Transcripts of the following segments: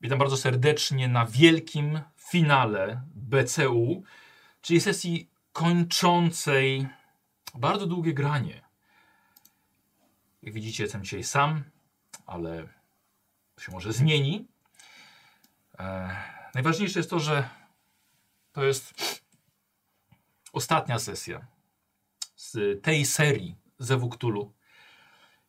Witam bardzo serdecznie na wielkim finale BCU, czyli sesji kończącej bardzo długie granie. Jak widzicie, jestem dzisiaj sam, ale to się może zmieni. E, najważniejsze jest to, że to jest ostatnia sesja z tej serii Zewu Cthulhu.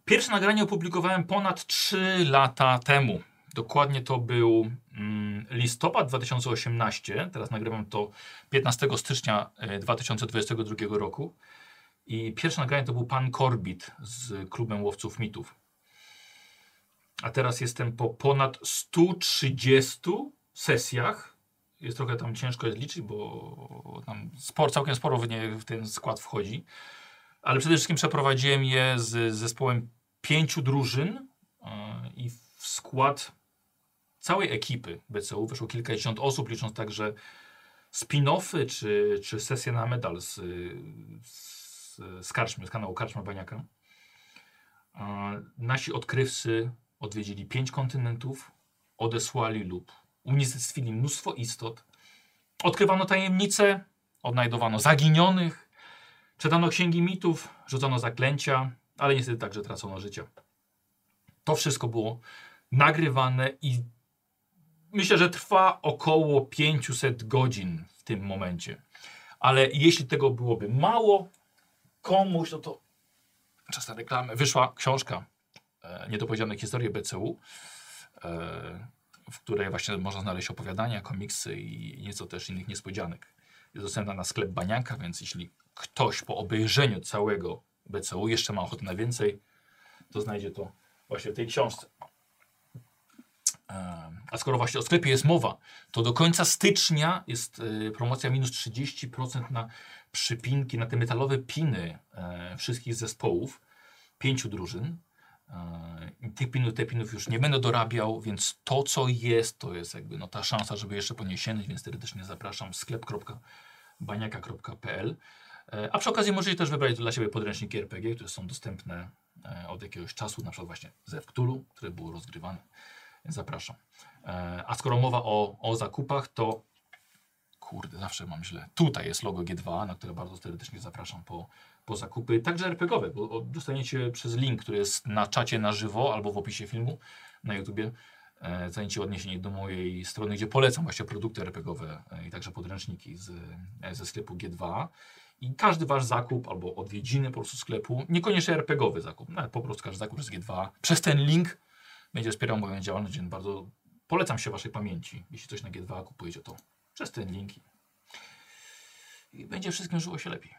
Pierwsze nagranie opublikowałem ponad 3 lata temu. Dokładnie to był mm, listopad 2018. Teraz nagrywam to 15 stycznia e, 2022 roku. I pierwsze nagranie to był pan Korbit z klubem łowców mitów. A teraz jestem po ponad 130 sesjach. Jest trochę tam ciężko jest liczyć, bo tam spor, całkiem sporo w, nie, w ten skład wchodzi. Ale przede wszystkim przeprowadziłem je z zespołem pięciu drużyn e, i w skład całej ekipy BCU wyszło kilkadziesiąt osób, licząc także spin-offy czy, czy sesje na medal z, z, z Karczmy, z kanału Karczma Baniaka. E, Nasi odkrywcy odwiedzili pięć kontynentów, odesłali lub unicestwili mnóstwo istot, odkrywano tajemnice, odnajdowano zaginionych, czytano księgi mitów, rzucono zaklęcia, ale niestety także tracono życie. To wszystko było nagrywane i myślę, że trwa około 500 godzin w tym momencie. Ale jeśli tego byłoby mało komuś, no to czas na reklamę. Wyszła książka e, Niedopowiedziane historie BCU, e, w której właśnie można znaleźć opowiadania, komiksy i nieco też innych niespodzianek. Jest dostępna na sklep Banianka, więc jeśli ktoś po obejrzeniu całego BCU jeszcze ma ochotę na więcej, to znajdzie to właśnie w tej książce. Em, A skoro właśnie o sklepie jest mowa, to do końca stycznia jest y, promocja minus 30% na przypinki, na te metalowe piny e, wszystkich zespołów, pięciu drużyn. E, i Tych pinów, te pinów już nie będę dorabiał, więc to co jest, to jest jakby no, ta szansa, żeby jeszcze po niej sięgnąć, więc teoretycznie zapraszam sklep.baniaka.pl E, A przy okazji możecie też wybrać dla siebie podręczniki RPG, które są dostępne e, od jakiegoś czasu, na przykład właśnie ze Wktulu, które było rozgrywane. Więc Zapraszam. E, A skoro mowa o, o zakupach, to kurde, zawsze mam źle. Tutaj jest logo G2, na które bardzo serdecznie zapraszam po, po zakupy, także RPGowe, bo o- dostaniecie przez link, który jest na czacie na żywo albo w opisie filmu na YouTubie. e, Zajęcie odniesienie do mojej strony, gdzie polecam właśnie produkty RPGowe e, i także podręczniki z, e, ze sklepu G2. I każdy wasz zakup albo odwiedziny po prostu sklepu, niekoniecznie RPGowy zakup, nawet po prostu każdy zakup z G2 przez ten link będzie wspierał moją działalność, więc bardzo polecam się waszej pamięci. Jeśli coś na G2 kupujecie, to przez ten link i- i będzie wszystkim żyło się lepiej.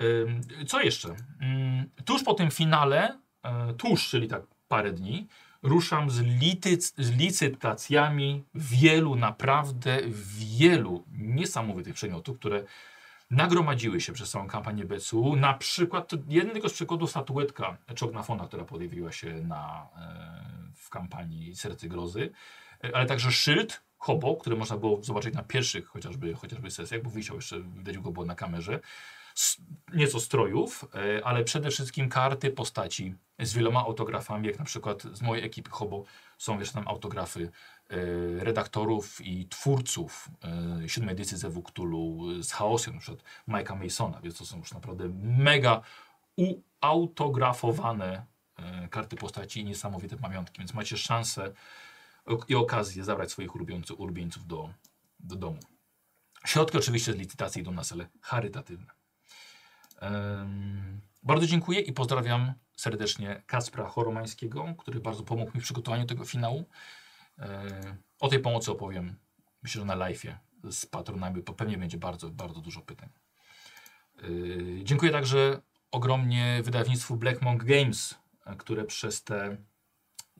Ym, Co jeszcze? Ym, Tuż po tym finale, e, tuż, czyli tak parę dni, ruszam z, lityc, z licytacjami wielu, naprawdę wielu niesamowitych przedmiotów, które nagromadziły się przez całą kampanię BCU. Na przykład, to jeden tylko z przykładów statuetka Czognafona, która pojawiła się na, e, w kampanii Serce Grozy, E, ale także szyld Hobo, który można było zobaczyć na pierwszych chociażby, chociażby sesjach, bo wisiał jeszcze, widać go było na kamerze. S nieco strojów, e, ale przede wszystkim karty postaci z wieloma autografami, jak na przykład z mojej ekipy Hobo są jeszcze tam autografy e, redaktorów i twórców e, siódmej edycji ze Wuktulu z Chaosem, na przykład Mike'a Masona, więc to są już naprawdę mega uautografowane e, karty postaci i niesamowite pamiątki, więc macie szansę ok- i okazję zabrać swoich ulubieńców, ulubieńców do, do domu. Środki oczywiście z licytacji idą na cele charytatywne. Em, bardzo dziękuję i pozdrawiam serdecznie Kacpra Choromańskiego, który bardzo pomógł mi w przygotowaniu tego finału. E, O tej pomocy opowiem, myślę, że na live'ie z patronami, bo pewnie będzie bardzo, bardzo dużo pytań. E, Dziękuję także ogromnie wydawnictwu Black Monk Games, e, które przez te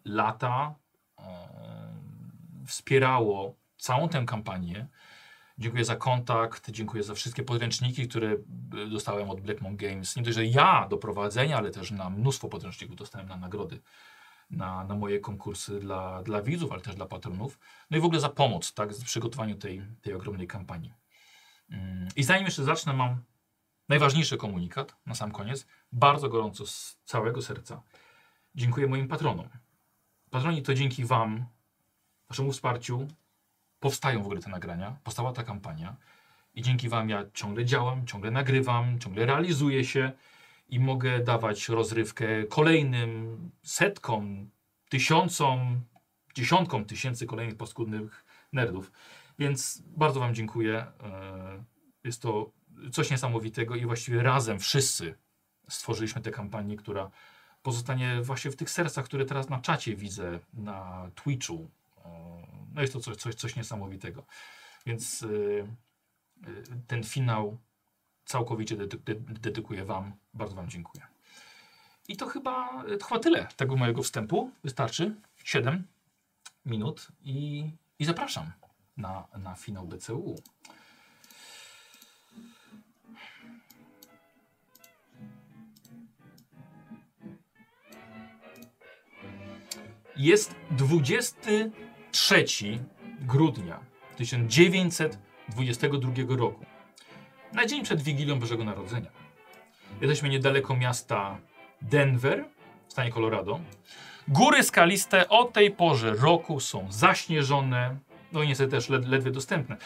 lata e, wspierało całą tę kampanię. Dziękuję za kontakt, dziękuję za wszystkie podręczniki, które e, dostałem od Black Monk Games. Nie dość, że ja do prowadzenia, ale też na mnóstwo podręczników dostałem na nagrody na, na moje konkursy dla, dla widzów, ale też dla patronów. No i w ogóle za pomoc tak, w przygotowaniu tej, tej ogromnej kampanii. Mm, I zanim jeszcze zacznę, mam najważniejszy komunikat na sam koniec. Bardzo gorąco z całego serca dziękuję moim patronom. Patroni to dzięki Wam waszemu wsparciu powstają w ogóle te nagrania, powstała ta kampania i dzięki wam ja ciągle działam, ciągle nagrywam, ciągle realizuję się i mogę dawać rozrywkę kolejnym setkom, tysiącom, dziesiątkom tysięcy kolejnych paskudnych nerdów. Więc bardzo wam dziękuję. E, Jest to coś niesamowitego i właściwie razem wszyscy stworzyliśmy tę kampanię, która pozostanie właśnie w tych sercach, które teraz na czacie widzę, na Twitchu. E, No jest to coś, coś, coś niesamowitego. Więc e, e, ten finał całkowicie dedy- de- dedykuję Wam. Bardzo Wam dziękuję. I to chyba, to chyba tyle tego mojego wstępu. Wystarczy 7 minut i, i zapraszam na, na finał BCU. Jest 23 grudnia 1922 roku. Na dzień przed Wigilią Bożego Narodzenia. Jesteśmy niedaleko miasta Denver w stanie Colorado. Góry skaliste o tej porze roku są zaśnieżone, no i niestety też led, ledwie dostępne.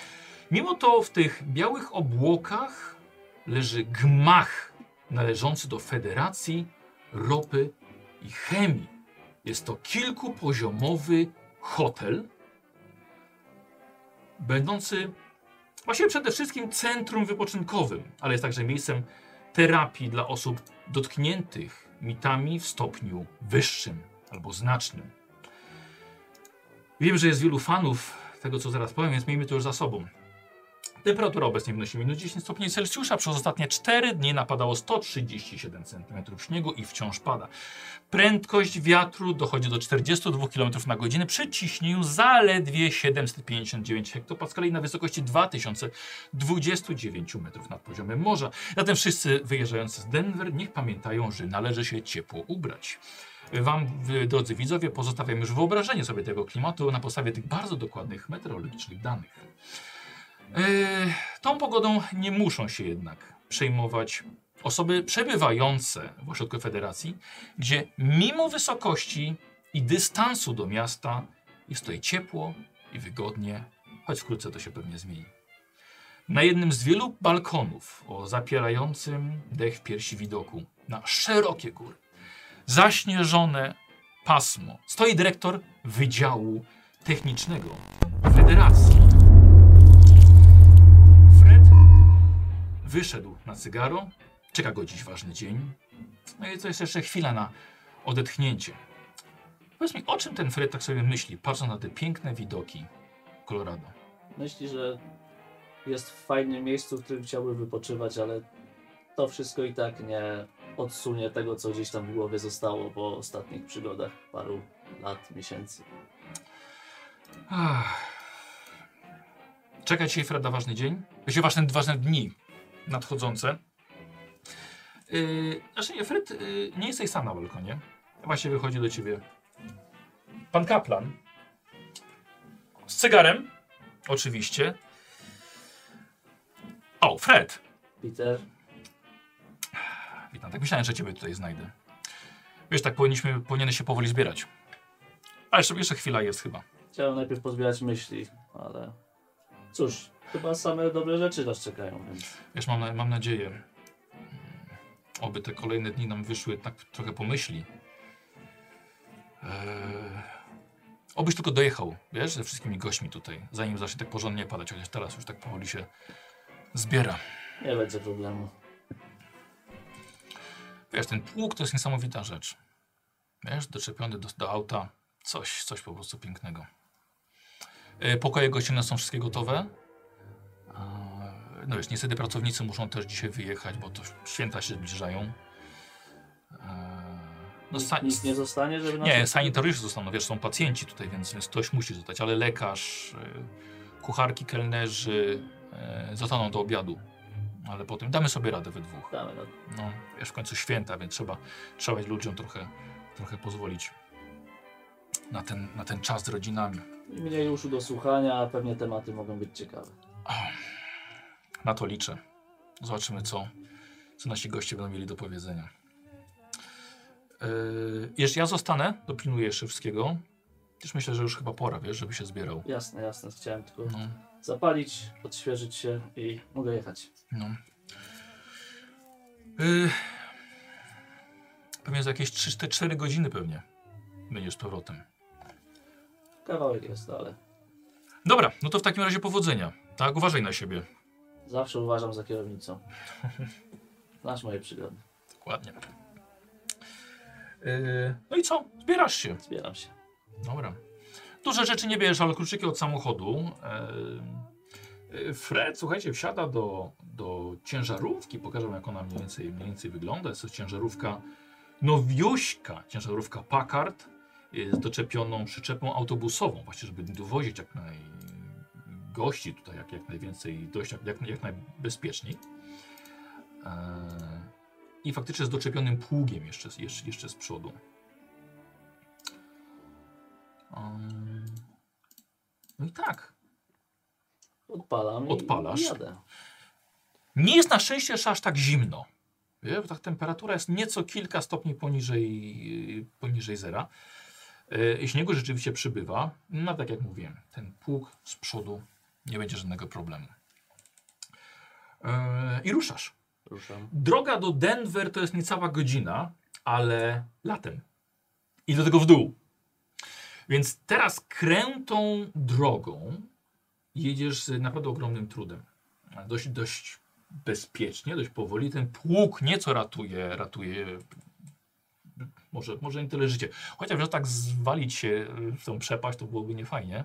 Mimo to w tych białych obłokach leży gmach należący do Federacji Ropy i Chemii. Jest to kilkupoziomowy hotel, będący właściwie przede wszystkim centrum wypoczynkowym, ale jest także miejscem terapii dla osób dotkniętych mitami w stopniu wyższym albo znacznym. Wiem, że jest wielu fanów tego, co zaraz powiem, więc miejmy to już za sobą. Temperatura obecnie wynosi minus 10 stopni Celsjusza. Przez ostatnie 4 dni napadało 137 cm śniegu i wciąż pada. Prędkość wiatru dochodzi do 42 km na godzinę przy ciśnieniu zaledwie 759 hektopaskali na wysokości 2029 metrów nad poziomem morza. Zatem wszyscy wyjeżdżający z Denver niech pamiętają, że należy się ciepło ubrać. Wam, w- drodzy widzowie, pozostawiam już wyobrażenie sobie tego klimatu na podstawie tych bardzo dokładnych meteorologicznych danych. Yy, tą pogodą nie muszą się jednak przejmować osoby przebywające w ośrodku federacji, gdzie mimo wysokości i dystansu do miasta jest tutaj ciepło i wygodnie, choć wkrótce to się pewnie zmieni. Na jednym z wielu balkonów o zapierającym dech w piersi widoku na szerokie góry, zaśnieżone pasmo, stoi dyrektor Wydziału Technicznego Federacji. Fred wyszedł na cygaro. Czeka go dziś ważny dzień. No i to jest jeszcze chwila na odetchnięcie. Powiedz mi, o czym ten Fred tak sobie myśli, patrząc na te piękne widoki Colorado? Myśli, że jest w fajnym miejscu, w którym chciałby wypoczywać, ale to wszystko i tak nie odsunie tego, co gdzieś tam w głowie zostało po ostatnich przygodach paru lat, miesięcy. Ach. Czeka dzisiaj Freda ważny dzień. Właściwie ważne, ważne dni nadchodzące. Yy, znaczy nie, Fred yy, nie jesteś sam na balkonie. Właśnie wychodzi do ciebie pan kaplan z cygarem, oczywiście. O, Fred! Peter, Witam, tak myślałem, że ciebie tutaj znajdę. Wiesz, tak powinniśmy, powinieneś się powoli zbierać. Ale jeszcze, jeszcze chwila jest chyba. chciałem najpierw pozbierać myśli, ale cóż, chyba same dobre rzeczy nas czekają, więc Wiesz, mam, na- mam nadzieję, mm, oby te kolejne dni nam wyszły tak trochę pomyśli. Eee, obyś tylko dojechał, wiesz, ze wszystkimi gośćmi tutaj, zanim zacznie tak porządnie padać, chociaż teraz już tak powoli się zbiera. nie będzie problemu. Wiesz, ten pług to jest niesamowita rzecz. Wiesz, doczepiony do, do auta, coś, coś po prostu pięknego. E, Pokoje gościnne są wszystkie gotowe. E, No wiesz, niestety pracownicy muszą też dzisiaj wyjechać, bo to święta się zbliżają. E, No, Nic, sa- nic nie zostanie, żeby nas... nie, sanitariusze zostaną, wiesz, są pacjenci tutaj, więc, więc ktoś musi zostać, ale lekarz, y, kucharki, kelnerzy y, zostaną do obiadu. Ale potem damy sobie radę we dwóch. Damy radę. No, wiesz, w końcu święta, więc trzeba, trzeba ludziom trochę, trochę pozwolić na ten, na ten czas z rodzinami. I Mniej uszu do słuchania, a pewnie tematy mogą być ciekawe. Na to liczę. Zobaczymy, co, co nasi goście będą mieli do powiedzenia. Yy, jeszcze ja zostanę, dopilnuję jeszcze wszystkiego. Też myślę, że już chyba pora, wiesz, żeby się zbierał. Jasne, jasne. Chciałem tylko No, zapalić, odświeżyć się i mogę jechać. no. Y, Pewnie za jakieś 3-4 godziny pewnie będziesz z powrotem. Kawałek jest, ale Dobra, no to w takim razie powodzenia. Tak, uważaj na siebie. zawsze uważam za kierownicą. Znasz moje przygody. Dokładnie. Y, No i co? Zbierasz się. Zbieram się. Dobra. Duże rzeczy nie bierzesz, ale kluczyki od samochodu. Yy, yy, Fred, słuchajcie, wsiada do, do ciężarówki. Pokażę wam, jak ona mniej więcej, mniej więcej wygląda. Jest to ciężarówka nowiuśka, ciężarówka Packard yy, z doczepioną przyczepą autobusową, właśnie żeby dowozić jak naj gości tutaj, jak, jak najwięcej, dość jak, jak, jak najbezpieczniej. Yy, I faktycznie z doczepionym pługiem jeszcze, jeszcze, jeszcze z przodu. Um, No i tak. Odpalam i, Odpalasz. i jadę. Nie jest na szczęście jeszcze aż tak zimno. Wie, bo tak temperatura jest nieco kilka stopni poniżej, yy, poniżej zera. Yy, I śniegu rzeczywiście przybywa. No tak jak mówiłem, ten pług z przodu nie będzie żadnego problemu. Yy, I ruszasz. Ruszam. Droga do Denver to jest niecała godzina, ale latem. I do tego w dół. Więc teraz krętą drogą jedziesz z naprawdę ogromnym trudem. Dość, dość bezpiecznie, dość powoli. Ten pług nieco ratuje, ratuje może, może nie tyle życie. Chociaż że tak zwalić się w tą przepaść, to byłoby niefajnie.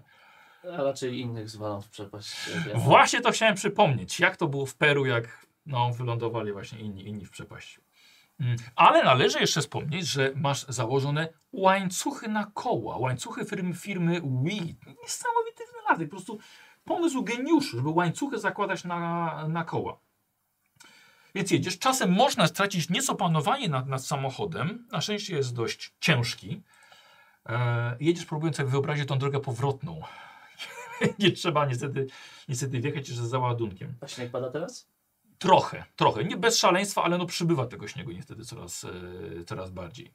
A raczej innych zwalam w przepaść. jak ja. Właśnie to chciałem przypomnieć, jak to było w Peru, jak no, wylądowali właśnie inni, inni w przepaści. Mm, Ale należy jeszcze wspomnieć, że masz założone łańcuchy na koła, łańcuchy firmy, firmy Wii. Niesamowity wynalazek, po prostu pomysł geniuszu, żeby łańcuchy zakładać na, na koła. Więc jedziesz, czasem można stracić nieco panowanie nad, nad samochodem, na szczęście jest dość ciężki. E, jedziesz próbując jak wyobrazić tą drogę powrotną. Nie trzeba niestety niestety wjechać jeszcze za ładunkiem. A śnieg pada teraz? Trochę, trochę. Nie bez szaleństwa, ale no przybywa tego śniegu niestety coraz, e, coraz bardziej.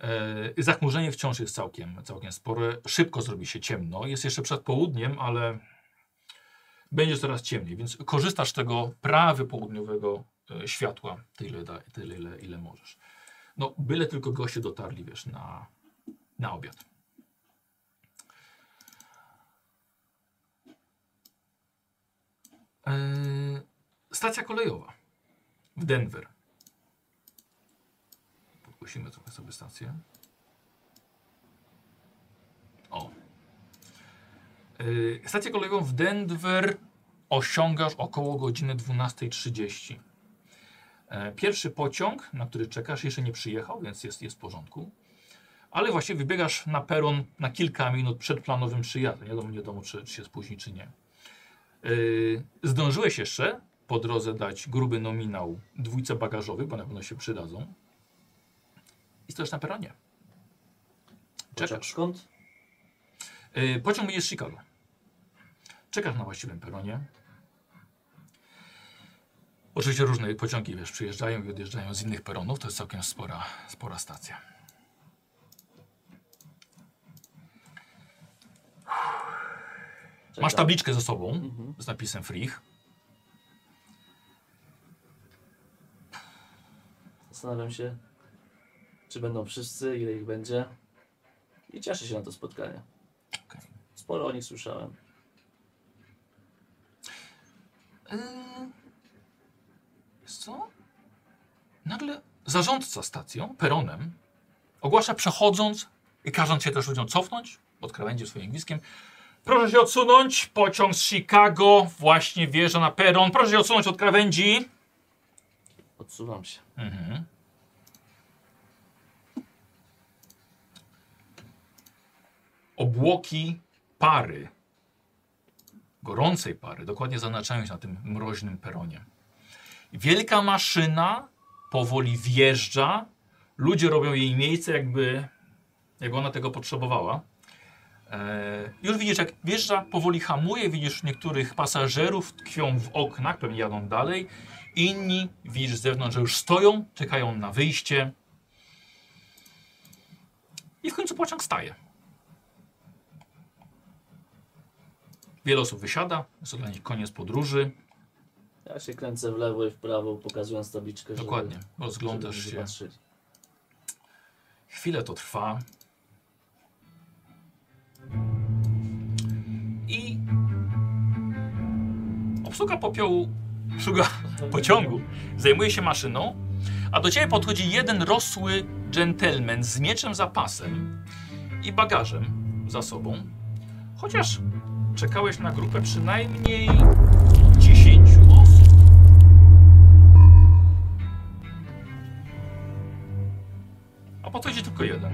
E, zachmurzenie wciąż jest całkiem, całkiem spore. Szybko zrobi się ciemno. Jest jeszcze przed południem, ale będzie coraz ciemniej, więc korzystasz z tego prawy południowego e, światła tyle, da, tyle ile, ile możesz. No, byle tylko goście dotarli, wiesz, na, na obiad. E, Stacja kolejowa w Denver. Podgłosimy trochę sobie stację. O. Yy, stację kolejową w Denver osiągasz około godziny 12.30. E, Pierwszy pociąg, na który czekasz, jeszcze nie przyjechał, więc jest, jest w porządku. Ale właśnie wybiegasz na peron na kilka minut przed planowym przyjazdem. Nie wiadomo, nie wiadomo czy, czy się spóźni, czy nie. Yy, zdążyłeś jeszcze po drodze dać gruby nominał dwójce bagażowych, bo na pewno się przydadzą. I stoisz na peronie. Pociąg Czekasz. Skąd? Yy, pociąg będzie z Chicago. Czekasz na właściwym peronie. Oczywiście różne pociągi wiesz, przyjeżdżają i odjeżdżają z innych peronów. To jest całkiem spora, spora stacja. Czekam. Masz tabliczkę ze sobą Mhm. z napisem Frich. Zastanawiam się, czy będą wszyscy, ile ich będzie. I cieszę się na to spotkanie. Okej. Sporo o nich słyszałem. Yy, wiesz co? Nagle zarządca stacją, peronem, ogłasza przechodząc i każąc się też ludziom cofnąć, pod krawędzią swoim gwizdkiem. Proszę się odsunąć, pociąg z Chicago właśnie wjeżdża na peron. Proszę się odsunąć od krawędzi. Odsuwam się. Mhm. Obłoki pary, gorącej pary, dokładnie zaznaczają się na tym mroźnym peronie. Wielka maszyna powoli wjeżdża. Ludzie robią jej miejsce, jakby, jakby ona tego potrzebowała. Eee, już widzisz, jak wjeżdża, powoli hamuje. Widzisz niektórych pasażerów tkwią w oknach, pewnie jadą dalej. Inni widzisz z zewnątrz, że już stoją, czekają na wyjście. I w końcu pociąg staje. Wiele osób wysiada, jest to dla nich koniec podróży. Ja się kręcę w lewo i w prawo, pokazując tabliczkę. żeby- Dokładnie. żeby Rozglądasz ludzie się. patrzyli. Chwilę to trwa. I obsługa popiołu szuka pociągu. Zajmuje się maszyną, a do ciebie podchodzi jeden rosły dżentelmen z mieczem za pasem i bagażem za sobą. Chociaż czekałeś na grupę przynajmniej 10 osób. A podchodzi tylko jeden.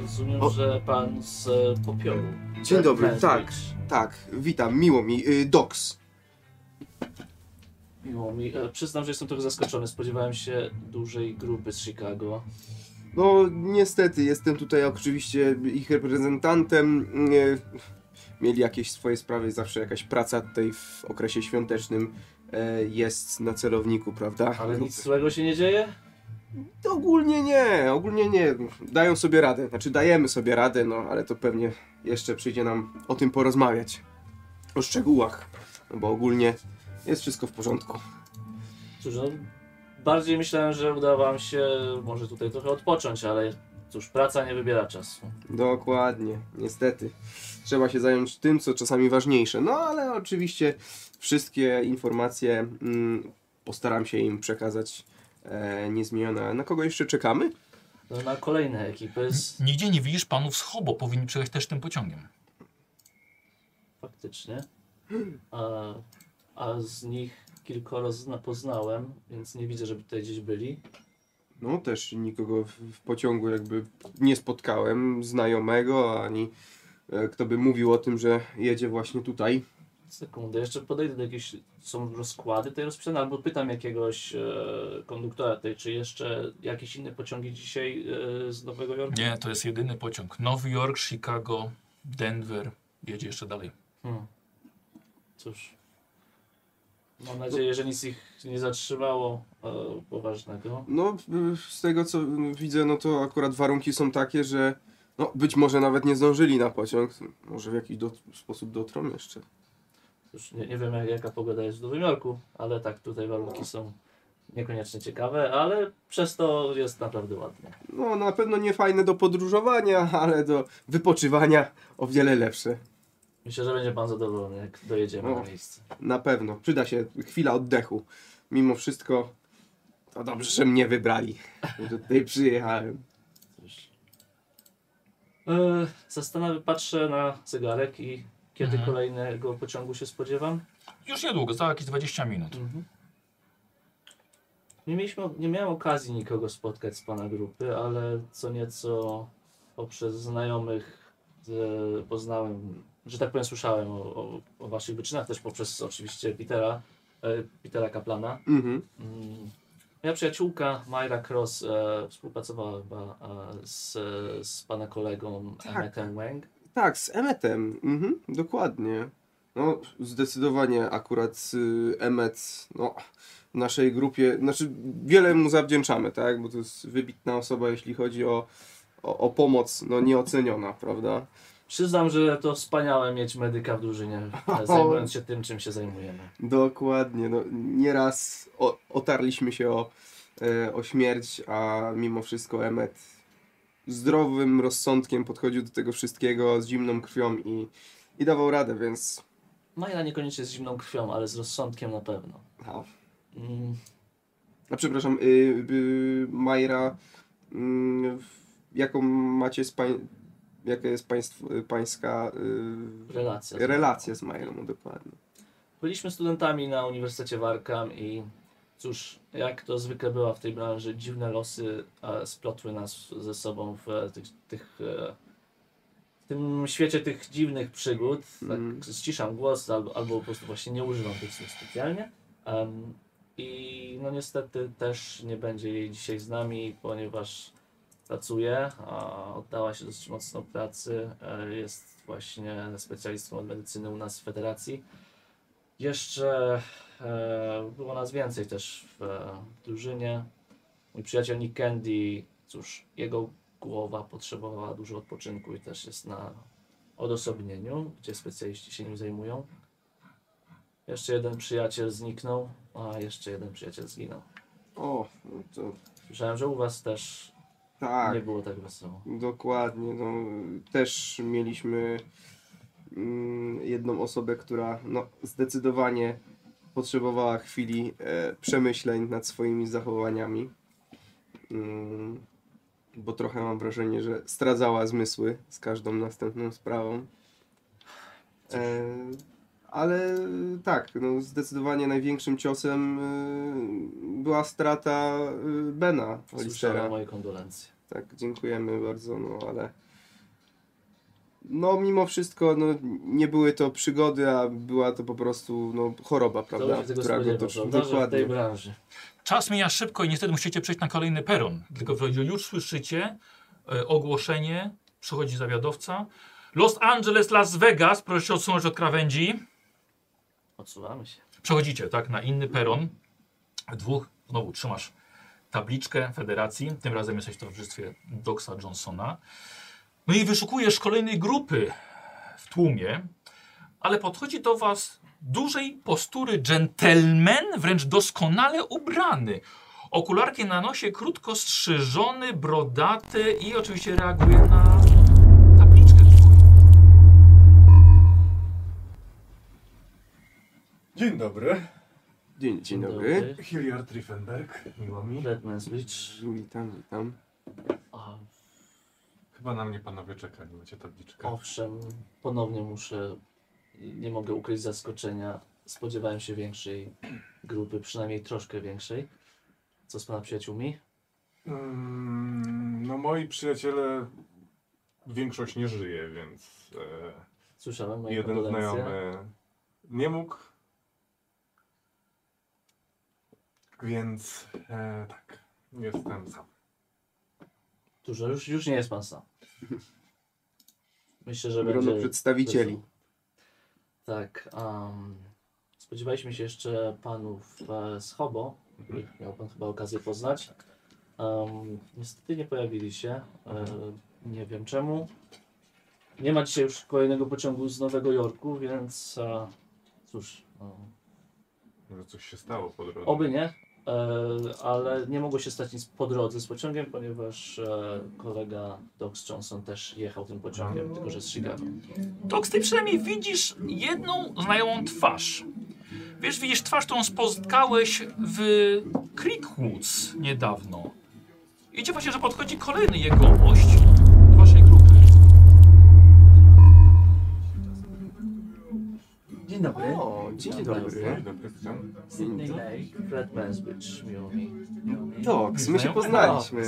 Rozumiem, O. że pan z e, popiołu. Dzień dobry, Pan tak. Zbicz. Tak, witam, miło mi. Y, Doks. Miło mi. E, Przyznam, że jestem trochę zaskoczony. Spodziewałem się dużej grupy z Chicago. No niestety, jestem tutaj oczywiście ich reprezentantem. Nie- Mieli jakieś swoje sprawy, zawsze jakaś praca tutaj w okresie świątecznym e, jest na celowniku, prawda? Ale Grupy. nic złego się nie dzieje? To Ogólnie nie, ogólnie nie. Dają sobie radę, znaczy dajemy sobie radę, no ale to pewnie jeszcze przyjdzie nam o tym porozmawiać. O szczegółach, no bo ogólnie jest wszystko w porządku. Cóż, no, bardziej myślałem, że uda wam się może tutaj trochę odpocząć, ale cóż, praca nie wybiera czasu. Dokładnie, niestety. Trzeba się zająć tym, co czasami ważniejsze. No ale oczywiście wszystkie informacje mm, postaram się im przekazać e, niezmienione. A Na kogo jeszcze czekamy? No, na kolejne ekipy z... Nigdzie nie widzisz panów z Hobo, powinni przyjechać też tym pociągiem. faktycznie, a, a z nich kilkoro zna, poznałem, więc nie widzę, żeby tutaj gdzieś byli. No też nikogo w, w pociągu jakby nie spotkałem, znajomego, ani e, kto by mówił o tym, że jedzie właśnie tutaj. Sekundę, jeszcze podejdę do jakiejś, są rozkłady tej rozpisane, albo pytam jakiegoś e, konduktora tej, czy jeszcze jakieś inne pociągi dzisiaj e, z Nowego Jorku? Nie, to jest jedyny pociąg. Nowy Jork, Chicago, Denver, jedzie jeszcze dalej. Hmm. Cóż. Mam nadzieję, że nic ich nie zatrzymało e, poważnego. No, y, z tego co y, widzę, no to akurat warunki są takie, że no, być może nawet nie zdążyli na pociąg. Może w jakiś do, sposób dotrą jeszcze. Cóż, nie, nie wiem jak, jaka pogoda jest w Nowym Jorku, ale tak, tutaj warunki są niekoniecznie ciekawe, ale przez to jest naprawdę ładnie. No, na pewno nie fajne do podróżowania, ale do wypoczywania o wiele lepsze. Myślę, że będzie pan zadowolony, jak dojedziemy No. na miejsce. Na pewno. Przyda się chwila oddechu. Mimo wszystko, to dobrze, że mnie wybrali, że tutaj przyjechałem. Cóż. E, zastanawiam, patrzę na zegarek i kiedy Mhm. kolejnego pociągu się spodziewam. Już niedługo, za jakieś 20 minut. Nie, mieliśmy, nie miałem okazji nikogo spotkać z pana grupy, ale co nieco poprzez znajomych e, poznałem, że tak powiem, słyszałem o, o, o waszych wyczynach, też poprzez oczywiście Petera, e, Petera Kaplana. Mhm. Mm. Moja przyjaciółka Myra Cross e, współpracowała chyba e, z, z pana kolegą Tak. Emmetem Wang. Tak, z Emmetem. Mhm, dokładnie. No, zdecydowanie akurat y, Emmet, no, w naszej grupie, znaczy wiele mu zawdzięczamy, tak, bo to jest wybitna osoba, jeśli chodzi o, o, o pomoc, no, nieoceniona, prawda? Przyznam, że to wspaniałe mieć medyka w drużynie, e, zajmując się tym, czym się zajmujemy. Dokładnie, no, nieraz o, otarliśmy się o, e, o śmierć, a mimo wszystko Emmet zdrowym rozsądkiem podchodził do tego wszystkiego, z zimną krwią i, i dawał radę, więc, Majla niekoniecznie z zimną krwią, ale z rozsądkiem na pewno. no, Mm, A przepraszam, y, y, Majra, y, jaką macie z pań, jaka jest państw, y, pańska y, relacja. z- relacja z Majrą dokładnie? Byliśmy studentami na Uniwersytecie Warkam i cóż, jak to zwykle bywa w tej branży, dziwne losy e, splotły nas ze sobą w e, tych, tych e, w tym świecie tych dziwnych przygód. Mm. Tak ściszam głos albo, albo po prostu właśnie nie używam tych słów specjalnie. Em, I no niestety też nie będzie jej dzisiaj z nami, ponieważ pracuje, a oddała się dosyć mocno pracy. e, Jest właśnie specjalistą od medycyny u nas w federacji. Jeszcze e, było nas więcej też w, e, drużynie. Mój przyjaciel Nick Candy, cóż, jego głowa potrzebowała dużo odpoczynku i też jest na odosobnieniu, gdzie specjaliści się nim zajmują. Jeszcze jeden przyjaciel zniknął, a jeszcze jeden przyjaciel zginął. O, no to Słyszałem, że u was też tak. nie było tak wesoło. Dokładnie. No, też mieliśmy mm, jedną osobę, która no, zdecydowanie potrzebowała chwili e, przemyśleń nad swoimi zachowaniami. Mm, bo trochę mam wrażenie, że stradzała zmysły z każdą następną sprawą. E, ale tak, no, zdecydowanie największym ciosem e, była strata e, Bena Olistera. Słyszałem moje kondolencje. Tak, dziękujemy bardzo, no ale. No, mimo wszystko, no, nie były to przygody, a była to po prostu no, choroba, Prawda, prawda? to się tego spodziewa, dotyczy- prawda, że w tej Dokładnie. branży. Czas mija szybko i niestety musicie przejść na kolejny peron. Tylko że już słyszycie e, ogłoszenie, przychodzi zawiadowca. Los Angeles, Las Vegas, proszę się odsunąć od krawędzi. Odsuwamy się. Przechodzicie, tak, na inny peron. Dwóch, znowu trzymasz tabliczkę federacji. Tym razem jesteś w towarzystwie Doxa Johnsona. No i wyszukujesz kolejnej grupy w tłumie, ale podchodzi do was dużej postury dżentelmen, wręcz doskonale ubrany. Okularki na nosie, krótko strzyżony, brodaty i oczywiście reaguje na tabliczkę. Dzień dobry. Dzień, dzień dobry. Hilliard Riefenberg, miło mi. Redman's Beach. Witam, witam. A, Chyba na mnie panowie czekali, macie tabliczkę. Owszem, ponownie muszę, nie mogę ukryć zaskoczenia. Spodziewałem się większej grupy, przynajmniej troszkę większej. Co z pana przyjaciółmi? Mm, no moi przyjaciele, większość nie żyje, więc Słyszałem e, moje jeden kondolencje. znajomy nie mógł. Więc e, tak, jestem sam. Dużo, już, już nie jest pan sam. Myślę, że Grono będzie... przedstawicieli. Tak, um, spodziewaliśmy się jeszcze panów e, z Hobo. Ich miał pan chyba okazję poznać. Em, niestety nie pojawili się. E, nie wiem czemu. Nie ma dzisiaj już kolejnego pociągu z Nowego Jorku, więc e, cóż, no, Może coś się stało po drodze. Oby nie, e, ale nie mogło się stać nic po drodze z pociągiem, ponieważ e, kolega Dox Johnson też jechał tym pociągiem, tylko że z Chicago. Toks, ty przynajmniej widzisz jedną znajomą twarz. Wiesz, widzisz twarz, którą spotkałeś w Creekwoods niedawno. Idzie właśnie, że podchodzi kolejny jegomość do waszej grupy. Dzień dobry. O, dzień dobry. Dzień dobry, witam. Sydney Lake, Fred Mansbridge, miło mi. Doks, Tak, my się Znajomy? poznaliśmy.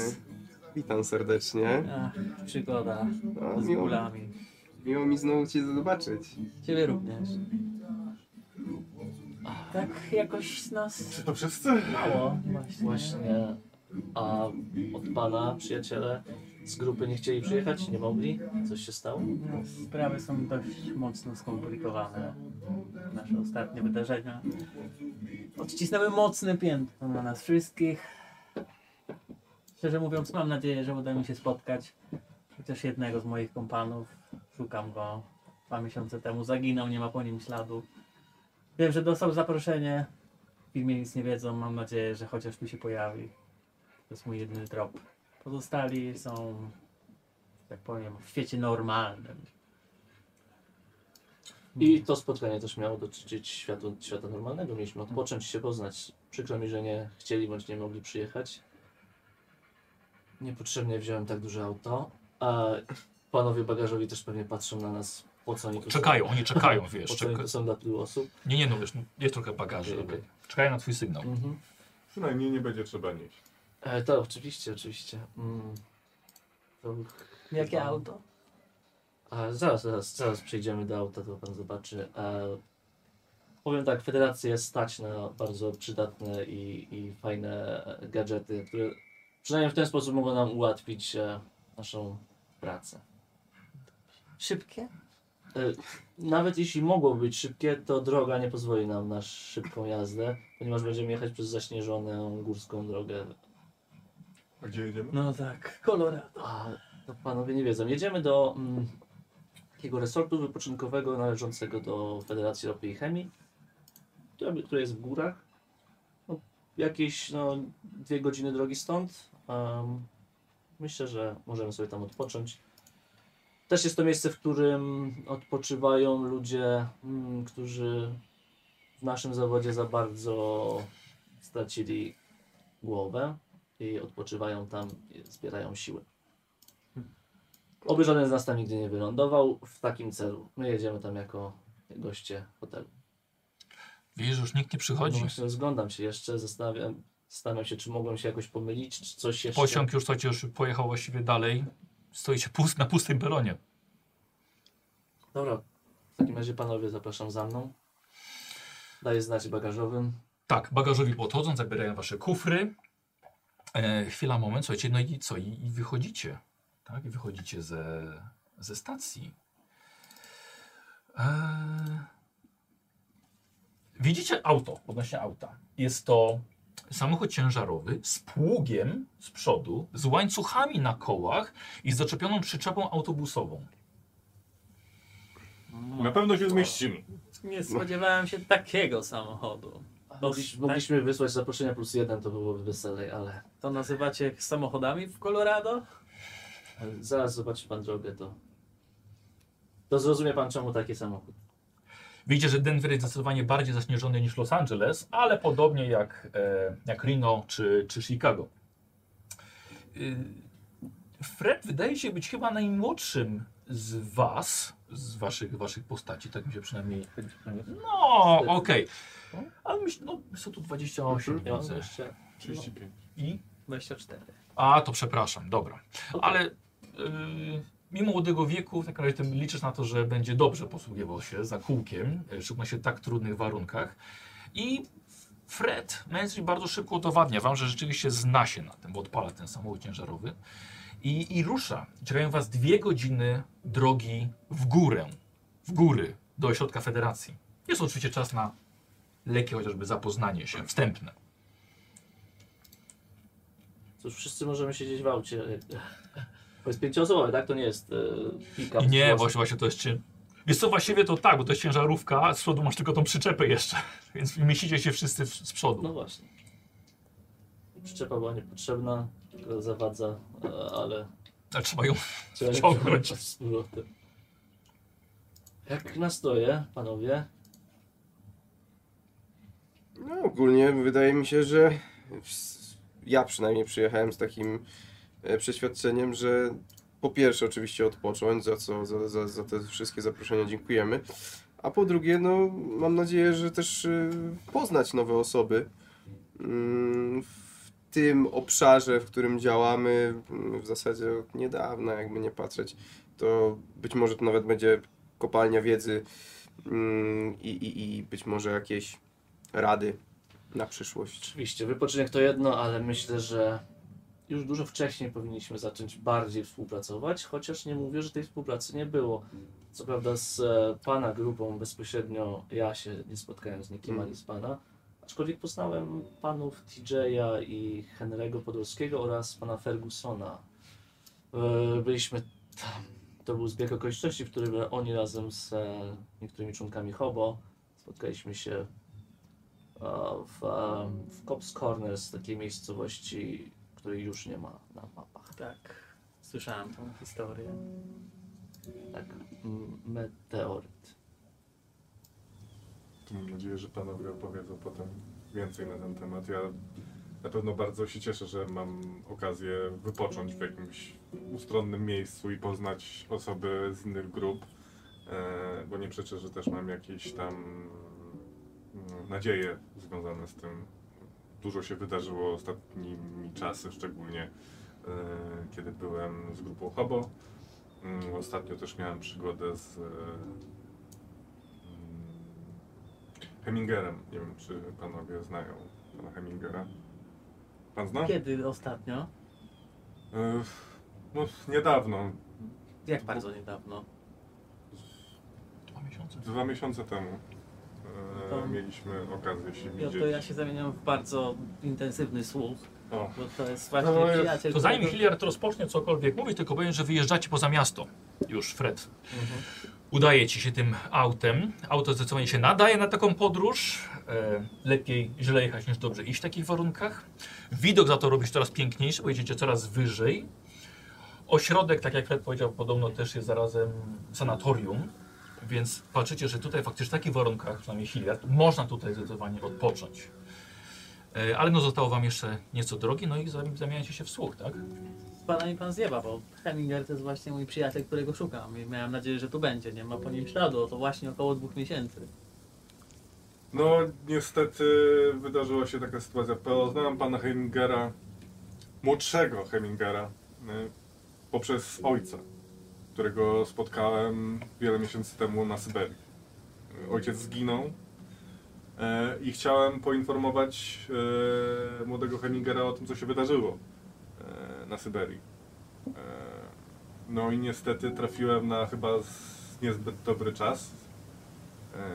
Witam serdecznie. Ach, przygoda A, z miło, bólami. miło mi znowu Cię zobaczyć. Ciebie również. Tak jakoś nas Czy to wszyscy? mało właśnie. Właśnie, a od pana przyjaciele z grupy nie chcieli przyjechać, nie mogli? Coś się stało? No, Sprawy są dość mocno skomplikowane. Nasze ostatnie wydarzenia odcisnęły mocne piętno na nas wszystkich. Szczerze mówiąc, mam nadzieję, że uda mi się spotkać chociaż jednego z moich kompanów. Szukam go. Dwa miesiące temu zaginął, nie ma po nim śladu. Wiem, że dostał zaproszenie. W imię nic nie wiedzą. Mam nadzieję, że chociaż mi się pojawi. To jest mój jedyny trop. Pozostali są tak powiem, w świecie normalnym. I to spotkanie też miało dotyczyć świata, świata normalnego. Mieliśmy odpocząć, się poznać. Przykro mi, że nie chcieli bądź nie mogli przyjechać. Niepotrzebnie wziąłem tak duże auto. A panowie bagażowi też pewnie patrzą na nas, po co oni tu Czekają, oni czekają, są. wiesz. Po co oni Czeka... tu są dla tylu osób. Nie, nie, no wiesz, no, jest trochę bagaży. Okej. Czekają na twój sygnał. Mhm. Przynajmniej nie będzie trzeba nieść. E, to oczywiście, oczywiście. Mm. To Jakie chyba- auto? A, zaraz, zaraz, zaraz przejdziemy do auta, to pan zobaczy. E, powiem tak, federację stać na bardzo przydatne i, i fajne e, gadżety, które przynajmniej w ten sposób mogą nam ułatwić e, naszą pracę. Szybkie? E, nawet jeśli mogło być szybkie, to droga nie pozwoli nam na szybką jazdę, ponieważ będziemy jechać przez zaśnieżoną górską drogę. A gdzie jedziemy? No tak, Colorado. A, To panowie nie wiedzą. Jedziemy do mm, takiego resortu wypoczynkowego należącego do Federacji Ropy i Chemii, które, które jest w górach. No, jakieś no, dwie godziny drogi stąd. Em, myślę, że możemy sobie tam odpocząć. Też jest to miejsce, w którym odpoczywają ludzie, mm, którzy w naszym zawodzie za bardzo stracili głowę i odpoczywają tam, i zbierają siły. Oby żaden z nas tam nigdy nie wylądował w takim celu. My jedziemy tam jako goście hotelu. Wiesz, że już nikt nie No przychodzi. właśnie rozglądam się jeszcze, zastanawiam, zastanawiam się, czy mogłem się jakoś pomylić, czy coś jeszcze. Pociąg już, słuchajcie, już pojechał właściwie dalej. Stoi się pust, na pustym peronie. Dobra, w takim razie panowie zapraszam za mną. Daję znać bagażowym. Tak, bagażowi podchodzą, zabierają wasze kufry. E, chwila, moment, słuchajcie, no i co? I, i wychodzicie. Tak, i wychodzicie ze, ze stacji. E, widzicie auto, odnośnie auta. Jest to samochód ciężarowy z pługiem z przodu, z łańcuchami na kołach i z zaczepioną przyczepą autobusową. Na pewno się zmieścimy. Nie spodziewałem się takiego samochodu. tak, Mogliś, mogliśmy wysłać zaproszenia plus jeden, to byłoby weselej, ale To nazywacie samochodami w Colorado? ale zaraz zobaczy pan drogę, to, to zrozumie pan czemu taki samochód. Widzicie, że Denver jest zdecydowanie bardziej zaśnieżony niż Los Angeles, ale podobnie jak, e, jak Reno czy, czy Chicago. Y, Fred wydaje się być chyba najmłodszym z was, z waszych, waszych postaci, tak mi się przynajmniej... No, okej. Ale myślę, no, są tu 28 Ja mam widzę. jeszcze 35. I? 24. A, to przepraszam, dobra. Okej. Ale y, mimo młodego wieku, w takim razie tym liczysz na to, że będzie dobrze posługiwał się za kółkiem, y, szczególnie się w tak trudnych warunkach. I Fred Menstry bardzo szybko udowadnia wam, że rzeczywiście zna się na tym, bo odpala ten samochód ciężarowy i, i rusza. Czekają was dwie godziny drogi w górę, w góry, do ośrodka federacji. Jest oczywiście czas na lekkie chociażby zapoznanie się, wstępne. Cóż, wszyscy możemy siedzieć w aucie. To jest pięcioosobowe, tak? To nie jest e, pick-up. Nie, Głos- właśnie, właśnie to jest cię... Wiesz co, właściwie to tak, bo to jest ciężarówka, z przodu masz tylko tą przyczepę jeszcze, więc mieścicie się wszyscy w, z No przodu. właśnie. Przyczepa była niepotrzebna, tylko zawadza, e, ale A Tak trzeba ją... trzeba ją Ciągnąć. przewrócić z powrotem. Jak nastroje, panowie? No, ogólnie wydaje mi się, że s- ja przynajmniej przyjechałem z takim e, przeświadczeniem, że po pierwsze oczywiście odpocząć, za co za, za, za te wszystkie zaproszenia dziękujemy, a po drugie, no mam nadzieję, że też e, poznać nowe osoby mm, w tym obszarze, w którym działamy mm, w zasadzie od niedawna, jakby nie patrzeć, to być może to nawet będzie kopalnia wiedzy mm, i, i, i być może jakieś rady na przyszłość. Oczywiście, wypoczynek to jedno, ale myślę, że już dużo wcześniej powinniśmy zacząć bardziej współpracować, chociaż nie mówię, że tej współpracy nie było. Co prawda z e, pana grupą bezpośrednio ja się nie spotkałem z nikim Mm. ani z pana, aczkolwiek poznałem panów TJ'a i Henry'ego Podolskiego oraz pana Fergusona. E, Byliśmy tam. To był zbieg okoliczności, w którym oni razem z e, niektórymi członkami Hobo spotkaliśmy się e, w, e, w Cops Corners, takiej miejscowości, której już nie ma na mapach. Tak. Słyszałem tą historię. Tak, m- meteoryt. To Mam nadzieję, że panowie opowiedzą potem więcej na ten temat. Ja na pewno bardzo się cieszę, że mam okazję wypocząć w jakimś ustronnym miejscu i poznać osoby z innych grup, e, bo nie przeczę, że też mam jakieś tam mm, nadzieje związane z tym. Dużo się wydarzyło ostatnimi czasy, szczególnie e, kiedy byłem z grupą Hobo. Mm, Ostatnio też miałem przygodę z e, mm, Hemingerem. Nie wiem, czy panowie znają pana Hemingera. Pan zna? E, Kiedy ostatnio? no, niedawno, Jak bardzo niedawno? Dwa miesiące. dwa miesiące temu, e, To- mieliśmy okazję się Ja, no widzieć. to ja się zamieniam w bardzo intensywny słuch. O. Bo to jest właśnie No, jest- przyjaciel. To zanim którego- Hilliard rozpocznie cokolwiek mówić, tylko powiem, że wyjeżdżacie poza miasto. Już, Fred. Udaje ci się tym autem. Auto zdecydowanie się nadaje na taką podróż. E, lepiej źle jechać niż dobrze iść w takich warunkach. Widok za to robi się coraz piękniejszy, bo jedziecie coraz wyżej. Ośrodek, tak jak Fred powiedział, podobno też jest zarazem sanatorium. Więc patrzycie, że tutaj faktycznie w takich warunkach, przynajmniej Hilliard, można tutaj zdecydowanie odpocząć. E, ale no zostało wam jeszcze nieco drogi, no i zam- zamieniacie się w słuch, tak? Pana mi pan zjeba, bo Heminger to jest właśnie mój przyjaciel, którego szukam i miałem nadzieję, że tu będzie. Nie ma po nim śladu, to właśnie około dwóch miesięcy. No niestety wydarzyła się taka sytuacja. Poznałem pana Hemingera, młodszego Hemingera, y, poprzez ojca, którego spotkałem wiele miesięcy temu na Syberii. Y, Ojciec zginął y, i chciałem poinformować y, młodego Hemingera o tym, co się wydarzyło y, na Syberii. Y, No i niestety trafiłem na chyba z- niezbyt dobry czas, E,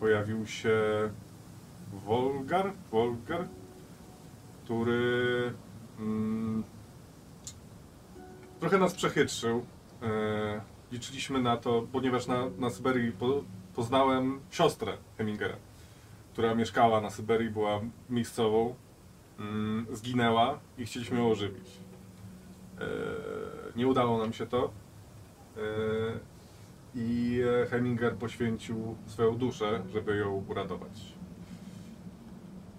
pojawił się Wolgar, Wolgar, który mm, trochę nas przechytrzył. E, liczyliśmy na to, ponieważ na, na Syberii po, poznałem siostrę Hemingera, która mieszkała na Syberii, była miejscową, mm, zginęła i chcieliśmy ją ożywić. E, nie udało nam się to. E, i e, Heminger poświęcił swoją duszę, żeby ją uratować.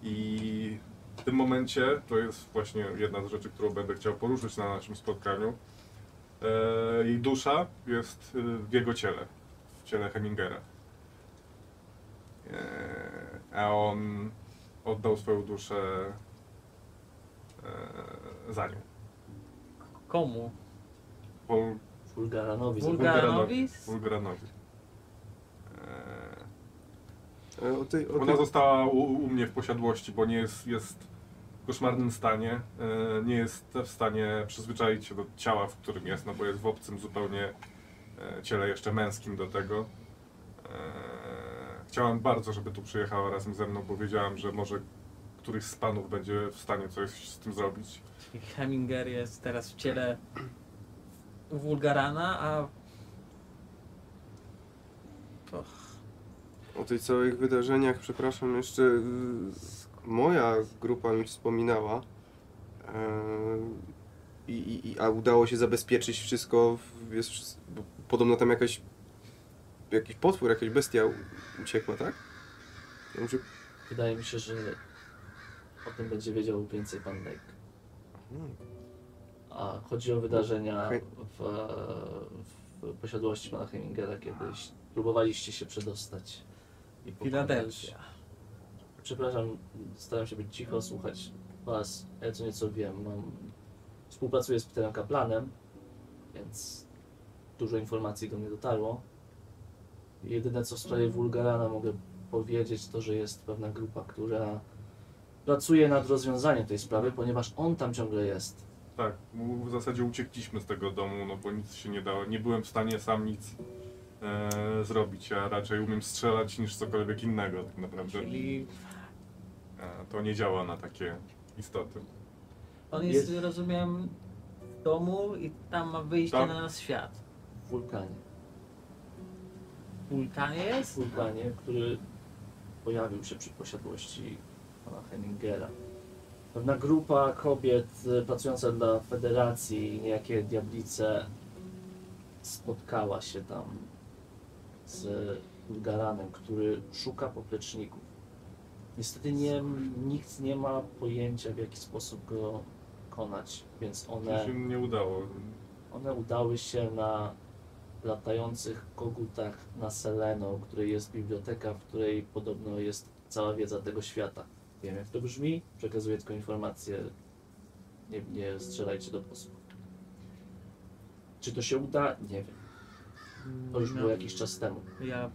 I w tym momencie, to jest właśnie jedna z rzeczy, którą będę chciał poruszyć na naszym spotkaniu, e, jej dusza jest e, w jego ciele, w ciele Hemingera. E, A on oddał swoją duszę e, za nią. Komu? Wol- Fulgaranowi. Fulgar- Bulgaranowi? Bulgaranowi. E, E, O tej, o Ona tej... została u, u mnie w posiadłości, bo nie jest, jest w koszmarnym stanie. e, Nie jest w stanie przyzwyczaić się do ciała, w którym jest, no bo jest w obcym zupełnie e, ciele jeszcze męskim do tego. E, Chciałem bardzo, żeby tu przyjechała razem ze mną, bo wiedziałem, że może któryś z panów będzie w stanie coś z tym zrobić. Czyli Heminger jest teraz w ciele Wulgarana, a... Och, O tych całych wydarzeniach, przepraszam, jeszcze y, moja grupa mi wspominała. E, I, i, i- a udało się zabezpieczyć wszystko. w- Jest, wszys- bo podobno tam jakaś, jakiś potwór, jakaś bestia u- uciekła, tak? Ja muszę- Wydaje mi się, że o tym będzie wiedział więcej pan Lek. A chodzi o wydarzenia Okej. w, w posiadłości pana Hemingera kiedyś. Próbowaliście się przedostać. i pokonać- Filadelfia. Przepraszam, staram się być cicho, słuchać was. Ja co nieco wiem. Mam... Współpracuję z Peterem Kaplanem, więc dużo informacji do mnie dotarło. Jedyne co w sprawie Wulgarana mogę powiedzieć, to że jest pewna grupa, która pracuje nad rozwiązaniem tej sprawy, ponieważ on tam ciągle jest. Tak, mu- w zasadzie uciekliśmy z tego domu, no bo nic się nie dało. Nie byłem w stanie sam nic e, zrobić. Ja raczej umiem strzelać niż cokolwiek innego tak naprawdę. Czyli E, To nie działa na takie istoty. on jest, Jest. rozumiem, w domu i tam ma wyjście Tak. na nas świat. W wulkanie. W Wulkanie W jest? wulkanie, który pojawił się przy posiadłości pana Hemingera. Pewna grupa kobiet e, pracująca dla federacji, niejakie diablice, spotkała się tam z Wulgaranem, który szuka popleczników. Niestety nie, nikt nie ma pojęcia, w jaki sposób go konać, więc one... To się nie udało. One udały się na latających kogutach na Seleno, u której jest biblioteka, w której podobno jest cała wiedza tego świata. Nie wiem jak to brzmi, przekazuję tylko informację. Nie, nie strzelajcie do posłów. Czy to się uda? Nie wiem. To już było No, jakiś czas temu. Ja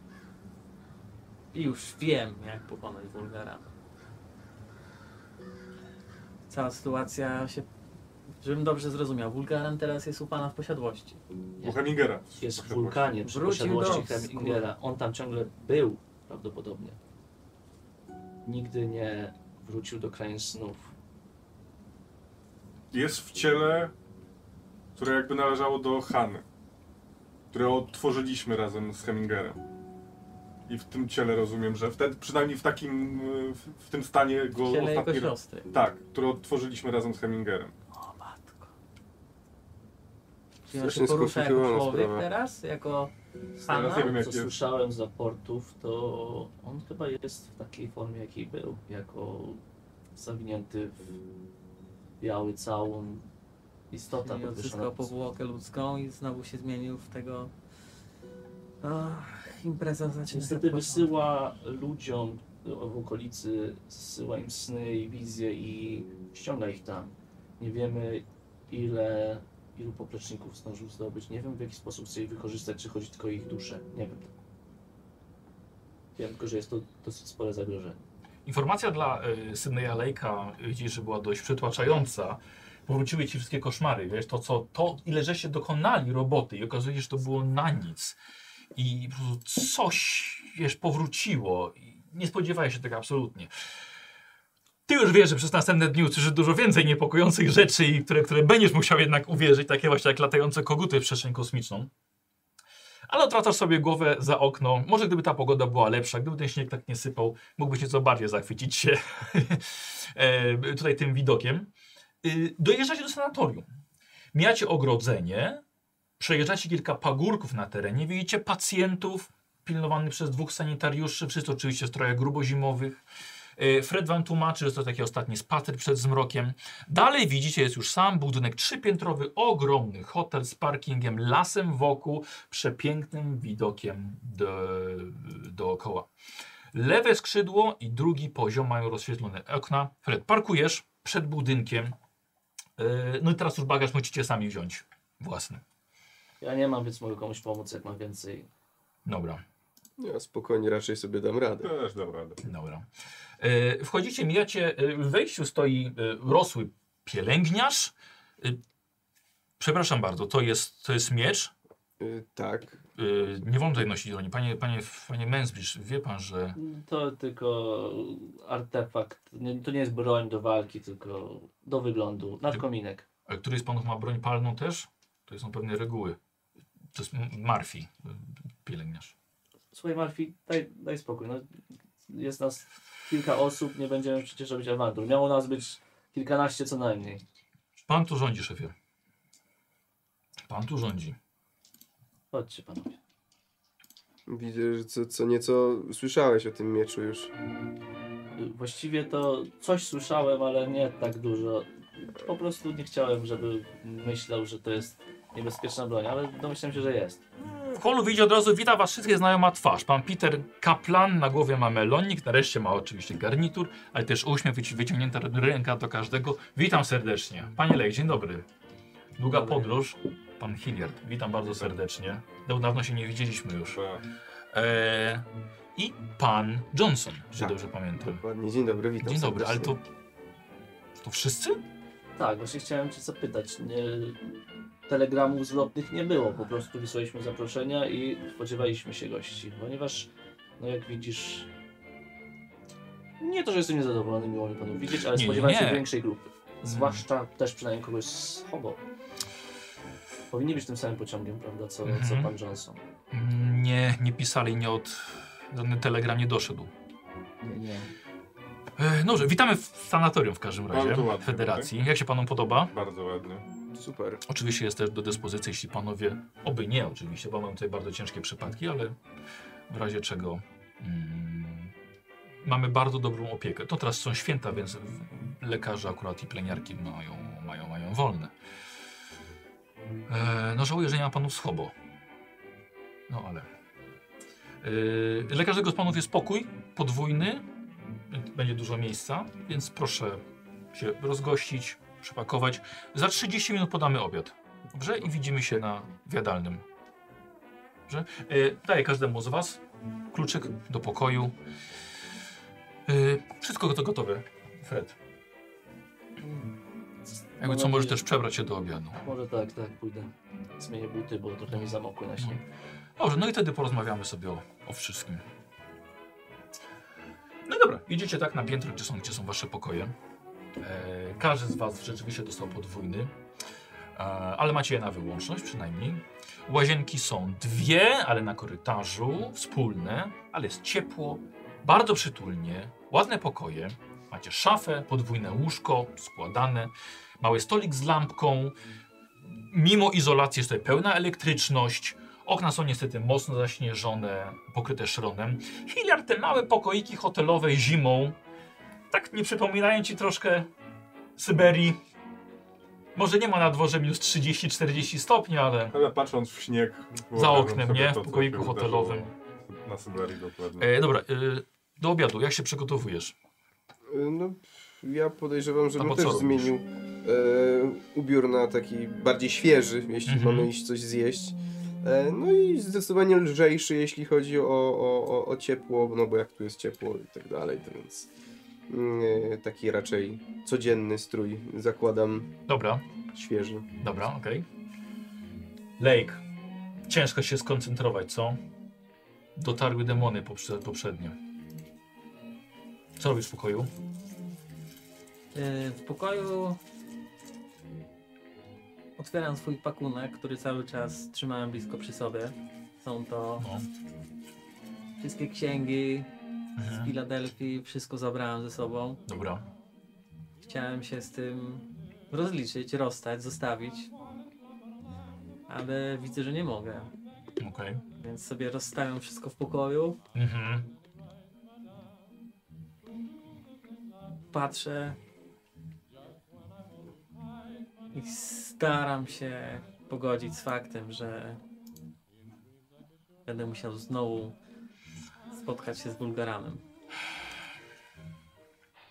już wiem, jak pokonać Wulgarana. Cała sytuacja się... Żebym dobrze zrozumiał, Wulgaran teraz jest u pana w posiadłości. U Hemingera. Jest w wulkanie przy Wrócił posiadłości do- Hemingera. On tam ciągle był prawdopodobnie. Nigdy nie wrócił do krain snów. jest w ciele, które jakby należało do Hany, które odtworzyliśmy razem z Hemingerem. I w tym ciele rozumiem, że wtedy, przynajmniej w takim, y, w, w tym stanie go Ciele jego ostatni raz. siostry. Tak, które odtworzyliśmy razem z Hemingerem. O matko. Czy on się Strasznie porusza jako skomplikowana człowiek sprawa. teraz? Jako Teraz Hanna? nie wiem jak Co jest. słyszałem z raportów, to on chyba jest w takiej formie, jakiej był. Jako zawinięty w biały całun istota Czyli podwyższona. odzyskał powłokę ludzką i znowu się zmienił w tego... Ach, impreza zaczyna Niestety się od początku. wysyła ludziom w okolicy, zsyła im sny i wizje i ściąga ich tam. Nie wiemy ile, ilu popleczników zdążył zdobyć. Nie wiem w jaki sposób chce ich wykorzystać, czy chodzi tylko o ich duszę. Nie wiem. Wiem tylko, że jest to dosyć spore zagrożenie. Informacja dla y, Sydneya Lake'a y, dzisiejsza była dość przytłaczająca. Powróciły ci wszystkie koszmary, wiesz, to co, to ile żeście dokonali roboty i okazuje się, że to było na nic. I po prostu coś, wiesz, powróciło. I nie spodziewałeś się tego absolutnie. Ty już wiesz, że przez następne dni usłyszysz dużo więcej niepokojących rzeczy, i które, które będziesz musiał jednak uwierzyć, takie właśnie jak latające koguty w przestrzeń kosmiczną. Ale odwracasz sobie głowę za okno. Może gdyby ta pogoda była lepsza, gdyby ten śnieg tak nie sypał, mógłbyś nieco bardziej zachwycić się e, tutaj tym widokiem. Y, Dojeżdżacie do sanatorium. Mijacie ogrodzenie, przejeżdżacie kilka pagórków na terenie, widzicie pacjentów pilnowanych przez dwóch sanitariuszy, wszyscy oczywiście stroje grubozimowych. E, Fred wam tłumaczy, że to taki ostatni spacer przed zmrokiem. Dalej widzicie, jest już sam budynek trzypiętrowy, ogromny hotel z parkingiem, lasem wokół, przepięknym widokiem do, dookoła. Lewe skrzydło i drugi poziom mają rozświetlone okna. Fred, parkujesz przed budynkiem. Yy, No i teraz już bagaż musicie sami wziąć. Własny. Ja nie mam, więc mogę komuś pomóc, jak mam więcej. Dobra, Ja spokojnie raczej sobie dam radę. Też dam radę. dobra. Yy, Wchodzicie, mijacie. yy, W wejściu stoi yy, rosły pielęgniarz. Yy, Przepraszam bardzo, to jest, to jest miecz. Y, tak. Yy, Nie wolno tutaj nosić broni. Panie, panie, panie Mensbridge, wie pan, że To tylko artefakt. Nie, to nie jest broń do walki, tylko do wyglądu. Nadkominek. A któryś e, z panów ma broń palną też? To są pewne reguły. To jest M- Murphy, y, pielęgniarz. Słuchaj Marfi, daj, daj spokój. No, jest nas kilka osób, nie będziemy przecież robić awantur. Miało nas być kilkanaście co najmniej. Pan tu rządzi, szefie. Pan tu rządzi. Chodźcie panowie. Widzę, że co, co nieco słyszałeś o tym mieczu już. Y, Właściwie to coś słyszałem, ale nie tak dużo. Po prostu nie chciałem, żeby myślał, że to jest niebezpieczna broń, ale domyślam się, że jest. W holu widzi od razu, wita was wszystkich znajoma twarz. Pan Peter Kaplan, na głowie ma melonik, nareszcie ma oczywiście garnitur, ale też uśmiech, wyci- wyciągnięta ręka do każdego. Witam serdecznie. Panie Lej, dzień dobry. Długa Dobry. podróż. Pan Hilliard, witam bardzo serdecznie. Dawno się nie widzieliśmy już. Chyba Eee, I pan Johnson, że Tak. dobrze pamiętam. Dokładnie. Dzień dobry, witam. Dzień dobry, ale to. serdecznie. To wszyscy? Tak, właśnie chciałem cię zapytać. Nie, telegramów zwrotnych nie było, po prostu wysłaliśmy zaproszenia i spodziewaliśmy się gości, ponieważ, no jak widzisz, nie to, że jestem niezadowolony, miło mi panów widzieć, ale Nie, spodziewałem się nie. Mm. większej grupy. Zwłaszcza też przynajmniej kogoś z Hobo. Powinni być tym samym pociągiem, prawda, co, co Mhm. pan Johnson. Mm, Nie, nie pisali, nie od. Żaden telegram nie doszedł. Nie, nie. Eee, No dobrze, witamy w sanatorium w każdym razie. Bardzo ładnie, Federacji. Jak się panom podoba? Bardzo ładnie. Super. Oczywiście jest też do dyspozycji, jeśli panowie. Oby nie, oczywiście, bo mamy tutaj bardzo ciężkie przypadki, ale w razie czego. Mm, mamy bardzo dobrą opiekę. To teraz są święta, więc w- lekarze akurat i pleniarki mają, mają, mają wolne. E, no żałuję, że nie ma panów schobo. No ale. E, dla każdego z panów jest pokój podwójny. Będzie dużo miejsca, więc proszę się rozgościć, przepakować. Za 30 minut podamy obiad. Dobrze? I widzimy się na wiadalnym. Dobrze? E, daję każdemu z Was kluczyk do pokoju. E, wszystko to gotowe, Fred. Jakby co, możesz też przebrać się do obiadu. Może tak, tak, pójdę. Zmienię buty, bo trochę mi zamokły na śnieg. Dobrze, no i wtedy porozmawiamy sobie o, o wszystkim. No i dobra, idziecie tak na piętro, gdzie są, gdzie są Wasze pokoje. E, Każdy z Was rzeczywiście dostał podwójny, e, ale macie je na wyłączność przynajmniej. Łazienki są dwie, ale na korytarzu, wspólne, ale jest ciepło, bardzo przytulnie, ładne pokoje. Macie szafę, podwójne łóżko, składane, mały stolik z lampką. Mimo izolacji jest tutaj pełna elektryczność. Okna są niestety mocno zaśnieżone, pokryte szronem. Hiliard, te małe pokoiki hotelowe zimą, tak nie przypominają ci troszkę Syberii. Może nie ma na dworze minus 30-40 stopni, ale Ale patrząc w śnieg... za wyobrażam oknem, sobie nie? to, W co pokoiku się hotelowym. wydarzyło Na Syberii dokładnie. E, dobra, e, do obiadu, jak się przygotowujesz? Y, No, ja podejrzewam, że A po co bym też robisz? zmienił e, ubiór na taki bardziej świeży, jeśli Mhm. mamy iść coś zjeść. E, no i zdecydowanie lżejszy, jeśli chodzi o, o, o, o ciepło, no bo jak tu jest ciepło i tak dalej, to więc mm, e, taki raczej codzienny strój zakładam Dobra, świeży. dobra, okej. Lake, ciężko się skoncentrować, co? Dotarły demony poprze- poprzednio. Co robisz w pokoju? E, W pokoju otwieram swój pakunek, który cały czas trzymałem blisko przy sobie. Są to No. wszystkie księgi z Mhm. Filadelfii, wszystko zabrałem ze sobą. Dobra, Chciałem się z tym rozliczyć, rozstać, zostawić, ale widzę, że nie mogę, okej. więc sobie rozstawiam wszystko w pokoju, Mhm. patrzę i staram się pogodzić z faktem, że będę musiał znowu spotkać się z Bulgaranem.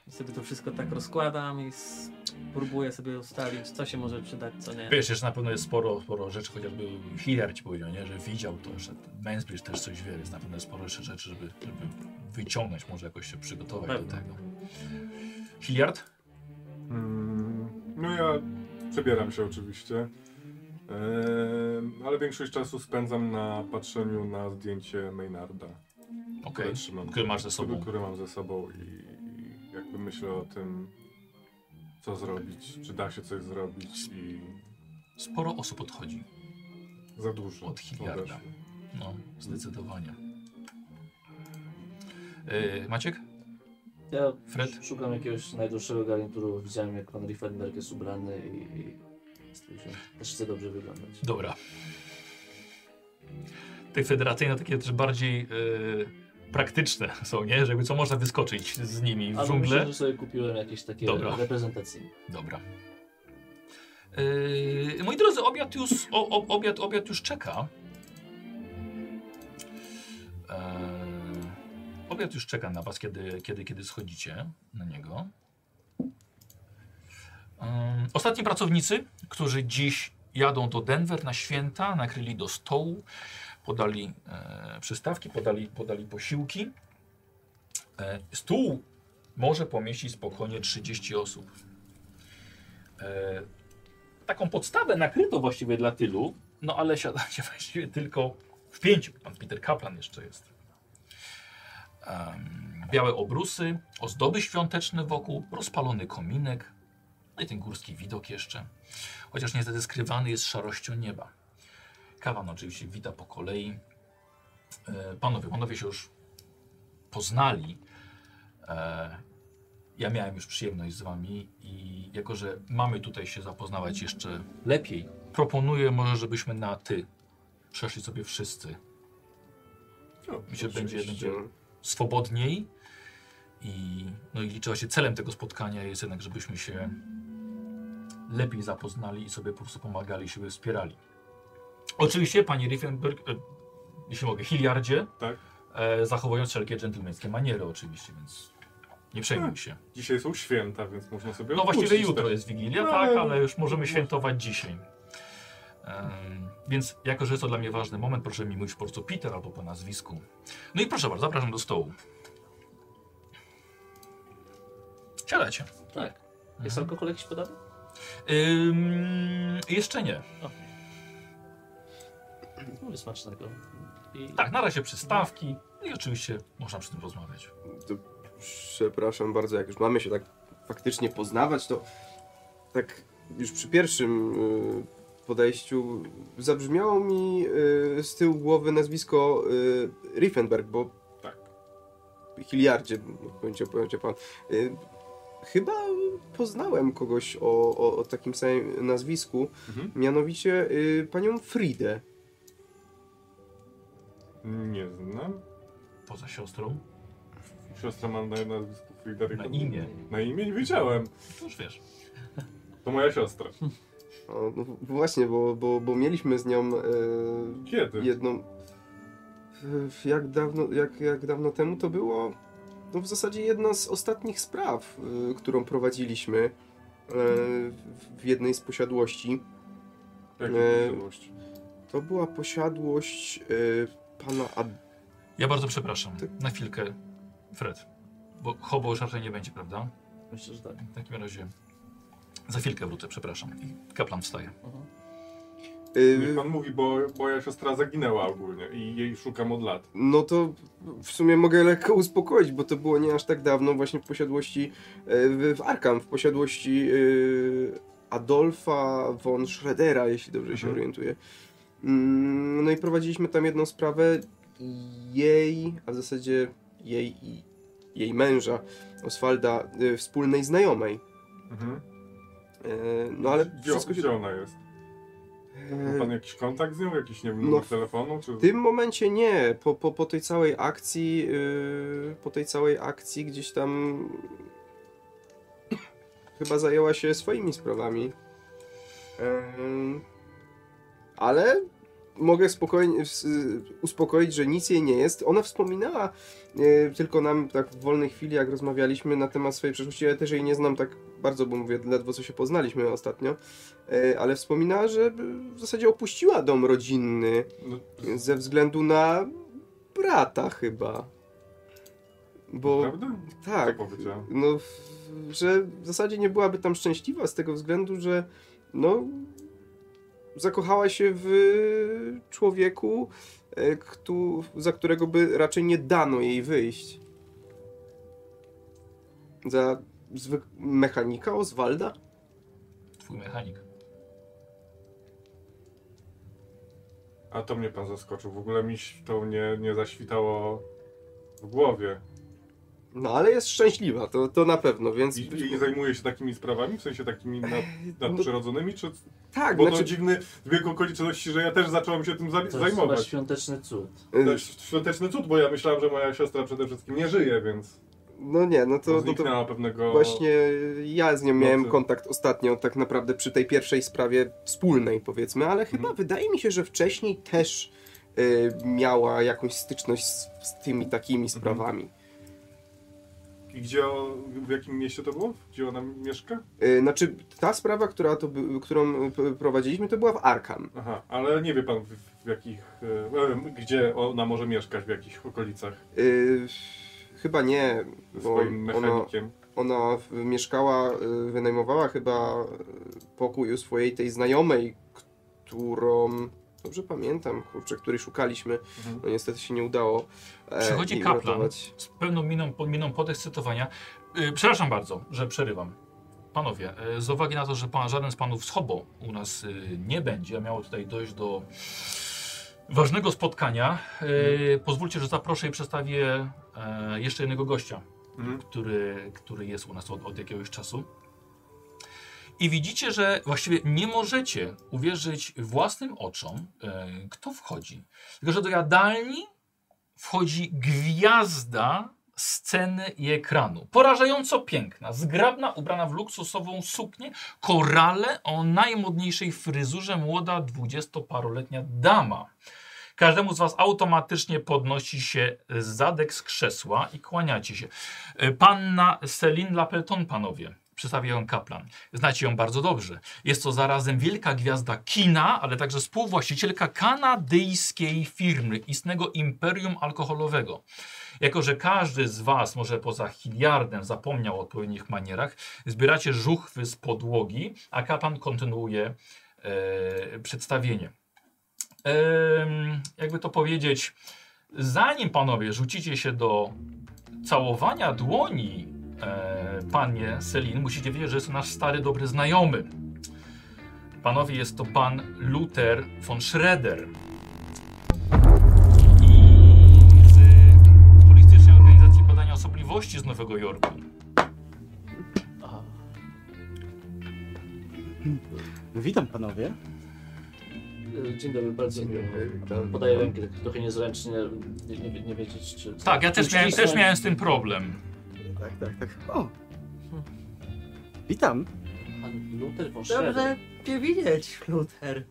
I sobie to wszystko tak rozkładam i s- próbuję sobie ustalić, co się może przydać, co nie. Wiesz, jeszcze na pewno jest sporo, sporo rzeczy, chociażby Hiller ci powiedział, nie? że widział to, że Mansbridge też coś wie, więc na pewno jest sporo jeszcze rzeczy, żeby, żeby wyciągnąć, może jakoś się przygotować do Pewnie. tego. Hilliard? Mm, No ja przebieram się oczywiście. Em, ale większość czasu spędzam na patrzeniu na zdjęcie Maynarda, Okej. które trzymam, Które masz ze sobą. które mam ze sobą i i jakby myślę o tym, co zrobić, czy da się coś zrobić i Sporo osób odchodzi. za dużo. Od Hilliarda. odeszło. Mhm. No, zdecydowanie. E, Maciek? Ja Fred? sz- szukam jakiegoś najdłuższego garnituru, bo widziałem jak pan Riefenberg jest ubrany i, i stwierdziłem, też chce dobrze wyglądać. Dobra. Te federacyjne takie też bardziej e, praktyczne są, nie? Że jakby co można wyskoczyć z nimi w Ale dżunglę. myślę, że sobie kupiłem jakieś takie Dobra. reprezentacje. Dobra. Yy, moi drodzy, obiad już, o, o, obiad, obiad już czeka. Eee, Yy, obiad już czeka na was, kiedy, kiedy, kiedy schodzicie na niego. Ym, ostatni pracownicy, którzy dziś jadą do Denver na święta, nakryli do stołu, podali e, przystawki, podali, podali posiłki. E, stół może pomieścić spokojnie 30 osób e, taką podstawę nakryto właściwie dla tylu, no ale siadacie właściwie tylko w pięciu. Pan Peter Kaplan jeszcze jest. Em, białe obrusy, ozdoby świąteczne wokół, rozpalony kominek, no i ten górski widok jeszcze. Chociaż niestety skrywany jest szarością nieba. Kawan oczywiście wita po kolei. E, panowie, panowie się już poznali. E, ja miałem już przyjemność z wami i jako, że mamy tutaj się zapoznawać jeszcze lepiej, proponuję może, żebyśmy na ty przeszli sobie wszyscy. No, Mi się będzie, będzie Oczywiście. swobodniej i, no i liczyła się celem tego spotkania jest jednak, żebyśmy się lepiej zapoznali i sobie po prostu pomagali, siebie wspierali. Oczywiście, panie Riefenberg, e, jeśli mogę, Hilliardzie, Tak. e, zachowując wszelkie dżentelmeńskie maniery oczywiście, więc nie przejmuj Tak. się. Dzisiaj są święta, więc można sobie No właściwie odpuścić jutro też. jest Wigilia, No, tak, ale- ale już możemy świętować dzisiaj. Em, więc jako, że jest to dla mnie ważny moment, proszę mi mówić po prostu Peter albo po nazwisku. No i proszę bardzo, zapraszam do stołu. Siadacie. Tak. Mhm. Jest alkohol jakiś podany? Ym, jeszcze nie. Mówię No, smacznego. I Tak, na razie przystawki No i oczywiście można przy tym rozmawiać. Przepraszam bardzo, jak już mamy się tak faktycznie poznawać, to tak już przy pierwszym y, podejściu zabrzmiało mi y, z tyłu głowy nazwisko y, Riefenberg, bo Tak. Hilliardzie, pojęcie, pojęcie pan. Y, chyba poznałem kogoś o, o, o takim samym nazwisku, Mhm. mianowicie y, panią Fridę. Nie znam. Poza siostrą? Siostra ma na nazwisku Frideryka. Na imię. Na imię nie wiedziałem. To Już wiesz. To moja siostra. O, no właśnie, bo, bo, bo mieliśmy z nią y, Kiedy? jedną. w- Jak dawno, jak, jak dawno temu to było? No w zasadzie jedna z ostatnich spraw, y, którą prowadziliśmy e, w- w jednej z posiadłości. Jaką Eee, posiadłość? To była posiadłość e, pana Ad... Ja bardzo przepraszam. Na chwilkę, Fred. Bo hobo raczej nie będzie, prawda? Myślę, że tak. W takim razie za chwilkę wrócę, przepraszam. I Kaplan wstaje. Niech y, pan mówi, bo moja siostra zaginęła ogólnie i jej szukam od lat. No to w sumie mogę lekko uspokoić, bo to było nie aż tak dawno właśnie w posiadłości e, w, w Arkam, w posiadłości e, Adolfa von Schroedera, jeśli dobrze się Mhm. orientuję. Mm, No i prowadziliśmy tam jedną sprawę jej, a w zasadzie jej i jej męża, Oswalda, e, wspólnej znajomej. Mhm. E, No ale Gdzie, wszystko się... gdzie ona jest? Ma E, pan jakiś kontakt z nią? Jakiś, nie wiem, No, numer telefonu? Czy... W tym momencie nie. Po, po, po tej całej akcji, yy, po tej całej akcji gdzieś tam chyba zajęła się swoimi sprawami. Em, ale mogę spokojnie, s- uspokoić, że nic jej nie jest. Ona wspominała e, tylko nam tak w wolnej chwili, jak rozmawialiśmy na temat swojej przeszłości. Ja też jej nie znam tak bardzo, bo mówię, ledwo co się poznaliśmy ostatnio. E, ale wspominała, że w zasadzie opuściła dom rodzinny No, ze względu na brata chyba. Bo Prawda? tak, Co powiedziała? no, w- że w zasadzie nie byłaby tam szczęśliwa z tego względu, że no, zakochała się w człowieku, e, któ- za którego by raczej nie dano jej wyjść. Za zwyk- mechanika Oswalda? Twój mechanik. A to mnie pan zaskoczył. W ogóle mi się to nie, nie zaświtało w głowie. No ale jest szczęśliwa, to, to na pewno, więc... I, i zajmuje się takimi sprawami? W sensie takimi nad, nadprzyrodzonymi? Czy, no- tak, bo to znaczy... dziwny zbieg okoliczności, że ja też zacząłem się tym za, To jest chyba zajmować. świąteczny cud. E, To jest świąteczny cud, bo ja myślałem, że moja siostra przede wszystkim nie żyje, więc No nie, no to, to, no to zniknęła pewnego... Właśnie ja z nią No miałem ty. kontakt ostatnio, tak naprawdę przy tej pierwszej sprawie wspólnej, powiedzmy, ale Mhm. chyba wydaje mi się, że wcześniej też y, miała jakąś styczność z, z tymi takimi Mhm. sprawami. I gdzie, o- w jakim mieście to było? Gdzie ona mieszka? Y, znaczy, ta sprawa, która to, by- którą y, p- prowadziliśmy, to była w Arkam. Aha, ale nie wie pan w, w jakich... e, em, Gdzie ona może mieszkać, w jakich okolicach Y, chyba nie, ze bo swoim ona, mechanikiem. ona w- mieszkała, y, wynajmowała chyba y, pokój u swojej tej znajomej, którą... Dobrze pamiętam, kurczę, której szukaliśmy. Mhm. No niestety się nie udało. E, Przychodzi i kaplan. uratować. Z pełną miną, po- miną podekscytowania. Yy, przepraszam bardzo, że przerywam. Panowie, yy, z uwagi na to, że pan, żaden z panów z hobo u nas yy, nie będzie, a miało tutaj dojść do ważnego spotkania, Mhm. yy, pozwólcie, że zaproszę i przedstawię yy, jeszcze jednego gościa. Mhm. który, który jest u nas od, od jakiegoś czasu. I widzicie, że właściwie nie możecie uwierzyć własnym oczom, e, kto wchodzi. Tylko, że do jadalni wchodzi gwiazda sceny i ekranu. Porażająco piękna, zgrabna, ubrana w luksusową suknię, korale o najmodniejszej fryzurze młoda dwudziestoparoletnia dama. Każdemu z Was automatycznie podnosi się zadek z krzesła i kłaniacie się. E, Panna Celine Lapelton, panowie. Przedstawia ją kaplan. Znacie ją bardzo dobrze. Jest to zarazem wielka gwiazda kina, ale także współwłaścicielka kanadyjskiej firmy, istnego imperium alkoholowego. Jako, że każdy z Was, może poza Hilliardem, zapomniał o odpowiednich manierach, zbieracie żuchwy z podłogi, a kaplan kontynuuje e, przedstawienie em, jakby to powiedzieć, zanim panowie rzucicie się do całowania dłoni e, panie Selin, musicie wiedzieć, że jest to nasz stary, dobry znajomy. Panowie, jest to pan Luther von Schroeder. I z Holistycznej Organizacji Badania Osobliwości z Nowego Jorku. Aha. Witam panowie. Y, Dzień dobry, bardzo miło. Witam. Podaję rękę, tak trochę niezręcznie, nie, nie, nie wiedzieć czy... Tak, ja też miałem, też Uścisnąć. miałem z tym problem. Tak, tak, tak. O! Witam. Pan Luther von Dobrze Schroeder. cię widzieć, Luther.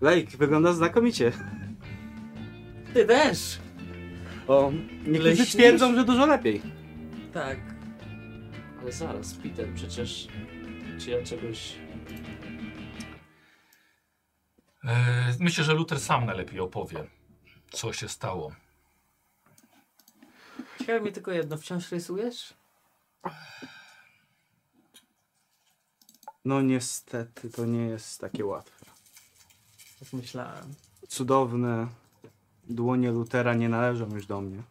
Lejk, wygląda znakomicie. Ty też. O, niektórzy Leśnisz? twierdzą, że dużo lepiej. Tak. Ale zaraz, Peter, przecież... Czy ja czegoś... E, myślę, że Luther sam najlepiej opowie, co się stało. Ciekawe mnie tylko jedno, wciąż rysujesz? No niestety, to nie jest takie łatwe. Tak myślałem. Cudowne dłonie Lutera nie należą już do mnie.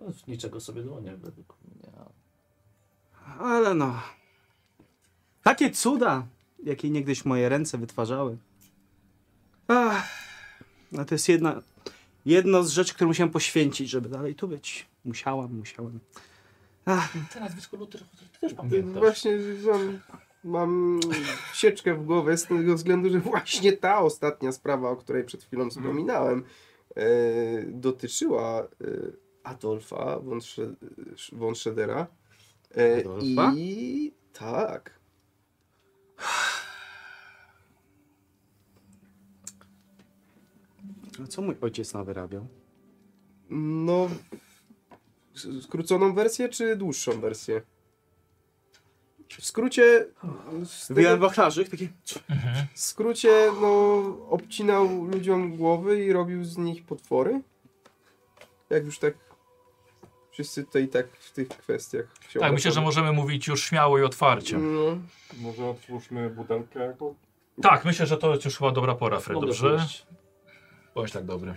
No, Niczego sobie dłonie według mnie. a Ale no. Takie cuda, jakie niegdyś moje ręce wytwarzały. Ach, no to jest jedna, jedno z rzeczy, które musiałem poświęcić, żeby dalej tu być. Musiałam, musiałem. Ach, Te nazwisko Luther, ty też Właśnie mam, mam sieczkę w głowę z tego względu, że właśnie ta ostatnia sprawa, o której przed chwilą wspominałem, e, dotyczyła e, Adolfa von Sze- von Schedera. E, Adolfa? I tak. a co mój ojciec nawyrabiał? No. s- Skróconą wersję czy dłuższą wersję? W skrócie. z tego- Wyjąłem wachlarzyk, taki... W skrócie, no, obcinał ludziom głowy i robił z nich potwory. Jak już tak wszyscy tutaj tak w tych kwestiach się Tak, myślę, że obracamy. możemy mówić już śmiało i otwarcie. No, Może otwórzmy butelkę jako? Tak, myślę, że to jest już chyba dobra pora, Fred, Mogę dobrze? pójść. Bądź tak dobry.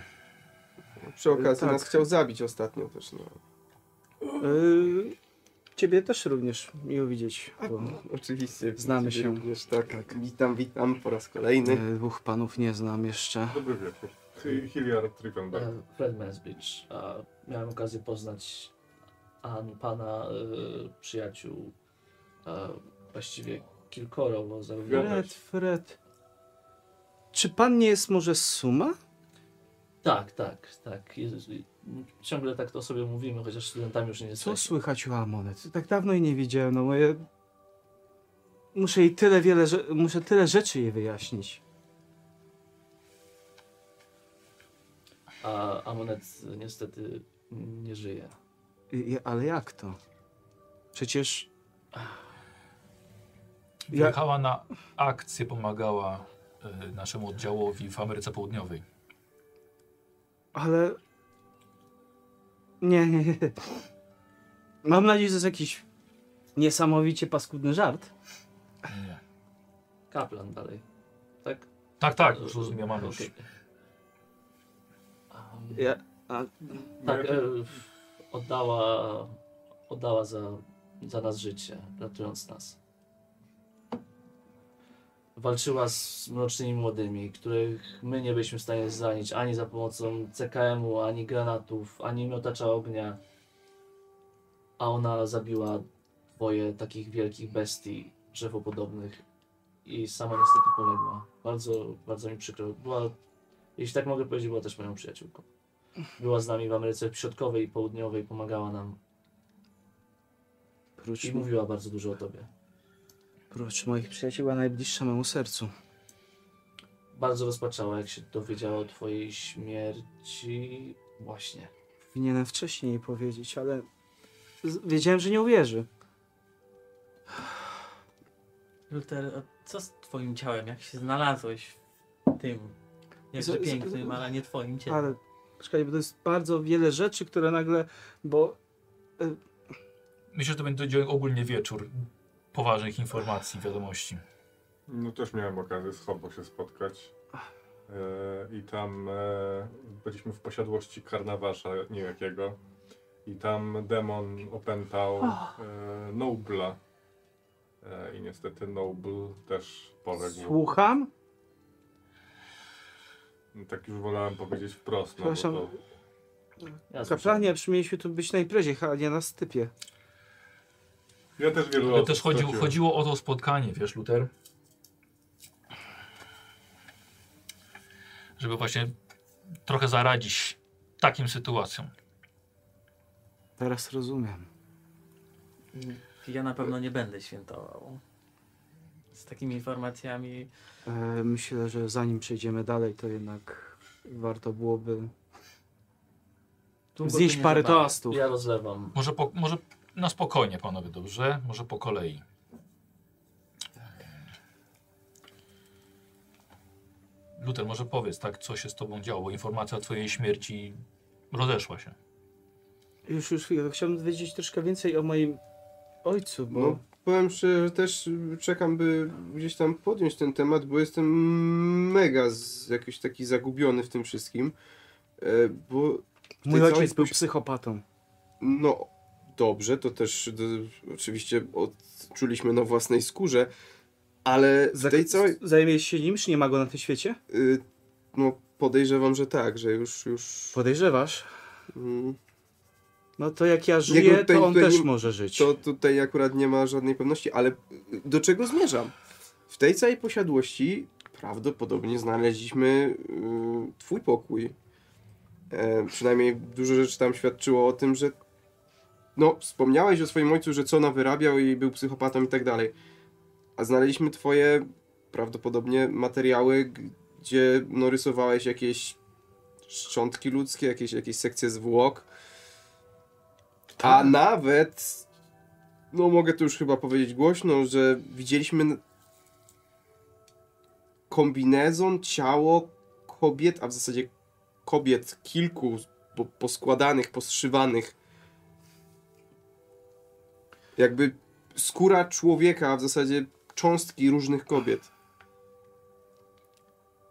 przy okazji Tak. nas chciał zabić ostatnio też, no. Yy, ciebie też również miło widzieć, bo Oczywiście. Znamy widzicie się. Również, tak. Witam, witam po raz kolejny. yy, dwóch panów nie znam jeszcze. Dobry wieczór. Hi- Hilliard Trickenberg. E, Fred Mesbridge. A miałem okazję poznać an, pana y, przyjaciół, a właściwie kilkoro, bo zarówno... Ja- Fred, Fred. Czy pan nie jest może z Suma? Tak, tak, tak. Jezus, i- Ciągle tak to o sobie mówimy, chociaż studentami już nie Co jesteśmy. słychać u Amonet? Tak dawno jej nie widziałem, no moje... Muszę jej tyle wiele, rze... muszę tyle rzeczy jej wyjaśnić. A Amonet niestety nie żyje. I, i, ale jak to? Przecież... Ja... Jechała na akcję, pomagała y, naszemu oddziałowi w Ameryce Południowej. Ale... Nie, nie, nie. Mam nadzieję, że to jest jakiś niesamowicie paskudny żart. Nie, nie. Kaplan dalej. Tak? Tak, tak, już rozumiem, mam już. Okej. Um, Ja... A... No Tak, e, oddała, oddała za, za nas życie, ratując nas. Walczyła z mrocznymi młodymi, których my nie byliśmy w stanie zranić ani za pomocą CKM-u, ani granatów, ani miotacza ognia. A ona zabiła dwoje takich wielkich bestii drzewopodobnych i sama niestety poległa. Bardzo, bardzo mi przykro. Była, jeśli tak mogę powiedzieć, była też moją przyjaciółką była z nami w Ameryce Środkowej i Południowej, pomagała nam Prócz, i mówiła bardzo dużo o tobie. prócz moich przyjaciół, a najbliższa memu sercu. Bardzo rozpaczała, jak się dowiedziała o twojej śmierci. Właśnie. Powinienem wcześniej jej powiedzieć, ale z- wiedziałem, że nie uwierzy. Luther, a co z twoim ciałem? Jak się znalazłeś w tym? Jakże Z- z- pięknym, ale nie twoim Tak. ciele. Ale czekaj, bo to jest bardzo wiele rzeczy, które nagle, bo Myślę, że to będzie ogólnie wieczór poważnych informacji, wiadomości. No też miałem okazję z Hobo się spotkać. E, I tam e, byliśmy w posiadłości karnawasza niejakiego. I tam demon opętał e, Nobla. E, I niestety Noble też poległ. Słucham? No, Tak już wolałem powiedzieć wprost. No, bo Przepraszam. to, Ja słyszałem. Kaplanie, przymieliśmy tu być na imprezie, a nie na stypie. ja też wielu Ale osób też chodziło, straciłem. chodziło o to spotkanie, wiesz, Luter? Żeby właśnie trochę zaradzić takim sytuacjom. Teraz rozumiem. Ja na pewno nie będę świętował. Z takimi informacjami E, myślę, że zanim przejdziemy dalej, to jednak warto byłoby długo tu zjeść nie parę zabawię. toastów. Ja rozlewam. Może, po, może na spokojnie, panowie, dobrze? Może po kolei. Luter, może powiedz, tak, co się z tobą działo? Informacja o twojej śmierci rozeszła się. Już, już chwilę. Chciałbym dowiedzieć troszkę więcej o moim ojcu, bo... No, powiem szczerze, że też y, czekam, by gdzieś tam podjąć ten temat, bo jestem mega z, jakiś taki zagubiony w tym wszystkim. E, bo Mój Ty co, ojciec był jesteś- psychopatą. No dobrze, to też d- oczywiście odczuliśmy na własnej skórze, ale w tej całej. Zajmiesz się nim, czy nie ma go na tym świecie? Y, no podejrzewam, że tak, że już. już Podejrzewasz. mm, No to jak ja żyję, tutaj- to on tutaj też nie- może żyć. to tutaj akurat nie ma żadnej pewności, ale y, do czego zmierzam? W tej całej posiadłości prawdopodobnie znaleźliśmy y, Twój pokój. E, przynajmniej dużo rzeczy tam świadczyło o tym, że. No, wspomniałeś o swoim ojcu, że co ona wyrabiał i był psychopatą i tak dalej. A znaleźliśmy Twoje prawdopodobnie materiały, gdzie no, rysowałeś jakieś szczątki ludzkie, jakieś, jakieś sekcje zwłok. A nawet. No, mogę to już chyba powiedzieć głośno, że widzieliśmy n- kombinezon, ciało kobiet, a w zasadzie kobiet kilku, bo poskładanych, poszywanych. Jakby skóra człowieka, a w zasadzie cząstki różnych kobiet.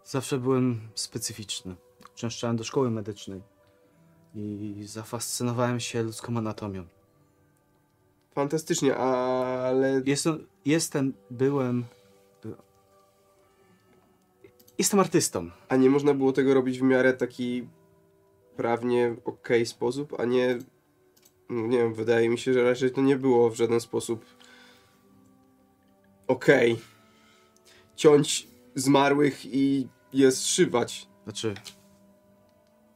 Zawsze byłem specyficzny. Częszczałem do szkoły medycznej. I zafascynowałem się ludzką anatomią. Fantastycznie, ale Jestem, jestem byłem... Jestem artystą. a nie można było tego robić w miarę taki prawnie okej sposób, a nie no nie wiem, wydaje mi się, że raczej to nie było w żaden sposób okej. Ciąć zmarłych i je zszywać. Znaczy...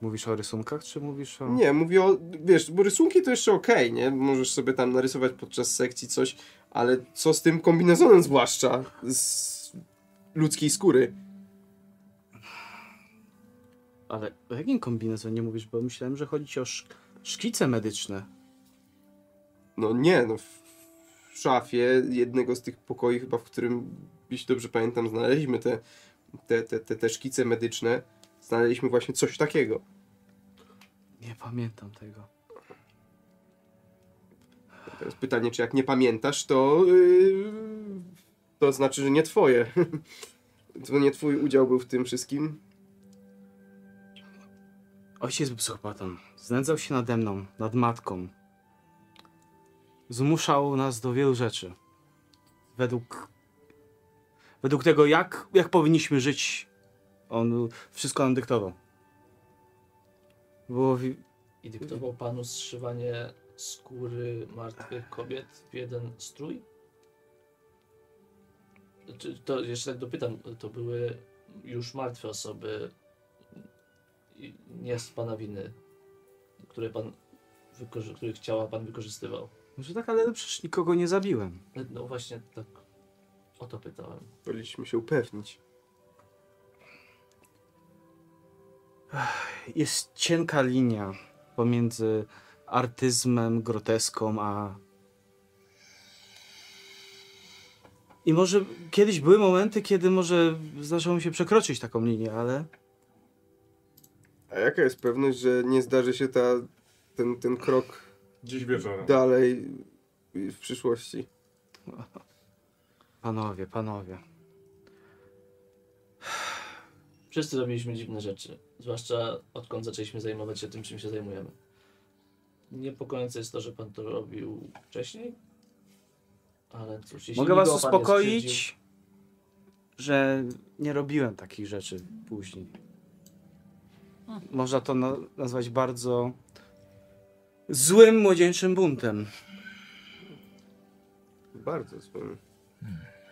Mówisz o rysunkach, czy mówisz o... Nie, mówię o, wiesz, bo rysunki to jeszcze okej, nie? Możesz sobie tam narysować podczas sekcji coś, ale co z tym kombinezonem zwłaszcza z ludzkiej skóry? Ale o jakim kombinezonie mówisz? Bo myślałem, że chodzi ci o sz... szkice medyczne. No nie, no w, w szafie jednego z tych pokoi chyba, w którym, jeśli dobrze pamiętam, znaleźliśmy te, te, te, te, te szkice medyczne, znaleźliśmy właśnie coś takiego. Nie pamiętam tego. Teraz pytanie, czy jak nie pamiętasz, to yy, to znaczy, że nie twoje. To nie twój udział był w tym wszystkim? Ojciec był psychopatą. Znęcał się nade mną, nad matką. Zmuszał nas do wielu rzeczy. Według. Według tego, jak, jak powinniśmy żyć, on wszystko nam dyktował. Było. wi- I dyktował panu zszywanie skóry martwych kobiet w jeden strój? Czy to jeszcze tak dopytam, to były już martwe osoby, i nie z pana winy, które pan, wykorzy- których ciała pan wykorzystywał? Może tak, ale przecież nikogo nie zabiłem. No właśnie tak o to pytałem. Powinniśmy się upewnić. Jest cienka linia pomiędzy artyzmem, groteską, a. I może kiedyś były momenty, kiedy może zdarzało mi się przekroczyć taką linię, ale. A jaka jest pewność, że nie zdarzy się ta, ten, ten krok Dziś wieczorem. dalej yy, w przyszłości? Panowie, panowie. Wszyscy robiliśmy dziwne rzeczy, zwłaszcza odkąd zaczęliśmy zajmować się tym, czym się zajmujemy. Niepokojące jest to, że pan to robił wcześniej. Ale cóż, jeśli Mogę was nikogo pan nie skrzywdził- uspokoić, że nie robiłem takich rzeczy później. Można to na- nazwać bardzo złym młodzieńczym buntem. Bardzo złym.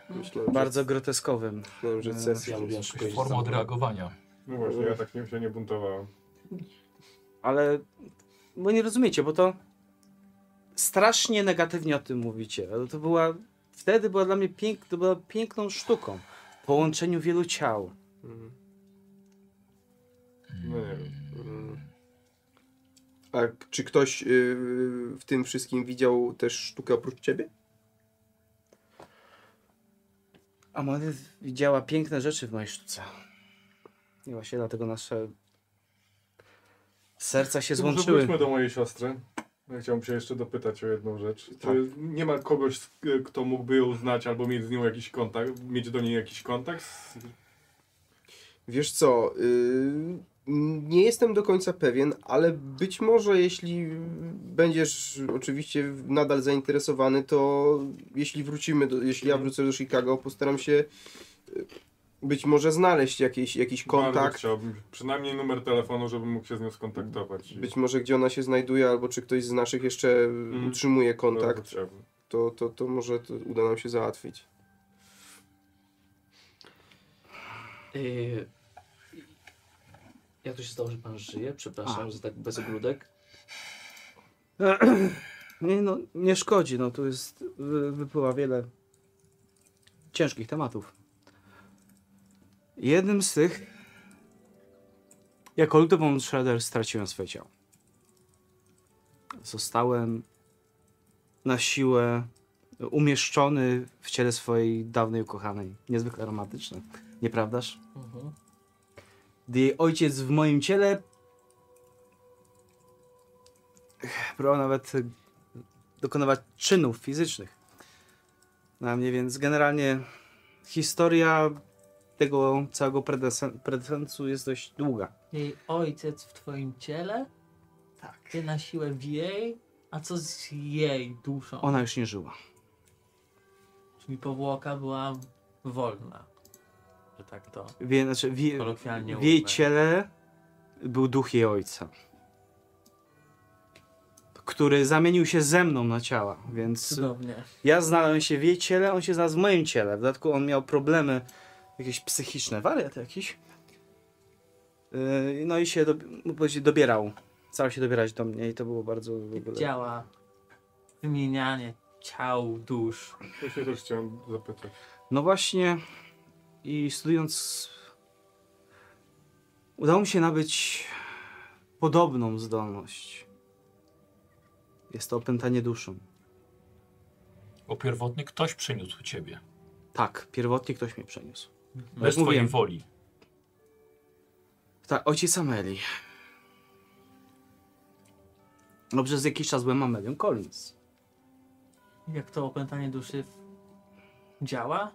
Myślałem, że, Bardzo groteskowym. myślałem, że sesja Ja lubię szybkość. Forma odreagowania. No właśnie, ja tak nie, się nie buntowałem. Ale. Bo nie rozumiecie, bo to. Strasznie negatywnie o tym mówicie, ale to była. Wtedy była dla mnie pięk, to była piękną sztuką. Połączeniu wielu ciał. Mhm. No nie wiem. A k- czy ktoś y, w tym wszystkim widział też sztukę oprócz ciebie? A Monet widziała piękne rzeczy w mojej sztuce. I właśnie dlatego nasze serca się Może złączyły. wróćmy do mojej siostry. Ja Chciałbym się jeszcze dopytać o jedną rzecz. Czy Tak. nie ma kogoś, y, kto mógłby ją znać albo mieć z nią jakiś kontakt, mieć do niej jakiś kontakt? Z- Wiesz co, y, nie jestem do końca pewien, ale być może jeśli będziesz oczywiście nadal zainteresowany, to jeśli wrócimy, do, jeśli Mhm. ja wrócę do Chicago, postaram się y, być może znaleźć jakiś, jakiś Bardzo kontakt, chciałbym. Przynajmniej numer telefonu, żebym mógł się z nią skontaktować. I- być może gdzie ona się znajduje, albo czy ktoś z naszych jeszcze utrzymuje Mhm. Bardzo kontakt, chciałbym. to, to, to może to uda nam się załatwić. Yy, Jak to się stało, że pan żyje? Przepraszam, A. że tak bez ogródek. Nie, no, nie szkodzi, no tu jest, wy, wypływa wiele ciężkich tematów. Jednym z tych, jako Ludo von Schroeder straciłem swoje ciało. Zostałem na siłę umieszczony w ciele swojej dawnej ukochanej. Niezwykle romantyczne, nieprawdaż? Gdy jej ojciec w moim ciele. Ech, Próbował nawet y, dokonywać czynów fizycznych na mnie, więc generalnie historia tego całego predesen- predesensu jest dość długa. Jej ojciec w twoim ciele? Tak. Ty na siłę w jej? A co z jej duszą? Ona już nie żyła. Czyli powłoka była wolna. Że tak to Wie, znaczy, wie, kolokwialnie w jej ujmę. ciele był duch jej ojca, który zamienił się ze mną na ciała, więc Cudownie. Ja znałem się w jej ciele, on się znalazł w moim ciele. W dodatku on miał problemy jakieś psychiczne, wariat jakiś. Yy, No i się dob- mógł powiedzieć, dobierał. Starał się dobierać do mnie i to było bardzo... w ogóle- Działa wymienianie ciał, dusz. Ja się też chciałem zapytać. No właśnie i studiując udało mi się nabyć podobną zdolność. Jest to opętanie duszą. Bo pierwotny ktoś przeniósł ciebie. Tak, pierwotnie ktoś mnie przeniósł. Bez twojej mówiłem. woli. Tak, ojciec Ameli. No przez jakiś czas byłem Amelią Collins. Jak to opętanie duszy w- działa?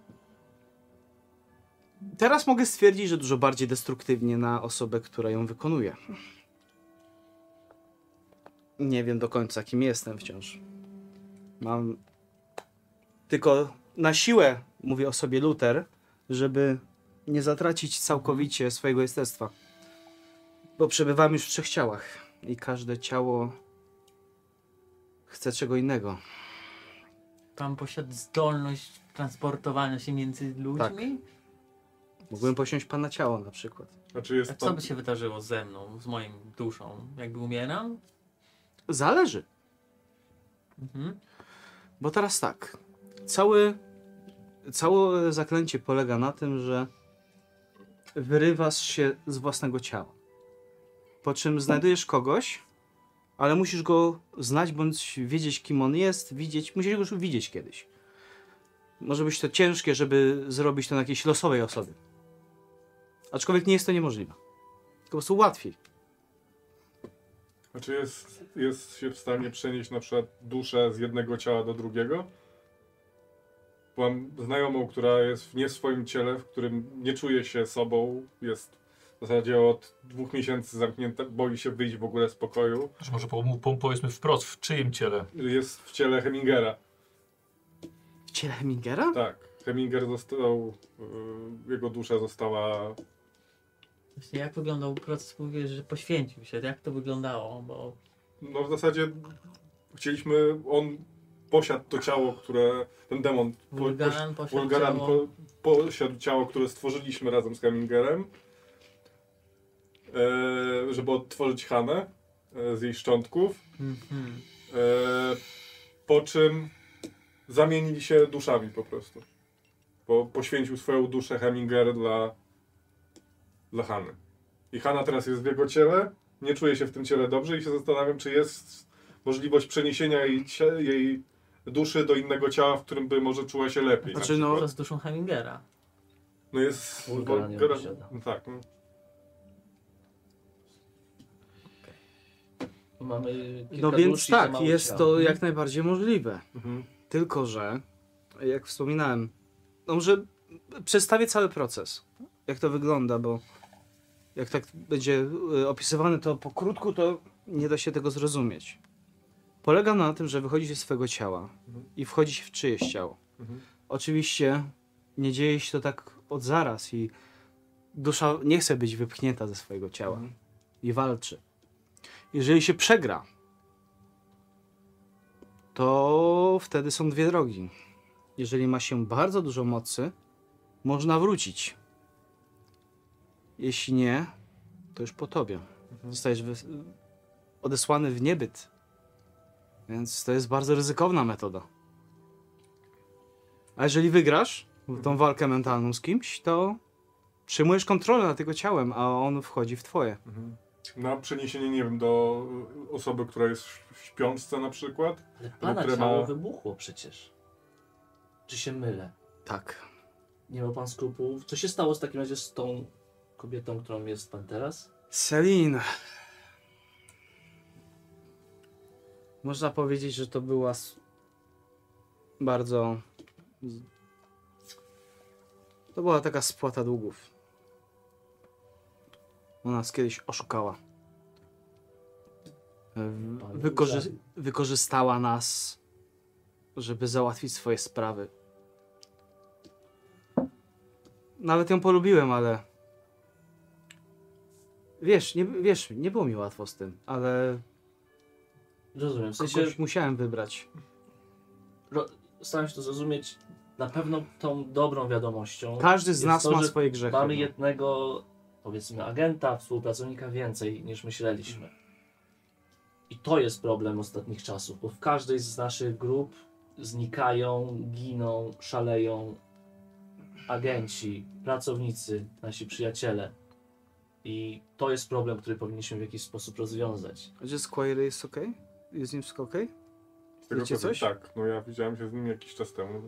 Teraz mogę stwierdzić, że dużo bardziej destruktywnie na osobę, która ją wykonuje. Nie wiem do końca, kim jestem wciąż. Mam tylko na siłę, mówię o sobie Luther, żeby nie zatracić całkowicie swojego jestestwa. Bo przebywam już w trzech ciałach i każde ciało chce czego innego. Pan posiada zdolność transportowania się między ludźmi? Tak. Mógłbym posiąść pana ciało na przykład. A czy jest A co pan... by się wydarzyło ze mną, z moim duszą? Jakby umieram? Zależy, Mhm. bo teraz tak. Cały, całe zaklęcie polega na tym, że wyrywasz się z własnego ciała. Po czym znajdujesz kogoś, ale musisz go znać bądź wiedzieć, kim on jest, widzieć. Musisz go już widzieć kiedyś. Może być to ciężkie, żeby zrobić to na jakiejś losowej osobie. Aczkolwiek nie jest to niemożliwe. Tylko po prostu łatwiej. A czy Znaczy jest, jest się w stanie przenieść na przykład duszę z jednego ciała do drugiego? Byłam znajomą, która jest w nie swoim ciele, w którym nie czuje się sobą, jest W zasadzie od dwóch miesięcy zamknięta, boi się wyjść w ogóle z pokoju. Znaczy, może po, po, powiedzmy wprost, w czyim ciele? Jest w ciele Hemingera. W ciele Hemingera? Tak. Heminger został, y, jego dusza została Właśnie jak wyglądał proces, mówię, że poświęcił się, jak to wyglądało, bo No w zasadzie chcieliśmy, on posiadł to ciało, które, ten demon po- Wulgaran poś- poszedł Wulgaran po, posiadł ciało, które stworzyliśmy razem z Kamingerem, e, żeby odtworzyć Hanę e, z jej szczątków, Mhm. e, po czym zamienili się duszami po prostu. Bo poświęcił swoją duszę Heminger dla, dla Hany. I Hanna teraz jest w jego ciele, nie czuje się w tym ciele dobrze i się zastanawiam, czy jest możliwość przeniesienia jej, cie- jej duszy do innego ciała, w którym by może czuła się lepiej. na Znaczy, no- przykład. Oraz duszą Hemingera. No jest... Wulgaranie Wulgara- posiada. no tak. no. Mamy kilka No więc duszy, za tak, mało jest ciała. to jak najbardziej możliwe. Mhm. Tylko, że jak wspominałem, no może przedstawię cały proces, jak to wygląda, bo jak tak będzie y, opisywane to po krótku, to nie da się tego zrozumieć. Polega na tym, że wychodzi się z swego ciała i wchodzi się w czyjeś ciało. Mhm. Oczywiście nie dzieje się to tak od zaraz i dusza nie chce być wypchnięta ze swojego ciała i walczy. Jeżeli się przegra, to wtedy są dwie drogi. Jeżeli ma się bardzo dużo mocy, można wrócić. Jeśli nie, to już po tobie. Zostajesz wys- odesłany w niebyt. Więc to jest bardzo ryzykowna metoda. A jeżeli wygrasz tą walkę mentalną z kimś, to przyjmujesz kontrolę nad jego ciałem, a on wchodzi w twoje. Na przeniesienie, nie wiem, do y, osoby, która jest w śpiączce na przykład. Ale pana które ma- ciało wybuchło przecież. Czy się mylę? Tak. Nie ma pan skrupułów? Co się stało w takim razie z tą kobietą, którą jest pan teraz? Selin. Można powiedzieć, że to była s- bardzo. z- To była taka spłata długów. Ona nas kiedyś oszukała. Em, Panie Wykorzy- Boże. wykorzystała nas, żeby załatwić swoje sprawy. Nawet ją polubiłem, ale. Wiesz, nie, wiesz, nie było mi łatwo z tym, ale Rozumiem, w sensie kogoś musiałem wybrać. ro, staram się to zrozumieć. Na pewno tą dobrą wiadomością Każdy z jest nas to, ma że swoje grzechy. mamy no. jednego, powiedzmy, agenta, współpracownika więcej niż myśleliśmy. I to jest problem ostatnich czasów, bo w każdej z naszych grup znikają, giną, szaleją agenci, pracownicy, nasi przyjaciele. I to jest problem, który powinniśmy w jakiś sposób rozwiązać. Czy Squire jest ok? Jest z nim wszystko ok? Z tego Wiecie co wiem, coś? Tak, no ja widziałem się z nim jakiś czas temu.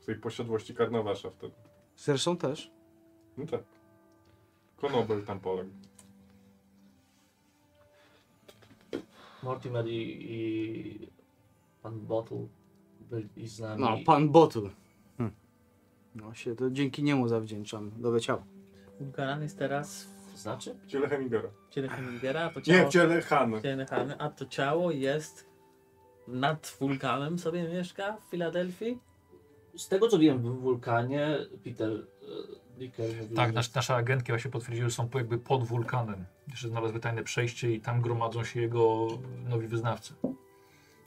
W tej posiadłości Karnawasza wtedy. Zresztą też. No tak. Konobel tam poległ. Mortimer i, i pan Bottle byli z nami. No, pan Botul. Hm. No się to dzięki niemu zawdzięczam. Doleciał. Wulgaran jest teraz w Znaczy? W ciele Hemingera. ciele Hemingera, a to ciało... Nie, w ciele Hany. ciele Hany, a to ciało jest nad wulkanem sobie mieszka w Filadelfii. Z tego co wiem, w wulkanie Peter e, Dicker mówił, Tak, że- nas, nasze agentki właśnie potwierdziły, że są po- jakby pod wulkanem. Jeszcze znalazły tajne przejście i tam gromadzą się jego nowi wyznawcy.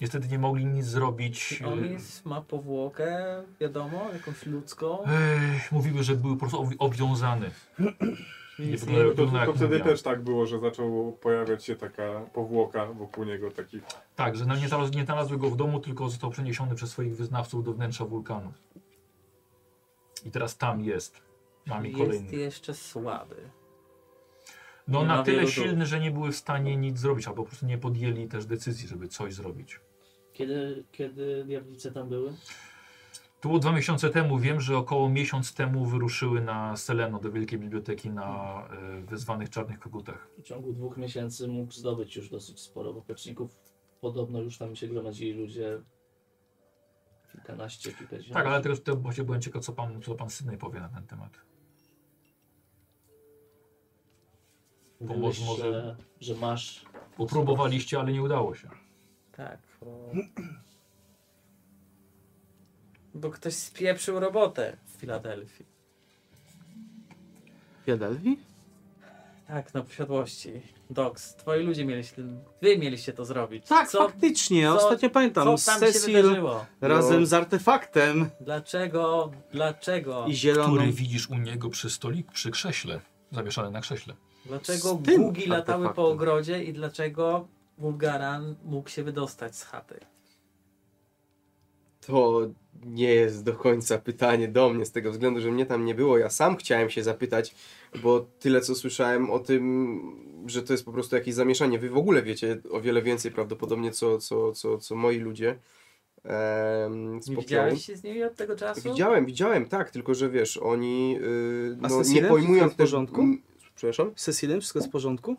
Niestety nie mogli nic zrobić. On jest, ma powłokę, wiadomo, jakąś ludzką. Ech, mówiły, że były po prostu obwi- obwiązany. Nie Nic wyglądają nie, To, to, jak wtedy mumia. też tak było, że zaczęło pojawiać się taka powłoka wokół niego takich. Tak, że no nie, znalazły, nie znalazły go w domu, tylko został przeniesiony przez swoich wyznawców do wnętrza wulkanu. I teraz tam jest. Mamy jest kolejny. jeszcze słaby. No nie na ma tyle wielu silny, że nie były w stanie nic zrobić, albo po prostu nie podjęli też decyzji, żeby coś zrobić. Kiedy, kiedy diablice tam były? To było dwa miesiące temu. Wiem, że około miesiąc temu wyruszyły na Seleno do Wielkiej Biblioteki na y, wezwanych czarnych kogutach. W ciągu dwóch miesięcy mógł zdobyć już dosyć sporo popleczników. Podobno już tam się gromadzili ludzie kilkanaście, kilkadziesiąt. Tak, ale teraz to właśnie byłem ciekaw, co pan, co pan Sydney powie na ten temat. Pomoc Mówisz, może- że, że masz. Bo próbowaliście, ale nie udało się. Tak. Bo... bo ktoś spieprzył robotę w Filadelfii. Filadelfii? Tak, na posiadłości. Docs, twoi ludzie mieliście, wy mieliście to zrobić. Tak, co, faktycznie. co- Ostatnio co pamiętam. tam się Cecil wydarzyło? razem z artefaktem Dlaczego, dlaczego, i zieloną. No. Który widzisz u niego przy stolik, przy krześle. Zawieszany na krześle. dlaczego z tym gugi latały po artefaktem? ogrodzie i dlaczego Mulgaran mógł się wydostać z chaty? To nie jest do końca pytanie do mnie, z tego względu, że mnie tam nie było. Ja sam chciałem się zapytać, bo tyle co słyszałem o tym, że to jest po prostu jakieś zamieszanie. Wy w ogóle wiecie o wiele więcej prawdopodobnie, co, co, co, co moi ludzie. Em, z Nie popiołu. widziałeś się z nimi od tego czasu? Widziałem, widziałem, tak, tylko że wiesz, oni yy, A no, z nie Cecilem pojmują wszystko w porządku? m, Przepraszam? Z Cecilem wszystko jest w porządku?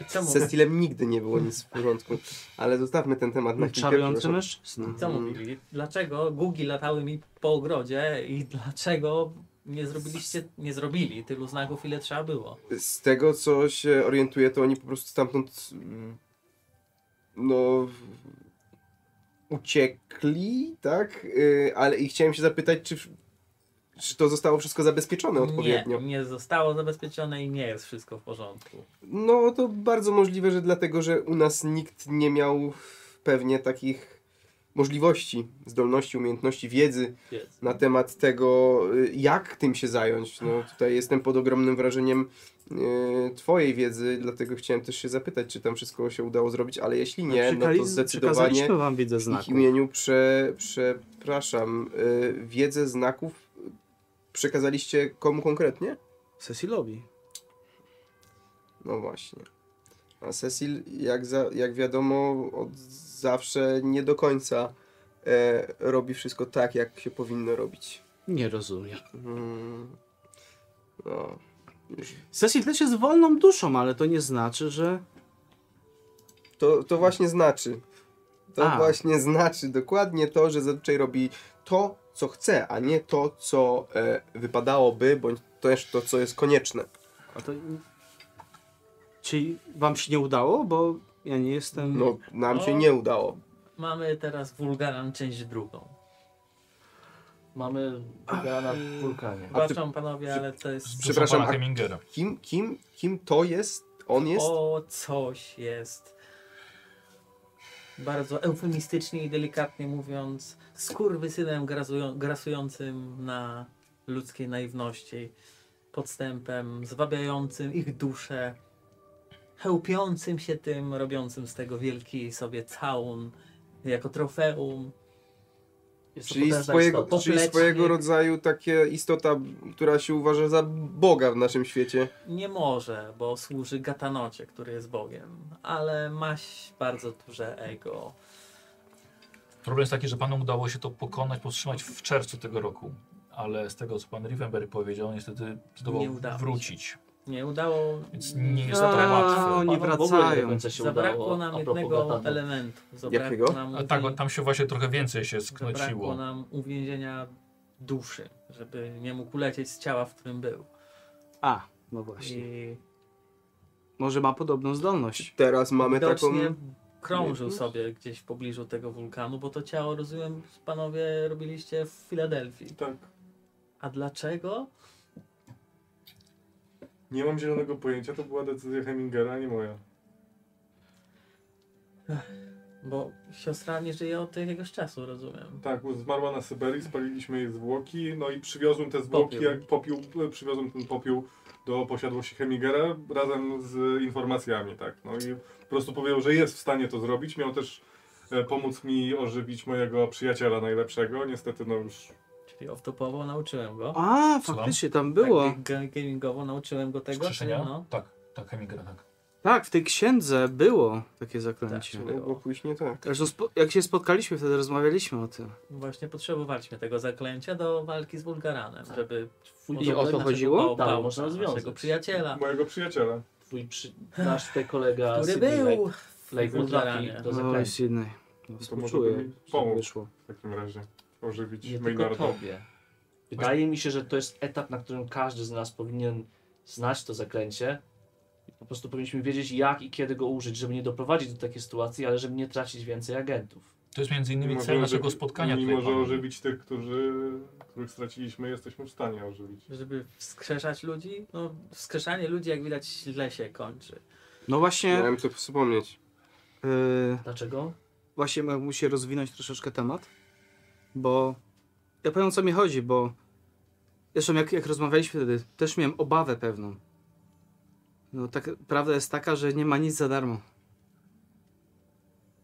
I co, Z mówi, Cecilem nigdy nie było nic w porządku, ale zostawmy ten temat na chwilkę. Czarujący przepraszam. mężczyzna. co Mm. mówili? Dlaczego gugi latały mi po ogrodzie i dlaczego nie zrobiliście, nie zrobili tylu znaków, ile trzeba było? Z tego, co się orientuję, to oni po prostu stamtąd mm, no uciekli, tak? Yy, Ale i chciałem się zapytać, czy, czy to zostało wszystko zabezpieczone No, odpowiednio. Nie, nie zostało zabezpieczone i nie jest wszystko w porządku. No to bardzo możliwe, że dlatego, że u nas nikt nie miał pewnie takich możliwości, zdolności, umiejętności, wiedzy Wiedzy. na temat tego, y, jak tym się zająć. No tutaj jestem pod ogromnym wrażeniem y, twojej wiedzy, dlatego chciałem też się zapytać, czy tam wszystko się udało zrobić, ale jeśli nie, no to Przekali- zdecydowanie Przekazaliśmy wam widzę w ich znaku. imieniu prze, przepraszam, y, wiedzę znaków przekazaliście komu konkretnie? Cecilowi. No właśnie. A Cecil, jak, za, jak wiadomo, od zawsze nie do końca e, robi wszystko tak, jak się powinno robić. Nie rozumiem. Mm. No. Cecil też jest wolną duszą, ale to nie znaczy, że... To, to właśnie znaczy. To A. właśnie znaczy dokładnie to, że zazwyczaj robi to, co chce, a nie to, co e, wypadałoby, bądź też to, co jest konieczne. A to... Czyli wam się nie udało? Bo ja nie jestem... No, nam się No. nie udało. Mamy teraz wulgaran część drugą. Mamy grana w wulkanie. A ty- Zobaczą panowie, ale to jest... Przepraszam, Pana a- Hemingera. Kim, kim, kim to jest? On jest? O, coś jest. Bardzo eufemistycznie i delikatnie mówiąc, skurwysynem grazują, grasującym na ludzkiej naiwności, podstępem, zwabiającym ich duszę, chełpiącym się tym, robiącym z tego wielki sobie całun, jako trofeum. Jest to Czyli potężna swojego, istota. czyli Poplecznik. swojego rodzaju takie istota, która się uważa za Boga w naszym świecie. Nie może, bo służy Gatanocie, który jest Bogiem, ale maś bardzo duże ego. Problem jest taki, że panu udało się to pokonać, powstrzymać w czerwcu tego roku. Ale z tego, co pan Rivenberry powiedział, niestety Nie zdołał udało wrócić. Nie udało. Więc nie jest A, to tak łatwe. Oni Panom w ogóle nie do wracają. końca się Zabrakło udało, nam a propos jednego Gatanu. elementu. Zabrakło Jakiego? Nam A tak, uwię- tam się właśnie trochę więcej się zabrakło sknociło. nam uwięzienia duszy, żeby nie mógł lecieć z ciała, w którym był. A, no właśnie. I Może ma podobną zdolność. Teraz mamy taką... widocznie krążył sobie gdzieś w pobliżu tego wulkanu, bo to ciało, rozumiem, panowie robiliście w Filadelfii. Tak. A dlaczego? Nie mam zielonego pojęcia, to była decyzja Hemingera, a nie moja. Bo siostra nie żyje od jakiegoś czasu, rozumiem. Tak, zmarła na Syberii, spaliliśmy jej zwłoki, no i przywiozłem te zwłoki, Popiół. jak popiół, przywiozłem ten popiół do posiadłości Hemingera razem z informacjami, tak. No i po prostu powiedział, że jest w stanie to zrobić. Miał też e, pomóc mi ożywić mojego przyjaciela najlepszego. Niestety, no już Czyli off-topowo nauczyłem go. A, Słucham? faktycznie tam było. Tak, ga- gamingowo nauczyłem go tego, czy Skrzeszenia? no? Tak, tak, Hemingera, tak. Tak, w tej księdze było takie zaklęcie. Tak. No, bo później tak. Zresztą spo- jak się spotkaliśmy, wtedy rozmawialiśmy o tym. Właśnie potrzebowaliśmy tego zaklęcia do walki z Bulgaranem, żeby I o to chodziło? Tak, można rozwiązać. Naszego przyjaciela, mojego przyjaciela. Twój przy... nasz tutaj kolega który Sydney Lake- był Lake w Bulgaranie. potrafi to Oj, zakręcić. Sydney. No, To może by współczuję, mi że pomógł wyszło. w takim razie ożywić Nie tylko Maynarda. tobie. Wydaje mi się, że to jest etap, na którym każdy z nas powinien znać to zaklęcie. Po prostu powinniśmy wiedzieć, jak i kiedy go użyć, żeby nie doprowadzić do takiej sytuacji, ale żeby nie tracić więcej agentów. To jest między innymi Mimo, cel że- naszego spotkania Mimo, tutaj. że panie. ożywić tych, którzy, których straciliśmy, jesteśmy w stanie ożywić. Żeby wskrzeszać ludzi? No, wskrzeszanie ludzi, jak widać, źle się kończy. No właśnie, Miałem to wspomnieć. yy, Dlaczego? właśnie ma- musi rozwinąć troszeczkę temat, bo ja powiem o co mi chodzi, bo zresztą jak, jak rozmawialiśmy wtedy, też miałem obawę pewną. No tak, prawda jest taka, że nie ma nic za darmo.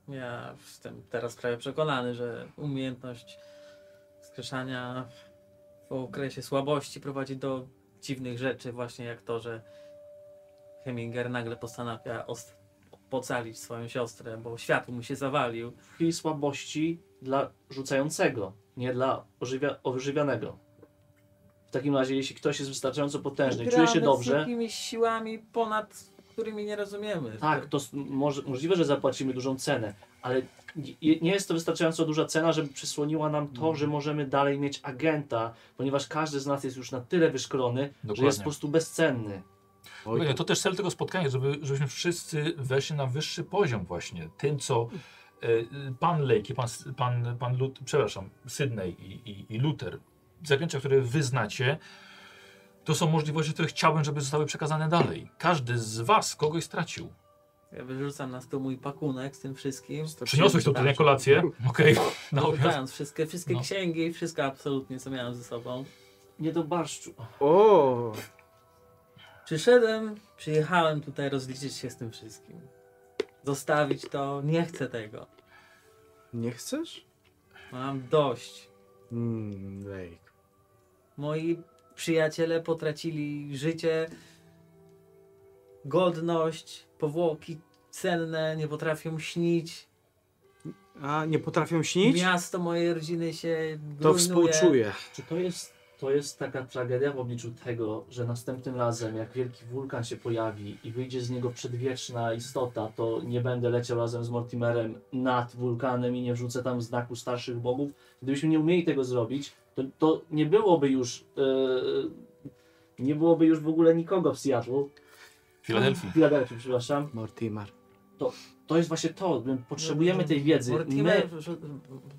Ja jestem teraz prawie przekonany, że umiejętność wskrzeszania w okresie słabości prowadzi do dziwnych rzeczy, właśnie jak to, że Heminger nagle postanawia ost- pocalić swoją siostrę, bo świat mu się zawalił. W chwili słabości dla rzucającego, nie dla ożywia- ożywianego. W takim razie, jeśli ktoś jest wystarczająco potężny, i czuje się Gramy Z dobrze, jakimiś siłami ponad którymi nie rozumiemy. tak, to s- może, możliwe, że zapłacimy dużą cenę, ale nie- nie jest to wystarczająco duża cena, żeby przysłoniła nam to, że możemy dalej mieć agenta, ponieważ każdy z nas jest już na tyle wyszkolony, że jest Dokładnie. po prostu bezcenny. Mówię, to też cel tego spotkania, żeby, żebyśmy wszyscy weszli na wyższy poziom właśnie. Tym, co e, pan Lake, i pan, S- pan, pan Lut, przepraszam, Sydney i, i, i Luther, zaklęcia, które wy znacie, to są możliwości, które chciałbym, żeby zostały przekazane dalej. Każdy z was kogoś stracił. Ja wyrzucam na stół mój pakunek z tym wszystkim. Przyniosłeś to tutaj na kolację, okej, no, na obiad. Wyrzucając wszystkie, wszystkie No. księgi, wszystko absolutnie, co miałem ze sobą. Nie do barszczu. O, Przyszedłem, przyjechałem tutaj rozliczyć się z tym wszystkim. Zostawić to, nie chcę tego. nie chcesz? Mam dość. Mm, Lejk. Moi przyjaciele potracili życie, godność, powłoki cenne, nie potrafią śnić. A, nie potrafią śnić? Miasto mojej rodziny się To grujnuje. współczuję. Czy to jest, to jest taka tragedia w obliczu tego, że następnym razem, jak wielki wulkan się pojawi i wyjdzie z niego przedwieczna istota, to nie będę leciał razem z Mortimerem nad wulkanem i nie wrzucę tam znaku starszych bogów? Gdybyśmy nie umieli tego zrobić, to, to nie byłoby już. e, nie byłoby już w ogóle nikogo w Seattle, W Filadelfii. w Filadelfii, przepraszam. Mortimer. To jest właśnie to, my potrzebujemy tej wiedzy. No, Mortimer, My, wrzu-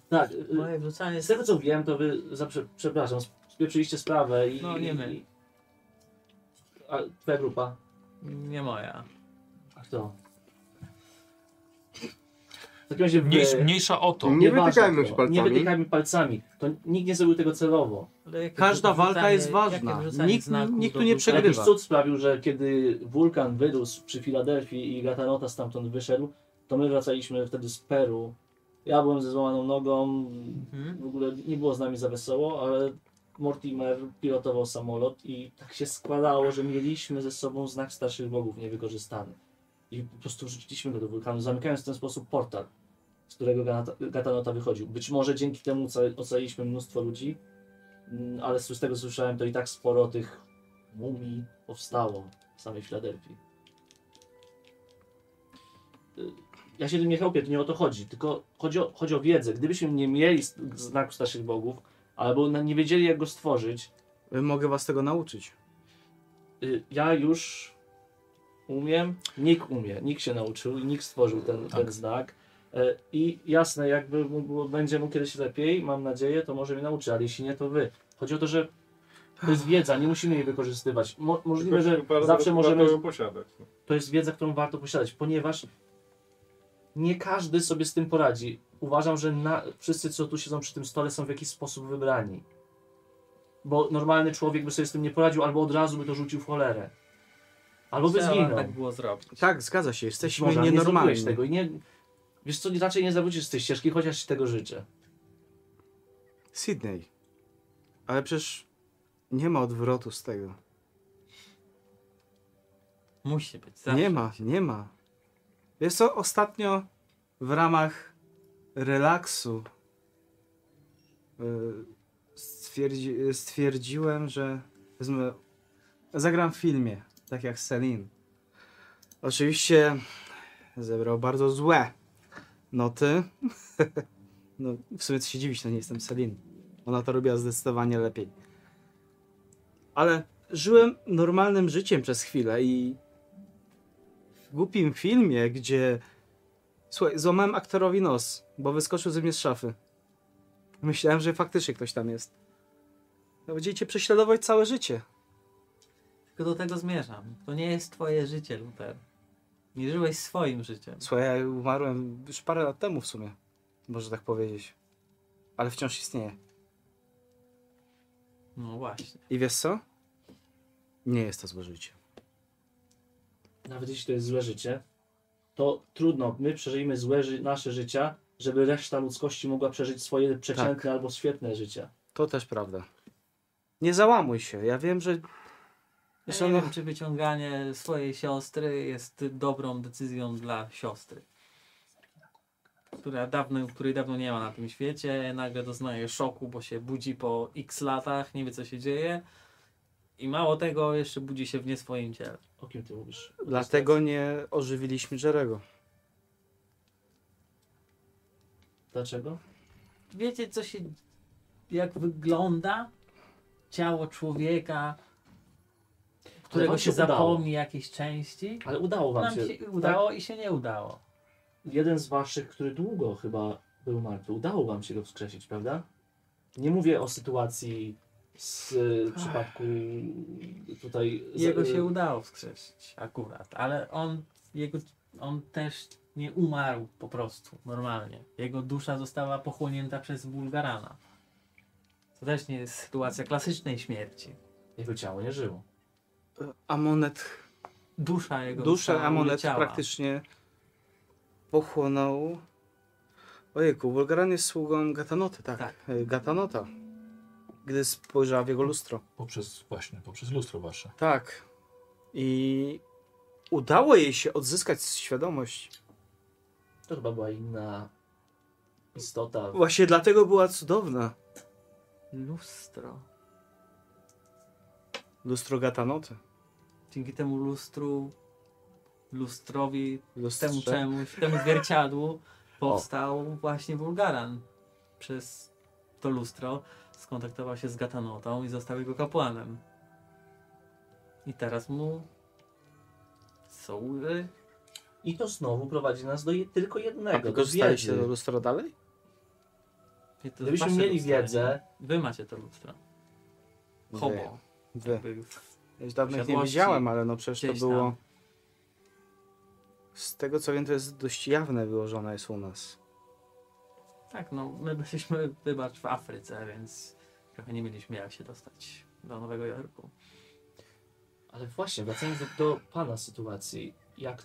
tak, e, moje wrzucanie Z tego co wiem, to wy, zaprze, przepraszam, spieprzyliście sprawę i... No, nie my. i- A twoja grupa? nie moja. A kto? W takim razie wy... Mniejsza, mniejsza o to. Nie Nieważne wytykajmy kto. się palcami. Nie wytykajmy palcami. To nikt nie zrobił tego celowo. Ale jakie Każda wrzucanie- walka jest jakie ważna. wrzucanie Nikt- znaku nikt tu do nie wrzucania- Ale przegrywa. Jakiś cud sprawił, że kiedy wulkan wyrósł przy Filadelfii i Gatanota stamtąd wyszedł, to my wracaliśmy wtedy z Peru. Ja byłem ze złamaną nogą, Mhm. w ogóle nie było z nami za wesoło, ale Mortimer pilotował samolot i tak się składało, że mieliśmy ze sobą znak starszych bogów niewykorzystany. I po prostu rzuciliśmy go do wulkanu, zamykając w ten sposób portal, z którego Ganata- Gatanota wychodził. Być może dzięki temu oca- ocaliliśmy mnóstwo ludzi, mm, ale z z tego słyszałem, to i tak sporo tych mumii powstało w samej Filadelfii. Y, Ja się tym nie chełpię, to nie o to chodzi, tylko chodzi o, chodzi o wiedzę. Gdybyśmy nie mieli s- znaku starszych bogów, albo na- nie wiedzieli jak go stworzyć, Mogę was tego nauczyć. y, ja już umiem, nikt umie, nikt się nauczył i nikt stworzył ten, Tak. ten znak. Y, I jasne, jakby mu było, będzie mu kiedyś lepiej, mam nadzieję, to może mnie nauczy, ale jeśli nie, to wy. Chodzi o to, że to jest wiedza, nie musimy jej wykorzystywać. Mo, możliwe, że Tylko bardzo zawsze warto możemy ją posiadać. No. to jest wiedza, którą warto posiadać, ponieważ nie każdy sobie z tym poradzi. Uważam, że na, wszyscy, co tu siedzą przy tym stole, są w jakiś sposób wybrani. Bo normalny człowiek by sobie z tym nie poradził, albo od razu by to rzucił w cholerę. Albo by Trzeba zginął. tak było zrobić. Tak, zgadza się, jesteśmy Boże, Nie nienormalni. zrobiłeś tego i nie... Wiesz co, raczej nie zawrócisz z tej ścieżki, chociaż ci tego życzę. Sydney. Ale przecież nie ma odwrotu z tego. Musi być. tak. Zawsze. Nie ma, nie ma. Wiesz co, ostatnio w ramach relaksu y, stwierdzi, stwierdziłem, że wezmę, zagram w filmie, tak jak Selin. Oczywiście zebrał bardzo złe noty. no, w sumie co się dziwić, no nie jestem Selin. Ona to robiła zdecydowanie lepiej. Ale żyłem normalnym życiem przez chwilę i w głupim filmie, gdzie słuchaj, złamałem aktorowi nos, bo wyskoczył ze mnie z szafy. Myślałem, że faktycznie ktoś tam jest. No będziecie prześladować całe życie. Tylko do tego zmierzam. To nie jest twoje życie, Luther. Nie żyłeś swoim życiem. Słuchaj, ja umarłem już parę lat temu w sumie, może tak powiedzieć. Ale wciąż istnieje. No właśnie. I wiesz co? Nie jest to złe życie. Nawet jeśli to jest złe życie, to trudno. My przeżyjemy złe ży nasze życia, żeby reszta ludzkości mogła przeżyć Tak. swoje przeciętne albo świetne życia. To też prawda. Nie załamuj się. Ja wiem, że Ja Zresztą nie no- wiem, E, czy wyciąganie swojej siostry jest dobrą decyzją dla siostry. Która dawno, której dawno nie ma na tym świecie, nagle doznaje szoku, bo się budzi po x latach, nie wie co się dzieje. I mało tego, jeszcze budzi się w nie swoim ciele. O kim ty mówisz? dlatego nie ożywiliśmy Jerego. Dlaczego? Wiecie, co się. jak wygląda ciało człowieka, którego wam się się udało. zapomni jakiejś części? Ale udało wam Nam się. tak? się udało i się nie udało. Jeden z waszych, który długo chyba był martwy, udało wam się go wskrzesić, prawda? Nie mówię o sytuacji z y, przypadku tutaj... z- Jego y, się udało wskrzesić akurat, ale on, jego, on też nie umarł po prostu normalnie. Jego dusza została pochłonięta przez Bulgarana. To też nie jest sytuacja klasycznej śmierci. Jego ciało nie żyło. Amonet, Dusza jego dusza została Amonet uleciała. praktycznie pochłonął. Ojejku, Bulgaran jest sługą Gatanoty, tak. Tak. Mm. Y, Gatanota. Gdy spojrzała w jego lustro. Poprzez właśnie, poprzez lustro wasze. Tak. I udało jej się odzyskać świadomość. To chyba była inna istota. Właśnie dlatego była cudowna. Lustro. Lustro Gatanoty. Dzięki temu lustru, lustrowi, temu Lustrze. czemuś, temu zwierciadłu powstał właśnie Bulgaran. Przez to lustro skontaktował się z Gatanotą i został jego kapłanem. I teraz mu y, służy. I to znowu prowadzi nas do je, Tak, tylko jednego. A do wykorzystaliście wiedzy. to lustro dalej? I to Gdybyśmy wasze mieli lustro, wiedzę- nie? Wy macie to lustro. Hobo. Wy. Wy. Jakby w- Ja już dawno ich nie Posiadłości widziałem, ale no przecież to gdzieś było. tam. Z tego co wiem, to jest dość jawne wyłożone jest u nas. Tak, no my byliśmy, wybacz, w Afryce, więc trochę nie mieliśmy jak się dostać do Nowego Jorku. Ale właśnie, wracając do, do pana sytuacji, jak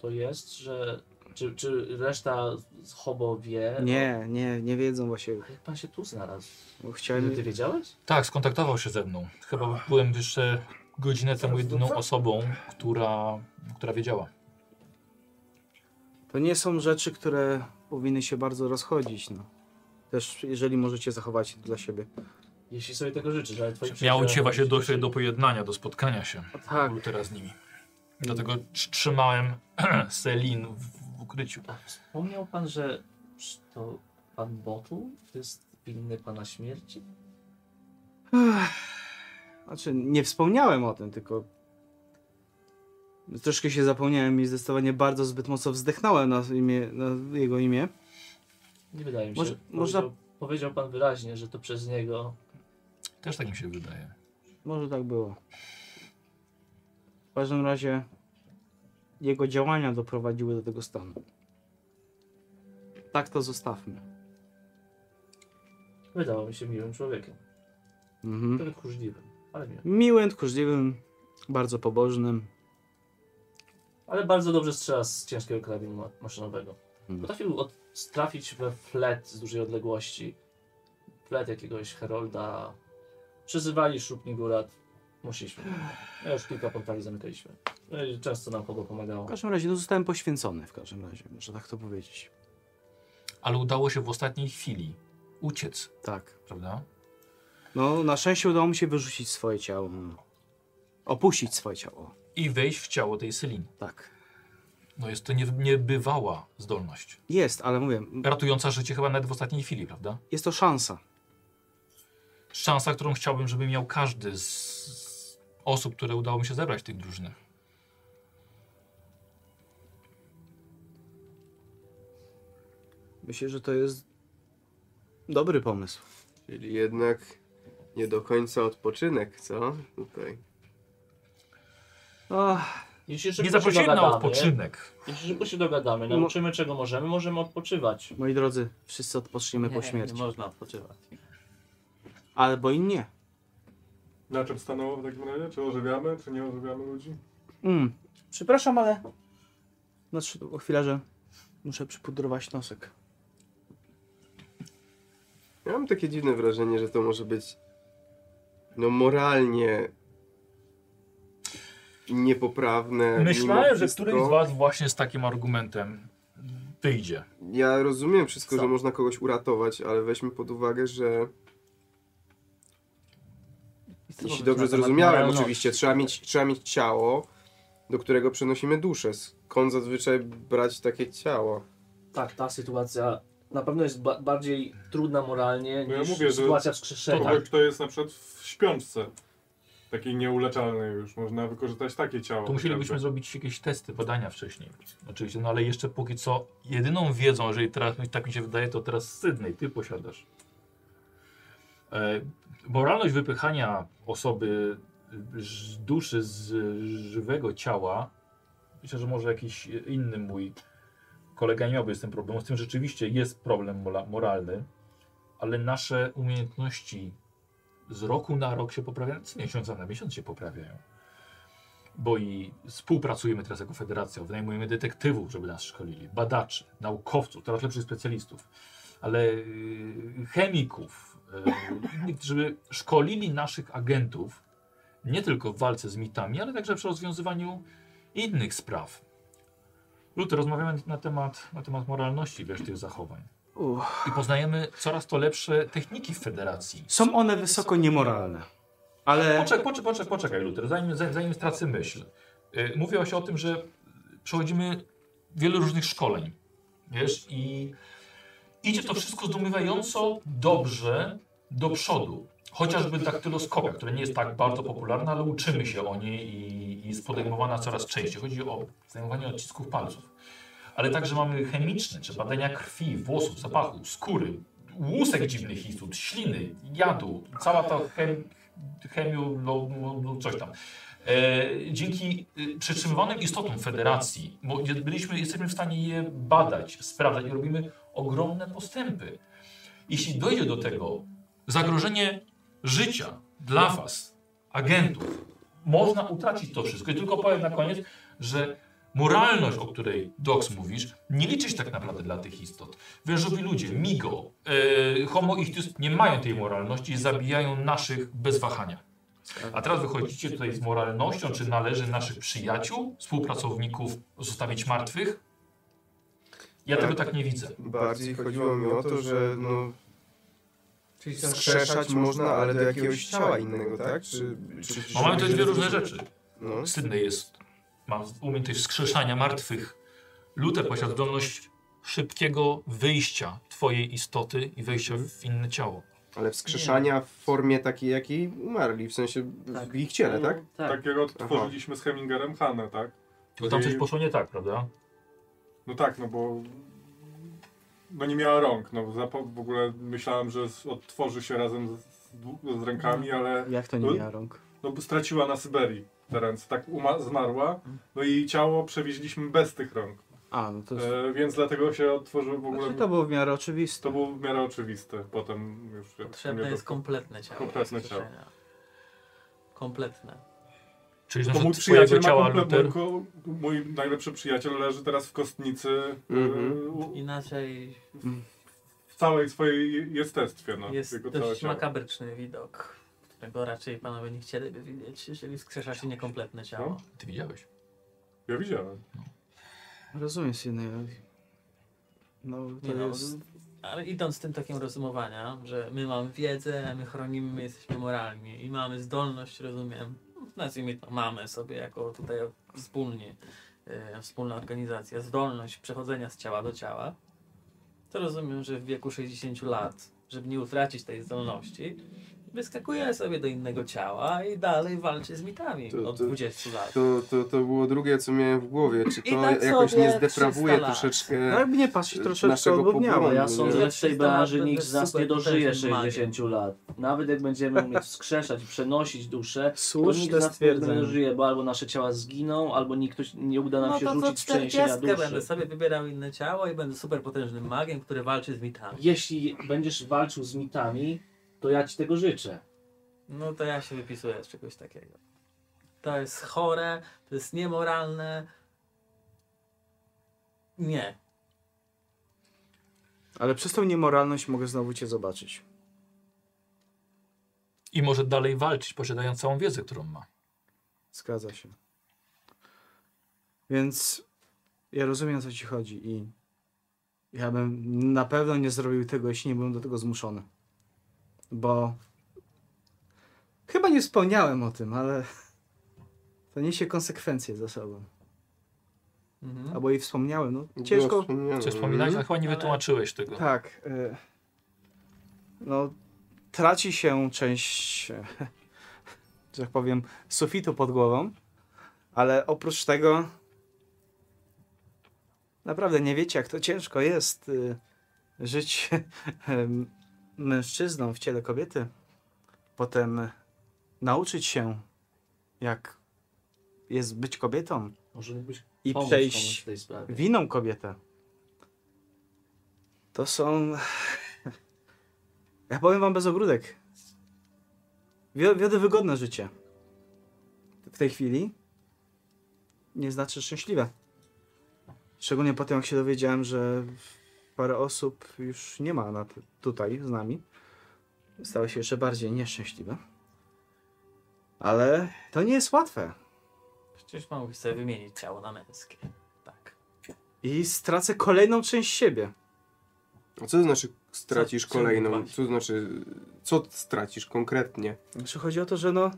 to jest, że. Czy, czy reszta z hobo wie? Nie, nie, nie wiedzą właśnie. A Jak pan się tu znalazł? Bo Ty, chciałem. ty wiedziałeś? Tak, skontaktował się ze mną. Chyba byłem jeszcze godzinę temu jedyną osobą, która, która wiedziała. To nie są rzeczy, które powinny się bardzo rozchodzić. No. Też jeżeli możecie zachować dla siebie. Jeśli sobie tego życzysz, ale twoi Miało przyjaciele- cię właśnie dojść do pojednania, do spotkania się. Mm. A tak, Był teraz z nimi. Dlatego trz- trzymałem Selin w, w ukryciu. A Wspomniał pan, że to pan Botu jest winny pana śmierci? Znaczy, nie wspomniałem o tym, tylko troszkę się zapomniałem i zdecydowanie bardzo zbyt mocno wzdechnąłem na, imię, na jego imię. Nie wydaje mi się. Może- można- Powiedział, powiedział pan wyraźnie, że to przez niego. Też tak mi się wydaje. Może tak było. W każdym razie jego działania doprowadziły do tego stanu. Tak to zostawmy. Wydawał mi się miłym człowiekiem. Mhm. Trochę tchórzliwym, ale miłym. Miłym, tchórzliwym, bardzo pobożnym. Ale bardzo dobrze strzela z ciężkiego karabinu ma- maszynowego. Mm. Potrafił od, trafić we flet z dużej odległości. Flet jakiegoś Herolda. Przyzywali szrubni górat. Musieliśmy. Ja już kilka portali zamykaliśmy. No i Często nam kogo pomagało. W każdym razie, no zostałem poświęcony, w każdym razie, może tak to powiedzieć. Ale udało się w ostatniej chwili uciec, Tak. prawda? No, na szczęście udało mi się wyrzucić swoje ciało. Opuścić swoje ciało. I wejść w ciało tej Selin. Tak. No jest to nie, niebywała zdolność. Jest, ale mówię, m- Ratująca życie chyba nawet w ostatniej chwili, prawda? jest to szansa. Szansa, którą chciałbym, żeby miał każdy z z osób, które udało mi się zebrać w tych drużynach. Myślę, że to jest dobry pomysł. Czyli jednak nie do końca odpoczynek, co? Tutaj. Ach, Jeśli szybko Nie się zaprosiłem na dogadamy- odpoczynek. Jeśli szybko się dogadamy, nauczymy czego możemy, możemy odpoczywać. moi drodzy, wszyscy odpoczniemy po śmierci. Nie można odpoczywać. Albo i nie. Na czym stanęło w takim razie? Czy ożywiamy, czy nie ożywiamy ludzi? Mm. Przepraszam, ale. Nadszedł chwila, że muszę przypudrować nosek. Ja mam takie dziwne wrażenie, że to może być no moralnie niepoprawne. mimo Myślałem, że wszystko. któryś z was właśnie z takim argumentem wyjdzie. Ja rozumiem wszystko, Co? że można kogoś uratować, ale weźmy pod uwagę, że jeśli dobrze zrozumiałem, oczywiście trzeba mieć, trzeba mieć ciało, do którego przenosimy duszę. Skąd zazwyczaj brać takie ciała? Tak, ta sytuacja na pewno jest ba- bardziej trudna moralnie No ja niż mówię, że sytuacja To, wskrzeszenia. tak. kto jest na przykład w śpiączce, takiej nieuleczalnej już, można wykorzystać takie ciało. To musielibyśmy chociażby. zrobić jakieś testy, badania wcześniej. Oczywiście, no ale jeszcze póki co jedyną wiedzą, jeżeli teraz tak mi się wydaje, to teraz Sydney, ty posiadasz. E, moralność wypychania osoby y, z duszy z żywego ciała, myślę, że może jakiś inny mój kolega nie miałby z tym problemu. Z tym rzeczywiście jest problem mola- moralny, ale nasze umiejętności z roku na rok się poprawiają, z miesiąca na miesiąc się poprawiają bo i współpracujemy teraz jako federacja, wynajmujemy detektywów, żeby nas szkolili, badaczy, naukowców, coraz lepszych specjalistów, ale yy, chemików, yy, żeby szkolili naszych agentów nie tylko w walce z mitami, ale także przy rozwiązywaniu innych spraw. Luty, rozmawiamy na temat, na temat moralności wiesz, tych zachowań Uff. i poznajemy coraz to lepsze techniki w federacji. Są one wysoko niemoralne. Ale. Poczekaj, poczekaj, poczekaj, poczekaj Luther, zanim, zanim zanim stracę myśl. Y, Mówiłaś o tym, że przechodzimy wielu różnych szkoleń, wiesz, i idzie to wszystko zdumiewająco dobrze do przodu. Chociażby daktyloskopia, która nie jest tak bardzo popularna, ale uczymy się o niej i i jest podejmowana coraz częściej. Chodzi o zajmowanie odcisków palców. Ale także mamy chemiczne, czy badania krwi, włosów, zapachu, skóry, łusek dziwnych istot, śliny, jadu, cała ta chem, chemiu, no, no, no, coś tam. E, dzięki y, przetrzymywanym istotom federacji bo je- byliśmy, jesteśmy w stanie je badać, sprawdzać i robimy ogromne postępy. Jeśli dojdzie do tego zagrożenie życia dla Was, agentów, można utracić to wszystko. I tylko powiem na koniec, że moralność, o której Docs mówisz, nie liczy się tak naprawdę dla tych istot. Wężowi ludzie, Migo, e, Homo ichthys nie mają tej moralności i zabijają naszych bez wahania. A teraz wychodzicie tutaj z moralnością, czy należy naszych przyjaciół, współpracowników zostawić martwych? Ja tego tak nie widzę. Bardziej chodziło mi o to, że no, Czyli są skrzeszać można, ale do jakiegoś ciała innego, tak? Czy, czy, czy Bo mamy też dwie różne rzeczy. No. Sydney jest, ma umiejętność skrzeszania martwych. Luther posiada zdolność szybkiego wyjścia twojej istoty i wejścia w inne ciało. Ale wskrzeszania w formie takiej, jakiej umarli, w sensie w ich ciele, tak? Tak. Tak jak odtworzyliśmy z Hemingerem Hanę, tak? Tylko tam coś I- poszło nie tak, prawda? No tak, no bo... No nie miała rąk, no zapo- w ogóle myślałem, że z- odtworzy się razem z, z rękami, ale Jak to nie miała rąk? no, bo straciła na Syberii te ręce, tak uma- zmarła, no i ciało przewieźliśmy bez tych rąk, A, no to. e, więc dlatego się odtworzył w ogóle... Znaczy, to było w miarę oczywiste. To było w miarę oczywiste, potem już... jak Potrzebne mnie jest to- kompletne ciało. Kompletne do wskrzeszenia. Kompletne. Czyli To znaczy mój twojego przyjaciel ma ciała kompletnie, Luther. mój, mój najlepszy przyjaciel leży teraz w kostnicy Mhm. e, u- Inaczej w całej swojej jestestwie. No, jest jego całe dość ciało. makabryczny widok, którego raczej panowie nie chcieliby widzieć, jeżeli skrzesza się niekompletne ciało. No. Ty widziałeś. Ja widziałem. Rozumiem z jednej. ale- No, to Nie no, jest. Ale idąc tym tokiem rozumowania, że my mamy wiedzę, my chronimy, my jesteśmy moralni i mamy zdolność, rozumiem, nazwijmy to mamy sobie jako tutaj wspólnie, e, wspólna organizacja, zdolność przechodzenia z ciała do ciała, to rozumiem, że w wieku 60 lat, żeby nie utracić tej zdolności, wyskakuje sobie do innego ciała i dalej walczy z mitami To- od to- 20 lat. To, to, to było drugie, co miałem w głowie. Czy I to tak jakoś sobie nie zdeprawuje 300 lat. troszeczkę? no, Jakby nie patrzeć, e, troszeczkę naszego odwodniało. pokoju. Ja sądzę, Ja że w tej czytam, branży będę nikt z nas super nie dożyje potężnym magiem. 60 lat. Nawet jak będziemy umieć wskrzeszać, przenosić duszę, to nikt Słuszne z nas nie stwierdzenie. dożyje, bo albo nasze ciała zginą, albo nikt nie uda nam No się to co rzucić w przeniesienia 40 duszy. będę sobie wybierał inne ciało i będę super potężnym magiem, który walczy z mitami. Jeśli będziesz walczył z mitami, to ja ci tego życzę. No to ja się wypisuję z czegoś takiego. To jest chore, to jest niemoralne. Nie. Ale przez tą niemoralność mogę znowu cię zobaczyć. I może dalej walczyć, posiadając całą wiedzę, którą ma. Zgadza się. Więc ja rozumiem, o co ci chodzi i ja bym na pewno nie zrobił tego, jeśli nie byłem do tego zmuszony. Bo chyba nie wspomniałem o tym, ale to niesie konsekwencje za sobą. Mhm. Albo i wspomniałem, no ciężko. Wspomniałem. Coś Mhm. wspominałeś, ale chyba nie Ale- wytłumaczyłeś tego. Tak. y, No, traci się część, e, że tak powiem, sufitu pod głową, ale oprócz tego naprawdę nie wiecie, jak to ciężko jest y, żyć em, mężczyzną w ciele kobiety. Potem nauczyć się, jak jest być kobietą Może mógłbyś i pomóc komuś przejść w tej sprawie. winą kobietę. To są. Ja powiem wam bez ogródek. Wio- Wiodę wygodne życie. W tej chwili nie znaczy szczęśliwe. Szczególnie po tym, jak się dowiedziałem, że parę osób już nie ma na t- tutaj z nami. Stały się jeszcze bardziej nieszczęśliwe. Ale to nie jest łatwe. Przecież mogę sobie wymienić ciało na męskie. Tak. I stracę kolejną część siebie. A co to znaczy stracisz Co- co kolejną? mówiłaś? Co to znaczy, co stracisz konkretnie? Znaczy chodzi o to, że no.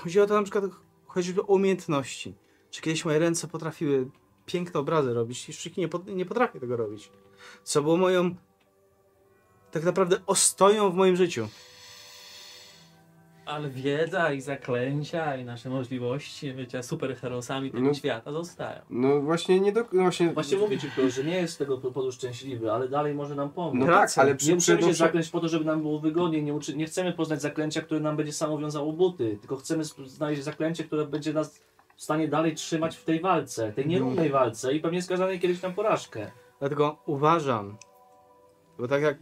Chodzi o to na przykład choćby o umiejętności. Czy kiedyś moje ręce potrafiły piękne obrazy robić? Już nie, pot- nie potrafię tego robić. Co było moją tak naprawdę ostoją w moim życiu. Ale wiedza i zaklęcia i nasze możliwości bycia superherosami tego No. świata zostają. No właśnie nie do... no Właśnie... Właśnie mówię ci, Piotr, że nie jest z tego powodu szczęśliwy, ale dalej może nam pomóc. No tak, Praca. ale przy, Nie musimy się przede zaklęć po to, żeby nam było wygodniej. Nie, uczy, nie chcemy poznać zaklęcia, które nam będzie samo wiązało buty, tylko chcemy sp- znaleźć zaklęcie, które będzie nas w stanie dalej trzymać w tej walce, No. tej nierównej walce i pewnie skazanej kiedyś na porażkę. Dlatego uważam, bo tak jak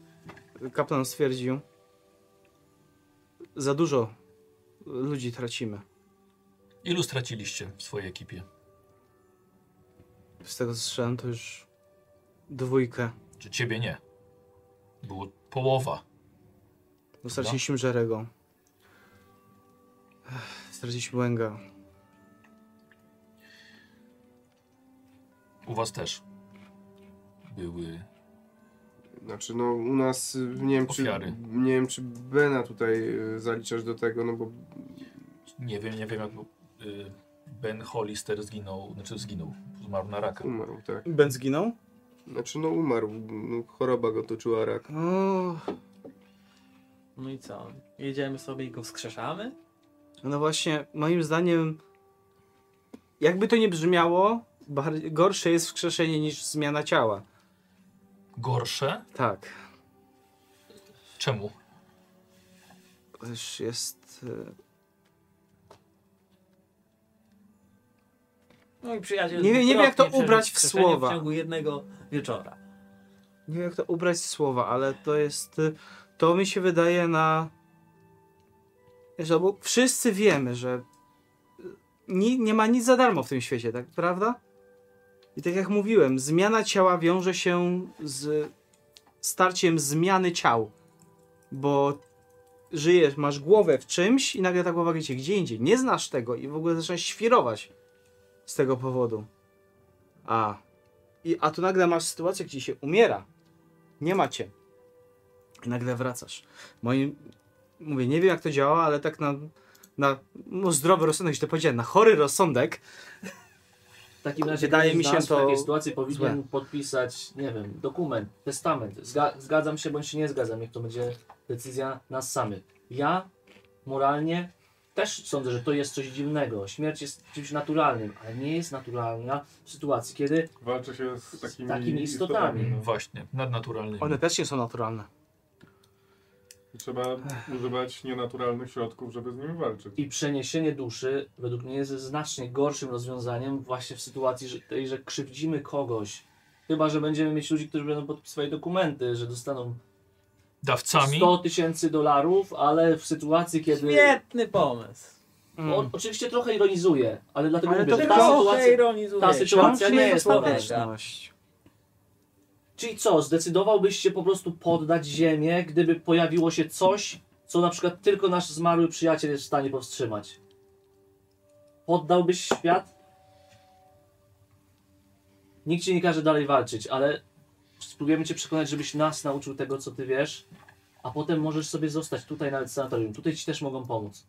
kaplan stwierdził, za dużo ludzi tracimy. Ilu straciliście w swojej ekipie? Z tego co słyszałem, to już dwójkę. Czy ciebie nie? Było połowa. No straciliśmy Żerego. Ech, Straciliśmy Łęga. U was też. Były. Znaczy, no u nas, y, nie wiem, czy, Ofiary. nie wiem, czy Bena tutaj y, zaliczasz do tego, no bo Nie wiem, nie wiem jak. było. Y, Ben Hollister zginął, znaczy zginął, zmarł na raka. umarł, tak. Ben zginął? Znaczy, no umarł, no, choroba go toczyła rak. O, No i co? Jedziemy sobie i go wskrzeszamy? no właśnie, moim zdaniem, jakby to nie brzmiało, bar- gorsze jest wskrzeszenie niż zmiana ciała. Gorsze? Tak. Czemu? To też jest... e, No i przyjaciel. Nie wiem- nie wiem, jak to dwukrotnie ubrać przeżył w wskrzeszenie słowa. W ciągu jednego wieczora. Nie wiem jak to ubrać w słowa, ale to jest... e, To mi się wydaje na... Że, bo wszyscy wiemy, że e, ni- nie ma nic za darmo w tym świecie, tak prawda? I tak jak mówiłem, zmiana ciała wiąże się z starciem zmiany ciał. Bo żyjesz, masz głowę w czymś i nagle ta głowa gdzie gdzie indziej. Nie znasz tego i w ogóle zaczynasz świrować z tego powodu. A. I, a tu nagle masz sytuację, gdzie się umiera. Nie ma cię. I nagle wracasz. Moim, mówię, nie wiem jak to działa, ale tak na, na no, zdrowy rozsądek, źle powiedziałem, na chory rozsądek W takim razie Wydaje każdy mi z się nas to w takiej sytuacji powinien złe. podpisać, nie wiem, dokument, testament. Zga zgadzam się bądź się nie zgadzam, niech to będzie decyzja nas samych. Ja moralnie też sądzę, że to jest coś dziwnego. Śmierć jest czymś naturalnym, ale nie jest naturalna w sytuacji, kiedy Walczy się z takimi, takimi istotami. no. Właśnie, nadnaturalnymi. One też nie są naturalne. no. I Trzeba używać nienaturalnych środków, żeby z nimi walczyć. i przeniesienie duszy według mnie jest znacznie gorszym rozwiązaniem właśnie w sytuacji że, tej, że krzywdzimy kogoś. Chyba, że będziemy mieć ludzi, którzy będą podpisywać dokumenty, że dostaną Dawcami? 100 tysięcy dolarów, ale w sytuacji, kiedy... Świetny pomysł. Mm. On oczywiście trochę ironizuje, ale dlatego Ale mówię, to że tylko- ta sytuacja... ironizuje. ta sytuacja Łącznie nie jest ostateczność. poważna. Czyli co, zdecydowałbyś się po prostu poddać ziemię, gdyby pojawiło się coś, co na przykład tylko nasz zmarły przyjaciel jest w stanie powstrzymać? Poddałbyś świat? Nikt ci nie każe dalej walczyć, ale spróbujemy cię przekonać, żebyś nas nauczył tego, co ty wiesz, a potem możesz sobie zostać tutaj nawet w sanatorium. Tutaj ci też mogą pomóc.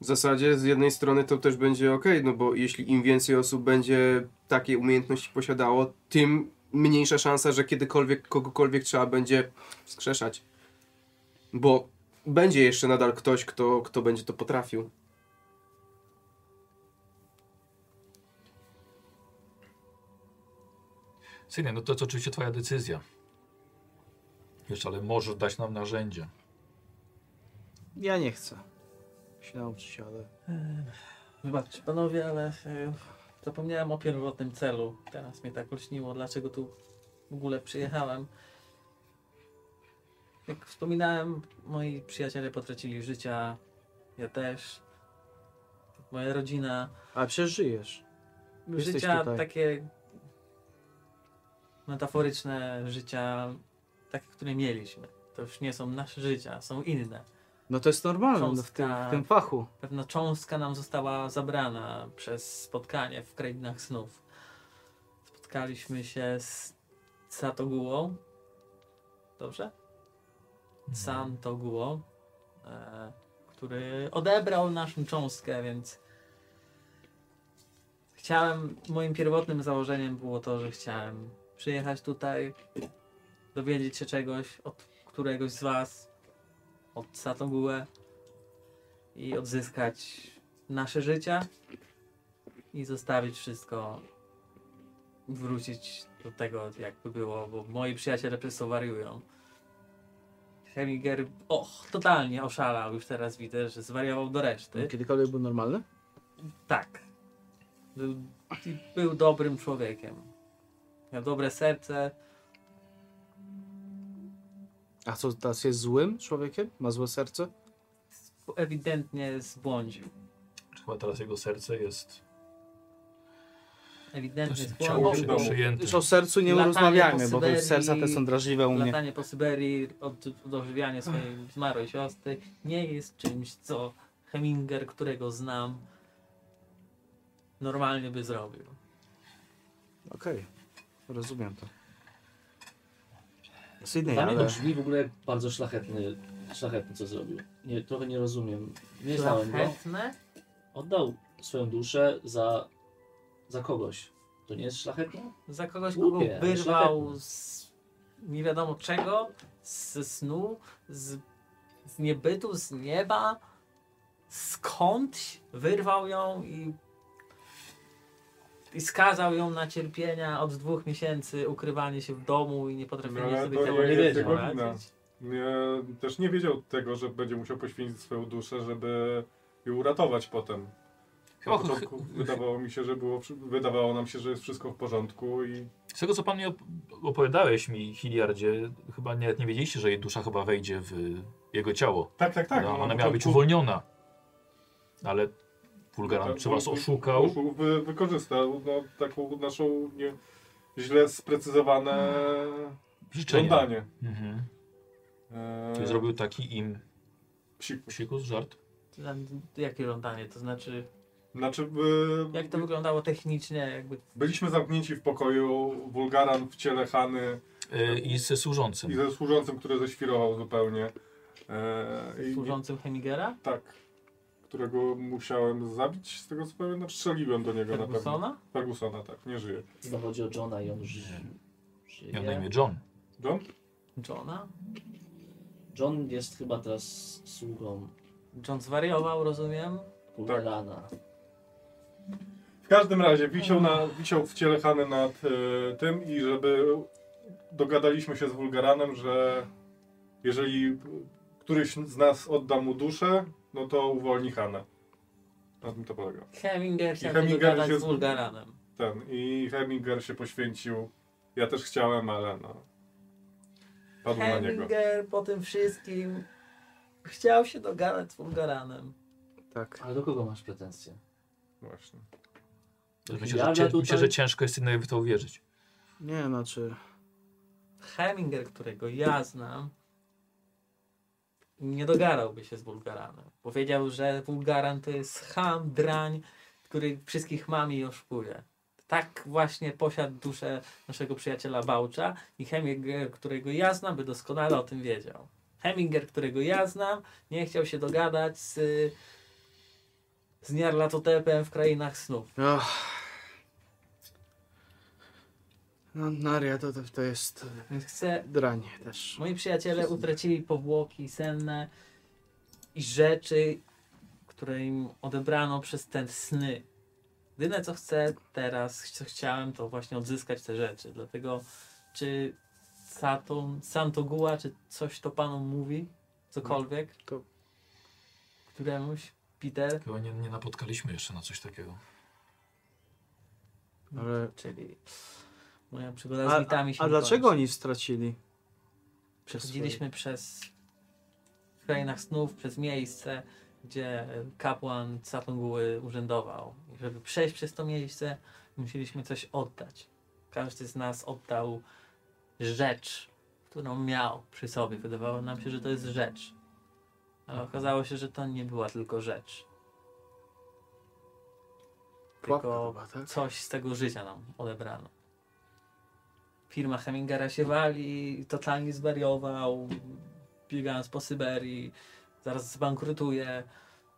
W zasadzie z jednej strony to też będzie ok, no bo jeśli im więcej osób będzie takiej umiejętności posiadało, tym mniejsza szansa, że kiedykolwiek kogokolwiek trzeba będzie wskrzeszać. Bo będzie jeszcze nadal ktoś, kto, kto będzie to potrafił. Synie, no to jest oczywiście twoja decyzja. Wiesz, ale możesz dać nam narzędzie. Ja nie chcę. Się nauczyć, się, ale... Wybaczcie panowie, ale e, zapomniałem o pierwotnym celu. Teraz mnie tak olśniło, dlaczego tu w ogóle przyjechałem. Jak wspominałem, moi przyjaciele potracili życia, ja też. Moja rodzina. Ale przecież żyjesz. Jesteś życia tutaj. takie metaforyczne życia, takie, które mieliśmy. To już nie są nasze życia, są inne. No to jest normalne no, w, tym, Cząstka- w tym fachu. Pewna cząstka nam została zabrana przez spotkanie w krainach snów. Spotkaliśmy się z Satogułą. Dobrze? Santogułą, e, który odebrał naszą cząstkę, więc chciałem, moim pierwotnym założeniem było to, że chciałem przyjechać tutaj, dowiedzieć się czegoś od któregoś z was, od Satogułę i odzyskać nasze życia i zostawić wszystko, wrócić do tego, jakby było, bo moi przyjaciele przez to wariują. Hemiger, och, totalnie oszalał już teraz, widzę, że zwariował do reszty. Kiedykolwiek był normalny? Tak. Był, był dobrym człowiekiem. Miał dobre serce. A co, teraz jest złym człowiekiem? Ma złe serce? Ewidentnie zbłądził. Czy Chyba teraz jego serce jest Ewidentnie ciało się zbłądził. domu. przyjęte. Już o sercu nie Latanie rozmawiajmy, po bo to już Syberii, serca te są drażliwe u mnie. Latanie po Syberii, od- odożywianie swojej zmarłej siostry nie jest czymś, co Heminger, którego znam, normalnie by zrobił. Okej, rozumiem to. Sydney, Dla mnie to ale... brzmi w ogóle jak bardzo szlachetny, szlachetny co zrobił. Nie, trochę nie rozumiem. Nie znałem go. Szlachetne? Oddał swoją duszę za, za kogoś. To nie jest szlachetne? Za kogoś, kogo Głupie, ale wyrwał szlachetne. z nie wiadomo czego, ze snu, z, z niebytu, z nieba, skądś wyrwał ją i, i skazał ją na cierpienia od dwóch miesięcy, ukrywanie się w domu i nie No, potrafienie ale sobie to tego nie nie jest wiedzieć. jego wina. Nie, też nie wiedział tego, że będzie musiał poświęcić swoją duszę, żeby ją uratować potem. Na Chyba, początku wydawało mi się, że było, przy- wydawało nam się, że jest wszystko w porządku i z tego co pan mi op- opowiadałeś mi, Hiliardzie, chyba nie, nie wiedzieliście, że jej dusza chyba wejdzie w jego ciało. tak, tak, tak. No, no, na ona miała być początku- uwolniona. Ale Tak, Wulgaran czy bo- was bo- oszukał. oszu- Wy, wykorzystał no, taką naszą nie, źle sprecyzowane Hmm. Życzenia. żądanie. Mhm. Eee, Czyli zrobił taki im psikus. psikus, żart. Jakie żądanie? To znaczy, Znaczy, e, jak to wyglądało technicznie? Jakby byliśmy zamknięci w pokoju, wulgaran w ciele Hany Yy, I ze służącym. i ze służącym, który ześwirował zupełnie. Eee, i- służącym Hemigera? Tak. którego musiałem zabić, z tego co pamiętam, strzeliłem do niego na pewno. Fergusona? Fergusona, tak, nie żyje. Znowu chodzi o Johna i on ży, Miał na żyje. imię John. John? Johna? John jest chyba teraz sługą John zwariował, rozumiem. Pulverana. W każdym razie wisiał, na, wisiał wcielecany nad e, tym i żeby dogadaliśmy się z Wulgaranem, że jeżeli któryś z nas odda mu duszę, no to uwolni Hanę. Na tym to polega. Heminger chciał Heminger Heminger się się z z- Wulgaranem. Ten. I Heminger się poświęcił. Ja też chciałem, ale no. Padł na niego. Heminger po tym wszystkim chciał się dogadać z Wulgaranem. Tak. Ale do kogo masz pretensje? Właśnie. Do Myślę że, Hilada cię, tutaj? myślę, że ciężko jest innej w to uwierzyć. Nie, znaczy... Heminger, którego ja znam, nie dogadałby się z Wulgaranem. Powiedział, że Wulgaran to jest ham, drań, który wszystkich mami i oszukuje. Tak właśnie posiadł duszę naszego przyjaciela Bałcza i Heminger, którego ja znam, by doskonale o tym wiedział. Heminger, którego ja znam, nie chciał się dogadać z, y, z Niarlatotepem w krainach snów. Och. No, Naria to, to, to jest Więc chce dranie też. Moi przyjaciele utracili powłoki senne i rzeczy, które im odebrano przez te sny. Jedyne co chcę teraz, co chciałem, to właśnie odzyskać te rzeczy. Dlatego, czy Saturn, Santoguła, czy coś to panu mówi? Cokolwiek? No, To- Któremuś? Peter? Chyba nie, nie napotkaliśmy jeszcze na coś takiego. Ale... Czyli moja przygoda z A, mitami się a nie dlaczego kończy. oni stracili? Przechodziliśmy przez w krainach snów, przez miejsce, gdzie e, kapłan Catunguły urzędował. I żeby przejść przez to miejsce, musieliśmy coś oddać. Każdy z nas oddał rzecz, którą miał przy sobie. Wydawało nam się, że to jest rzecz. Mhm. Ale okazało się, że to nie była tylko rzecz. Pułapka Tylko chyba, tak? coś z tego życia nam odebrano. Firma Hemingera się wali, totalnie zwariował, biegając po Syberii, zaraz zbankrutuje.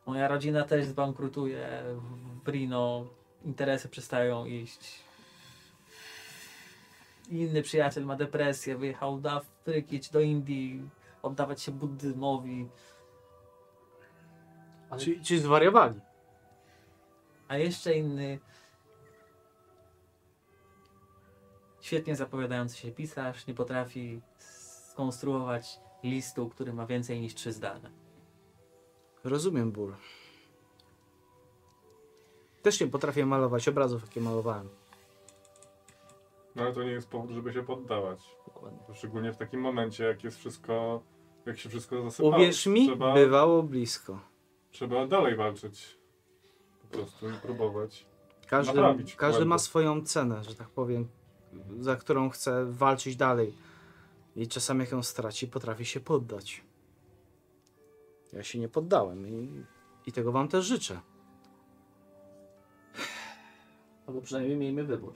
Moja rodzina też zbankrutuje w Brino, interesy przestają iść. Inny przyjaciel ma depresję, wyjechał do Afryki czy do Indii, oddawać się buddyzmowi. Czy, czy zwariowali? A jeszcze inny świetnie zapowiadający się pisarz nie potrafi skonstruować listu, który ma więcej niż trzy zdania. Rozumiem ból. Też nie potrafię malować obrazów, jakie malowałem. No ale to nie jest powód, żeby się poddawać. Dokładnie. Szczególnie w takim momencie, jak jest wszystko. Jak się wszystko zasypało. Uwierz mi, trzeba, bywało blisko. trzeba dalej walczyć. Po prostu i próbować. Każdy, Naprawić każdy ma błędy. swoją cenę, że tak powiem, za którą chce walczyć dalej. I czasami jak ją straci, potrafi się poddać. Ja się nie poddałem i, i tego wam też życzę. Albo przynajmniej miejmy wybór.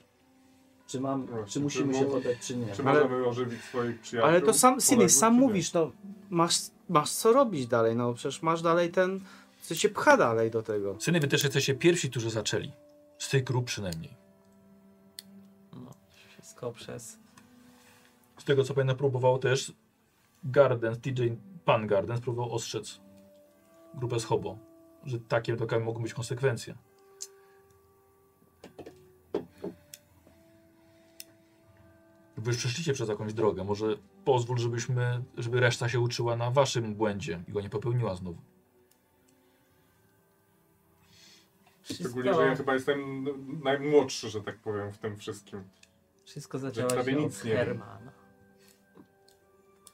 Czy, mam, Właśnie, czy czy musimy się mogę- poddać, czy nie. Czy Ale- możemy ożywić swoich przyjaciół? Ale to sam, Sydney, Poległych, sam czy nie? mówisz, no masz, masz co robić dalej, no przecież masz dalej ten, co cię pcha dalej do tego. Syny, wy też jesteście pierwsi, którzy zaczęli. Z tych grup przynajmniej. Wszystko przez Z tego co pamiętam, próbował też Gardens, DJ Pan Gardens próbował ostrzec grupę z Hobo, że takie taka mogą być konsekwencje. Wy już przeszliście przez jakąś drogę. Może pozwól, żebyśmy, żeby reszta się uczyła na waszym błędzie i go nie popełniła znowu. Szczególnie, wszystko, że ja chyba jestem najmłodszy, że tak powiem, w tym wszystkim. wszystko zaczęło prawie się od nic nie wiem. Hermana,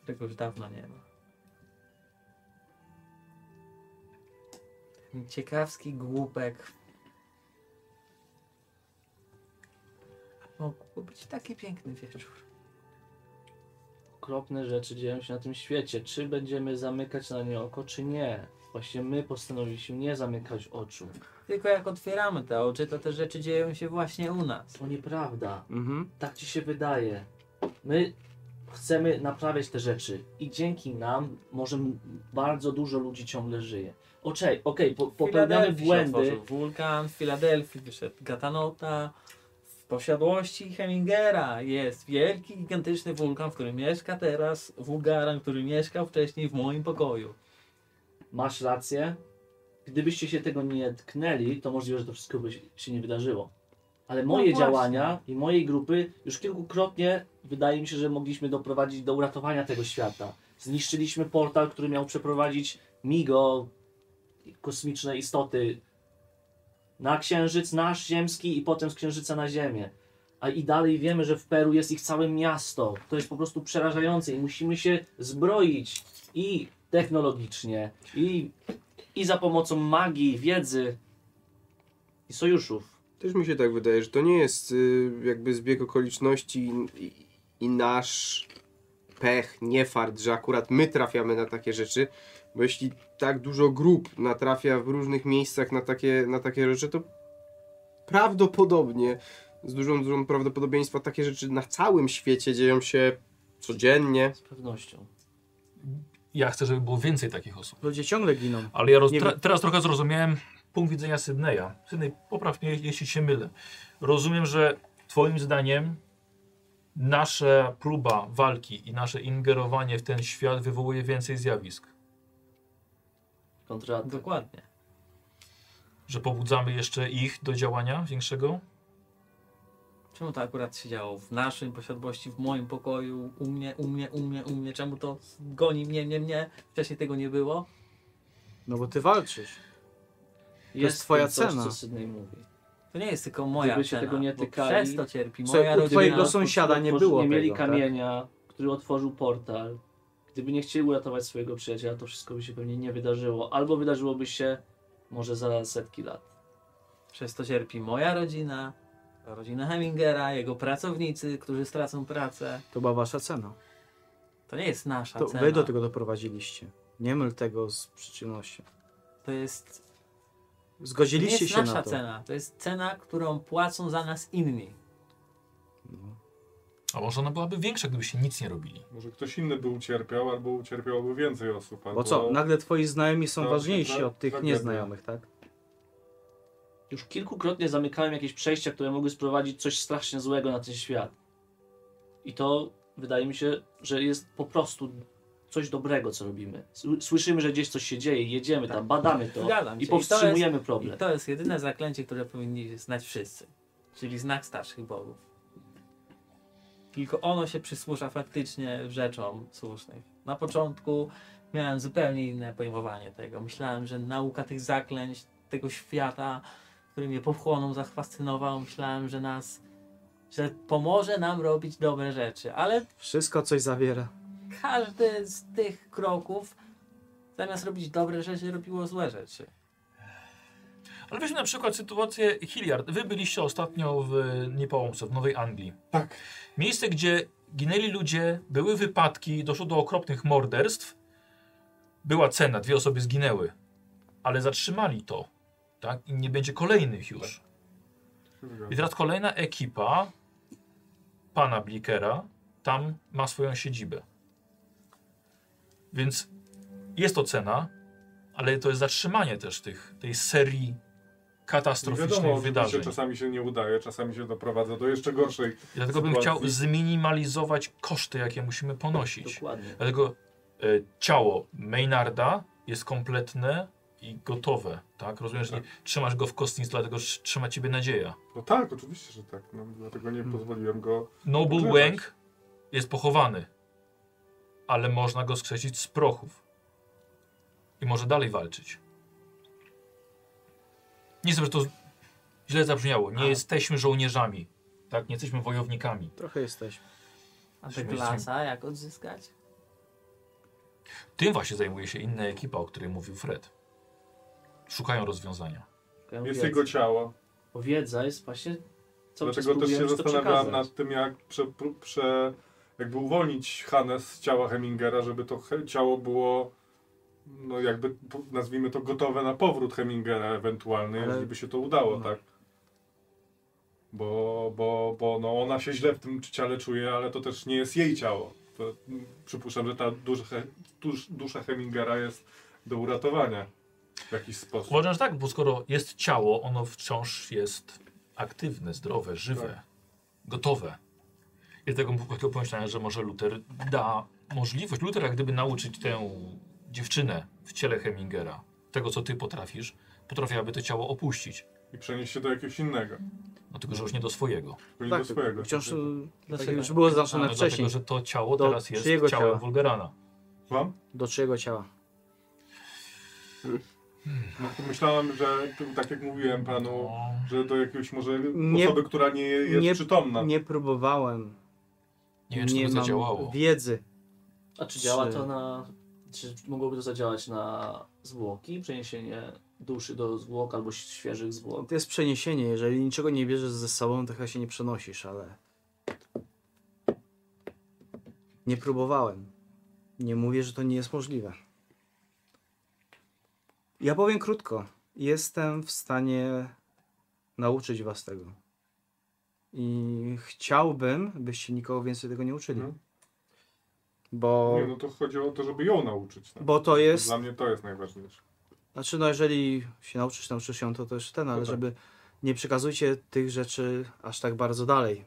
którego już dawno nie ma. Ten Ciekawski głupek. A Mógł być taki piękny wieczór. Okropne rzeczy dzieją się na tym świecie. Czy będziemy zamykać na nie oko, czy nie? Właśnie my postanowiliśmy nie zamykać oczu. Tylko jak otwieramy te oczy, to te rzeczy dzieją się właśnie u nas. To nieprawda. Mhm. Tak ci się wydaje. My chcemy naprawiać te rzeczy i dzięki nam może m- bardzo dużo ludzi ciągle żyje. Okej, okej, po, popełniamy Filadelfii się błędy. otworzył Wulkan w Filadelfii wyszedł Gatanota. W posiadłości Hemingera jest wielki, gigantyczny wulkan, w którym mieszka teraz wulgaran, który mieszkał wcześniej w moim pokoju. Masz rację. Gdybyście się tego nie tknęli, to możliwe, że to wszystko by się nie wydarzyło. Ale moje właśnie. działania i mojej grupy już kilkukrotnie wydaje mi się, że mogliśmy doprowadzić do uratowania tego świata. Zniszczyliśmy portal, który miał przeprowadzić Migo, kosmiczne istoty, na księżyc nasz ziemski i potem z księżyca na ziemię. A i dalej wiemy, że w Peru jest ich całe miasto. To jest po prostu przerażające i musimy się zbroić i technologicznie, i, i za pomocą magii, wiedzy i sojuszów. Też mi się tak wydaje, że to nie jest y, jakby zbieg okoliczności i, i, i nasz pech, nie fart, że akurat my trafiamy na takie rzeczy, bo jeśli tak dużo grup natrafia w różnych miejscach na takie, na takie rzeczy, to prawdopodobnie, z dużą, dużą prawdopodobieństwa takie rzeczy na całym świecie dzieją się codziennie. Z pewnością. Ja chcę, żeby było więcej takich osób. Ludzie ciągle giną. Ale ja roz... Nie tra- wiem. teraz trochę zrozumiałem punkt widzenia Sydneya. Sydney, popraw mnie, jeśli się mylę. Rozumiem, że Twoim zdaniem nasza próba walki i nasze ingerowanie w ten świat wywołuje więcej zjawisk. Kontra Dokładnie. Że pobudzamy jeszcze ich do działania większego? Czemu to akurat się działo w naszej posiadłości, w moim pokoju, u mnie, u mnie, u mnie, u mnie? Czemu to goni mnie, mnie, mnie? Wcześniej tego nie było. No bo ty walczysz. jest w tym twoja coś, cena. co Sydney mówi. To nie jest tylko moja Gdyby się cena, tego nie bo tykali, przez to cierpi Co, moja u rodzina. twojego Gdyby sąsiada nie otworzyli- było Nie mieli tego, tak? kamienia, który otworzył portal. Gdyby nie chcieli uratować swojego przyjaciela, to wszystko by się pewnie nie wydarzyło. Albo wydarzyłoby się może za setki lat. Przez to cierpi moja rodzina, rodzina Hemingera, jego pracownicy, którzy stracą pracę. To była wasza cena. To nie jest nasza To cena. wy do tego doprowadziliście. Nie myl tego z przyczynnością. To jest To nie Zgodziliście jest się nasza na to. cena. To jest cena, którą płacą za nas inni. No. A może ona byłaby większa, gdyby się nic nie robili? Może ktoś inny by ucierpiał, albo ucierpiałoby więcej osób. Albo... Bo co, nagle twoi znajomi są to- ważniejsi to- od tych to- nieznajomych, tak? Już kilkukrotnie zamykałem jakieś przejścia, które mogły sprowadzić coś strasznie złego na ten świat. I to wydaje mi się, że jest po prostu coś dobrego, co robimy. Sły- Słyszymy, że gdzieś coś się dzieje, jedziemy Tak. tam, badamy to Zgadzam i się. I to powstrzymujemy I problem. to jest jedyne zaklęcie, które powinni znać wszyscy. Czyli znak starszych bogów. Tylko ono się przysłusza faktycznie rzeczom słusznych. Na początku miałem zupełnie inne pojmowanie tego. Myślałem, że nauka tych zaklęć, tego świata, który mnie pochłonął, zafascynował, myślałem, że nas, że pomoże nam robić dobre rzeczy. Ale Wszystko coś zawiera. każdy z tych kroków zamiast robić dobre rzeczy, robiło złe rzeczy. Ale weźmy na przykład sytuację Hilliard. Wy byliście ostatnio w e, nie połączę, w Nowej Anglii. Tak. Miejsce, gdzie ginęli ludzie, były wypadki, doszło do okropnych morderstw. Była cena, dwie osoby zginęły. Ale zatrzymali to. Tak? I nie będzie kolejnych już. I teraz kolejna ekipa pana Blikera tam ma swoją siedzibę. Więc jest to cena, ale to jest zatrzymanie też tych, tej serii Nie katastroficznych wiadomo, wydarzeń. wydarzeń. czasami się nie udaje, czasami się doprowadza do jeszcze gorszej. Dlatego bym sytuacji. chciał zminimalizować koszty, jakie musimy ponosić. Dokładnie. Dlatego e, ciało Maynarda jest kompletne i gotowe, tak? Rozumiem, że nie, trzymasz go w kostnicy, dlatego że trzyma ciebie nadzieja. No tak, oczywiście, że tak. No, dlatego Hmm. nie pozwoliłem go. Noble Pogrzebać. Łęk No jest pochowany, ale można go skrzesić z prochów i może dalej walczyć. Nie chcę, że to źle zabrzmiało. Nie jesteśmy żołnierzami, tak? Nie jesteśmy wojownikami. Trochę jesteśmy. A te Śmiesznie. klasa, jak odzyskać? Tym właśnie zajmuje się inna ekipa, o której mówił Fred. Szukają rozwiązania. Jest jego ciało. Bo wiedza jest właśnie cały czas Dlatego też się próbujemy ci to zastanawiałam przekazać. nad tym, jak prze, pró- prze, jakby uwolnić Hanę z ciała Hemingera, żeby to he, ciało było, no jakby po- nazwijmy to gotowe na powrót Hemingera ewentualny, Ale- jeżeli by się to udało, no. tak? Bo, bo, bo no ona się źle w tym ciele czuje, ale to też nie jest jej ciało. To mm, przypuszczam, że ta dusza, He- dusz, dusza Hemingera jest do uratowania w jakiś sposób. Uważam, że tak, bo skoro jest ciało, ono wciąż jest aktywne, zdrowe, żywe, Tak. gotowe. I dlatego m- dlatego pomyślałem, że może Luther da możliwość, Luther, jak gdyby nauczyć tę dziewczynę w ciele Hemingera tego, co ty potrafisz, potrafiłaby to ciało opuścić. I przenieść się do jakiegoś innego. No tylko, że już nie do swojego. Pójść Tak, do swojego. Wciąż y, tak Dlaczego? jak już było No, zaznaczone wcześniej. dlatego, że to ciało Do teraz jest czyjego ciałem ciała? Wolgerana. Mam? Do czyjego ciała? No, myślałem, że tu, tak jak mówiłem panu, że do jakiegoś może Nie- osoby, która nie jest nie- przytomna. Nie próbowałem. Nie wiem, czy to by mam zadziałało. wiedzy. A czy działa Czy- to na. Czy mogłoby to zadziałać na zwłoki? Przeniesienie duszy do zwłok albo świeżych zwłok? No, To jest przeniesienie. Jeżeli niczego nie bierzesz ze sobą, to chyba się nie przenosisz, ale... Nie próbowałem. Nie mówię, że to nie jest możliwe. Ja powiem krótko. Jestem w stanie nauczyć was tego. I chciałbym, byście nikogo więcej tego nie uczyli. Mhm. Bo, Nie, no to chodziło o to, żeby ją nauczyć. tak. bo to jest... Dla mnie to jest najważniejsze. Znaczy, no jeżeli się nauczysz, nauczysz się, to też No ten, ale tak. żeby nie przekazujcie tych rzeczy aż tak bardzo dalej.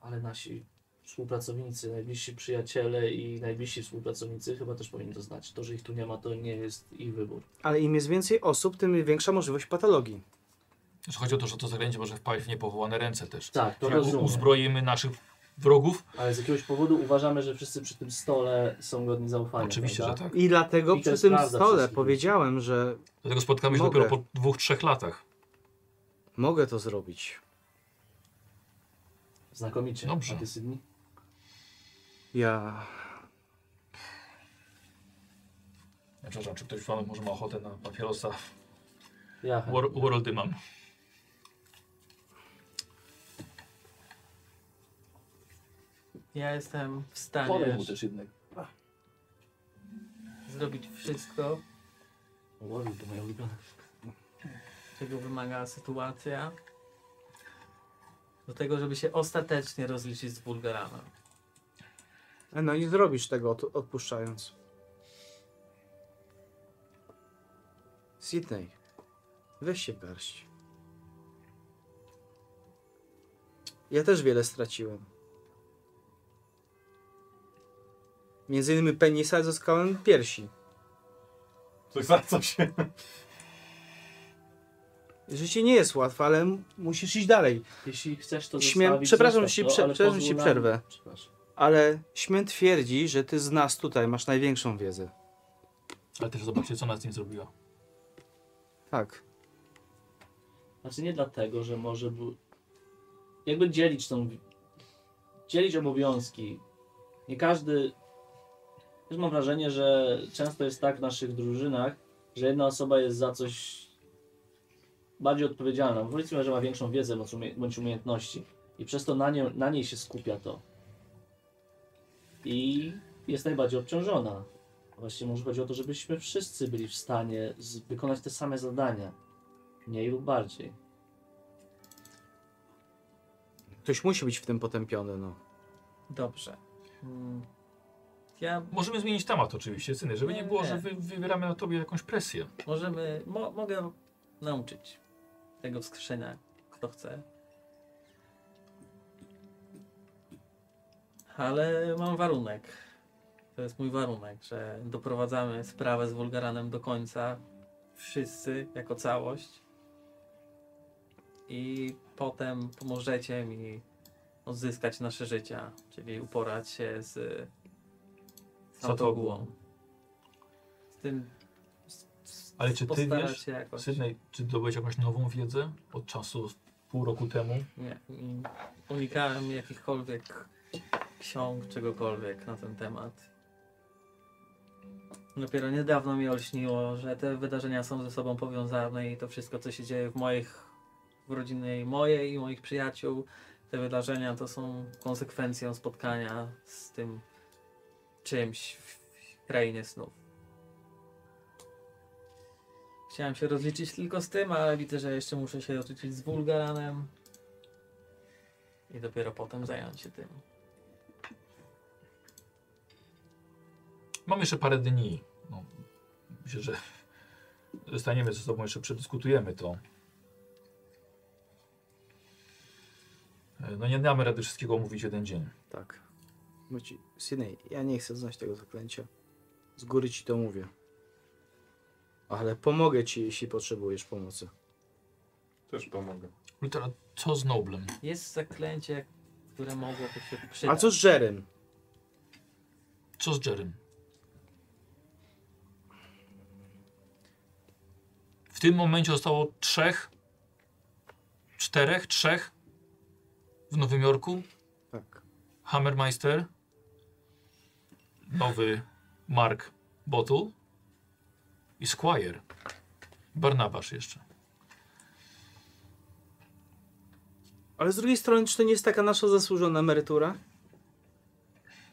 Ale nasi współpracownicy, najbliżsi przyjaciele i najbliżsi współpracownicy chyba też powinni to znać. To, że ich tu nie ma, to nie jest ich wybór. Ale im jest więcej osób, tym większa możliwość patologii. Że Znaczy, Chodzi o to, że to zaklęcie może wpaść w niepowołane ręce też. Tak, to Czyli u- rozumiem. uzbroimy naszych wrogów? Ale z jakiegoś powodu uważamy, że wszyscy przy tym stole są godni zaufania. Oczywiście, że prawda? tak. I dlatego I to przy jest tym prawda stole wszystkim. powiedziałem, że Dlatego spotkamy się Mogę. dopiero po dwóch, trzech latach. mogę to zrobić. Znakomicie. Dobrze. A ty, Sydney? Ja. Ja Przepraszam, czy ktoś z panów może ma ochotę na papierosa? Ja. Wor- Worldy mam. Ja jestem w Podaj stanie mu też jednego. zrobić wszystko, Łowił to moja ulubiona. czego wymaga sytuacja. Do tego, żeby się ostatecznie rozliczyć z Bulgaranem. E, No nie zrobisz tego od, odpuszczając. Sydney, weź się w garść. Ja też wiele straciłem. Między innymi penisa zyskałem piersi. Coś za co się. Życie nie jest łatwe, ale m- musisz iść dalej. Jeśli chcesz to Śmiem- zostawić, przepraszam, zostaw że ci to, prze- ale przepraszam, że ci pozwól nam- przerwę. Przepraszam. Ale śmiem twierdzi, że ty z nas tutaj masz największą wiedzę. Ale też zobaczcie, co ona z nim zrobiła. Tak. Znaczy nie dlatego, że może był... Jakby dzielić tą... wi- Dzielić obowiązki. Nie każdy... Też mam wrażenie, że często jest tak w naszych drużynach, że jedna osoba jest za coś bardziej odpowiedzialna. Bo Powiedzmy, że ma większą wiedzę bądź umie- bądź umiejętności. I przez to na, nie, na niej się skupia to. I jest najbardziej obciążona. Właściwie może chodzi o to, żebyśmy wszyscy byli w stanie z, wykonać te same zadania. Mniej lub bardziej. Ktoś musi być w tym potępiony, no. Dobrze. Mm. Ja Możemy zmienić temat oczywiście, syny, żeby nie było, Nie. że wy, wywieramy na tobie jakąś presję. możemy, mo, mogę nauczyć tego wskrzeszenia, kto chce. Ale mam warunek. To jest mój warunek, że doprowadzamy sprawę z Wulgaranem do końca. Wszyscy, jako całość. I potem pomożecie mi odzyskać nasze życia, czyli uporać się z, z Satogłą. autogłą. Z tym. z- z- Ale czy ty postarać wiesz? Się jakoś. Sydney, czy zdobyłeś jakąś nową wiedzę od czasu pół roku temu? Nie, mm, unikałem jakichkolwiek ksiąg, czegokolwiek na ten temat. Dopiero niedawno mi olśniło, że te wydarzenia są ze sobą powiązane i to wszystko, co się dzieje w moich, w rodzinie mojej i moich przyjaciół, te wydarzenia to są konsekwencją spotkania z tym czymś w w krainie snów. Chciałem się rozliczyć tylko z tym, ale widzę, że jeszcze muszę się rozliczyć z Bulgaranem. I dopiero potem zająć się tym. Mam jeszcze parę dni. No, myślę, że zostaniemy ze sobą, jeszcze przedyskutujemy to. E, No nie damy rady wszystkiego omówić w jeden dzień. Tak. Mówi, Sydney, ja nie chcę znać tego zaklęcia. Z góry ci to mówię. Ale pomogę ci, jeśli potrzebujesz pomocy. Też pomogę. Lutera, co z Noblem? Jest zaklęcie, które mogłoby się przydać. A co z Jerem? Co z Jerem? W tym momencie zostało trzech, czterech, trzech w Nowym Jorku. Tak. Hammermeister, nowy Mark Bottle i Squire. Barnabasz jeszcze. Ale z drugiej strony, czy to nie jest taka nasza zasłużona emerytura?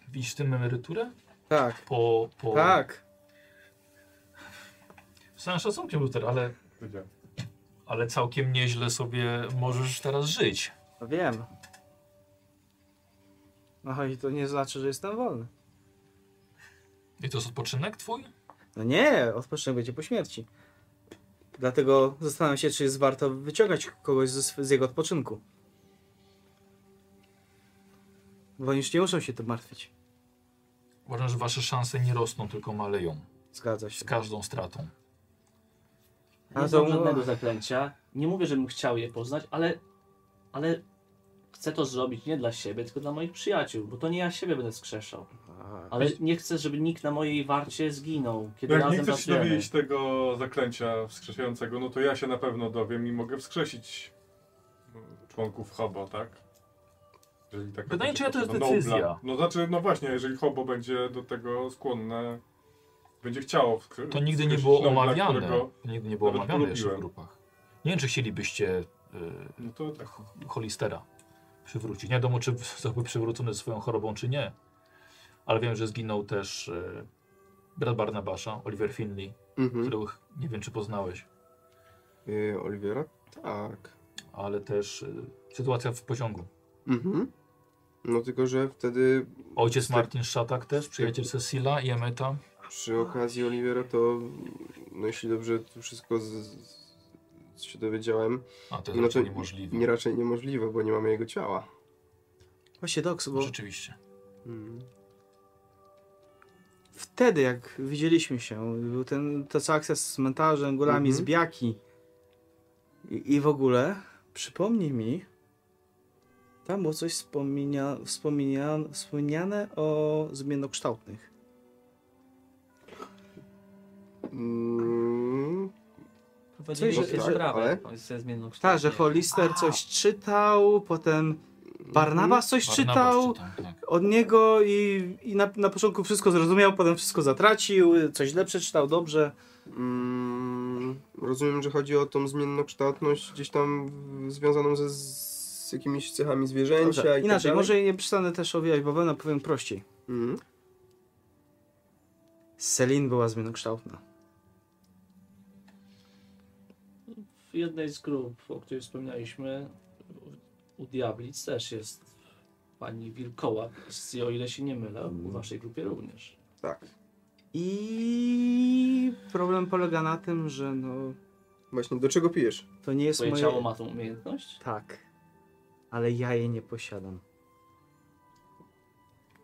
Widzisz w tym emeryturę? Tak. Po, po... Tak. Z całym szacunkiem, Luther, ale, Wiedziałem. ale całkiem nieźle sobie możesz teraz żyć. No wiem. No i to nie znaczy, że jestem wolny. I to jest odpoczynek twój? No nie, odpoczynek będzie po śmierci. Dlatego zastanawiam się, czy jest warto wyciągać kogoś ze, sw- z jego odpoczynku. Bo oni już nie muszą się tym martwić. Uważam, że wasze szanse nie rosną, tylko maleją. Zgadza się. Z każdą stratą. A Nie to- znam żadnego zaklęcia. Nie mówię, żebym chciał je poznać, ale, ale chcę to zrobić nie dla siebie, tylko dla moich przyjaciół, bo to nie ja siebie będę skrzeszał. Ale nie chcę, żeby nikt na mojej warcie zginął, kiedy Jak nie razem chcesz się pracujemy. dowiedzieć tego zaklęcia wskrzeszającego, no to ja się na pewno dowiem i mogę wskrzesić mm, członków Hobo, tak? Jeżeli taka Pytanie, będzie czy ja to jest potrzeba. No, decyzja? bla- No znaczy, no właśnie, jeżeli Hobo będzie do tego skłonne, będzie chciało wskrzesić To nigdy nie było omawiane. Którego, To nigdy nie było nawet omawiane jeszcze w polubiłem. grupach. Nie wiem, czy chcielibyście y, no to tak. Holistera przywrócić. Nie wiadomo, czy zostałby przywrócony swoją chorobą, czy nie. Ale wiem, że zginął też e, brat Barnabasza, Oliver Finley, Mhm. którego ch- nie wiem, czy poznałeś, Yy, Oliwiera? Tak. ale też e, sytuacja w pociągu. Mhm. No tylko, że wtedy Ojciec Tak. Martin Szatak też, przyjaciel Cecila i Emeta. przy okazji Oliwiera to, no jeśli dobrze to wszystko z, z, się dowiedziałem, A, to no jest to raczej niemożliwe. nie raczej niemożliwe, bo nie mamy jego ciała. Właśnie Doks, bo Rzeczywiście. Mhm. wtedy jak widzieliśmy się, był ten, to co akces z cmentarzem, górami, Mhm. z biaki I, i w ogóle, przypomnij mi, tam było coś wspomnienia, wspomnienia, wspomniane o zmienokształtnych. Mm, Powiedzieli, Coś, że to jest tak, ale- sprawa ale... ze zmienną Tak, że Hollister coś czytał, potem Mhm. Barnabas coś czytał, Barnabas czytał, tak. od niego i, i na, na początku wszystko zrozumiał, potem wszystko zatracił, coś źle przeczytał, dobrze. Mm, rozumiem, że chodzi o tą zmiennokształtność gdzieś tam w- związaną ze z jakimiś cechami zwierzęcia Dobrze, i tak Inaczej, dalej. może nie przestanę też owijać bawełnę, powiem prościej. Mhm. Selin była zmienokształtna. W jednej z grup, o której wspominaliśmy, u Diablic też jest pani Wilkołak, z- o ile się nie mylę, w waszej grupie również. Tak. I problem polega na tym, że no, Właśnie, do czego pijesz? to nie jest Twoje moje... ciało ma tą umiejętność? Tak, ale ja jej nie posiadam.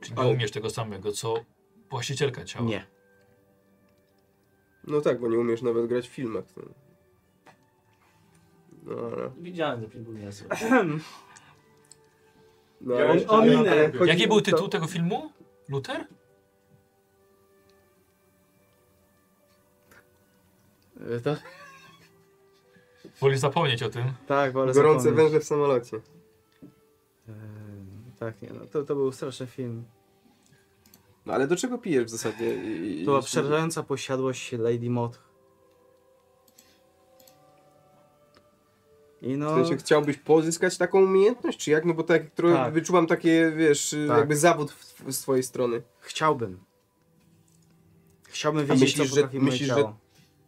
Czy nie Ale- umiesz tego samego, co właścicielka ciała? Nie. No tak, bo nie umiesz nawet grać w filmach. No, no ale... Widziałem, że film był niezły. No, Ja ale jeszcze nie ominę. nadrobię. Chodzi- Jaki był tytuł tego filmu? Luther? E, Y, To, tak? Wolisz zapomnieć o tym? tak, wolę Gorące zapomnieć. węże w samolocie. Em, Tak, nie, no, to, to był straszny film. No ale do czego pijesz w zasadzie? I, i, To była jeśli- przerażająca posiadłość Lady Moth. I W no, sensie chciałbyś pozyskać taką umiejętność, czy jak? No bo tak, trochę Tak. wyczuwam takie, wiesz, y, Tak. jakby zawód w, z twojej strony. chciałbym. Chciałbym A wiedzieć, myślisz, co że- potrafi moje myślisz, że- ciało.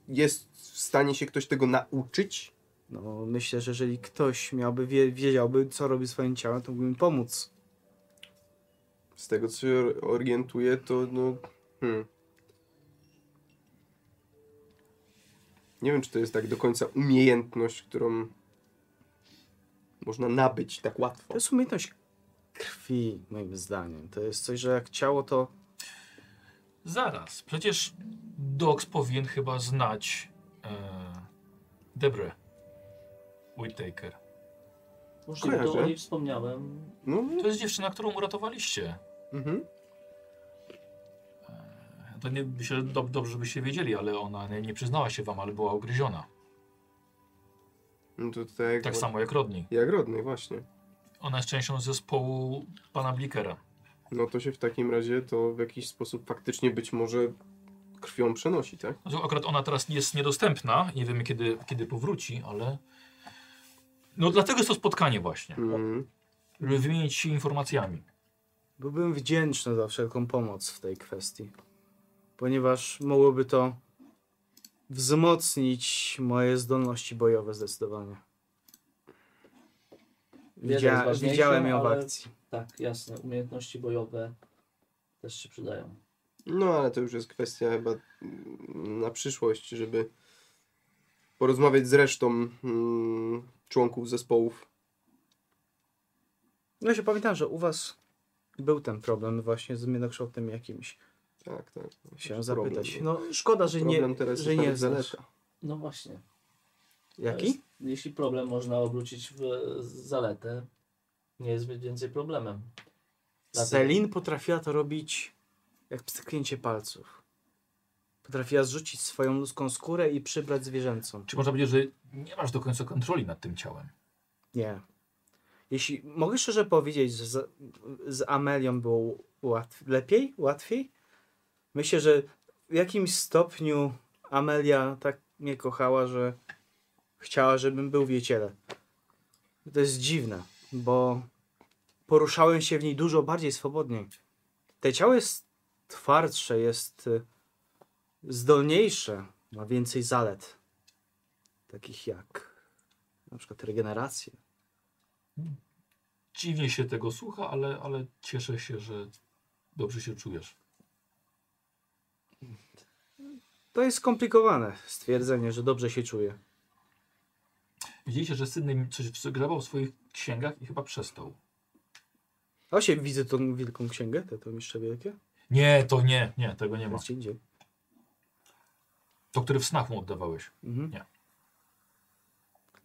Jest w stanie się ktoś tego nauczyć? No, myślę, że jeżeli ktoś miałby, wie, wiedziałby, co robi swoim ciałem, to mógłby mi pomóc. Z tego, co się orientuję, to no... Hmm. Nie wiem, czy to jest tak do końca umiejętność, którą można nabyć tak łatwo. To jest umiejętność krwi, moim zdaniem. To jest coś, że jak ciało to... Zaraz, przecież Dox powinien chyba znać e, Debre. Whittaker. Możliwe, to Kojarzę. o niej wspomniałem. No, To jest dziewczyna, którą uratowaliście. mhm. To nie, myślę, że dob, dobrze byście wiedzieli, ale ona nie, nie przyznała się wam, ale była ugryziona. no to tak, Tak samo jak Rodney. Jak rodny, właśnie. Ona jest częścią zespołu pana Blikera. No to się w takim razie to w jakiś sposób faktycznie być może krwią przenosi, tak? Znaczy, Akurat ona teraz jest niedostępna, nie wiemy kiedy, kiedy powróci, ale... No dlatego jest to spotkanie właśnie, Mm. żeby wymienić się informacjami. Byłbym wdzięczny za wszelką pomoc w tej kwestii. Ponieważ mogłoby to wzmocnić moje zdolności bojowe zdecydowanie. Wiedza jest Widzia, ważniejsza, widziałem ją w ale- akcji. Tak, jasne. Umiejętności bojowe też się przydają. No ale to już jest kwestia chyba mm, na przyszłość, żeby porozmawiać z resztą mm, członków zespołów. No się pamiętam, że u was był ten problem właśnie z mienokształtem jakimś. Tak, tak. Chciałem Problem zapytać. był. No szkoda, że nie, Problem teraz że jest tak nie nawet znasz. zaleta. No właśnie. To Jaki? jest- Jeśli problem można obrócić w zaletę, nie jest więcej problemem. Dlatego- Selin potrafiła to robić jak pstryknięcie palców. Potrafiła zrzucić swoją ludzką skórę i przybrać zwierzęcą. Czy można powiedzieć, że nie masz do końca kontroli nad tym ciałem? Nie. Jeśli mogę szczerze powiedzieć, że z, z Amelią było łatw, lepiej, łatwiej. Myślę, że w jakimś stopniu Amelia tak mnie kochała, że chciała, żebym był w jej ciele. To jest dziwne, bo poruszałem się w niej dużo bardziej swobodnie. Te ciało jest twardsze, jest y, zdolniejsze, ma więcej zalet. Takich jak na przykład regenerację. Dziwnie się tego słucha, ale, ale cieszę się, że dobrze się czujesz. To jest skomplikowane stwierdzenie, że dobrze się czuję. Widzieliście, że Sydney coś grzebał w swoich księgach i chyba przestał. A się widzę tą wielką księgę, te to jeszcze wielkie. Nie, to nie, nie, tego nie To ma. jest gdzie indziej. To, który w snach mu oddawałeś. Mhm. Nie.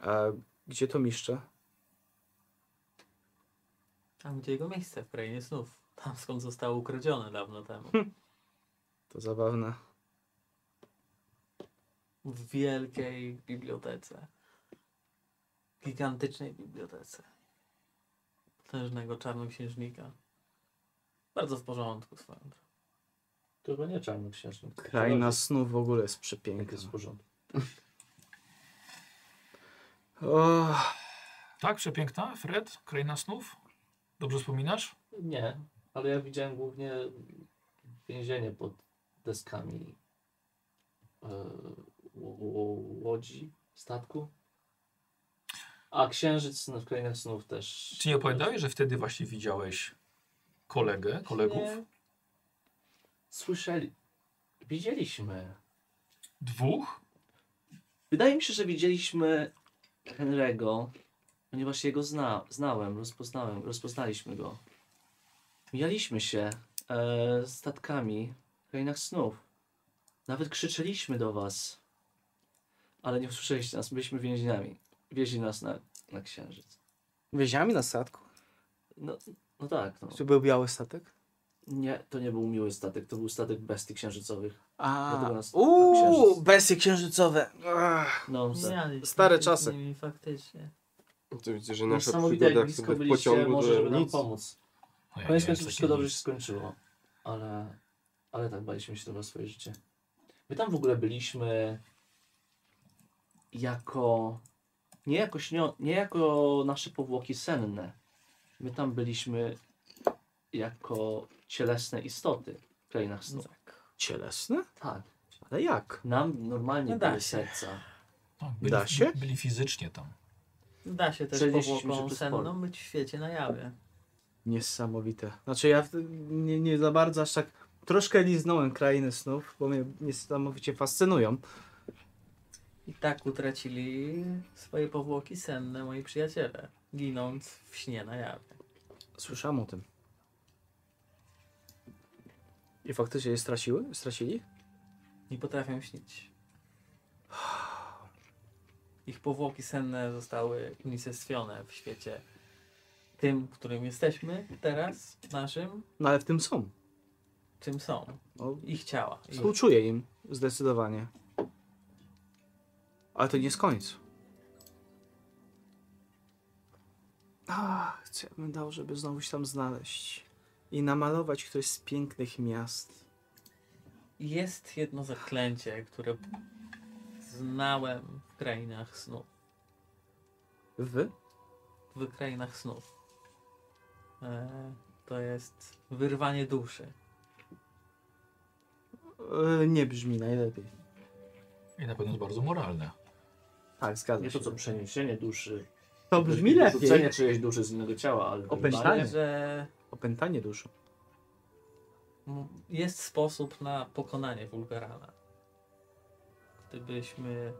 A gdzie to miszcze? Tam, gdzie jego miejsce w krainie snów. Tam, skąd zostało ukradzione dawno temu. To zabawne. W wielkiej bibliotece. Gigantycznej bibliotece. Potężnego czarnoksiężnika. Bardzo w porządku swoją drogą. To chyba nie czarnoksiężnik. Kraina Zobaczysz, snów w ogóle jest jak jest przepiękna. w porządku. O, Tak, przepiękna, Fred, kraina snów. Dobrze wspominasz? Nie, ale ja widziałem głównie więzienie pod deskami e, ł- ł- łodzi, statku. A księżyc w krainach snów też. Czy nie opowiadałeś, że wtedy właśnie widziałeś kolegę, kolegów? Nie. Słyszeli. Widzieliśmy. Dwóch? Wydaje mi się, że widzieliśmy Henry'ego, ponieważ jego zna, znałem, rozpoznałem, rozpoznaliśmy go. Mijaliśmy się e, statkami w krainach snów. Nawet krzyczeliśmy do was, ale nie usłyszeliście nas, byliśmy więźniami. Wieźli nas na, na księżyc. Wieziami na statku? No, no tak, no. Czy był biały statek? Nie, to nie był miły statek, to był statek bestii księżycowych. A, Dlatego nas- uuu, księżyc. bestie księżycowe. Ach, No, za- Mieliśmy stare z czasy. nimi Faktycznie. To widzę, że nasza Niesamowite, jak przygoda blisko chyba w byliście, pociągu może do żeby nam nic. pomóc. No ja Koniec nie wiem, końców takie wszystko dobrze nic. się skończyło, ale, ale tak baliśmy się trochę o swoje życie. My tam w ogóle byliśmy jako, nie jako, śnio, nie jako nasze powłoki senne. My tam byliśmy jako cielesne istoty w krainach No No. snu. tak. cielesne? Tak, Ale jak? nam normalnie No da były się. serca. No, byli, Da się? Byli fizycznie tam. Da się też Przenieśliśmy się powłoką przez senną pole. być w świecie na jawie. Niesamowite. Znaczy ja w- nie, nie za bardzo aż tak troszkę liznąłem krainy snów, bo mnie niesamowicie fascynują. I tak utracili swoje powłoki senne moi przyjaciele, ginąc w śnie na jawie. Słyszałem o tym. I faktycznie je straciły? Stracili? Nie potrafią śnić. Ich powłoki senne zostały unicestwione w świecie tym, którym jesteśmy teraz, naszym, No ale w tym są. czym są. No, Ich ciała. Ich... współczuję im zdecydowanie. Ale to nie jest koniec. Ach, co ja bym dał, żeby znowu się tam znaleźć. I namalować któreś z pięknych miast. Jest jedno zaklęcie, które znałem w krainach snu. Wy? w krainach snów. E, to jest wyrwanie duszy. E, nie brzmi najlepiej. I na pewno jest bardzo moralne. Tak, zgadzam Nie się. to co przeniesienie duszy. To brzmi lepiej. Rzucenie czyjejś duszy z innego ciała, ale Opętanie. wyrwanie- Że Opętanie duszy. m- jest sposób na pokonanie Wulgarana. Gdybyśmy.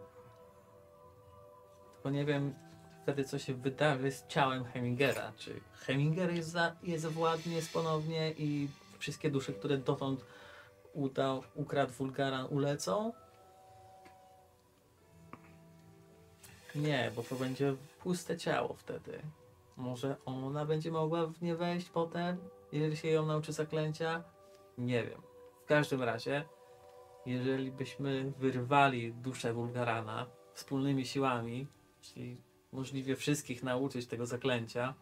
Bo nie wiem wtedy, co się wydarzy z ciałem Hemingera. Czy Heminger jest, za, jest władny, jest ponownie i wszystkie dusze, które dotąd udał, ukradł Wulgaran, ulecą? Nie, bo to będzie puste ciało wtedy. Może ona będzie mogła w nie wejść potem, jeżeli się ją nauczy zaklęcia? Nie wiem. W każdym razie, jeżeli byśmy wyrwali duszę Wulgarana wspólnymi siłami, czyli możliwie wszystkich nauczyć tego zaklęcia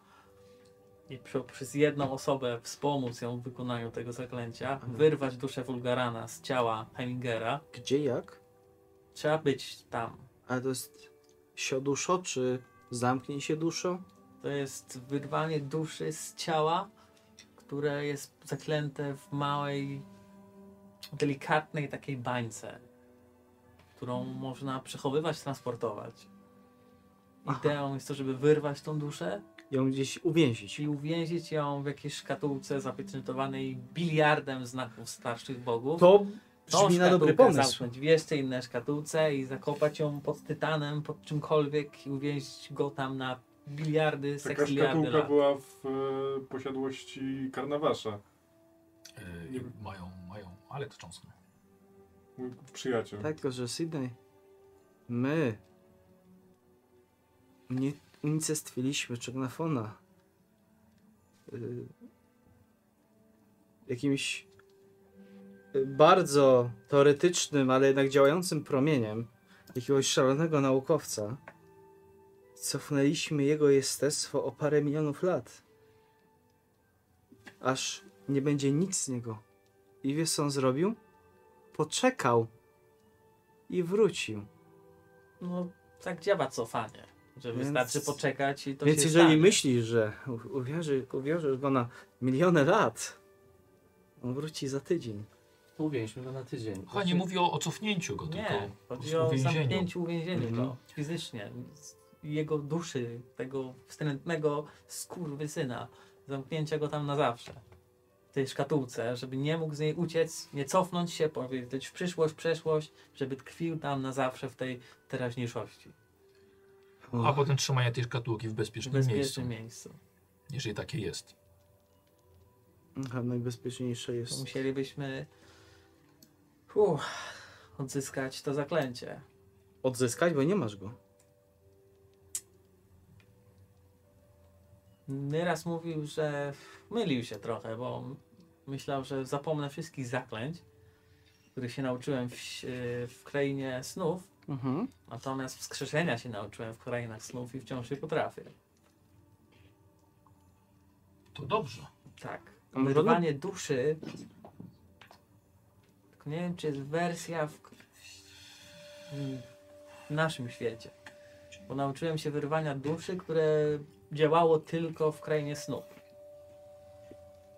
i przy, przez jedną osobę wspomóc ją w wykonaniu tego zaklęcia, wyrwać duszę Wulgarana z ciała Hemingera, Gdzie, jak? trzeba być tam. Ale to jest sioduszo, czy zamknij się duszo? To jest wyrwanie duszy z ciała, które jest zaklęte w małej, delikatnej takiej bańce, którą można przechowywać, transportować. Aha. Ideą jest to, żeby wyrwać tą duszę Ją gdzieś uwięzić. i uwięzić ją w jakiejś szkatułce zapieczętowanej biliardem znaków starszych bogów. To Tą brzmi na dobry szkatułkę pomysł. Zamknąć w jeszcze inne szkatułce i zakopać ją pod tytanem, pod czymkolwiek i uwięzić go tam na biliardy, Taka seksiliardy szkatułka lat. była w e, posiadłości Karnawasza, Yy, mają, mają, ale to cząsne. mój przyjaciel. Tak, tylko że Sydney, my nie unicestwiliśmy Czegnafona y, jakimś y, bardzo teoretycznym, ale jednak działającym promieniem jakiegoś szalonego naukowca. Cofnęliśmy jego jestestwo o parę milionów lat. Aż nie będzie nic z niego. I wiesz co on zrobił? Poczekał i wrócił. No, tak działa cofanie. Że Więc- wystarczy poczekać i to Więc się jeżeli stanie. myślisz, że u- uwierzy, uwierzysz go na miliony lat, on wróci za tydzień. Uwięźmy go na tydzień. Chyba nie mówię o, o cofnięciu go, tylko Nie, o chodzi o uwięzieniu. zamknięciu, uwięzieniu Mhm. go fizycznie. z- Jego duszy, tego wstrętnego skurwysyna. Zamknięcia go tam na zawsze. W tej szkatułce, żeby nie mógł z niej uciec, nie cofnąć się, powiedzieć w przyszłość, przeszłość, żeby tkwił tam na zawsze w tej teraźniejszości. A potem trzymanie tej szkatułki w W bezpiecznym, miejscu, bezpiecznym miejscu. jeżeli takie jest. Aha, najbezpieczniejsze To jest. musielibyśmy uff, odzyskać to zaklęcie. Odzyskać, bo nie masz go. Nieraz mówił, że mylił się trochę, bo myślał, że zapomnę wszystkich zaklęć, których się nauczyłem w, ś- w krainie snów, Mhm. natomiast wskrzeszenia się nauczyłem w krainach snów i wciąż je potrafię. To dobrze. Tak. A może Wyrwanie duszy. Tylko nie wiem, czy jest wersja w, w naszym świecie. Bo nauczyłem się wyrwania duszy, które działało tylko w krainie snów.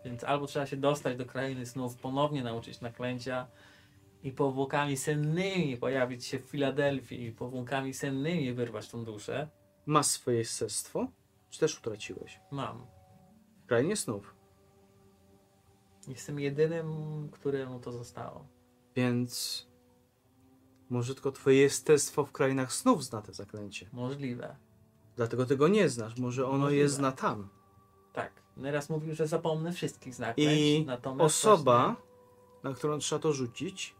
Więc albo trzeba się dostać do krainy snów, ponownie nauczyć naklęcia i powłokami sennymi pojawić się w Filadelfii i powłokami sennymi wyrwać tą duszę. Masz swoje sestwo, czy też utraciłeś? Mam. Krainie snów. Jestem jedynym, któremu to zostało. Więc Może tylko twoje jestestwo w krainach snów zna te zaklęcie. Możliwe. Dlatego tego nie znasz. Może ono je Możliwe. zna tam. Tak. Neraz mówił, że zapomnę wszystkich znaków. I natomiast Osoba, na którą trzeba to rzucić,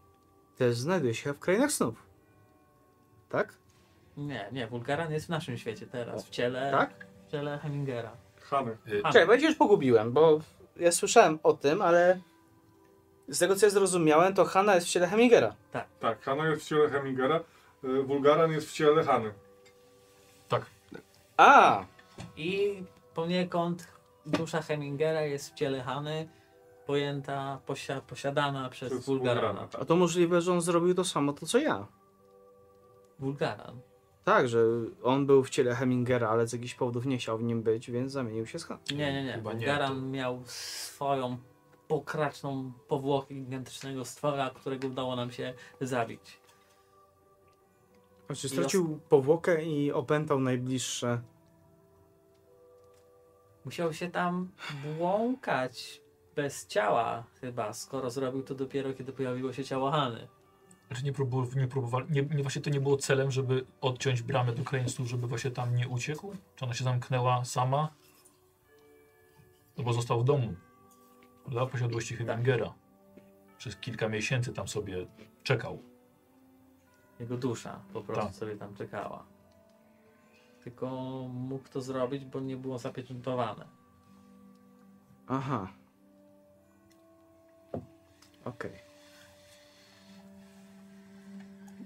też znajduje się w krainach snów. Tak? Właśnie... Nie, nie, Wulgaran jest w naszym świecie teraz, w ciele, Tak? w ciele Hemingera. Hany. A, Czekaj, bo ja się już pogubiłem, bo ja słyszałem o tym, ale z tego co ja zrozumiałem, to Hanna jest w ciele Hemingera. Tak, Hana jest w ciele Hemingera, y, Wulgaran jest w ciele Hany. Tak. A! I poniekąd dusza Hemingera jest w ciele Hany, pojęta, posia, posiadana To przez jest Wulgarana. A tak. to możliwe, że on zrobił to samo, to co ja. Wulgaran. Tak, że on był w ciele Hemingera, ale z jakichś powodów nie chciał w nim być, więc zamienił się z Haną. Nie, nie, nie. Chyba nie, Wulgaran to- miał swoją pokraczną powłokę gigantycznego stwora, którego udało nam się zabić. Znaczy Jas- stracił powłokę i opętał najbliższe. Musiał się tam błąkać bez ciała chyba, skoro zrobił to dopiero, kiedy pojawiło się ciało Hany. Znaczy nie, próbu- nie próbowali, nie, nie właśnie to nie było celem, żeby odciąć bramę do krańców, żeby właśnie tam nie uciekł? Czy ona się zamknęła sama? No bo został w domu. Dla posiadłości Hemingera. Przez kilka miesięcy tam sobie czekał. Jego dusza po prostu Tak. sobie tam czekała. Tylko mógł to zrobić, bo nie było zapieczętowane. Aha. Okej.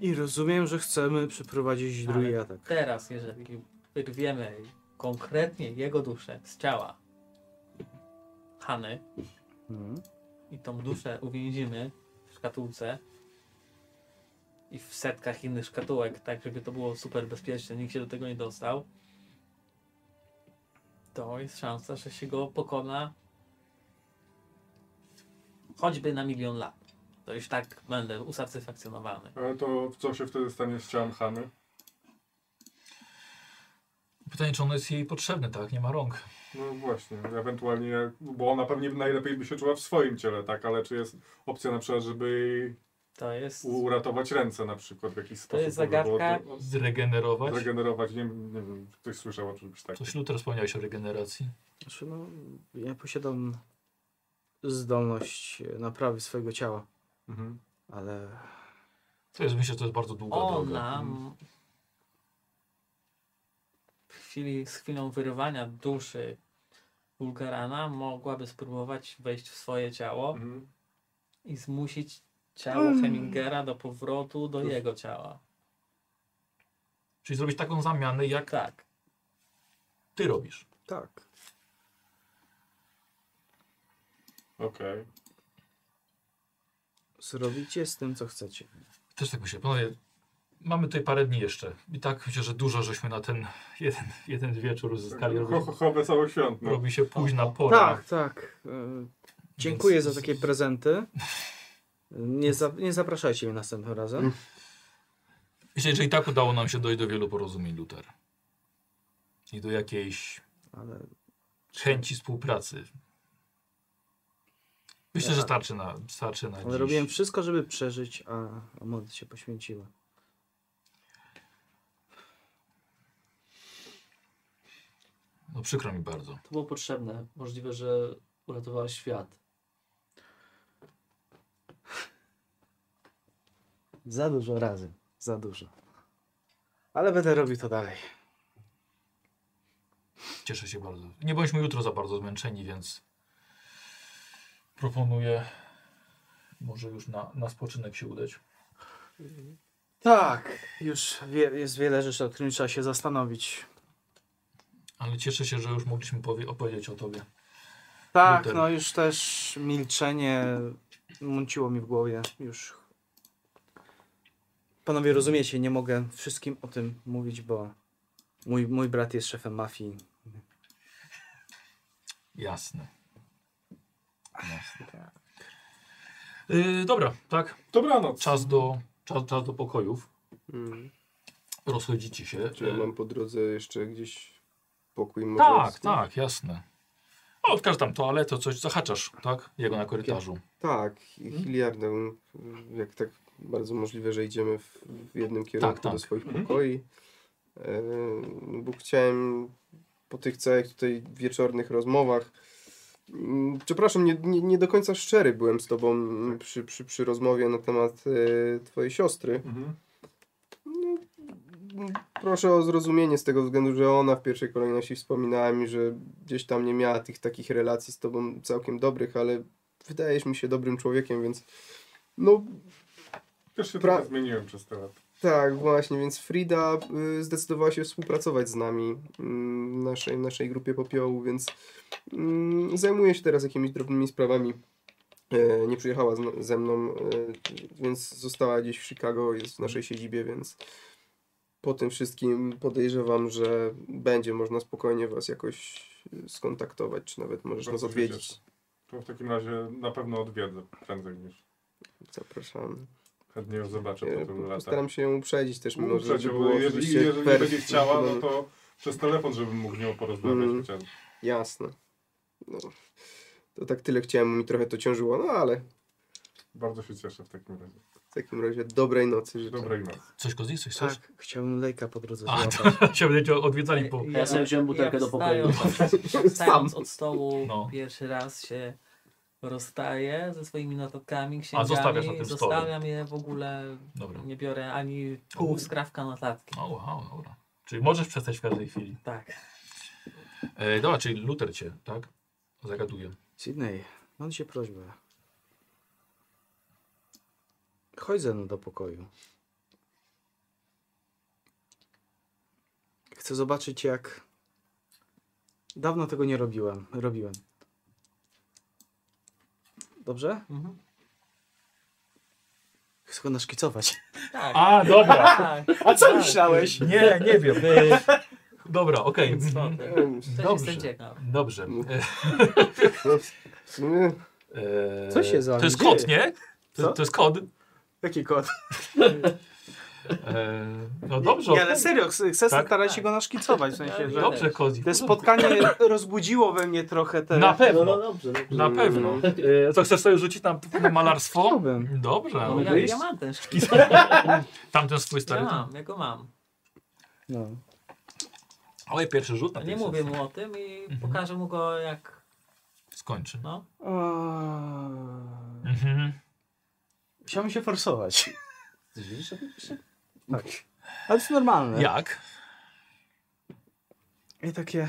I rozumiem, że chcemy przeprowadzić Ale- drugi atak. Teraz, jeżeli wyrwiemy konkretnie jego duszę z ciała Hany Mhm. i tą duszę uwięzimy w szkatułce i w setkach innych szkatułek, tak żeby to było super bezpieczne, nikt się do tego nie dostał, to jest szansa, że się go pokona choćby na milion lat. To już tak będę usatysfakcjonowany. Ale E, to co się wtedy stanie z ciałem Hany? Pytanie, czy ono jest jej potrzebne, tak? Nie ma rąk. No właśnie, ewentualnie, jak- bo ona pewnie najlepiej by się czuła w swoim ciele, tak? Ale czy jest opcja na przykład, żeby jej To jest... uratować ręce na przykład w jakiś sposób? jest żeby było zagadka. to- Zregenerować? Zregenerować, nie, nie wiem, ktoś słyszał o czymś takim. Coś Luther wspomniałeś o regeneracji. Znaczy, no, ja posiadam zdolność e, naprawy swojego ciała, Mhm. ale To jest, myślę, że to jest bardzo długa droga. Ona m- w chwili, z chwilą wyrwania duszy Bulgarana mogłaby spróbować wejść w swoje ciało Mhm. i zmusić ciało Mm. Hemingera do powrotu do jego ciała. Czyli zrobić taką zamianę, jak Tak. ty robisz. tak. Okej. Zrobicie z tym, co chcecie. Też tak myślę. Panowie, mamy tutaj parę dni jeszcze. I tak myślę, że dużo żeśmy na ten jeden, jeden wieczór uzyskali. Tak, no, Ho, Robi, ho, ho, wesoło świąt. No. robi się późna pora. Tak, tak. e, Dziękuję za takie prezenty. Nie, za, nie zapraszajcie mnie następnym razem. Myślę, że i tak udało nam się dojść do wielu porozumień, Luther. I do jakiejś Ale chęci współpracy. Myślę, że starczy na, starczy na Ale dziś. robiłem wszystko, żeby przeżyć, a, a mod się poświęciła. No przykro mi bardzo. To było potrzebne. Możliwe, że uratowała świat. Za dużo razy. Za dużo. Ale będę robił to dalej. Cieszę się bardzo. Nie bądźmy jutro za bardzo zmęczeni, więc proponuję może już na, na spoczynek się udać. Tak, już wie, jest wiele rzeczy, o których trzeba się zastanowić. Ale cieszę się, że już mogliśmy powie- opowiedzieć o tobie. Tak, Luther. no już też milczenie mąciło mi w głowie. Już. Panowie, rozumiecie, nie mogę wszystkim o tym mówić, bo mój, mój brat jest szefem mafii. Jasne. Jasne. Yy, dobra, tak. Dobranoc. Czas do, czas, czas do pokojów. Mm. Rozchodzicie się. Czy ja Yy, mam po drodze jeszcze gdzieś pokój tak, małżeński? tak, jasne. A odkaż tam toaletę, coś zahaczasz, tak? Jego na korytarzu. Tak, i Hiliardę, jak tak Bardzo możliwe, że idziemy w, w jednym kierunku Tak, tak. do swoich pokoi. E, bo chciałem po tych całych tutaj wieczornych rozmowach. Mm, Przepraszam, nie, nie, nie do końca szczery byłem z tobą Tak. mm, przy, przy, przy rozmowie na temat e, twojej siostry. Mhm. Proszę o zrozumienie z tego względu, że ona w pierwszej kolejności wspominała mi, że gdzieś tam nie miała tych takich relacji z tobą całkiem dobrych, ale wydajesz mi się dobrym człowiekiem, więc no Też się Pra- trochę zmieniłem przez te lata. tak, właśnie, więc Frida y, zdecydowała się współpracować z nami, y, naszej, naszej grupie popiołu, więc y, zajmuje się teraz jakimiś drobnymi sprawami. Y, nie przyjechała z, ze mną, y, więc została gdzieś w Chicago, jest w naszej siedzibie, więc po tym wszystkim podejrzewam, że będzie można spokojnie was jakoś y, skontaktować, czy nawet możesz nas Bardzo się odwiedzić. cieszę. To w takim razie na pewno odwiedzę prędzej niż Zapraszam. chętnie ją zobaczę Y, po tylu latach. Postaram się ją uprzedzić też, mimo że Uprzeć żeby ją, było jeżeli, oczywiście jeżeli fair. będzie chciała, no to przez telefon, żebym mógł z nią porozmawiać Mhm. chociaż. Jasne. No. To tak tyle chciałem, mi trochę to ciążyło, no ale Bardzo się cieszę w takim razie. w takim razie dobrej nocy życzę. Dobrej nocy. Coś go zjeść, coś chcesz? Tak, chciałbym lejka po drodze A, złapać. to się będziecie odwiedzali po... Ja sobie wziąłem butelkę do pokoju. wstając- Wstając od stołu, No. pierwszy raz się rozstaję ze swoimi notatkami, księgami. zostawiasz na tym stole. Zostawiam je w ogóle, Dobra. nie biorę ani pół skrawka notatki. O, wow, dobra. Czyli możesz przestać w każdej chwili. Tak. E, dobra, czyli Luther cię, tak? Zagaduje. Sydney, mam cię prośbę. Chodź ze mną do pokoju. Chcę zobaczyć jak... Dawno tego nie robiłem. Robiłem. Dobrze? Mhm. Chcę go naszkicować. Tak. A, dobra. tak. A co myślałeś? Nie, nie wiem. E, dobra, okej. Co Mhm. ty? Em, Też Dobrze. jestem ciekaw. Dobrze. W sumie E, Co się za To jest dzieje? kod, nie? To, Eee, Co? to jest kod. Jaki kot? E, no dobrze, Nie, ale serio, chcę chcę Tak? starać się go naszkicować, w sensie, że dobrze Kozi. to spotkanie rozbudziło we mnie trochę te... Na No, pewno, no dobrze, dobrze. na pewno. Tak, E, co, chcesz sobie rzucić na na malarstwo? Chciałbym. Dobrze. No, Ja, ja mam ten szkic. Tamten swój stary. Ja mam, ja go mam. No. Ale pierwszy rzut na Nie tej mówię mu o tym i Mhm. pokażę mu go jak... sesji Skończy. No. Eee, Mhm. Chciałbym się forsować. Widzisz, Tak. Ale to jest normalne. Mhm. Jak? I takie.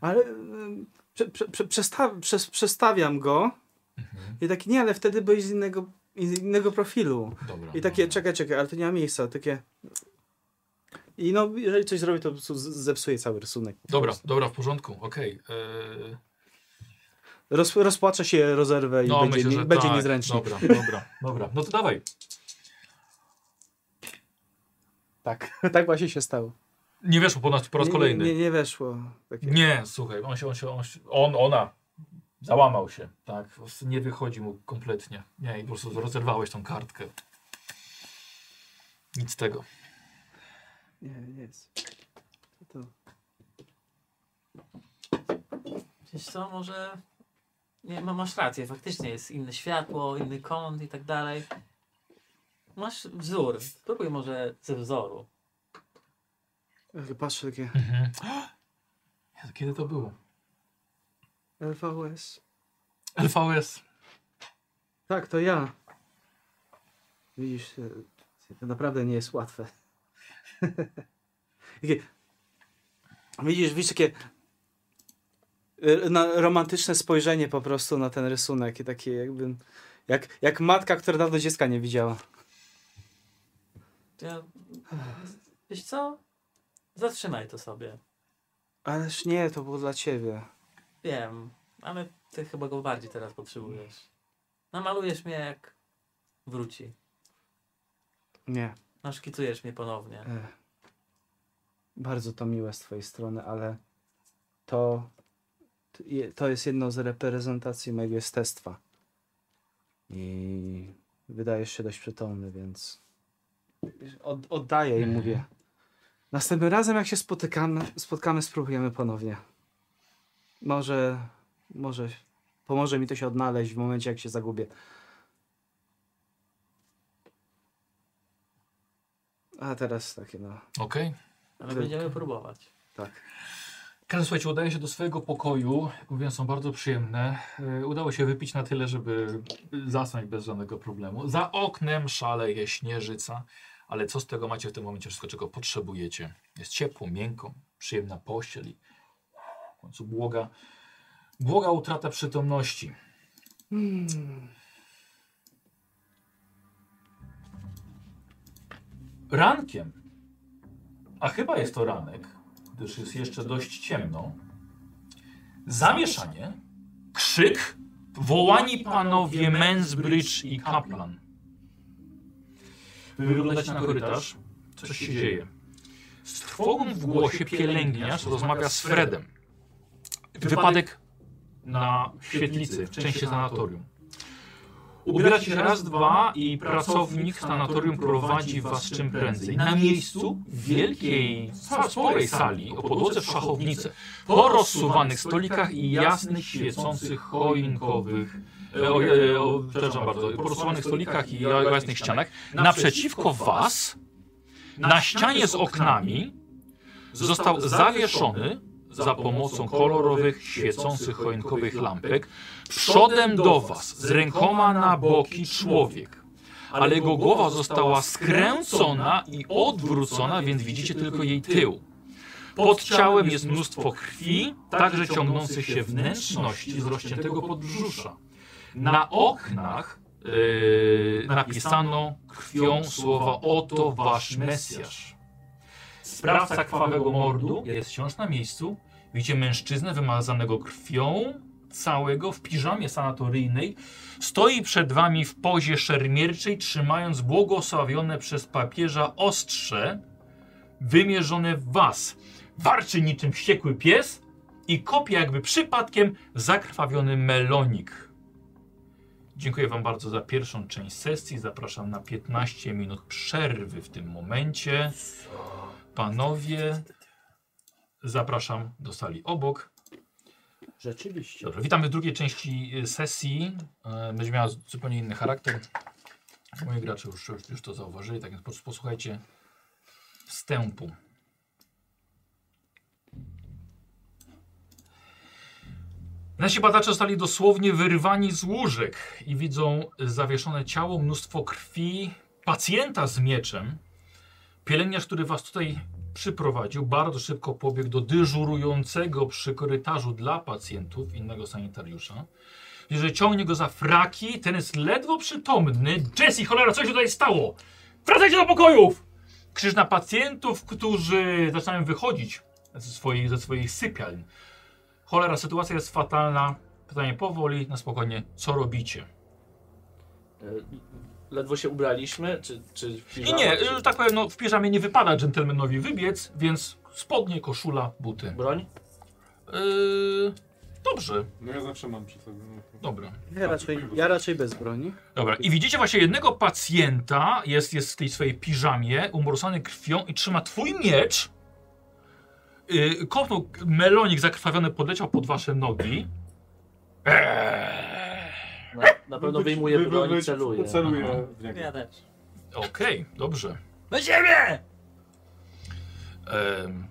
Ale. ym, Prze, prze, prze, przesta, przes- przestawiam go. Mhm. I takie, nie, ale wtedy byłeś z innego, z innego profilu. Dobra. no. I takie, czekaj, czekaj, ale to nie ma miejsca. Takie. I no, jeżeli coś zrobię, to po prostu z- zepsuje cały rysunek. Dobra, dobra, w porządku, okej. Eee, Roz, rozpłaczę się, rozerwę i No będzie, myślę, nie, że będzie tak. niezręcznie. Dobra, dobra, dobra. No to dawaj. Tak, tak właśnie się stało. Nie weszło po, nas, po raz Nie- kolejny. Nie, Nie, nie, nie weszło. Takie. słuchaj, on się, on się, on, się, on ona załamał się, tak. Nie wychodzi mu kompletnie. Nie, i po prostu rozerwałeś tą kartkę. Nic z tego. Nie, nie jest. To, to. Wiesz co, może... Nie, ma- masz rację, faktycznie jest inne światło, inny kąt i tak dalej. Masz wzór. Spróbuj może ze wzoru. Ale Patrzę takie. Mhm. Jezu, Kiedy to było? LVS. LVS. Tak, to ja. Widzisz, e, to naprawdę nie jest łatwe. Takie- widzisz, widzisz takie e, na, romantyczne spojrzenie po prostu na ten rysunek i takie jakby jak, jak matka, która dawno dziecka nie widziała. Ja... Wiesz co? Zatrzymaj to sobie. Ależ nie, to było dla ciebie. Wiem, ale ty chyba go bardziej teraz potrzebujesz. Namalujesz mnie jak wróci. Nie. Naszkicujesz mnie ponownie. e, Bardzo to miłe z twojej strony, ale to to je- to jest jedno z reprezentacji mojego jestestwa. I wydajesz się dość przytomny, więc od, oddaję i mówię. Następnym razem, jak się spotykamy, spotkamy, spróbujemy ponownie. Może, może pomoże mi to się odnaleźć w momencie, jak się zagubię. A teraz takie no. Okej. Ale będziemy próbować. tak. Każdy, słuchajcie, udaje się do swojego pokoju. Jak mówiłem, są bardzo przyjemne. E, Udało się wypić na tyle, żeby zasnąć bez żadnego problemu. Za oknem szaleje śnieżyca, ale co z tego macie w tym momencie? Wszystko, czego potrzebujecie. Jest ciepło, miękko, przyjemna pościel i w końcu błoga, błoga utrata przytomności. Hmm. Rankiem, a chyba jest to ranek, gdyż jest jeszcze dość ciemno. Zamieszanie, krzyk, wołani panowie Mansbridge i Kaplan. Wy wyglądacie na korytarz, coś się dzieje. Z trwogą w głosie pielęgniarz rozmawia z Fredem. Wypadek na świetlicy, w części sanatorium. Ubieracie się raz, dwa i pracownik sanatorium prowadzi was czym prędzej. Na miejscu w wielkiej, sa- sporej sali o podłodze w szachownicy, po rozsuwanych stolikach i jasnych, świecących choinkowych e, o, e, o, przepraszam bardzo, po rozsuwanych stolikach i ja- jasnych ścianach, naprzeciwko was, na ścianie z oknami, został zawieszony za pomocą kolorowych, świecących choinkowych lampek, przodem do was, z rękoma na boki człowiek. Ale jego głowa została skręcona i odwrócona, więc widzicie tylko jej tył. Pod ciałem jest mnóstwo krwi, także ciągnących się wnętrzności z rozciętego podbrzusza. Na oknach yy, napisano krwią słowa oto wasz Mesjasz. Sprawca krwawego mordu jest wciąż na miejscu. Widzicie mężczyznę wymazanego krwią, całego w piżamie sanatoryjnej. Stoi przed wami w pozie szermierczej, trzymając błogosławione przez papieża ostrze wymierzone w was. Warczy niczym wściekły pies i kopie jakby przypadkiem zakrwawiony melonik. Dziękuję wam bardzo za pierwszą część sesji. Zapraszam na 15 minut przerwy w tym momencie. Panowie, zapraszam do sali obok. Rzeczywiście. Dobrze, witamy w drugiej części y, sesji. E, Będzie miała z- zupełnie inny charakter. Moi gracze już, już, już to zauważyli, tak więc pos- posłuchajcie wstępu. Nasi badacze zostali dosłownie wyrwani z łóżek i widzą zawieszone ciało, mnóstwo krwi, pacjenta z mieczem. Pielęgniarz, który was tutaj przyprowadził, bardzo szybko pobiegł do dyżurującego przy korytarzu dla pacjentów innego sanitariusza. Jeżeli ciągnie go za fraki, ten jest ledwo przytomny. Jesse, cholera, co się tutaj stało? Wracajcie do pokojów! Krzyż na pacjentów, którzy zaczynają wychodzić ze swoich, ze swoich sypialń. Cholera, sytuacja jest fatalna. Pytanie powoli, na spokojnie, co robicie? Y, E, Ledwo się ubraliśmy, czy... czy w I piżamach, nie, czy- że tak powiem, no, w piżamie nie wypada dżentelmenowi wybiec, więc spodnie, koszula, buty. Broń? Yy, dobrze, No ja zawsze mam przy sobie. no to- dobra. Ja raczej, ja raczej bez broni. Dobra, i widzicie właśnie jednego pacjenta, jest, jest w tej swojej piżamie, umorsany krwią i trzyma twój miecz. Yy, kopnął melonik zakrwawiony, podleciał pod wasze nogi. Eee. Na, na pewno wyjmuję Wy- wy- broń wy- i celuję. Aha. Celuję w niego. Ja też. Okej, dobrze. Na ziemię! Em,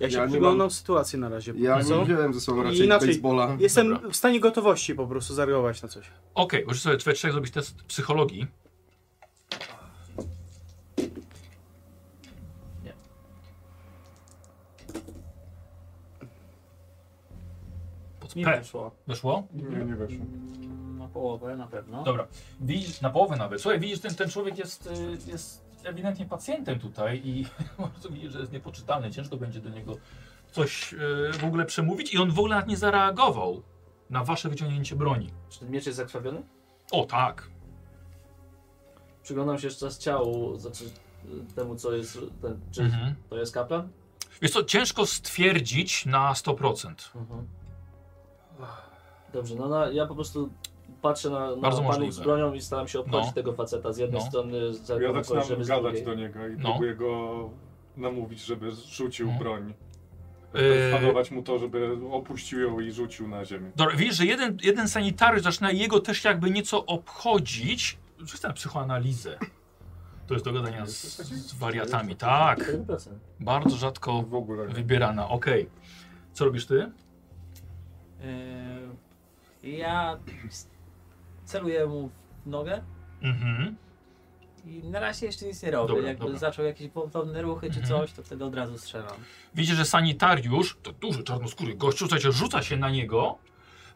Ja się Ja nie przyglądam mam- sytuację na razie. Ja Co? nie wziąłem ze sobą raczej Inaczej- baseballa. Jestem Dobra. w stanie gotowości po prostu zareagować na coś. Okej, możesz sobie we trzech zrobić test psychologii. Nie. Pod Mi Tak. P. wyszło. Weszło? Nie, nie weszło. Na połowę na pewno. Dobra, widzisz, na połowę nawet. Słuchaj, widzisz, ten, ten człowiek jest, y, jest ewidentnie pacjentem tutaj i bardzo widzisz, że jest niepoczytalny. Ciężko będzie do niego coś y, w ogóle przemówić i on w ogóle nawet nie zareagował na wasze wyciągnięcie broni. Czy ten miecz jest zakrwawiony? O tak. Przyglądam się jeszcze raz ciału, znaczy y, temu co jest, ten, czy Mhm. to jest kaplan? Jest to ciężko stwierdzić na 100%. Dobrze, no na, ja po prostu patrzę na, na Bardzo panów możliwe. z bronią i staram się obchodzić No. tego faceta z jednej No. strony, z Ja żeby zaczynam z gadać drugiej. do niego i No. próbuję go namówić, żeby rzucił Mhm. broń. Yy, Spadować mu to, żeby opuścił ją i rzucił na ziemię. Dobra, Yy, widzisz, że jeden, jeden sanitariusz zaczyna jego też jakby nieco obchodzić. Rzucę na psychoanalizę. To jest do gadania z, z wariatami. Tak, 4%. bardzo rzadko W ogóle nie. wybierana. Okej. Co robisz ty? Yy, ja s- celuję mu w nogę Mhm. i na razie jeszcze nic nie robię. Dobra, Jakby dobra. zaczął jakieś gwałtowne ruchy czy Mhm. coś, to wtedy od razu strzelam. Widzisz, że sanitariusz, to duży czarnoskóry gościu, słuchajcie, rzuca się na niego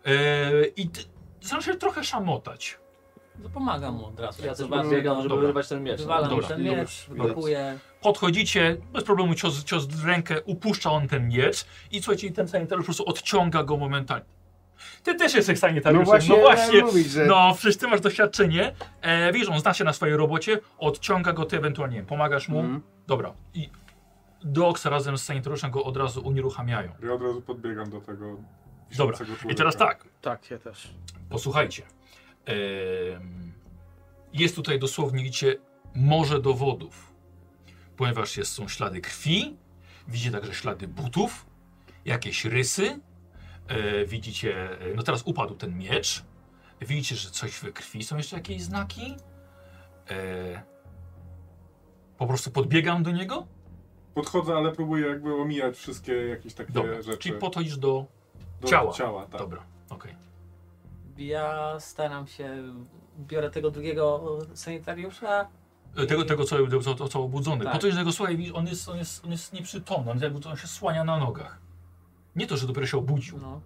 e, i ty, zaczyna się trochę szamotać. To No pomagam mu od razu. Ja Jak też zobaczę, biegam, żeby Dobra. wyrwać ten miecz. no. wywalam Dobra. ten miecz, Dobra. blokuję. Podchodzicie, bez problemu cios, cios w rękę, upuszcza on ten miecz i słuchajcie, i ten sanitariusz po prostu odciąga go momentalnie. Ty też jesteś sanitariuszem, no właśnie. mówić, że... No, przecież ty masz doświadczenie. E, wiesz, on zna się na swojej robocie, odciąga go ty ewentualnie, nie wiem, pomagasz mu. Mhm. Dobra. I Dox razem z sanitariuszem go od razu unieruchamiają. Ja od razu podbiegam do tego Dobra. wiszącego I teraz człowieka. tak, Tak, ja też. posłuchajcie. Em, jest tutaj dosłownie, widzicie, morze dowodów. Ponieważ jest, są ślady krwi, widzicie także ślady butów, jakieś rysy. E, widzicie, e, no teraz upadł ten miecz. Widzicie, że coś we krwi, są jeszcze jakieś znaki. E, po prostu podbiegam do niego. Podchodzę, ale próbuję jakby omijać wszystkie jakieś takie Dobra, rzeczy. czyli podchodzisz do... do ciała. ciała tak. Dobra, okej. Ja staram się, biorę tego drugiego sanitariusza. E, Tego, tego co, co, co, co obudzony. Tak. Po to, że tego słuchaj, widzisz, on jest, on jest, on jest nieprzytomny, on, jest jakby, on się słania na nogach. Nie to, że dopiero się obudził. No.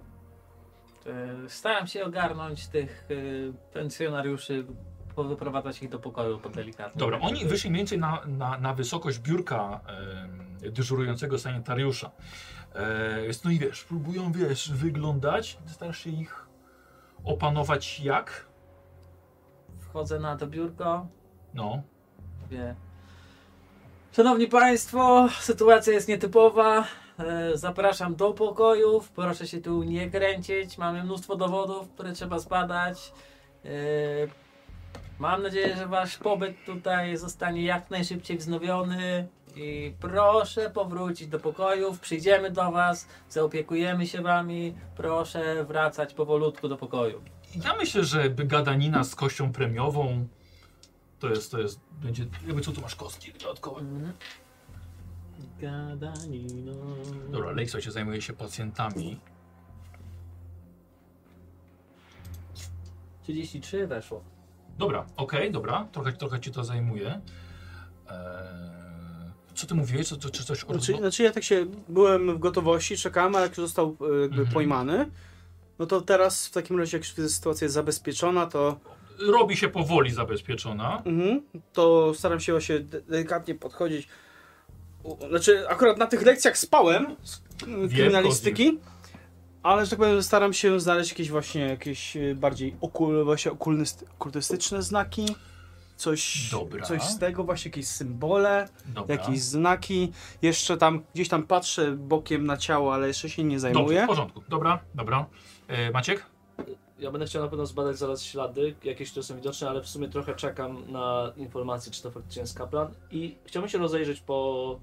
E, Staram się ogarnąć tych y, pensjonariuszy, powyprowadzać ich do pokoju po delikatnie. Dobra, Tak, oni żeby- wyszli mniej więcej na, na, na wysokość biurka em, dyżurującego sanitariusza. E, jest- no i wiesz, próbują, wiesz, wyglądać, Ty starasz się ich opanować jak? Wchodzę na to biurko, No, mówię. Szanowni Państwo, sytuacja jest nietypowa. E, Zapraszam do pokojów. Proszę się tu nie kręcić. Mamy mnóstwo dowodów, które trzeba zbadać. E, Mam nadzieję, że Wasz pobyt tutaj zostanie jak najszybciej wznowiony. I proszę powrócić do pokojów. Przyjdziemy do Was, zaopiekujemy się Wami. Proszę wracać powolutku do pokoju. Ja myślę, że by gadanina z kością premiową to jest, to jest, będzie, jakby co tu masz kostki dodatkowe. Gadanino. Dobra, Lejso się zajmuje się pacjentami. 33 weszło. Dobra, okej, dobra, trochę, trochę ci to zajmuje. Eee, co ty mówiłeś, co, co, czy coś o Znaczy, rozwo- znaczy ja tak się byłem w gotowości, czekałem, a jak już został e, jakby Mhm. pojmany, no to teraz w takim razie, jak już sytuacja jest zabezpieczona, to, Robi się powoli zabezpieczona. mhm, to staram się właśnie de- delikatnie podchodzić. U- Znaczy, akurat na tych lekcjach spałem z e, kryminalistyki, ale że tak powiem, staram się znaleźć jakieś właśnie jakieś e, bardziej okul, właśnie okulnyst- okultystyczne znaki. Coś, Dobra. coś z tego, właśnie jakieś symbole. Dobra. jakieś znaki. Jeszcze tam gdzieś tam patrzę bokiem na ciało, ale jeszcze się nie Dobrze, zajmuję. w porządku. Dobra, dobra. Eee, Maciek? Ja będę chciał na pewno zbadać zaraz ślady, jakieś, które są widoczne, ale w sumie trochę czekam na informacje, czy to faktycznie jest kaplan. I chciałbym się rozejrzeć po,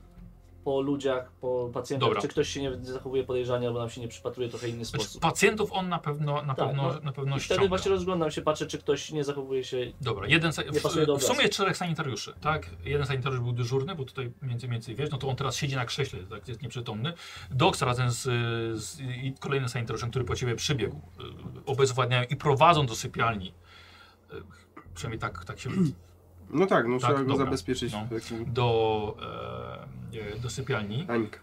po ludziach, po pacjentach, Dobra. czy ktoś się nie zachowuje podejrzanie, albo nam się nie przypatruje trochę inny Znaczy, sposób. pacjentów on na pewno, na Tak, pewno, no. na pewno I wtedy ściąga. właśnie rozglądam się, patrzę, czy ktoś nie zachowuje się. Dobra, jeden sa- w, Nie pasuje do w obrazu. sumie czterech sanitariuszy, tak? Jeden sanitariusz był dyżurny, bo tutaj między więcej wiesz, no to on teraz siedzi na krześle, tak jest nieprzytomny. Doks razem z, z i kolejnym sanitariuszem, który po ciebie przybiegł, y, obezwładniają i prowadzą do sypialni. Y, Przynajmniej tak, tak się No tak, no Tak, trzeba go dobra. zabezpieczyć. No. w takim- do, e, do sypialni. Hańka.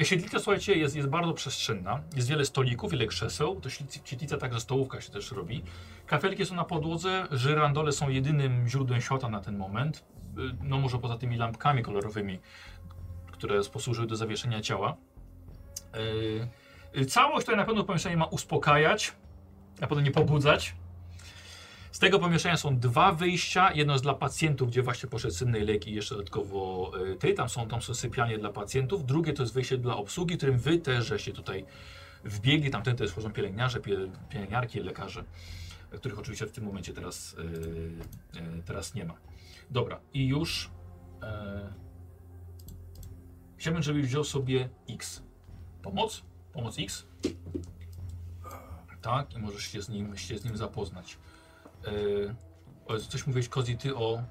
E, siedlica, słuchajcie, jest, jest bardzo przestrzenna. Jest wiele stolików, wiele krzeseł. To siedlic- siedlica także stołówka się też robi. Kafelki są na podłodze, żyrandole są jedynym źródłem światła na ten moment. Y, No może poza tymi lampkami kolorowymi, które posłużyły do zawieszenia ciała. E, y, całość tutaj na pewno pomieszczenie ma uspokajać, na pewno nie pobudzać. Z tego pomieszczenia są dwa wyjścia. Jedno jest dla pacjentów, gdzie właśnie poszedł synnej leki i jeszcze dodatkowo y, ty. Tam są, tam są sypialnie dla pacjentów. Drugie to jest wyjście dla obsługi, którym wy też żeście tutaj wbiegli. Tamten to jest są pielęgniarze, pie- pielęgniarki, lekarze, y, których oczywiście w tym momencie teraz, y, y, teraz nie ma. Dobra, i już y, chciałbym, żebyś wziął sobie X. Pomoc? Pomoc X? Tak, i możesz się z nim, się z nim zapoznać. E, o, coś mówiłeś Kozi, ty o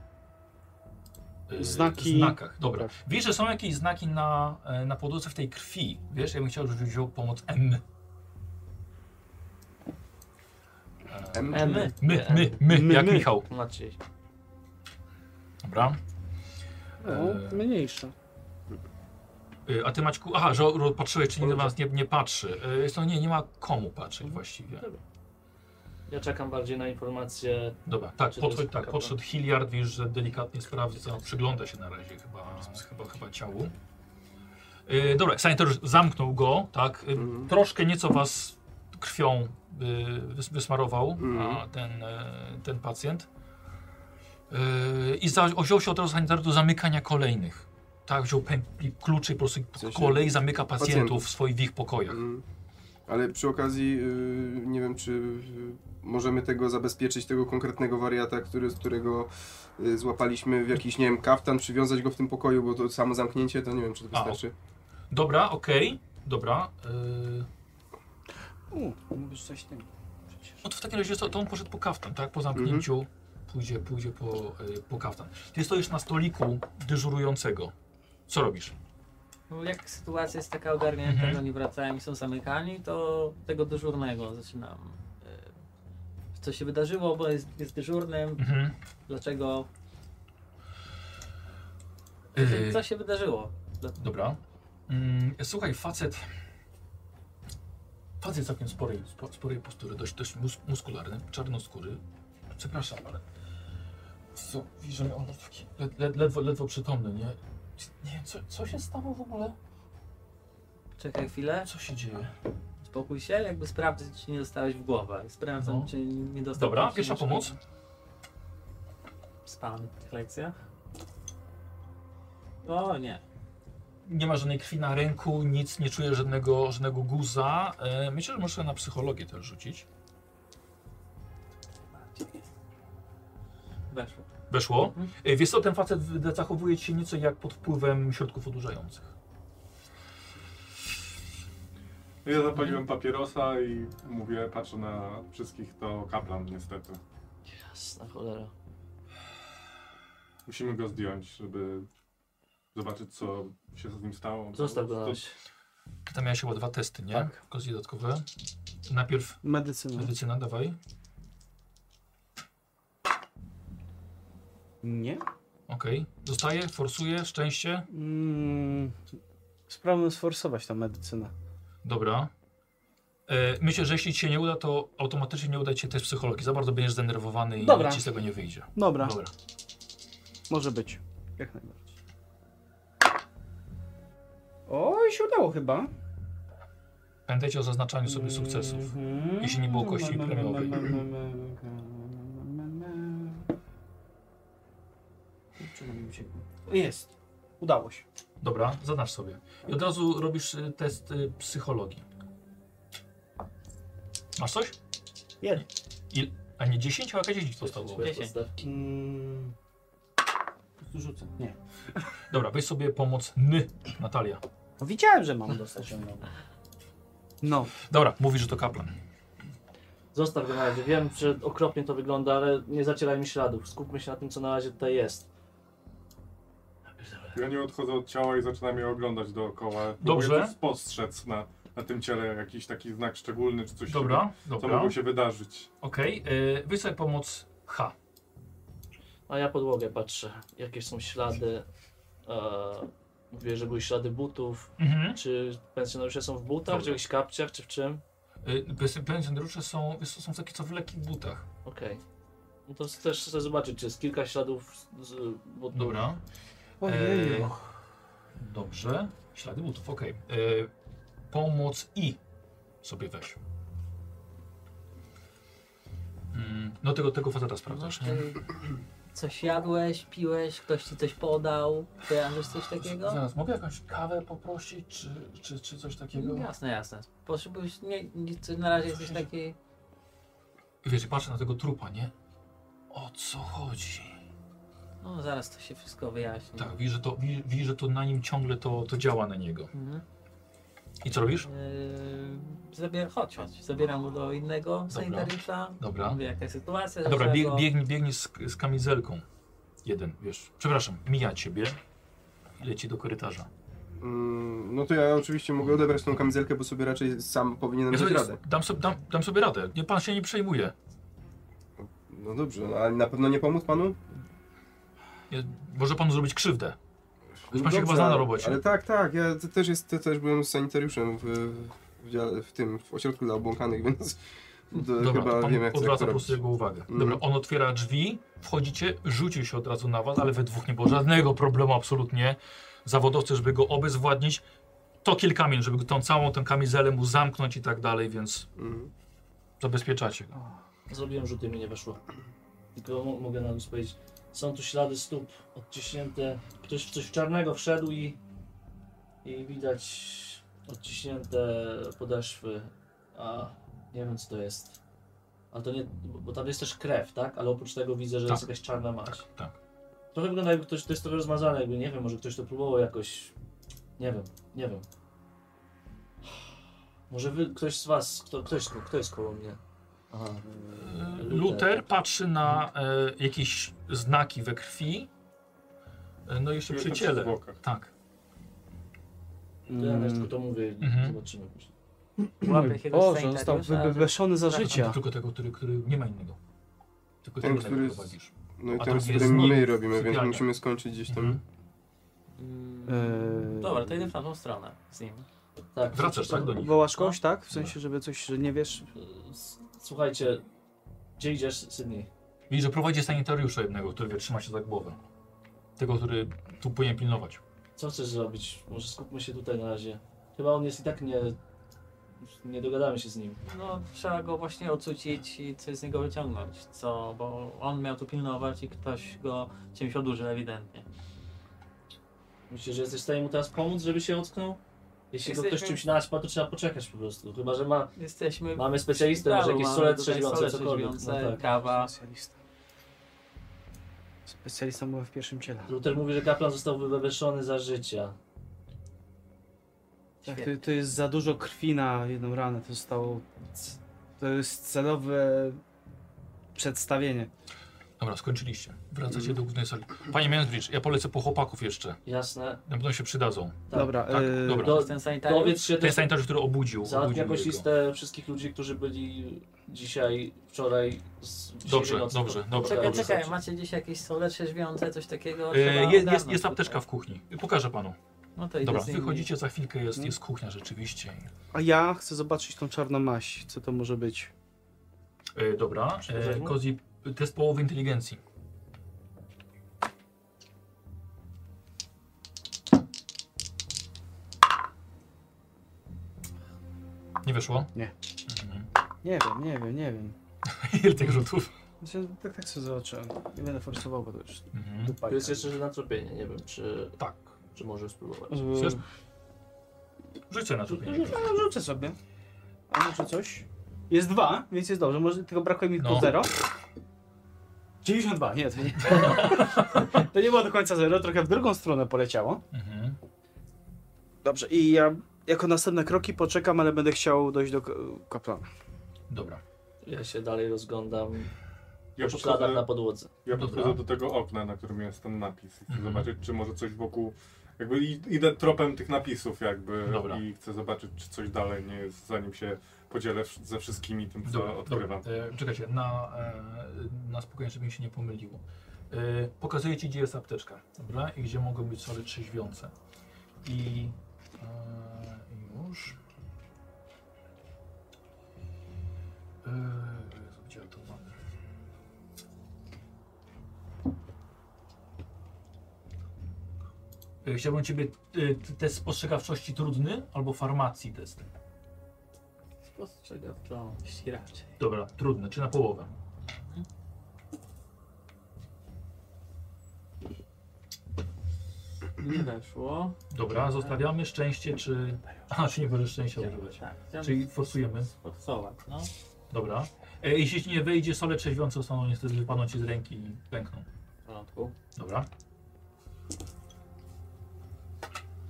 y, Znaki. znakach. Dobra. Tak. Wiesz, że są jakieś znaki na, y, na podłodze w tej krwi. Wiesz, ja bym chciał, żebyś wziął pomoc M. E, M. E, my. My, my, my, My, jak my. Michał. Maciej. Dobra. E. O, mniejsza. Y, A ty Maćku, aha, że ro- patrzyłeś, czy nikt na was nie, nie patrzy. Y, Jest to nie, nie ma komu patrzeć właściwie. Ja czekam bardziej na informacje. Dobra, tak, Czy Znaczy, to podchodź, jest tak kapłan? podszedł Hilliard, wiesz, że delikatnie sprawdza, przygląda się na razie chyba, chyba, chyba ciału. Y, dobra, sanitar już zamknął go, tak, y, Mhm. troszkę nieco was krwią y, wys- wysmarował Mhm. a ten, y, ten pacjent. Y, I za, wziął się od razu sanitar do zamykania kolejnych. Tak, wziął pętli, kluczy i po prostu W sensie kolej zamyka pacjentów, pacjentów. w swoich w ich pokojach. Mm. Ale przy okazji, y, nie wiem, czy y, możemy tego zabezpieczyć, tego konkretnego wariata, który, z którego y, złapaliśmy w jakiś, nie wiem, kaftan, przywiązać go w tym pokoju, bo to samo zamknięcie, to nie wiem, czy to A, wystarczy. Dobra, okej, dobra. y, U, mówisz coś tym. No to w takim razie co, to on poszedł po kaftan, tak? Po zamknięciu pójdzie, pójdzie po, y, po kaftan. Ty stoisz na stoliku dyżurującego. Co robisz? No, Jak sytuacja jest taka ogarnięta, Mhm. że oni wracają i są zamykani, to tego dyżurnego zaczynam. y, Co się wydarzyło, bo jest, jest dyżurnym, Mhm. dlaczego, Y, co się wydarzyło. Dobra. Mm, słuchaj, facet. Facet całkiem sporej, spo- sporej postury, dość, dość mus, muskularny, czarnoskóry. Przepraszam, ale. Co, widzę, że on jest taki led, led, ledwo, ledwo przytomny, nie? Nie wiem, co, co się stało w ogóle? Czekaj chwilę, Co się dzieje? spokój się, jakby sprawdzić, czy nie dostałeś w głowę. Sprawdzam, No. czy nie dostałeś. Dobra, pierwsza pomoc. Z pan w tych lekcjach? O nie. Nie ma żadnej krwi na ręku, nic, nie czuję żadnego, żadnego guza. E, myślę, że muszę na psychologię też rzucić. Weszło. Weszło. Mhm. E, wiesz co, ten facet w- zachowuje się nieco jak pod wpływem środków odurzających. Mhm. Ja zapaliłem papierosa i mówię, patrzę na wszystkich, to kaplan niestety. Jasna cholera. Musimy go zdjąć, żeby zobaczyć, co się z nim stało. Zostaw go na To- razie. Ty Tam miałeś chyba dwa testy, nie? Tak. Kozli dodatkowe. Najpierw Medycyna. medycyna, dawaj. Nie? Okej. Zostaje, forsuje, szczęście. Mm, sprawę sforsować ta medycyna. Dobra. E, myślę, że jeśli ci się nie uda, to automatycznie nie uda ci się też psychologii. Za bardzo będziesz zdenerwowany i Dobra. nic ci z tego nie wyjdzie. Dobra, Dobra. może być. Jak najbardziej. O, i się udało chyba. Pamiętajcie o zaznaczaniu sobie sukcesów. Mhm. jeśli nie było kości premiowej. Hmm. Czego mi uciekło? Jest. Udało się. Dobra, zadasz sobie. I od razu robisz y, test y, psychologii. Masz coś? Jeden. Il... A nie 10, a jakaś 10 zostało. Dziesięć. Zostaw. Mm. Po prostu rzucę. Nie. Dobra, weź sobie pomoc N, Natalia. No widziałem, że mam dostać ją nogą. No, Dobra, mówisz, że to kaplan. Zostaw go na razie. Wiem, że okropnie to wygląda, ale nie zacierajmy śladów. Skupmy się na tym, co na razie tutaj jest. Ja nie odchodzę od ciała i zaczynam je oglądać dookoła. Dobrze. Próbuję coś spostrzec na, na tym ciele jakiś taki znak szczególny, czy coś, Dobra, co dobra. mogło się wydarzyć. Okej, okay. weź sobie pomoc H. A ja podłogę patrzę. Jakie są ślady. E, mówię, że były ślady butów. Mhm. Czy pensjonariusze są w butach, Dobra. czy w jakichś kapciach, czy w czym? Y, Pensjonariusze są, wiesz co, są takie co w lekkich butach. Okej. No to też chcę zobaczyć, czy jest kilka śladów z butów. Dobra. Ojeju. E, dobrze. Ślady butów, okej. E, Pomoc I sobie weź. Mm, no tego, tego faceta sprawdzasz, nie? Ty Coś jadłeś, piłeś, ktoś ci coś podał, kojarzysz coś takiego? Zaraz, mogę jakąś kawę poprosić, czy, czy, czy coś takiego? Jasne, jasne. Potrzebujesz, nie, nic, na razie jesteś taki... I wiesz, patrzę na tego trupa, nie? O co chodzi? No zaraz to się wszystko wyjaśni. Tak, widzisz, że to, widzisz, widzisz, że to na nim ciągle to, to działa na niego. Mhm. I co robisz? Yy, zabier- chodź, chodź. Zabieram go do innego sanitariusza. Dobra. Mówię, jaka jest sytuacja. że Dobra, trzeba bieg, go- biegnij, biegnij z, z kamizelką. Jeden, wiesz. Przepraszam, mija ciebie i leci do korytarza. Mm, no to ja oczywiście mogę odebrać tą kamizelkę, bo sobie raczej sam powinienem Ja dać sobie, radę. dam, sobie, dam, dam sobie radę. Nie, pan się nie przejmuje. No dobrze, no, ale na pewno nie pomóc panu? Nie, może panu zrobić krzywdę. No pan się dobrze, chyba zna na ale- robocie. Ale tak, tak, ja te- też, jest, te- też byłem sanitariuszem w, w, dziale, w tym, w ośrodku dla obłąkanych, więc do, Dobra, chyba to pan wiem jak odwraca to po prostu robić. jego uwagę. Mhm. Dobra, on otwiera drzwi, wchodzicie, rzucił się od razu na was, ale we dwóch nie było żadnego problemu absolutnie. Zawodowcy, żeby go obezwładnić, to kilka minut, żeby tą całą tę kamizelę mu zamknąć i tak dalej, więc Mhm. zabezpieczacie go. Zrobiłem rzut i mi nie weszło. Tylko mo- mogę na luz powiedzieć. Są tu ślady stóp odciśnięte. Ktoś w coś czarnego wszedł i, i widać odciśnięte podeszwy. A nie wiem co to jest. Ale to nie, bo bo tam jest też krew, tak? Ale oprócz tego widzę, że Tak. jest jakaś czarna mać. Tak, tak. Trochę wygląda jakby ktoś, to jest trochę rozmazane, jakby nie wiem, może ktoś to próbował jakoś. Nie wiem, nie wiem. Może wy, ktoś z was, kto, ktoś, kto jest koło mnie? Aha. E, Luther patrzy na e, jakieś znaki we krwi. E, no i jeszcze przy ciele. Tak. To ja nawet tylko to mówię, Mhm. zobaczymy później. Łapie się Hmm. do Boże, on został sanitariusza. wybeszony za Nie życia. tylko tego, który, który nie ma innego. Tylko Ten, tego, który który jest- prowadzisz. No i A teraz tam jest sobie nim my w robimy, więc sypialni. musimy skończyć gdzieś tam. Mhm. Eee, Dobra, to idę w tamtą stronę z nim. Tak, Wracasz, to- tak, do nich? Wołasz kogoś, tak? W sensie, żeby coś, że nie wiesz. s- Słuchajcie, gdzie idziesz, Sydney? I że prowadzi sanitariusza jednego, który wie, trzyma się za głowę. Tego, który tu powinien pilnować. Co chcesz zrobić? Może skupmy się tutaj na razie. Chyba on jest i tak nie... Nie dogadamy się z nim. No, trzeba go właśnie ocucić i coś z niego wyciągnąć, co, bo on miał tu pilnować i ktoś go czymś odurzył ewidentnie. Myślisz, że jesteś w stanie mu teraz pomóc, żeby się ocknął? Jeśli go ktoś Jesteśmy- czymś naćpa, to trzeba poczekać po prostu. Chyba, że ma, Jesteśmy... mamy specjalistę, może jakieś Mamy sole tutaj trzeźwiące, sole cokolwiek. No trzeźwiące, tak. Kawa. Specjalista. Specjalista była w pierwszym ciele. Luther mówi, że kaplan został wyweszony za życia. Tak, Świetnie. to, to jest za dużo krwi na jedną ranę. To zostało. To jest celowe przedstawienie. Dobra, skończyliście. Wracacie do głównej sali. Panie Mansbridge, ja polecę po chłopaków jeszcze. Jasne. Na pewno się przydadzą. Tak, dobra, tak, eee, dobra. Do, Ten sanitariusz dowiedz się Ten też sanitariusz, który obudził. Załatw obudził jakąś jego. listę wszystkich ludzi, którzy byli dzisiaj, wczoraj, z dzisiejszej Dobrze, nocy. dobrze, dobrze. Czekaj, dobrze. czekaj, macie gdzieś jakieś sole trzeźwiące, coś takiego? Y, Trzeba jest, jest, ogarnąć jest tutaj. apteczka w kuchni. Pokażę panu. No to idę Dobra, z nimi. Mhm. wychodzicie za chwilkę, jest, jest kuchnia rzeczywiście. a ja chcę zobaczyć tą czarną maść. Co to może być? Y, dobra, Przekazać y, mu? Kozi, test połowy inteligencji. Nie wyszło? Nie. Mhm. Nie wiem, nie wiem, nie wiem. Ile tych rzutów? Znaczy, tak, tak sobie zobaczyłem. Nie będę forsował, bo to już Mhm. dupa. tak. Tu jest jeszcze na tropienie, nie wiem, czy, Tak. czy może spróbować. Mm. Chcesz? Rzuć sobie na to pieniądze. Rzucę sobie. A może coś? Jest dwa, więc jest dobrze. Może tylko brakuje mi tylko No. zero. 92, nie, to nie. to nie było do końca zero, trochę w drugą stronę poleciało. Mhm. Dobrze, i ja jako następne kroki poczekam, ale będę chciał dojść do k- kaplana. Dobra. Ja się dalej rozglądam Ja po śladach na podchodzę, podłodze. ja podchodzę Dobra. do tego okna, na którym jest ten napis. Chcę Mhm. zobaczyć, czy może coś wokół... Jakby i- idę tropem tych napisów jakby Dobra. i chcę zobaczyć, czy coś dalej nie jest, zanim się podzielę wsz- ze wszystkimi tym, co Dobra, dobra. odkrywam. E, czekajcie, na, e, na spokojnie, żeby mi się nie pomyliło. E, pokazuję ci, gdzie jest apteczka, dobra? I gdzie mogą być sory trzeźwiące. I e, już. E, Jezu, gdzie ja to mamy? E, Chciałbym Ciebie e, t- test spostrzegawczości trudny albo farmacji test. Spostrzegawczości raczej. Dobra, trudne, czy na połowę? Nie weszło. Dobra, zostawiamy szczęście, czy. A, czy nie możesz szczęścia używać. Tak, chciałem Czyli forsujemy. sforsować, no. Dobra. E, jeśli ci nie wejdzie, sole trzeźwiące zostaną niestety wypadną ci z ręki i pękną. W porządku. Dobra.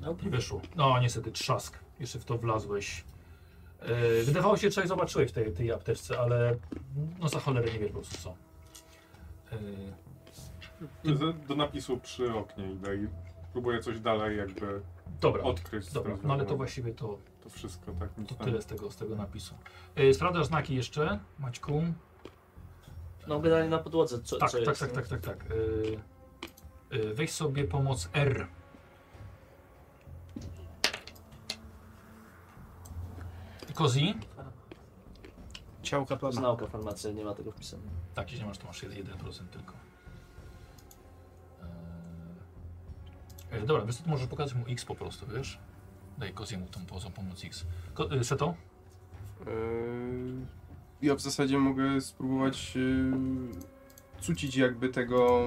Nope. Nie wyszło. No, niestety trzask. Jeszcze w to wlazłeś. E, wydawało się, że coś zobaczyłeś w tej, tej apteczce, ale no za cholerę nie wiesz po prostu co. E, Z- Do napisu przy oknie idę i próbuję coś dalej jakby Dobra, odkryć. z dobra tym no ale to związanego. właściwie to, To wszystko, tak? nic to tam. tyle z tego, z tego napisu. Yy, sprawdzasz znaki jeszcze, Maćku? No generalnie na podłodze co, Tak, co tak, jest. no? tak, nie? tak, tak, tak. Yy, yy, weź sobie pomoc R. Kozi? Ciało To jest kaplana. nauka farmacja, nie ma tego wpisane. Tak, jeśli masz, to masz 1% tylko. Eee, e, dobra, wiesz co, to możesz pokazać mu X po prostu, wiesz? Daj Koziemu tą pozą pomoc X. Ko y, Seto? Yy, Ja w zasadzie mogę spróbować yy, cucić jakby tego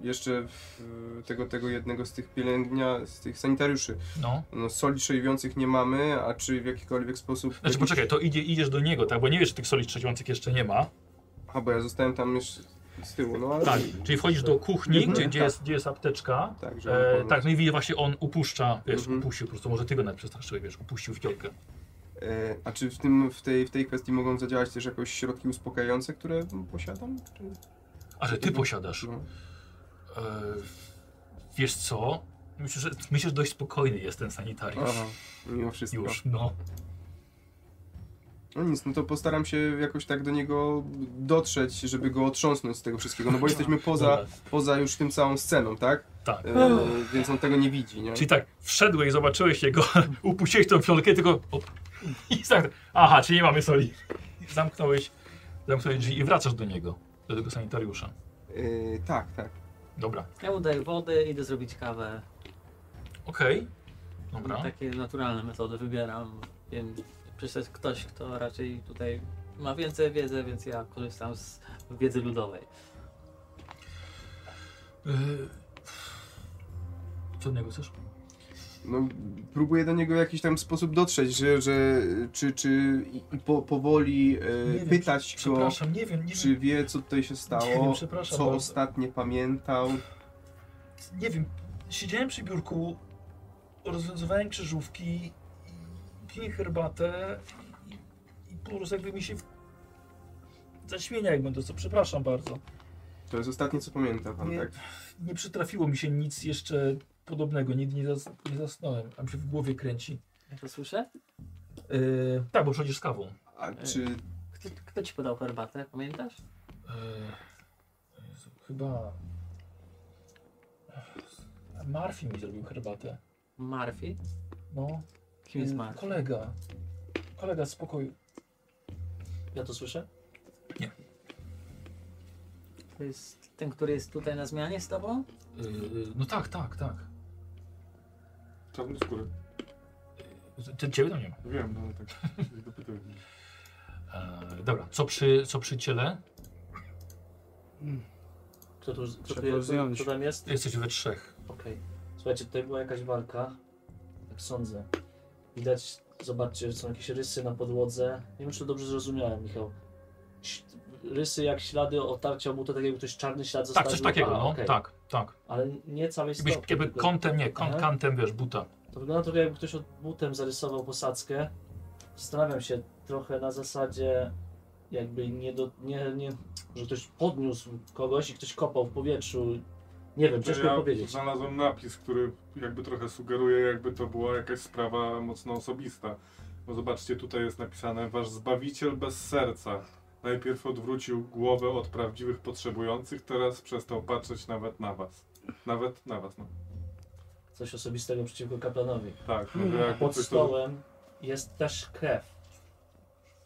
yy, jeszcze w- tego, tego jednego z tych pielęgnia, z tych sanitariuszy. No. No, soli trzeźwiących nie mamy, a czy w jakikolwiek sposób... Znaczy poczekaj, to idzie, idziesz do niego, tak? Bo nie wiesz, czy tych soli trzeźwiących jeszcze nie ma. A, bo ja zostałem tam jeszcze z tyłu, no ale... Tak, czyli wchodzisz do kuchni, Mhm. gdzie, gdzie, jest, gdzie jest apteczka. Tak, że mam E, pomysł. tak, no i widzisz, właśnie on upuszcza, wiesz, Mhm. upuścił po prostu, może ty go nawet przestraszyłeś, wiesz, upuścił fiolkę. E, a czy w, tym, w, tej, w tej kwestii mogą zadziałać też jakoś środki uspokajające, które posiadam? Czy... A że ty posiadasz. No. E, wiesz co? Myślę, że, myślę, że dość spokojny jest ten sanitariusz. Aha, mimo wszystko. Już, no. No nic, no to postaram się jakoś tak do niego dotrzeć, żeby go otrząsnąć z tego wszystkiego, no bo jesteśmy poza, Dobra. poza już tym całą sceną, tak? Tak. E, więc on tego nie widzi, nie? Czyli tak, wszedłeś, zobaczyłeś jego, upuściłeś tą fiolkę, tylko. Op, I tak. Aha, czyli nie mamy soli. Zamknąłeś, zamknąłeś drzwi i wracasz do niego, do tego sanitariusza. E, tak, tak. Dobra, Ja mu daję wody, idę zrobić kawę. okej. No Dobra. tak. Takie naturalne metody wybieram. Wiem, przecież jest ktoś, kto raczej tutaj ma więcej wiedzy, więc ja korzystam z wiedzy ludowej. Y, Co od niego chcesz? No, próbuję do niego w jakiś tam sposób dotrzeć, że, że czy, czy i- i po, powoli Nie e, wiem, pytać go, Przepraszam, nie wiem, nie czy wiem, wie, co tutaj się nie wiem stało, przepraszam. co bardzo. ostatnio pamiętał. nie wiem, siedziałem przy biurku, rozwiązywałem krzyżówki, i piłem herbatę i, i po prostu jakby mi się w... zaśmienia jakby to co, przepraszam bardzo. To jest ostatnie, co pamięta pan, Nie. tak? Nie przytrafiło mi się nic jeszcze podobnego, nigdy nie, zas, nie zasnąłem, a mi się w głowie kręci. Ja to słyszę? Yy, tak, bo przychodzisz z kawą. A czy Kto, kto ci podał herbatę, pamiętasz? Yy, Jezu, E, chyba... Marfi mi zrobił herbatę. Marfi? No, Kim jest yy, Marfi? kolega. Kolega z pokoju. Ja to słyszę? To jest ten, który jest tutaj na zmianie z tobą? Yy, No tak, tak, tak. Czarnoskóry. Ty- Ty, ciebie tam nie ma. Wiem, no ale tak nie dopytuję. E, dobra, co przy, co przy ciele? Kto tu, kto, Trzeba tu, jest- zdjąć. kto tam jest? Jesteś we trzech. Okej. Słuchajcie, tutaj była jakaś walka. Tak sądzę. Widać, zobaczcie, są jakieś rysy na podłodze. Nie wiem, czy to dobrze zrozumiałem, Michał. Ś- Rysy jak ślady otarcia buta, tak jakby ktoś czarny ślad Tak, zostawił. coś takiego, A, no, okej. tak, tak. Ale nie całej Jakbyś, stopy. jakby tylko- kątem, nie, kąt, Aha. kantem, wiesz, buta. To wygląda trochę jakby ktoś od butem zarysował posadzkę. Zastanawiam się trochę na zasadzie jakby nie do, nie, nie, że ktoś podniósł kogoś i ktoś kopał w powietrzu. Nie wiem, ciężko mi ja powiedzieć. znalazłem napis, który jakby trochę sugeruje, jakby to była jakaś sprawa mocno osobista. Bo zobaczcie, tutaj jest napisane, wasz Zbawiciel bez serca. Najpierw odwrócił głowę od prawdziwych potrzebujących, teraz przestał patrzeć nawet na was. Nawet na was, no. Coś osobistego przeciwko kaplanowi. Tak, no, to A jakby pod coś to stołem jest też krew.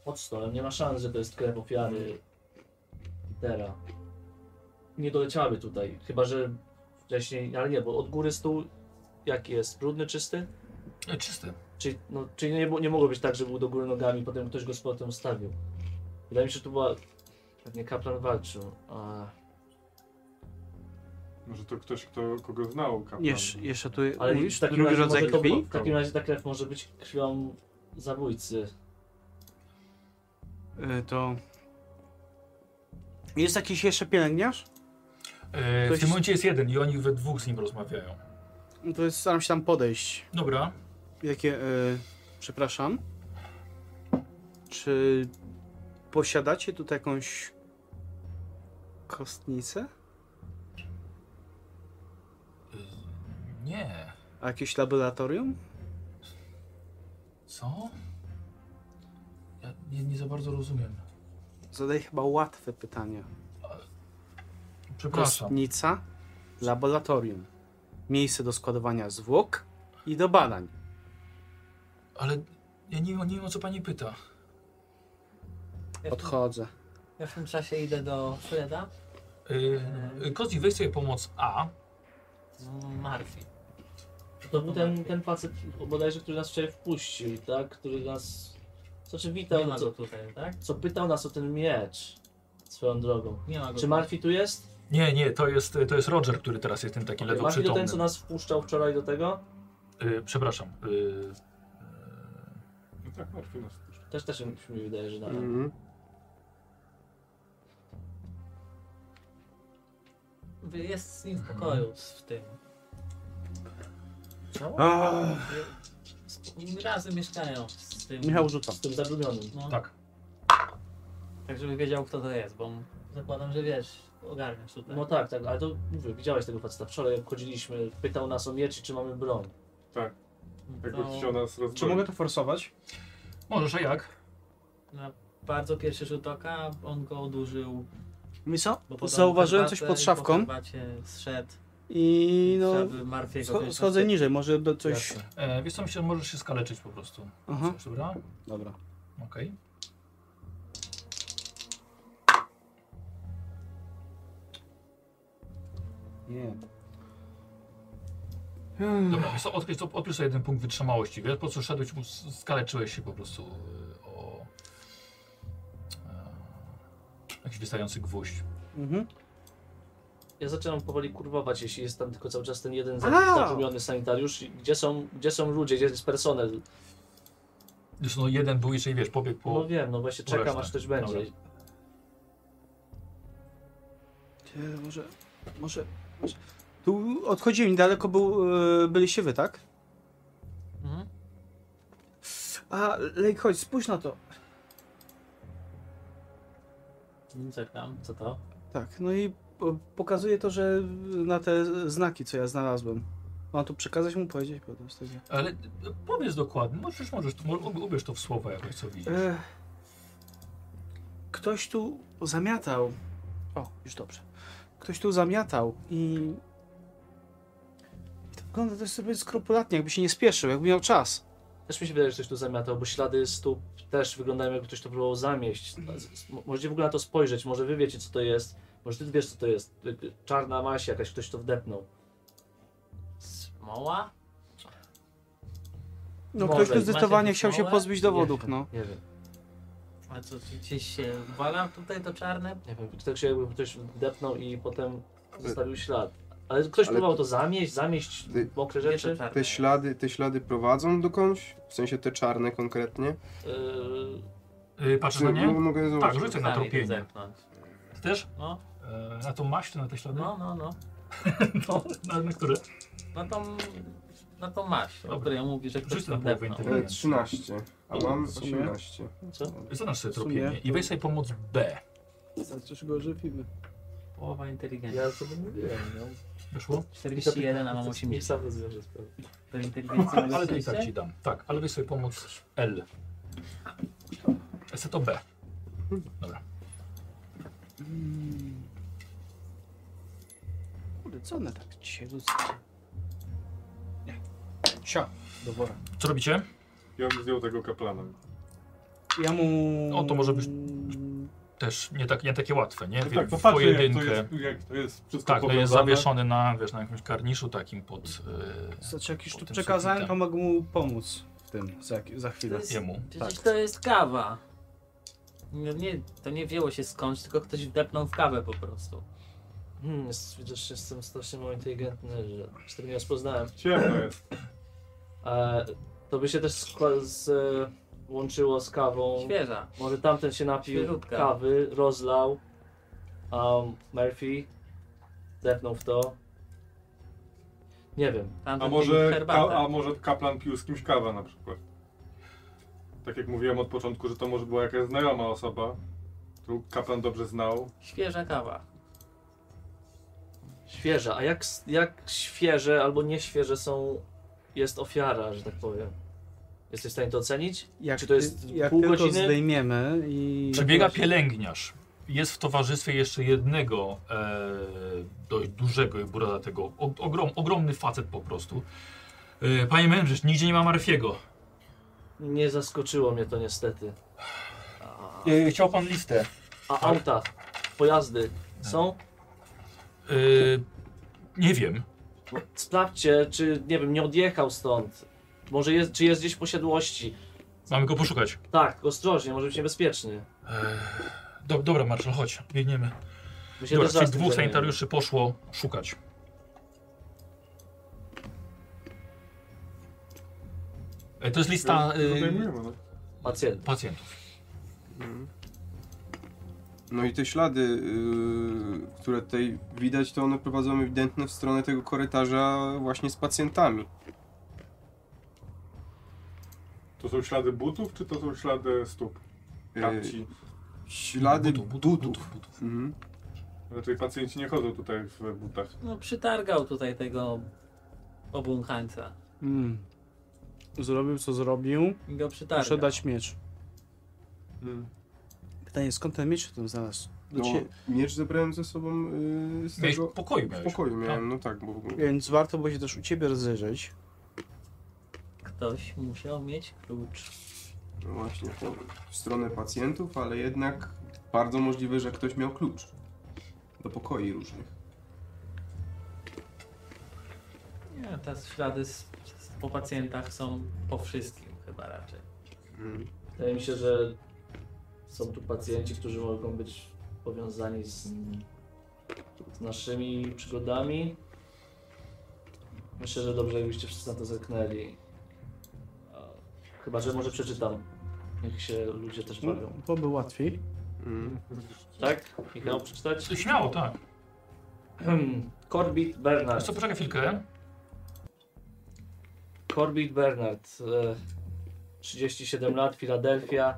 Pod stołem nie ma szans, że to jest krew ofiary Petera. Nie doleciałaby tutaj, chyba że wcześniej, ale nie, bo od góry stół jaki jest? Brudny, czysty? E, Czysty. Czyli, no, czyli nie, mo- nie mogło być tak, że był do góry nogami, potem ktoś go z powrotem stawił. Wydaje mi się, że to była... Pewnie kaplan walczył. A... może to ktoś, kto, kogo znał kapłan. Jesz, jeszcze tu Ale mówisz? w takim Drugi razie może rodzaj to było- krwi? W takim razie ta krew może być krwią zabójcy. Y, To... Jest jakiś jeszcze pielęgniarz? E, w Ktoś- tym momencie jest jeden i oni we dwóch z nim rozmawiają. No to jest, staram się tam podejść. Dobra, Jakie... y, przepraszam. Czy posiadacie tutaj jakąś kostnicę? A jakieś laboratorium? Co? Ja nie, nie za bardzo rozumiem. Zadaj chyba łatwe pytanie. Przepraszam. Kostnica, laboratorium, miejsce do składowania zwłok i do badań. Ale ja nie, nie wiem, o co pani pyta. Ja w, tym, Odchodzę. ja w tym czasie idę do Freda. Yy, Kozi, weź sobie pomoc A. No, Marfi. To był ten, ten facet bodajże, który nas wczoraj wpuścił, tak? Który nas... Znaczy Nie witał, ma co, go tutaj, tak? co pytał nas o ten miecz. Swoją drogą. Nie ma go Czy tutaj. Marfi tu jest? Nie, nie, to jest, to jest Roger, który teraz jest tym takim ledwo Marfi to ten, co przytomnym. nas wpuszczał wczoraj do tego? Yy, przepraszam. Yy, No tak, martwi nas puszcza. Też, też mi wydaje, że na Mm. Mhm. Wy- Jest z nim w pokoju, z w tym. Oni Razem mieszkają z tym. Michał rzuca. z tym zagrubionym. No, tak. tak. żeby wiedział kto to jest, bo zakładam, że wiesz, ogarniasz tutaj. No tak, tak, ale to mówię, widziałeś tego faceta. Wczoraj jak chodziliśmy, pytał nas o mieczy, czy mamy broń. Jakby No To- chciał nas rozbroić. Czy mogę to forsować? Możesz, a jak? Na bardzo pierwszy rzut oka on go odurzył. Mówi co? Bo podał Zauważyłem herbatę coś pod i szafką Po herbacie zszedł. i no... Trzeba by Marfiego Scho- wziąć na schodzę styk. niżej, może do coś... E, wiesz co, myślę, że możesz się skaleczyć po prostu. Mhm. Aha, Chcesz, Dobra? dobra. Okej. Nie. Dobra, wiesz co, odpisz, odpisz sobie jeden punkt wytrzymałości, wiesz? Po prostu szedłeś, mu- skaleczyłeś się po prostu yy, o... e, Jakiś wystający gwóźdź. Mhm. Ja zaczynam powoli kurwować, jeśli jest tam tylko cały czas ten jeden A! za- zagubiony sanitariusz. I Gdzie są, gdzie są ludzie, gdzie jest personel? Zresztą no, jeden był jeszcze, wiesz, pobiegł po... No wiem, no właśnie po czekam resztę. aż ktoś będzie. Dobra. Ty, Może, może, może... Tu odchodziłem, daleko był, e, byliście wy, tak? Mhm. A, Lejk, chodź, spójrz na to. Nie "Mm, Czekam. Co to? Tak, no i po- pokazuje to, że na te znaki, co ja znalazłem. Mam tu przekazać mu, powiedzieć po prostu. Ale e, powiedz dokładnie, no przecież możesz, mo- ub- ubierz to w słowa jakoś, co widzisz. E, Ech. E, Ktoś tu zamiatał. O, już dobrze. Ktoś tu zamiatał i... I to wygląda też sobie skrupulatnie, jakby się nie spieszył, jakby miał czas. Też mi się wydaje, że ktoś tu zamiatał, bo ślady stóp też wyglądają jakby ktoś to próbował zamieść. Z- z- mo- Możecie w ogóle na to spojrzeć, może wy wiecie co to jest. Może ty wiesz co to jest. Y- y, Czarna maść jakaś, ktoś to wdepnął. Smoła? No, Może. ktoś tu zdecydowanie Macie chciał się małe? pozbyć dowodów, no. Nie wiem, A co, czy gdzieś się wala tutaj to czarne? nie wiem. Tak się jakby ktoś wdepnął i potem zostawił ślad. Ale ktoś Ale- próbował to zamieść, zamieść Ty- mokre Gdzie to rzeczy. czarne? Te ślady, te ślady prowadzą dokądś? W sensie te czarne konkretnie? Yy, Yy, patrzysz Czy na nie? mogę Tak, zobaczyć? rzucę na Sami tu tropienie. zepnąć. Ty też? No, E, na tą maść, na te ślady? no, no, no. No, na, na które? No to, no to masz, o Dobra. której mówi, że ktoś Rzuć na tam połowę wepnął. inteligentności. E, 13, a mam W sumie. 18. co? Zadasz sobie W sumie. tropienie i weź sobie pomoc B. Znaczy, go żywimy. Połowa inteligencji. Ja sobie mówiłem, no. Wyszło? 41, a mam To 80. Sam rozwiąże sprawę. To inteligencja na Ale to i tak szczęście? ci dam. Tak, ale weź sobie pomoc L. Ese to B. Dobra. Kurde, co one tak dzisiaj rzucają? Nie. Sio, do wora. Co robicie? Ja bym zdjął tego kaplana. Ja mu... O, to może być- Też nie, tak, nie takie łatwe, nie? No tak, W popatrzę jak to pojedynkę. jest, jak to jest wszystko Tak, no jest powiązane. zawieszony na, wiesz, na jakimś karniszu takim pod e, Znaczy, jak już tu Potem przekazałem, to sufitem. mogę mu pomóc w tym za, za chwilę. To jest- yy, jemu. Przecież to jest kawa. No nie, to nie wzięło się skądś, tylko ktoś wdepnął w kawę po prostu. Hmm, jest, widzisz, jestem strasznie mało inteligentny, że się tego nie rozpoznałem. Ciemno jest. E, to by się też skła- z, e, łączyło z kawą. Świeża. Może tamten się napił Świeżutka. kawy, rozlał, a Murphy zepnął w to. Nie wiem. A Tamten pił może, herbatę. ka, a może kaplan pił z kimś kawa na przykład. Tak jak mówiłem od początku, że to może była jakaś znajoma osoba, którą kaplan dobrze znał. Świeża kawa. Świeże, a jak, s- jak świeże albo nieświeże są jest ofiara, że tak powiem. Jesteś w stanie to ocenić? Jak, Czy to jest ty- jak pół tylko godziny? zdejmiemy i... Przebiega pielęgniarz. Jest w towarzystwie jeszcze jednego e, dość dużego i brodatego. O, ogrom, ogromny facet po prostu. E, panie mężczyź, nigdzie nie ma Marfiego. Nie zaskoczyło mnie to niestety. A, E, chciał pan listę. a auta, pojazdy są? E, nie wiem. Sprawdźcie, czy nie wiem, nie odjechał stąd. Może jest, czy jest gdzieś w posiadłości. Mamy go poszukać. Tak, ostrożnie, może być niebezpieczny. E, do, dobra, Marczel, chodź, biegniemy. My się Dobra, też zaraz tych tym dwóch zajmiemy. sanitariuszy poszło szukać. E, to jest lista e, Zdejmujemy, no. Pacjent. pacjentów. No i te ślady, yy, które tutaj widać, to one prowadzą ewidentnie w stronę tego korytarza właśnie z pacjentami. To są ślady butów, czy to są ślady stóp? Y, Yy, Kapci. Ślady butów. butów. Mhm. Raczej pacjenci nie chodzą tutaj w butach. No przytargał tutaj tego obłąkańca. Mm. Zrobił co zrobił. I go Muszę przytargał. dać miecz. Pytanie, skąd ten miecz się tam znalazł? No, Znaczy, miecz zabrałem ze sobą yy, z Miałeś tego... w pokoju, W miałeś. pokoju miałem, no tak, bo w ogóle... Więc warto było się też u ciebie rozejrzeć. Ktoś musiał mieć klucz. No właśnie, to w stronę pacjentów, ale jednak bardzo możliwe, że ktoś miał klucz do pokoi różnych. Nie, te ślady z, z, po pacjentach są po wszystkim chyba raczej. Mm. Wydaje mi się, że są tu pacjenci, którzy mogą być powiązani z, z naszymi przygodami. Myślę, że dobrze, jakbyście wszyscy na to zerknęli. A, Chyba, że może przeczytam. Niech się ludzie też No, bawią. to by łatwiej. Mm. Tak? Michał, przeczytać? Śmiało, tak. Corbett Wiesz Bernard. Co, poczekaj chwilkę. Corbett Bernard, e, 37 lat, Filadelfia.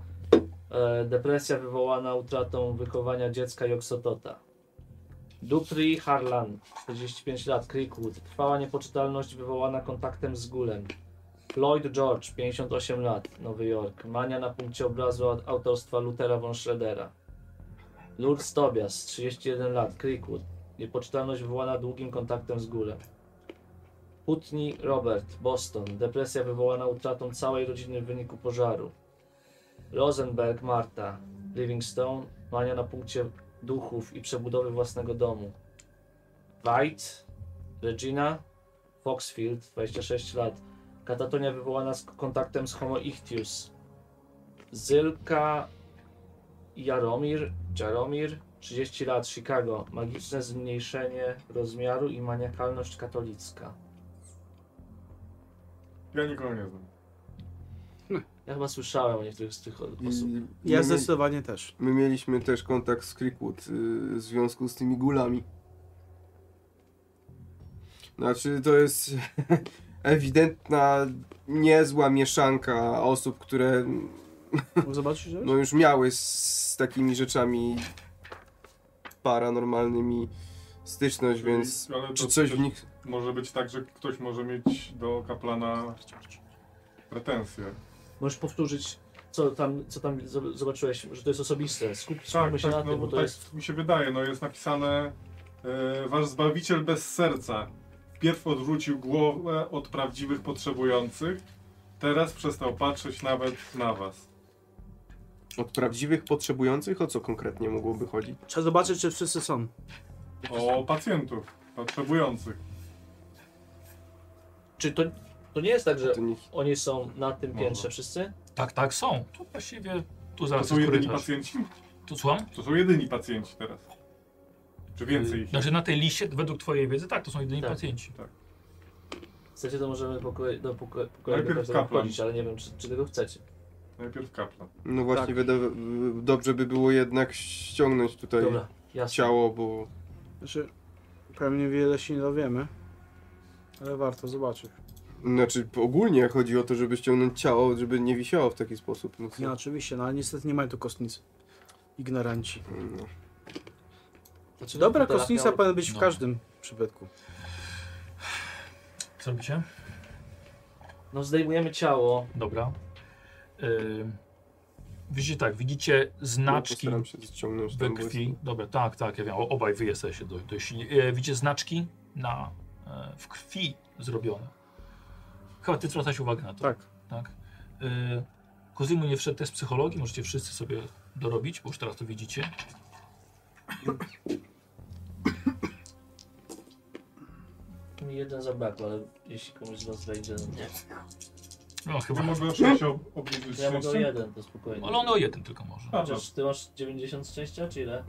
E, Depresja wywołana utratą wychowania dziecka Joksotota. Dupri Harlan, 45 lat, Creekwood. Trwała niepoczytalność wywołana kontaktem z gulem. Floyd George, 58 lat, Nowy Jork. Mania na punkcie obrazu aut- autorstwa Luthera von Schroedera. Lourdes Tobias, 31 lat, Creekwood. Niepoczytalność wywołana długim kontaktem z gulem. Putney Robert, Boston. Depresja wywołana utratą całej rodziny w wyniku pożaru. Rosenberg Marta, Livingstone. Mania na punkcie duchów i przebudowy własnego domu. White, Regina, Foxfield, 26 lat. Katatonia wywołana z kontaktem z Homo ichtius. Zylka Jaromir, Jaromir, 30 lat, Chicago. Magiczne zmniejszenie rozmiaru i maniakalność katolicka. Ja nikogo nie znam. Ja chyba słyszałem o niektórych z tych I- Mm. osób. Ja my- zdecydowanie też. My mieliśmy też kontakt z Creekwood y, w związku z tymi gulami. Znaczy, to jest ewidentna, niezła mieszanka osób, które Mógł zobaczyć, że no, już miały z, z takimi rzeczami paranormalnymi styczność, Czyli- więc ale czy to- coś to- w nich... Może być tak, że ktoś może mieć do kaplana pretensje. Możesz powtórzyć, co tam, co tam zo- zobaczyłeś, że to jest osobiste. Skup, skupmy się na no, tym, bo to tak jest... mi się wydaje, no jest napisane e, Wasz Zbawiciel bez serca. Wpierw odwrócił głowę od prawdziwych potrzebujących, teraz przestał patrzeć nawet na Was. Od prawdziwych potrzebujących? O co konkretnie mogłoby chodzić? trzeba zobaczyć, czy wszyscy są. O pacjentów, potrzebujących. Czy to, to nie jest tak, że To nie... oni są na tym Może. piętrze wszyscy? Tak, tak, są. Tu właściwie, tu To zaraz są jest jedyni korytarz. pacjenci? Tu słucham? To są jedyni pacjenci teraz. Czy więcej ich? Znaczy na tej liście, według twojej wiedzy, tak, to są jedyni Tak. pacjenci. Chcecie, to możemy pokoi, do pokoju, pokoju do Najpierw każdego kaplan. wchodzić, ale nie wiem, czy, czy tego chcecie. Najpierw kaplan. No właśnie, wyda- w- dobrze by było jednak ściągnąć tutaj Dobra, jasne. ciało, bo... Znaczy, pewnie wiele się nie dowiemy, ale warto zobaczyć. Znaczy ogólnie chodzi o to, żeby ściągnąć ciało, żeby nie wisiało w taki sposób. No, co? Nie, oczywiście, no ale niestety nie mają tu kostnicy. Ignoranci. no. Znaczy, Dobra teraz kostnica miał- powinna być w no. każdym przypadku. Co robicie? No zdejmujemy ciało. Dobra. Yy, widzicie tak, widzicie znaczki No, Postaram się ściągnąć we ten krwi. Dobra, tak, tak, ja wiem. o- Obaj wy jesteście do, do, e, Widzicie znaczki na, e, w krwi zrobione. Chyba ty zwracasz uwagę na to. Tak. tak? E, Kozimu nie wszedł test psychologii, możecie wszyscy sobie dorobić, bo już teraz to widzicie. Mi jeden zabrakło, ale jeśli komuś z was wejdzie, no to... No Ja chyba. mogę o 6 obniżyć Ja mogę o szczęście? jeden, to spokojnie. Ale on o jeden tylko może. A, Chociaż ty masz 90 szczęścia, czy ile?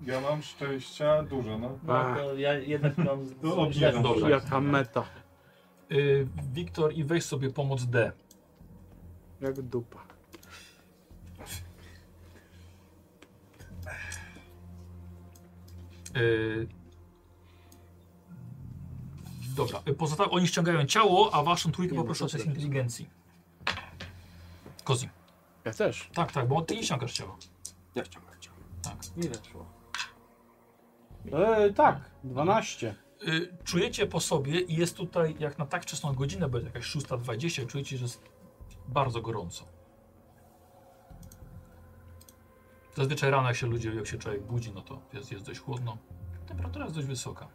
Ja mam szczęścia dużo, no. No to ja jednak mam... To obniżam. Dobrze. Jaka meta. Y, Wiktor, i weź sobie pomoc D. E, Jak dupa. Y, Dobra, y, pozosta- oni ściągają ciało, a waszą trójkę poproszę o test inteligencji. Kozi. Ja też. Tak, tak, bo ty nie ściągasz ciała. Ja ściągnę ściągnę. Nie weszło. E, tak, 12. Y, czujecie po sobie i jest tutaj, jak na tak wczesną godzinę, bo jest jakaś 6.20, czujecie, że jest bardzo gorąco. Zazwyczaj rano, jak się ludzie, jak się człowiek budzi, no to jest, jest dość chłodno. Temperatura jest dość wysoka.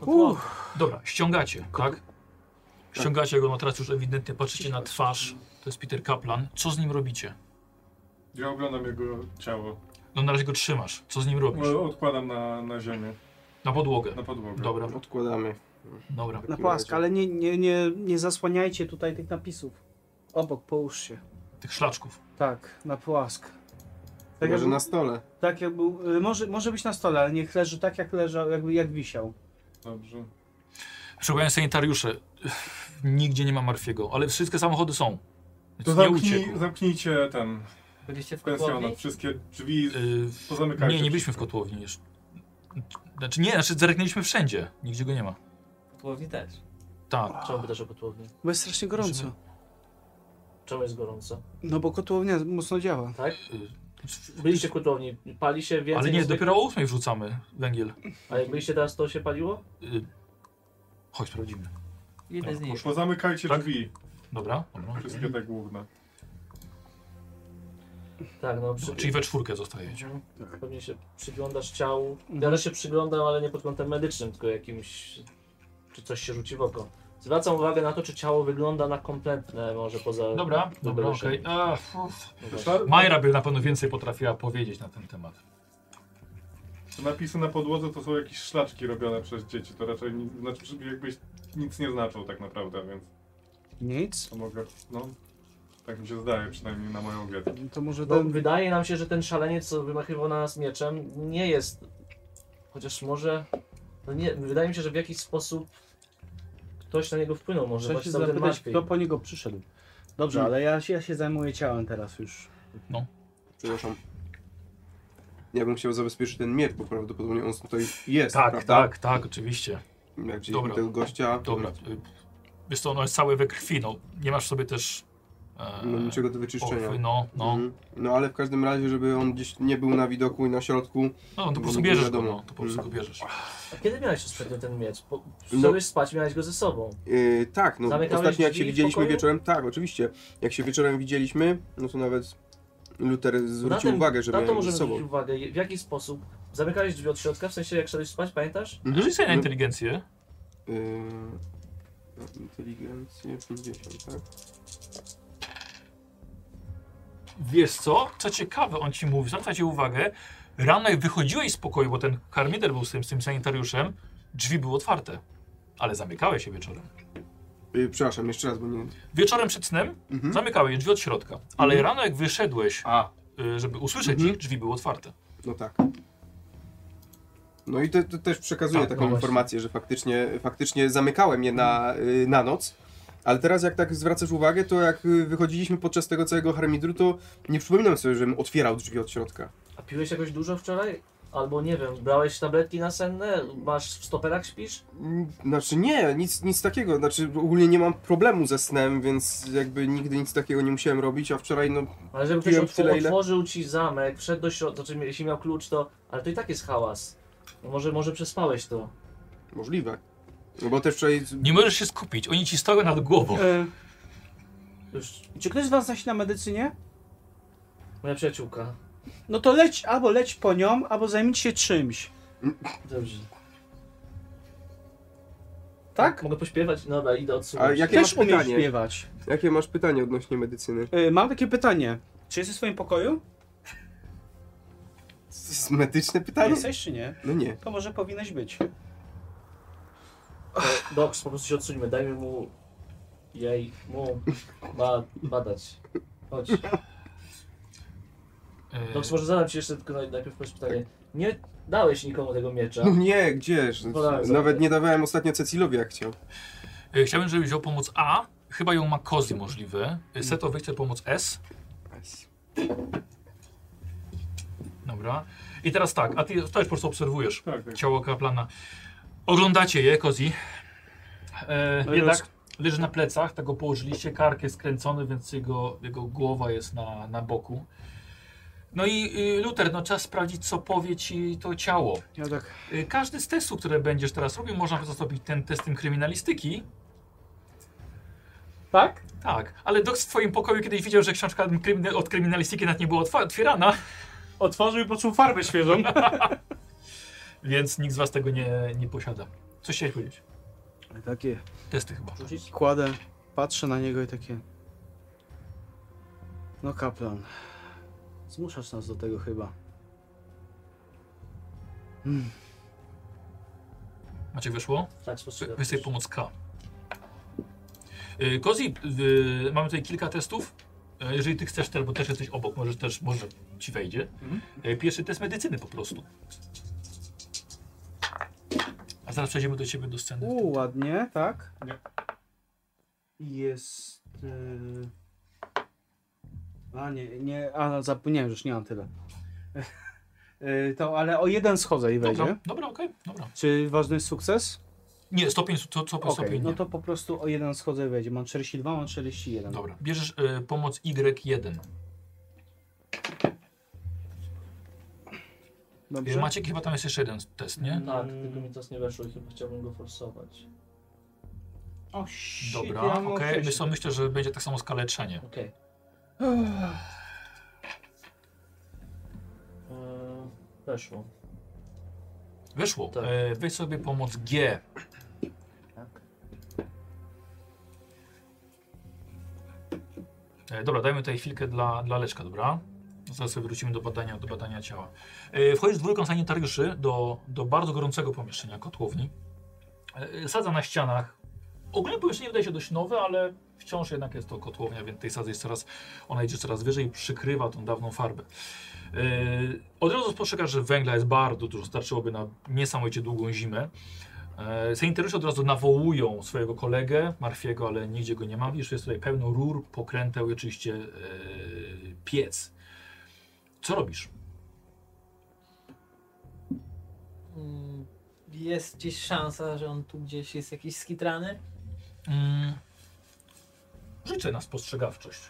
Uff, Dobra, ściągacie, tak? Ściągacie go, no teraz już ewidentnie patrzycie na twarz. To jest Peter Kaplan. Co z nim robicie? Ja oglądam jego ciało. No na razie go trzymasz. Co z nim robisz? No, Odkładam na, na ziemię, Na podłogę. na podłogę. Dobra, Odkładamy. dobra. Na płask, ale nie, nie, nie, nie zasłaniajcie tutaj tych napisów. Obok, połóż się. Tych szlaczków. Tak, na płask. Tak Może jakby, na stole. tak jakby, y, może, może być na stole, ale niech leży tak jak leżał, jakby jak wisiał. Dobrze. Szukają sanitariusze. Ech, Nigdzie nie ma Marfiego, ale wszystkie samochody są. To Więc nie zamknij, uciekł. zamknijcie ten Byliście w pensjonat. kopalni? Wszystkie drzwi Y, pozamykajcie. nie, nie byliśmy w kotłowni jeszcze. Znaczy nie, znaczy zerknęliśmy wszędzie. Nigdzie go nie ma. W kopalni też. Tak. Czemu pytasz o kotłownię? Bo jest strasznie gorąco. Żeby- Czemu jest gorąco? No bo kotłownia mocno działa. Tak? Y, Byliście w kotłowni, pali się więcej... Ale nie, niż zwykle? dopiero o ósmej wrzucamy węgiel. A jak byliście teraz, to się paliło? Y, Chodź, sprawdzimy. Jeden z No, nich. Pozamykajcie Tak? drzwi, Dobra, dobra. wszystkie te główne. Tak, no przy... Czyli we czwórkę zostajecie. Mhm. Pewnie się przyglądasz ciału. Ja też się przyglądam, ale nie pod kątem medycznym, tylko jakimś... Czy coś się rzuci w oko. Zwracam uwagę na to, czy ciało wygląda na kompletne, może poza... Dobra, dobra, okej. wyleczeniem. Ach, uff. No właśnie. Szar- Majra by na pewno więcej potrafiła powiedzieć na ten temat. Te napisy na podłodze to są jakieś szlaczki robione przez dzieci, to raczej nic, znaczy, jakbyś nic nie znaczą tak naprawdę, więc Nic? to mogę, no, tak mi się zdaje przynajmniej na moją wiedzę. To może Bo ten... wydaje nam się, że ten szaleniec, co wymachywał na nas mieczem, nie jest. Chociaż może. No nie, wydaje mi się, że w jakiś sposób ktoś na niego wpłynął. Może Muszę się właśnie tam ten zapytać, Matwiej. kto po niego przyszedł. Dobrze, ale ja, się- ja się zajmuję ciałem teraz już. Przepraszam. Ja bym chciał zabezpieczyć ten miecz, bo prawdopodobnie on tutaj jest. Tak, prawda? tak, tak, oczywiście. Jak Dobra. widzieliśmy tego gościa. Dobra. y, Wiesz co, ono jest całe we krwi, no. Nie masz w sobie też... E, No, niczego do wyczyszczenia. pochwy, no, no. Mhm. no ale w każdym razie, żeby on gdzieś nie był na widoku i na środku. No, to po prostu Nie bierzesz go, wiadomo. no. To po prostu go Mhm. bierzesz. A kiedy miałeś ostatnio ten miecz? Po, No. Chciałeś spać, miałeś go ze sobą. Yy, tak, no Zamykałeś ostatnio jak się drzwi w widzieliśmy pokoju? wieczorem, tak, oczywiście. Jak się wieczorem widzieliśmy, no to nawet Luther No Na zwrócił ten- uwagę, że na to miałem ze możemy sobą. zwrócić uwagę, w jaki sposób. Zamykałeś drzwi od środka, w sensie jak szedłeś spać, pamiętasz? Rzuć sobie na No, inteligencję. Yy, inteligencję 50, tak? Wiesz co? Co ciekawe, on ci mówi, zwracacie uwagę, rano jak wychodziłeś z pokoju, bo ten karmider był z tym, z tym sanitariuszem, drzwi były otwarte, ale zamykałeś je wieczorem. Yy, przepraszam, jeszcze raz, bo nie... Wieczorem przed snem Mhm. zamykałeś drzwi od środka, ale rano jak wyszedłeś, A, y, żeby usłyszeć Mhm. ich, drzwi były otwarte. No tak. No i to, to też przekazuję Tak, taką no właśnie. informację, że faktycznie, faktycznie zamykałem je na, y, na noc. Ale teraz jak tak zwracasz uwagę, to jak y, wychodziliśmy podczas tego całego harmidru, to nie przypominam sobie, żebym otwierał drzwi od środka. A piłeś jakoś dużo wczoraj? Albo nie wiem, brałeś tabletki nasenne? Masz w stoperach śpisz? Mm, Znaczy nie, nic, nic takiego. Znaczy ogólnie nie mam problemu ze snem, więc jakby nigdy nic takiego nie musiałem robić, a wczoraj no... Ale żeby ktoś Piłem otw- tyle, ile- otworzył ci zamek, wszedł do środka, znaczy jeśli miał klucz, to... Ale to i tak jest hałas. No może, może przespałeś to. Możliwe. No bo też wczoraj... Nie możesz się skupić, oni ci stoją nad głową. E, Już czy ktoś z was zasila medycynie? moja przyjaciółka. No to leć, albo leć po nią, albo zajmij się czymś. Dobrze. Tak? Mogę pośpiewać? Dobra, idę odsunąć. A jakie masz Też umiesz pytanie? śpiewać. Jakie masz pytanie odnośnie medycyny? E, mam takie pytanie. Czy jesteś w swoim pokoju? To jest medyczne Tak. pytanie? Jesteś czy nie? No nie. To może powinieneś być. E, Doks, po prostu się odsuńmy, dajmy mu... Jej, mu... Ba, badać. Chodź. E, Doks, może zadam ci jeszcze tylko naj- najpierw pytanie. Nie dałeś nikomu tego miecza. No nie, gdzież? Znalazłem. Nawet nie dawałem ostatnio Cecilowi jak chciał. e, Chciałbym, żebyś wziął pomoc A. Chyba ją ma Kozy możliwe. E, Seto wychce pomoc S. Dobra. I teraz tak, a ty też po prostu obserwujesz Tak, tak. ciało kaplana. Oglądacie je, Kozi. E, No i jednak roz- leży na plecach, tak go położyliście, kark jest skręcony, więc jego, jego głowa jest na, na boku. No i y, Luther, no czas sprawdzić, co powie ci to ciało. Ja tak. Y, Każdy z testów, które będziesz teraz robił, można zastąpić ten testem kryminalistyki. Tak? Tak, ale dok w twoim pokoju kiedyś widział, że książka krymina- od kryminalistyki nawet nie była otwa- otwierana, Otworzył i poczuł farbę świeżą. więc nikt z was tego nie, nie posiada. Coś chciałeś powiedzieć? Takie. Testy chyba. Rzucić? Kładę, patrzę na niego i takie. No kaplan. Zmuszasz nas do tego chyba. Maciek wyszło? Tak, Wy- spostrzegam. Wysyp pomoc K. Y, Kozi, y, mamy tutaj kilka testów. Y, Jeżeli ty chcesz też, bo też jesteś obok, może też może ci wejdzie. Y, Pierwszy test medycyny po prostu. A zaraz przejdziemy do ciebie do sceny. U, ładnie, tak? Nie. Jest. Yy... A nie, nie, a no, zapomniałem, że już nie mam tyle. Yy, to, ale o jeden schodzę i wejdzie. Dobra, dobra, okej, dobra. Czy ważny jest sukces? Nie, stopień, co, co Okej, stopień no nie. to po prostu o jeden schodzę i wejdzie. Mam 42, mam 41. Dobra, bierzesz y, pomoc Y1. Dobrze. Dobrze. Maciek, chyba tam jest jeszcze jeden test, nie? Tak, tylko mi to nie weszło i chyba chciałbym go forsować. O, shit, Dobra, ja mam okej. sześć. Myślę, myślę, że będzie tak samo skaleczenie. Okej. Eee, E, Weszło. Wyszło. Tak. E, weź sobie pomoc G. E, dobra, dajmy tutaj chwilkę dla, dla Leszka, dobra? Zaraz sobie wrócimy do badania, do badania ciała. E, wchodzisz z dwójką sanitariuszy do, do bardzo gorącego pomieszczenia kotłowni. E, sadza na ścianach. Ogólnie pomieszczenie wydaje się dość nowe, ale wciąż jednak jest to kotłownia, więc tej sadzy jest coraz, ona idzie coraz wyżej i przykrywa tą dawną farbę. E, od razu spostrzegasz, że węgla jest bardzo dużo, starczyłoby na niesamowicie długą zimę. E, Sanitariusze od razu nawołują swojego kolegę, Marfiego, ale nigdzie go nie ma. Widzisz, jest tutaj pełno rur, pokręteł i oczywiście e, piec. Co robisz? Mm, Jest gdzieś szansa, że on tu gdzieś jest jakiś skitrany? Mm. Życzę na spostrzegawczość.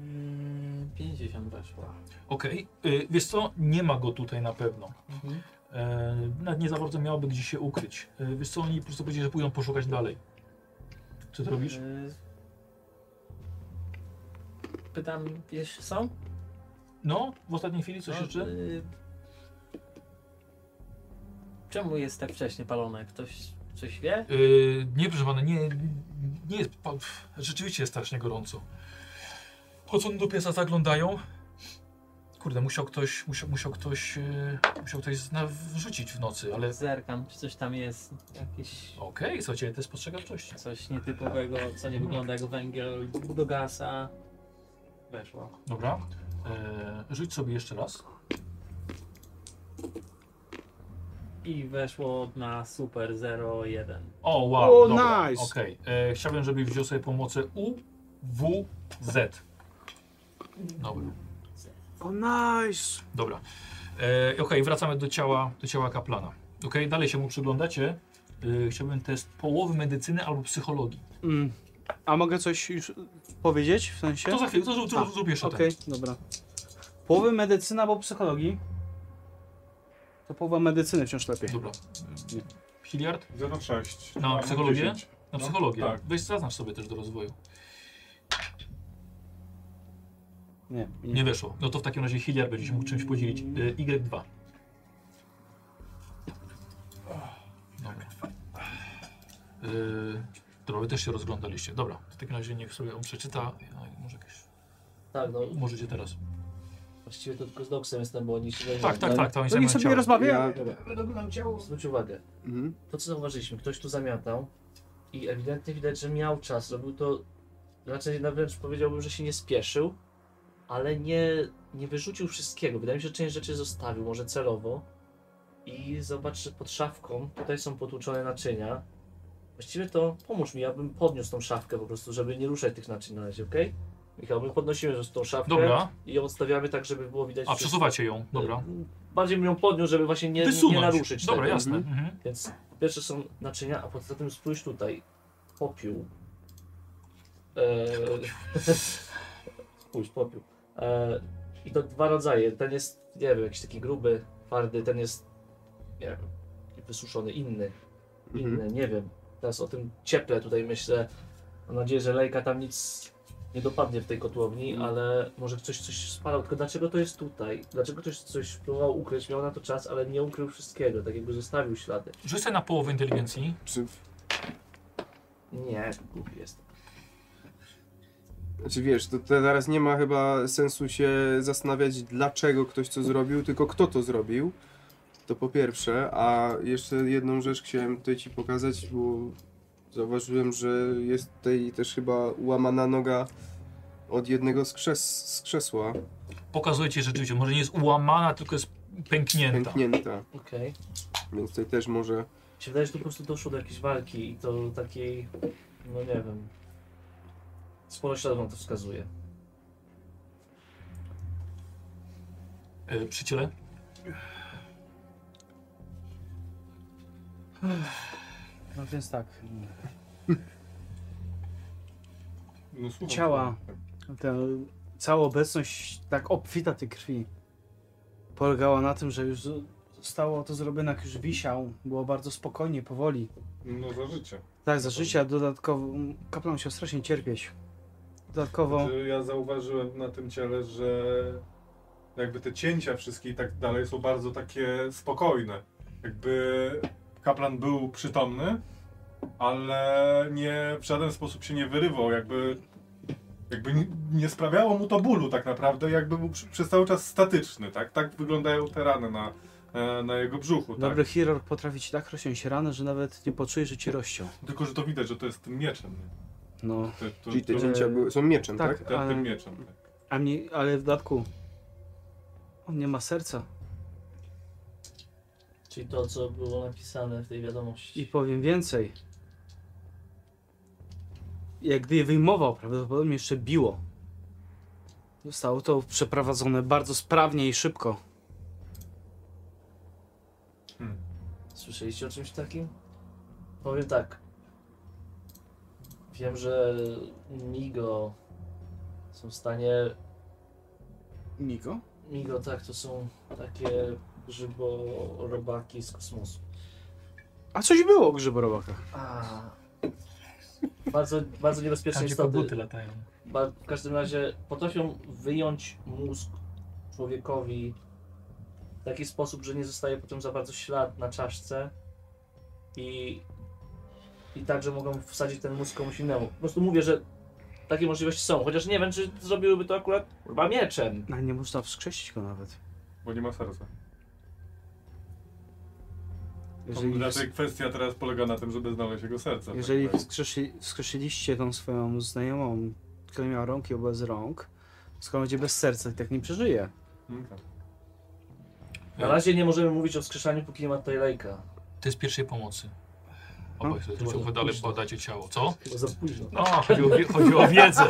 Mm, 50 weszło. Okej, y, wiesz co, nie ma go tutaj na pewno. Mhm. E, nawet nie za bardzo miałoby gdzie się ukryć. E, wiesz co, oni po prostu powiedzieli, że pójdą poszukać dalej. Co ty robisz? Y, Pytam, jeszcze są? No, w ostatniej chwili coś No, jeszcze? y, Czemu jest tak wcześnie palone? Ktoś coś wie? Yy, nie, proszę pana, nie, nie jest. pa- pff, Rzeczywiście jest strasznie gorąco. Chodzą do piesa, zaglądają. Kurde, musiał ktoś, musiał, musiał ktoś, yy, musiał ktoś zna, wrzucić w nocy, ale. Zerkam, czy coś tam jest, jakieś Okej, słuchajcie, to jest postrzegawczość. coś nietypowego, co nie wygląda jak węgiel do gasa. Weszło. Dobra. Yy, rzuć sobie jeszcze raz. I weszło na super 01. O, wow. O, dobra, nice. Okej. Yy, chciałbym, żebyś wziął sobie pomocę U, W, Z. Dobra. O, nice! Dobra. E, Okej, wracamy do ciała, do ciała kaplana. Okej, dalej się mu przyglądacie. E, chciałbym test połowy medycyny albo psychologii. Mm. A mogę coś już powiedzieć? W sensie? To za chwilę, to zrób, Tak. A, zrób, zrób jeszcze Okej, dobra. Połowy medycyna albo psychologii? To połowa medycyny wciąż lepiej. Dobra. Hiliard? 06. Na mam psychologię? 10. Na Mm. No, psychologię. tak. Mm. Weź zaznacz sobie też do rozwoju. Nie, Nie weszło. No to w takim razie Hiliard będzie się mógł czymś podzielić. Y, Y2. Dobra. Y, Dobra, wy też się rozglądaliście. Dobra, w takim razie niech sobie on przeczyta. A, Może jakieś... Tak, no Możecie teraz. właściwie to tylko z Doksem jestem, bo oni się Tak, tak, tak. To oni No same niech sobie chciały. rozmawia. Zwróć uwagę, Mhm. to co zauważyliśmy, ktoś tu zamiatał i ewidentnie widać, że miał czas, robił to raczej na wręcz powiedziałbym, że się nie spieszył, ale nie, nie wyrzucił wszystkiego. Wydaje mi się, że część rzeczy zostawił, może celowo. I zobacz, że pod szafką tutaj są potłuczone naczynia. Właściwie to pomóż mi, ja bym podniósł tą szafkę po prostu, żeby nie ruszać tych naczyń na razie, okej? Michał, my podnosimy już tą szafkę Dobra. i ją odstawiamy tak, żeby było widać A wszystko. przesuwacie ją. Dobra. Bardziej bym ją podniósł, żeby właśnie nie, nie, nie Wysunąć. naruszyć Dobra, tego. no. jasne. Mhm. Więc pierwsze są naczynia, a poza tym spójrz tutaj. Popiół. Eee, spójrz, popiół. Eee, I to dwa rodzaje. Ten jest, nie wiem, jakiś taki gruby, twardy, ten jest, nie wiem, wysuszony, inny. mhm. Inny, nie wiem. Teraz o tym cieple tutaj myślę. Mam nadzieję, że lejka tam nic nie dopadnie w tej kotłowni, ale może ktoś coś spalał. Tylko dlaczego to jest tutaj? Dlaczego ktoś coś próbował ukryć? Miał na to czas, ale nie ukrył wszystkiego, tak jakby zostawił ślady. Rzuć sobie na połowę inteligencji. Czy, Nie, głupi jest. znaczy wiesz, to teraz nie ma chyba sensu się zastanawiać, dlaczego ktoś co zrobił, tylko kto to zrobił. To po pierwsze, a jeszcze jedną rzecz chciałem tutaj ci pokazać, bo zauważyłem, że jest tutaj też chyba łamana noga od jednego z, krzes z krzesła Pokazuje ci rzeczywiście. Może nie jest ułamana, tylko jest pęknięta. pęknięta, Okej. więc tutaj też może Mi się wydaje, że tu po prostu doszło do jakiejś walki i to takiej, no nie wiem. Sporo śladów nam to wskazuje. Y, Przyciele. No więc tak, No, słucham. Ciała. ta cała obecność tak obfita tej krwi polegała na tym, że już zo- zostało to zrobione, jak już wisiał. Było bardzo spokojnie, powoli. No za życie. Tak, za życia dodatkowo kaplan musiał strasznie cierpieć. Dodatkowo Znaczy, ja zauważyłem na tym ciele, że jakby te cięcia wszystkie i tak dalej są bardzo takie spokojne. Jakby kaplan był przytomny, ale nie w żaden sposób się nie wyrywał, jakby jakby nie- nie sprawiało mu to bólu tak naprawdę, jakby był przy, przez cały czas statyczny, tak? Tak wyglądają te rany na, e, na jego brzuchu, tak? dobry chirurg potrafi ci tak rozciąć ranę, że nawet nie poczujesz, że ci rozciął. Tylko, że to widać, że to jest tym mieczem. nie? No, To, to, Czyli te to, cięcia były, są mieczem, tak? tak, to, tym ale, mieczem. Tak. a mnie, ale w dodatku on nie ma serca. Czyli to, co było napisane w tej wiadomości. I powiem więcej. Jak gdy je wyjmował, prawdopodobnie jeszcze biło. Zostało to przeprowadzone bardzo sprawnie i szybko. Słyszeliście o czymś takim? Powiem tak. Wiem, że Migo są w stanie. Niko? Migo, tak, to są takie grzyborobaki z kosmosu. A coś było o grzyborobakach. A. Bardzo, bardzo niebezpieczne Tam gdzie istoty. koguty latają. Ba- W każdym razie potrafią wyjąć mózg człowiekowi w taki sposób, że nie zostaje potem za bardzo ślad na czaszce i, i także mogą wsadzić ten mózg komuś innemu. Po prostu mówię, że takie możliwości są, chociaż nie wiem, czy zrobiłyby to akurat chyba mieczem. No nie można wskrzesić go nawet. Bo nie ma serca. Jeżeli, Raczej kwestia teraz polega na tym, żeby znaleźć jego serce. jeżeli tak powiem. wskrzesi, wskrzesiliście tą swoją znajomą, która miała rąki bez rąk, skoro będzie bez serca, i tak nie przeżyje. Mm, tak. Na razie nie możemy mówić o wskrzeszaniu, póki nie ma tutaj lejka. To jest pierwszej pomocy. Obaj sobie no, dalej badacie ciało. Co? Chyba za późno. No, chodzi o, wie- chodzi o wiedzę.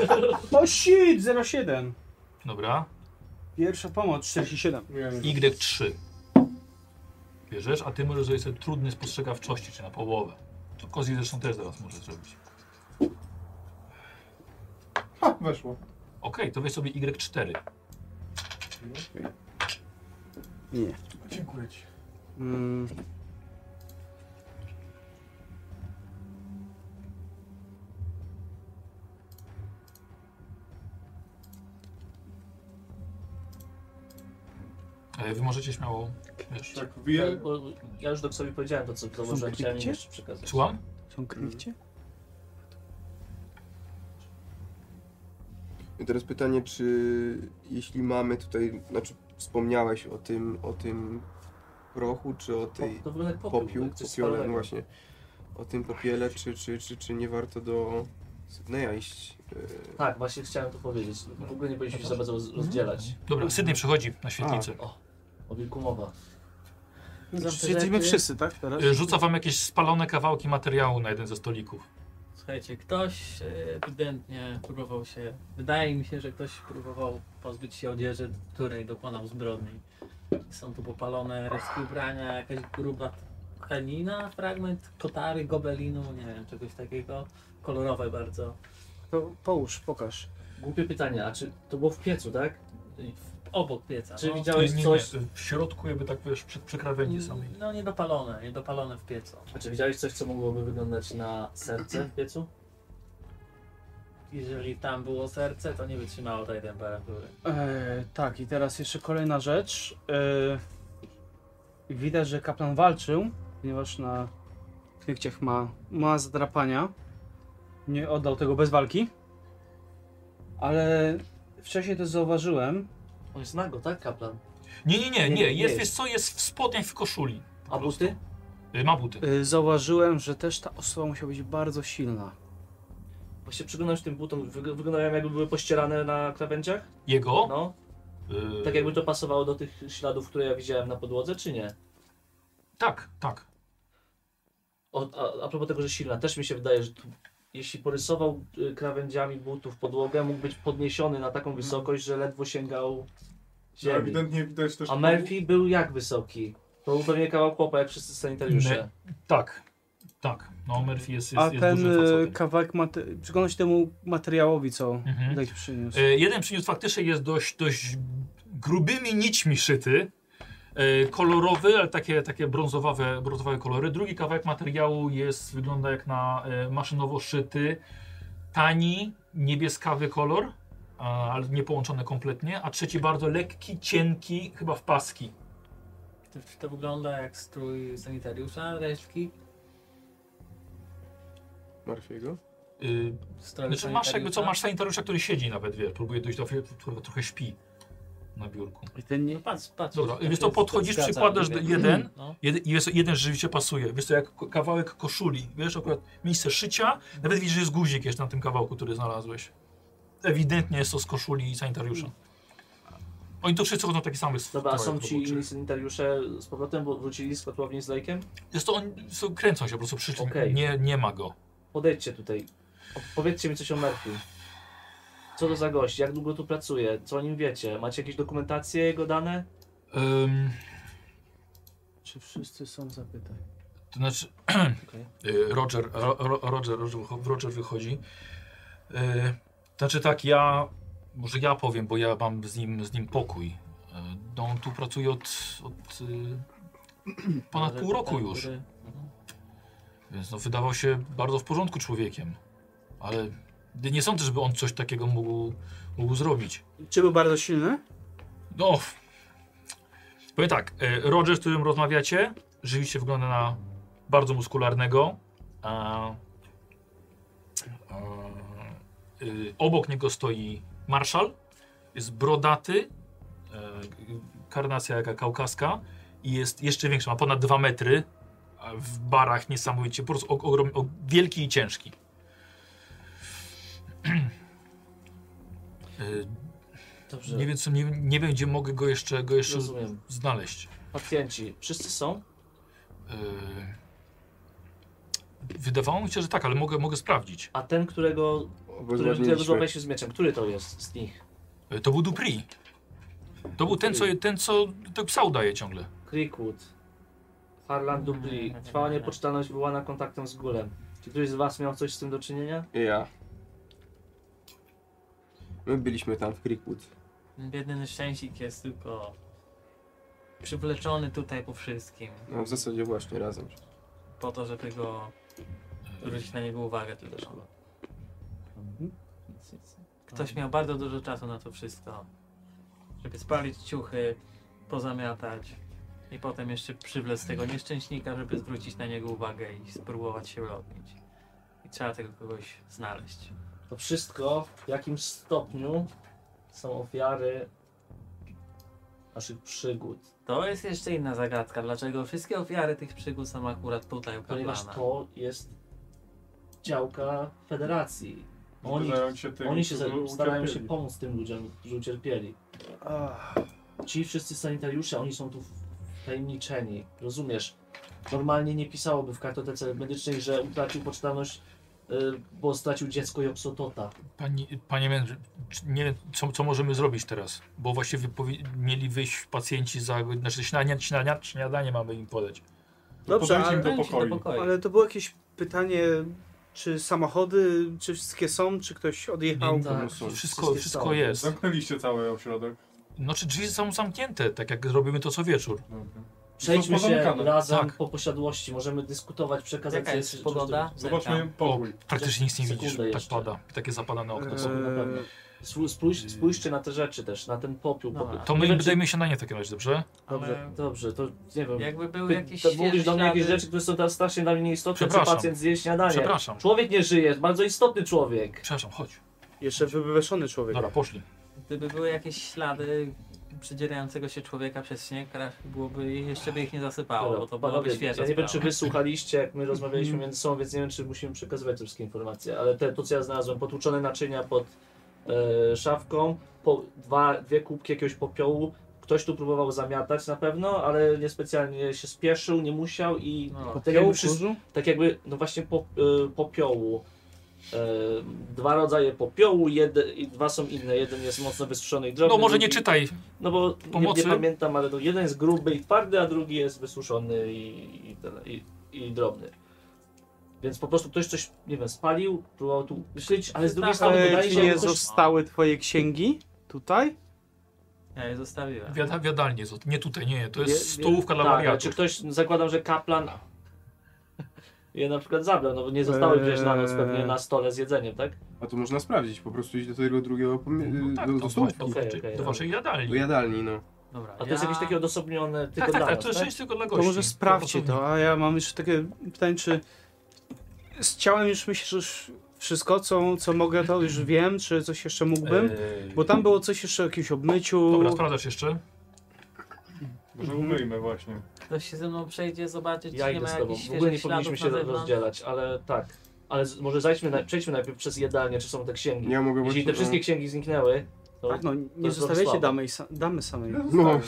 O shit! 07! Dobra. Pierwsza pomoc 47. Y3. Bierzesz, a ty możesz zrobić sobie trudny spostrzegawczości, czy na połowę. To Kozi zresztą też zaraz może zrobić. Ha, weszło. Okej, to weź sobie Y Y4. Nie. Dziękuję ci. Mm. E, Wy możecie śmiało, wiesz, Tak, wie, Bo ja już do sobie powiedziałem to, co to są może chciałem klikcie? jeszcze przekazać. słucham? Są krwicie? I teraz pytanie, czy jeśli mamy tutaj, znaczy wspomniałeś o tym, o tym prochu, czy o Po, tej to wygląda jak popiół, popiół, jak coś popiole, no spalonego. właśnie, o tym popiele, czy, czy, czy, czy nie warto do Sydneya iść? e, Tak, właśnie chciałem to powiedzieć. W ogóle nie powinniśmy się za bardzo roz- rozdzielać. Dobra, Sydney przechodzi na świetlicę. O wilku mowa. No Czy jedzimy wszyscy, tak? Teraz? E, Rzuca wam jakieś spalone kawałki materiału na jeden ze stolików. Słuchajcie, ktoś e, ewidentnie próbował się. Wydaje mi się, że ktoś próbował pozbyć się odzieży, której dokonał zbrodni. Są tu popalone resztki ubrania, jakaś gruba tkanina, fragment kotary, gobelinu, nie wiem, czegoś takiego. Kolorowe bardzo. To połóż, pokaż. Głupie pytanie, a czy to było w piecu, tak? I w- Obok pieca. Czy no. widziałeś coś, w środku jakby tak wiesz, przed przekrawędzi samej. No niedopalone, niedopalone w piecu. a czy widziałeś coś, co mogłoby wyglądać na serce w piecu? Jeżeli tam było serce, to nie wytrzymało tej temperatury. Eee, tak, i teraz jeszcze kolejna rzecz. Eee, widać, że kaplan walczył, ponieważ na knykciach ma, ma zadrapania. Nie oddał tego bez walki. Ale wcześniej to zauważyłem. On jest nago, tak, kaplan? Nie, nie, nie, Nie, nie, nie jest, jest. wiesz co, jest w spodniach w koszuli. A buty? E, Ma buty. Eee, zauważyłem, że też ta osoba musiała być bardzo silna. Bo się przyglądasz tym butom, wyg- wyglądają jakby były pościerane na krawędziach? Jego? No. e, Tak jakby to pasowało do tych śladów, które ja widziałem na podłodze, czy nie? Tak, tak. O, a, a propos tego, że silna, też mi się wydaje, że tu, jeśli porysował y, krawędziami butów podłogę, mógł być podniesiony na taką wysokość, że ledwo sięgał no, ziemi. ewidentnie widać też... A Melfi był jak wysoki? To był pewnie kawał chłopa, jak wszyscy sanitariusze. Tak, e, tak. No, Murphy jest, jest, A jest ten dużym eee, facetem. kawałek, mate- przygląda się temu materiałowi, co Mhm. widać przyniósł. E, Jeden przyniósł faktycznie jest dość, dość grubymi nićmi szyty. e, Kolorowy, ale takie, takie brązowawe, brązowe kolory. Drugi kawałek materiału jest, wygląda jak na e, maszynowo szyty. Tani, niebieskawy kolor, a, ale nie połączone kompletnie. A trzeci bardzo lekki, cienki, chyba w paski. To, czy to wygląda jak strój sanitariusza, resztki? Marfiego? Y, Stroju Znaczy masz jakby co, sanitariusza? masz sanitariusza, który siedzi nawet, wiesz, próbuje dojść do trochę, trochę śpi na biurku. I ten nie... No patrz, patrz. Dobra, tak wiesz co, jest, podchodzisz, zgadza, przykładasz mówię. do- jeden. No. Jeden, i wiesz, co, jeden rzeczywiście pasuje. Wiesz to jak ko- kawałek koszuli, wiesz, akurat miejsce szycia, nawet widzisz, że jest guzik jeszcze na tym kawałku, który znalazłeś. Ewidentnie jest to z koszuli i sanitariusza. Oni to wszyscy chodzą w takich samych Hmm. Dobra, a są strojach ci roboczych. inni sanitariusze z powrotem, bo wrócili z kotłowni z lejkiem? Jest to, oni są, kręcą się po prostu, przy czym Okej. nie, nie ma go. Podejdźcie tutaj. Powiedzcie mi coś o Merfim. Co to za gość? Jak długo tu pracuje? Co o nim wiecie? Macie jakieś dokumentacje, jego dane? Ym, Czy wszyscy są zapytań? to znaczy, Okej. Y, Roger, Ro, Ro- Roger, Roger, wycho- Roger wychodzi. Y, Znaczy tak, ja, może ja powiem, bo ja mam z nim, z nim pokój. Y, No, on tu pracuje od, od y, ponad Może tak, pół roku ten, już, który- więc no, wydawał się bardzo w porządku człowiekiem. Ale nie sądzę, żeby on coś takiego mógł, mógł zrobić. Czy był bardzo silny? No, f- powiem tak, y, Roger, z którym rozmawiacie, rzeczywiście wygląda na bardzo muskularnego. A, a, y, obok niego stoi marszal, jest brodaty, e, karnacja jaka kaukaska i jest jeszcze większy, ma ponad 2 metry, a w barach niesamowicie, po prostu o, ogrom, o, wielki i ciężki. Y, Dobrze, nie wiem, co, nie, nie wiem, gdzie mogę go jeszcze, go jeszcze rozumiem. znaleźć. Pacjenci, wszyscy są? Yy... Wydawało mi się, że tak, ale mogę, mogę sprawdzić. A ten, którego, który, którego Obezwładniliśmy. złapałeś się z mieczem, który to jest z nich? Yy, To był Dupri. To był ten, co, ten, co ten psa udaje ciągle. Creekwood, Harlan Dubri, trwała niepoczytalność wywołana kontaktem z gólem. Czy któryś z was miał coś z tym do czynienia? Ja. My byliśmy tam w Creekwood. Biedny nieszczęśnik jest tylko przywleczony tutaj po wszystkim, No w zasadzie właśnie razem. po to, żeby go zwrócić na niego uwagę tylko. że- Ktoś miał bardzo dużo czasu na to wszystko, żeby spalić ciuchy, pozamiatać i potem jeszcze przywlec tego nieszczęśnika, żeby zwrócić na niego uwagę i spróbować się odbić. I trzeba tego kogoś znaleźć. To wszystko w jakimś stopniu są ofiary naszych przygód. To jest jeszcze inna zagadka, dlaczego wszystkie ofiary tych przygód są akurat tutaj u Ponieważ kapłana. to jest działka federacji. Oni, Zdarzają się tym, oni się którzy za- starają się ucierpieli. pomóc tym ludziom, którzy ucierpieli. Ci wszyscy sanitariusze, oni są tu wtajemniczeni. Rozumiesz? Normalnie nie pisałoby w kartotece medycznej, że utracił poczytalność, y, bo stracił dziecko i obsotota. Pani, panie mędrze, czy nie wiem, co, co możemy zrobić teraz, bo właśnie wypowi- mieli wyjść pacjenci za, znaczy śniadanie, śniadanie, śniadanie mamy im podać. Dobrze, Podejdź im ale, do Wejdź pokoju. ale to było jakieś pytanie, czy samochody, czy wszystkie są, czy ktoś odjechał? Nie, tak. Wszystko, Wszystkie wszystko stało. jest. tak? Zamknęliście cały ośrodek. No czy drzwi są zamknięte, tak jak zrobimy to co wieczór. Dobra. Przejdźmy się pozamykane. razem Tak. po posiadłości, możemy dyskutować, przekazać Jaka jest coś- coś pogoda? Zobaczmy O, pokój. praktycznie nic nie Sekundę widzisz, tak jeszcze. pada. Takie zapadane E, okno są. Eee. na pewno. Spu- Spójrz, spójrzcie na te rzeczy też, na ten popiół. Dobra. popiół. To Nie my wiem, dajmy się na nie w takim razie, dobrze? Dobrze, dobrze, to nie wiem. Jakby były Ty- jakieś to mówisz do mnie jakieś ślady- rzeczy, które są teraz strasznie dla mnie istotne, czy Przepraszam. pacjent zje śniadanie. Przepraszam. Człowiek nie żyje, jest bardzo istotny człowiek. Przepraszam, chodź. Jeszcze wybeszony człowiek. Dobra, poszli. Gdyby były jakieś ślady przedzierającego się człowieka przez śnieg, raczej byłoby, jeszcze by ich nie zasypało, bo to byłoby No, Panowie, świeże. ja nie wiem, czy sprawa. wy słuchaliście, jak my rozmawialiśmy między sobą, więc nie wiem, czy musimy przekazywać te wszystkie informacje, ale te, to, co ja znalazłem, potłuczone naczynia pod e, szafką, po, dwa, dwie kubki jakiegoś popiołu, ktoś tu próbował zamiatać na pewno, ale niespecjalnie się spieszył, nie musiał i No, tak jakby, wszyscy, tak jakby, no właśnie po, y, popiołu. Y, dwa rodzaje popiołu, jedy, i dwa są inne. Jeden jest mocno wysuszony i drobny. No może nie drugi- czytaj. No bo nie, nie pomocy. pamiętam, ale to jeden jest gruby i twardy, a drugi jest wysuszony i, i, ten- i, i drobny. Więc po prostu ktoś coś, nie wiem, spalił, próbował tu myśleć, ale z drugiej Tak, strony ale wydaje ci się, nie że ktoś... E, zostały twoje księgi tutaj? ja je zostawiłem. Wiada, wiadalnie, zo- nie tutaj, nie, nie. To Wie- jest wie- stołówka dla Tak, ale czy wariatów. Tak. ktoś, zakładam, że kaplan je na przykład zabrał, no bo nie zostały gdzieś na noc pewnie na stole z jedzeniem, tak? A to można sprawdzić, po prostu iść do tego drugiego pomie- No tak, do, to do stołówki. do, Okej, do, okej, do waszej Do jadalni. jadalni, no. Dobra, A to jest jakieś takie odosobnione tylko Tak, tak, dla tak, nas, to jest tak? część tylko dla To gości. może sprawdźcie pracowników. to, a ja mam jeszcze takie pytanie, czy z ciałem już myślisz że już wszystko, co, co mogę, to już wiem, czy coś jeszcze mógłbym? Eee, Bo tam było coś jeszcze o jakimś obmyciu. Dobra, sprawdzasz jeszcze? Może Mhm. umyjmy właśnie. Ktoś się ze mną przejdzie zobaczyć, Ja czy nie idę ma z tobą. jakichś W ogóle nie świeżych śladów powinniśmy na się zewnątrz. rozdzielać, ale tak. Ale z, może zajdźmy, na, przejdźmy najpierw przez jadalnię, czy są te księgi. Ja mogę Jeśli właśnie... te wszystkie księgi zniknęły, to Tak, no nie jest zostawiacie słabo. damy, i sa- damy samej. No,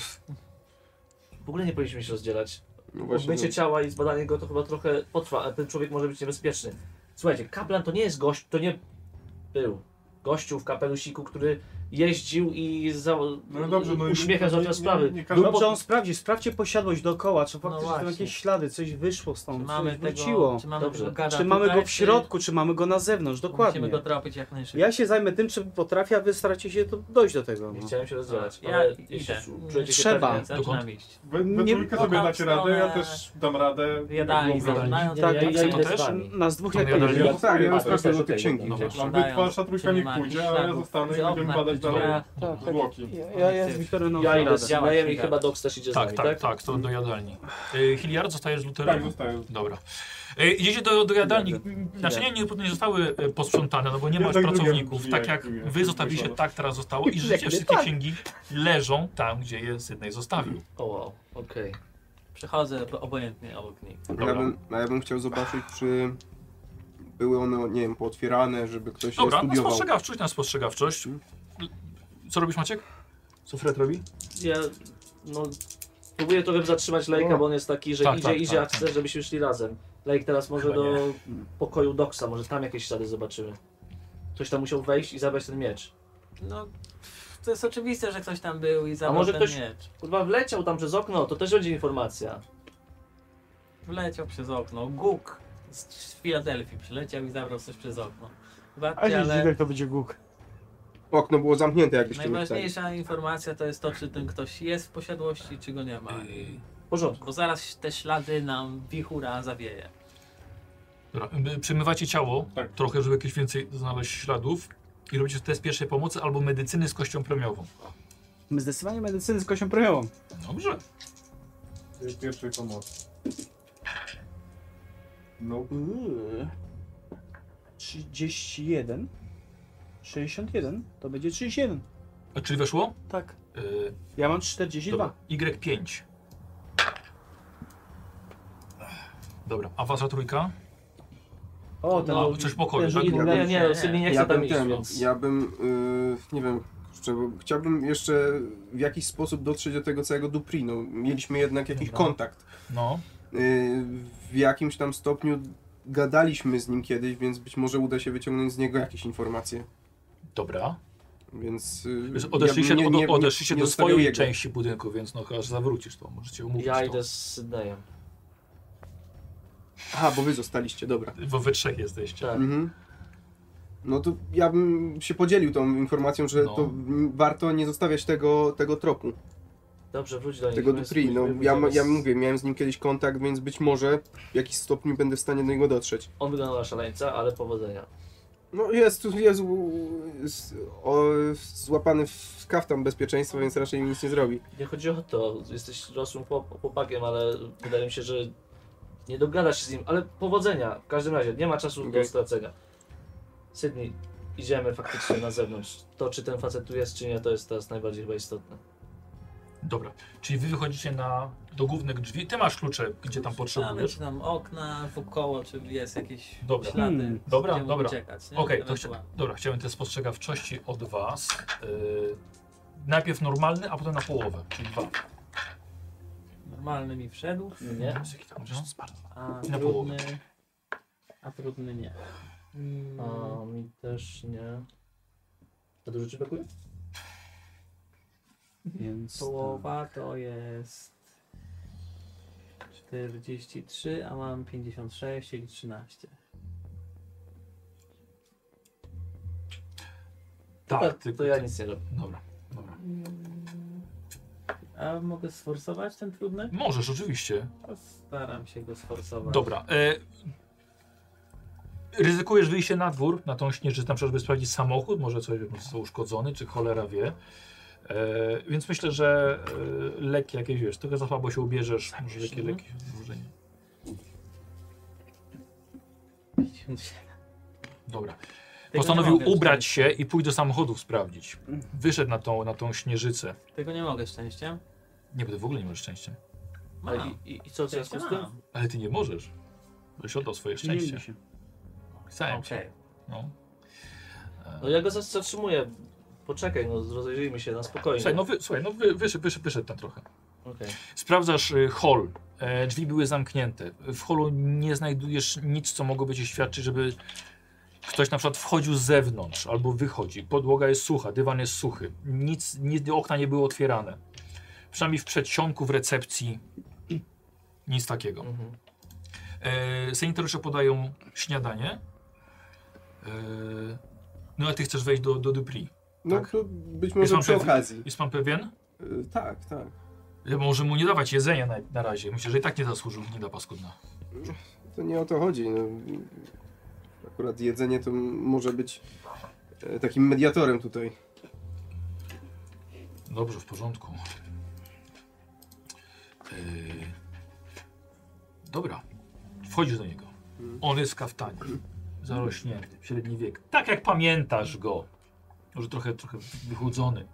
w ogóle nie powinniśmy się rozdzielać. no właśnie. Mycie ciała i zbadanie go to chyba trochę potrwa, ale ten człowiek może być niebezpieczny. Słuchajcie, kaplan to nie jest gość, to nie był gościu w kapelusiku, który jeździł i za, No dobrze, no i- uśmiechał nie- załatwiał nie- sprawy. nie każdy- Był Dobrze, po- on sprawdzi, sprawdźcie posiadłość dookoła, czy No faktycznie są właśnie. jakieś ślady, coś wyszło Czy stąd, mamy coś tego, wróciło. czy mamy Dobrze. tego gada Czy mamy tutaj, go w środku, czy mamy go na zewnątrz, czy Musimy dokładnie. go trapić jak najszybciej. Ja się zajmę tym, czy potrafię, a wy staracie się to dojść do tego. no. Nie chciałem się rozdzielać, Ja ale idę. jeśli czujecie się Trzeba. pewnie- Dokąd? Zaczynam iść. Wy, wy Nie- trójkę no sobie tam dacie w stronę- radę, ja też dam radę. Jadalni, Dobra. zaczynają Nie, ja, Tak, ja tak, idę to z też? wami. Nas dwóch jak Ja najmniej. dalej- Ja- Tak, ja Dobra. rozpraszam do tych księgi. Dobra. Wy, wasza trójka niech pójdzie, a ja zostanę i będziemy badać dalej Tak, tak. zwłoki. Ja, ja, ja z Wiktoryną Ja idę radę. z Działać Majem i nie da. chyba Dox też idzie z Tak, nami, tak, tak, to do jadalni. Yy, Hilliard, zostajesz z Tak, Luterem? zostaję. Dobra. E, idziecie do, do jadalni. Naczynia nie, nie zostały e, posprzątane, no bo nie Ja masz tak lubię pracowników. drzwi, Tak jak jak mówię. wy zostawiliście, Wyszło. tak teraz zostało. I życie wszystkie księgi leżą tam, gdzie je Sydney zostawił. O, wow, okej. Przechodzę ob- obojętnie obok nich. Dobra. Ja bym, a ja bym chciał zobaczyć, czy były one, nie wiem, pootwierane, żeby ktoś je Dobra, no na studiował. spostrzegawczość, na spostrzegawczość. Co robisz Maciek? Co Fred robi? Ja, no, próbuję trochę zatrzymać No. Lejka, bo on jest taki, że Tak, idzie, tak, idzie, tak, a chce, żebyśmy szli razem. Lejk teraz może Chyba do pokoju Doxa, może tam jakieś ślady zobaczymy. Ktoś tam musiał wejść i zabrać ten miecz. No, to jest oczywiste, że ktoś tam był i zabrał może ten ktoś- miecz. Kurwa, wleciał tam przez okno, to też będzie informacja. Wleciał przez okno. Guk z Filadelfii przyleciał i zabrał coś przez okno. Zobaczcie, Ale ale jak to będzie guk. Okno było zamknięte, jakbyście nie chcieli. Najważniejsza informacja to jest to, czy ten ktoś jest w posiadłości, czy go nie ma. I... W porządku. Bo zaraz te ślady nam wichura zawieje. Dobra, y, przemywacie ciało, Tak. trochę, żeby jakieś więcej znaleźć śladów i robicie test pierwszej pomocy albo medycyny z kością premiową. My Zdecydowanie medycyny z kością premiową. Dobrze. Pierwszej pomocy. No, 31. 61. To będzie 31. A czyli weszło? Tak. Y, Ja mam 42. Dobra. Y Y5. Dobra, a wasza trójka? No, O, No, ten A, coś w pokoju, ten tak? drugi Ja Nie, lewy. nie, nie, Sydney nie ja chce tam bym, iść. ten, no. ja bym y, nie wiem, kurczę, bo chciałbym jeszcze w jakiś sposób dotrzeć do tego całego Duprinu. Mieliśmy jednak jakiś Dobra. kontakt. No. Y, w jakimś tam stopniu gadaliśmy z nim kiedyś, więc być może uda się wyciągnąć z niego jakieś informawiecie. Dobra. Więc y, Wiesz, odeszliście ja bym nie- nie- od, odeszliście nie do zostawiał swojej jego. części budynku, więc no chyba że zawrócisz to, możecie umówić Ja to. idę z Sydneyem. Aha, bo wy zostaliście, dobra. Bo wy trzech jesteście. Tak. Mhm. No to ja bym się podzielił tą informacją, że No. to mm, warto nie zostawiać tego, tego tropu. Dobrze, wróć do nich. Tego my- Dupri, my no ja, pójdziemy ma- ja z- mówię, miałem z nim kiedyś kontakt, więc być może w jakiś stopniu będę w stanie do niego dotrzeć. On wygląda na szaleńca, ale powodzenia. No jest, tu- jest, u- jest o, złapany w kaftan bezpieczeństwa, więc raczej mi nic nie zrobi. Nie chodzi o to, jesteś rosłym chłop- chłopakiem, ale wydaje mi się, że nie dogadasz się z nim, ale powodzenia. W każdym razie, nie ma czasu do Okej. stracenia. Sydney, idziemy faktycznie na zewnątrz. To, czy ten facet tu jest, czy nie, to jest teraz najbardziej chyba istotne. Dobra, czyli wy wychodzicie na, do głównych drzwi. Ty masz klucze, gdzie tam Mamy potrzebujesz. czy tam okna, wokoło, czy jest jakieś Dobra. ślady. Hmm. Dobra, gdzie mógł dobra. Uciekać, nie? Okej, to chcia, Ewentualnie. dobra, chciałem te spostrzegawczości od was. Yy, najpierw normalny, a potem na połowę, czyli dwa. Normalny mi wszedł, Mhm. nie, Jaki tam możesz a Na połowę. trudny, a trudny nie. Hmm. A mi też nie. A dużo ci brakuje? Więc Połowa Tak. to jest 43, a mam 56, czyli 13. Tak, ty, To ja nic nie robię. Dobra, dobra. A mogę sforsować ten trudny? No, Możesz, oczywiście. Staram się go sforsować. Dobra. E, ryzykujesz wyjście na dwór, na tą śnieżyznę, na przykład, żeby sprawdzić samochód, może coś został uszkodzony, czy cholera wie. E, więc myślę, że e, leki jakieś, wiesz, trochę za słabo się ubierzesz, Tak, może jakie leki, no. może nie. 57. Dobra. Tego nie Mm. Postanowił mogę ubrać się i pójść do samochodów sprawdzić. Wyszedł na tą, na tą śnieżycę. szczęściem. Tego nie mogę szczęściem. Nie, bo ty w ogóle nie możesz szczęścia. A Mam. i, i, I co w związku z tym? Mam. Ale ty nie możesz. Byś oddał swoje szczęście. Zmienili się. Chciałem się. Okej. No. No ja go zas- zatrzymuję. Poczekaj, no rozejrzyjmy się na spokojnie. Słuchaj, no, wy, słuchaj, no wy, wyszedł, wyszedł, wyszedł tam trochę. Okej. Sprawdzasz y, hol. E, drzwi były zamknięte. W holu nie znajdujesz nic, co mogłoby ci świadczyć, żeby ktoś na przykład wchodził z zewnątrz albo wychodzi. Podłoga jest sucha, dywan jest suchy. Nic, nic okna nie były otwierane. Przynajmniej w przedsionku, w recepcji. Nic takiego. Mhm. E, sanitariusze podają śniadanie. E, no a ty chcesz wejść do, do Dupri. No Tak. to być Jest może pan przy pewny? okazji. Jest pan pewien? Y, tak, tak. Ja Może mu nie dawać jedzenia na, na razie. Myślę, że i tak nie zasłużył, nie da paskudna. To nie o to chodzi. No. Akurat jedzenie to m- może być e, takim mediatorem tutaj. Dobrze, w porządku. Yy... Dobra. Wchodzisz do niego. On jest w kaftanie. Zarośnięty, średni wiek. Tak jak pamiętasz go. Może trochę, trochę wychudzony.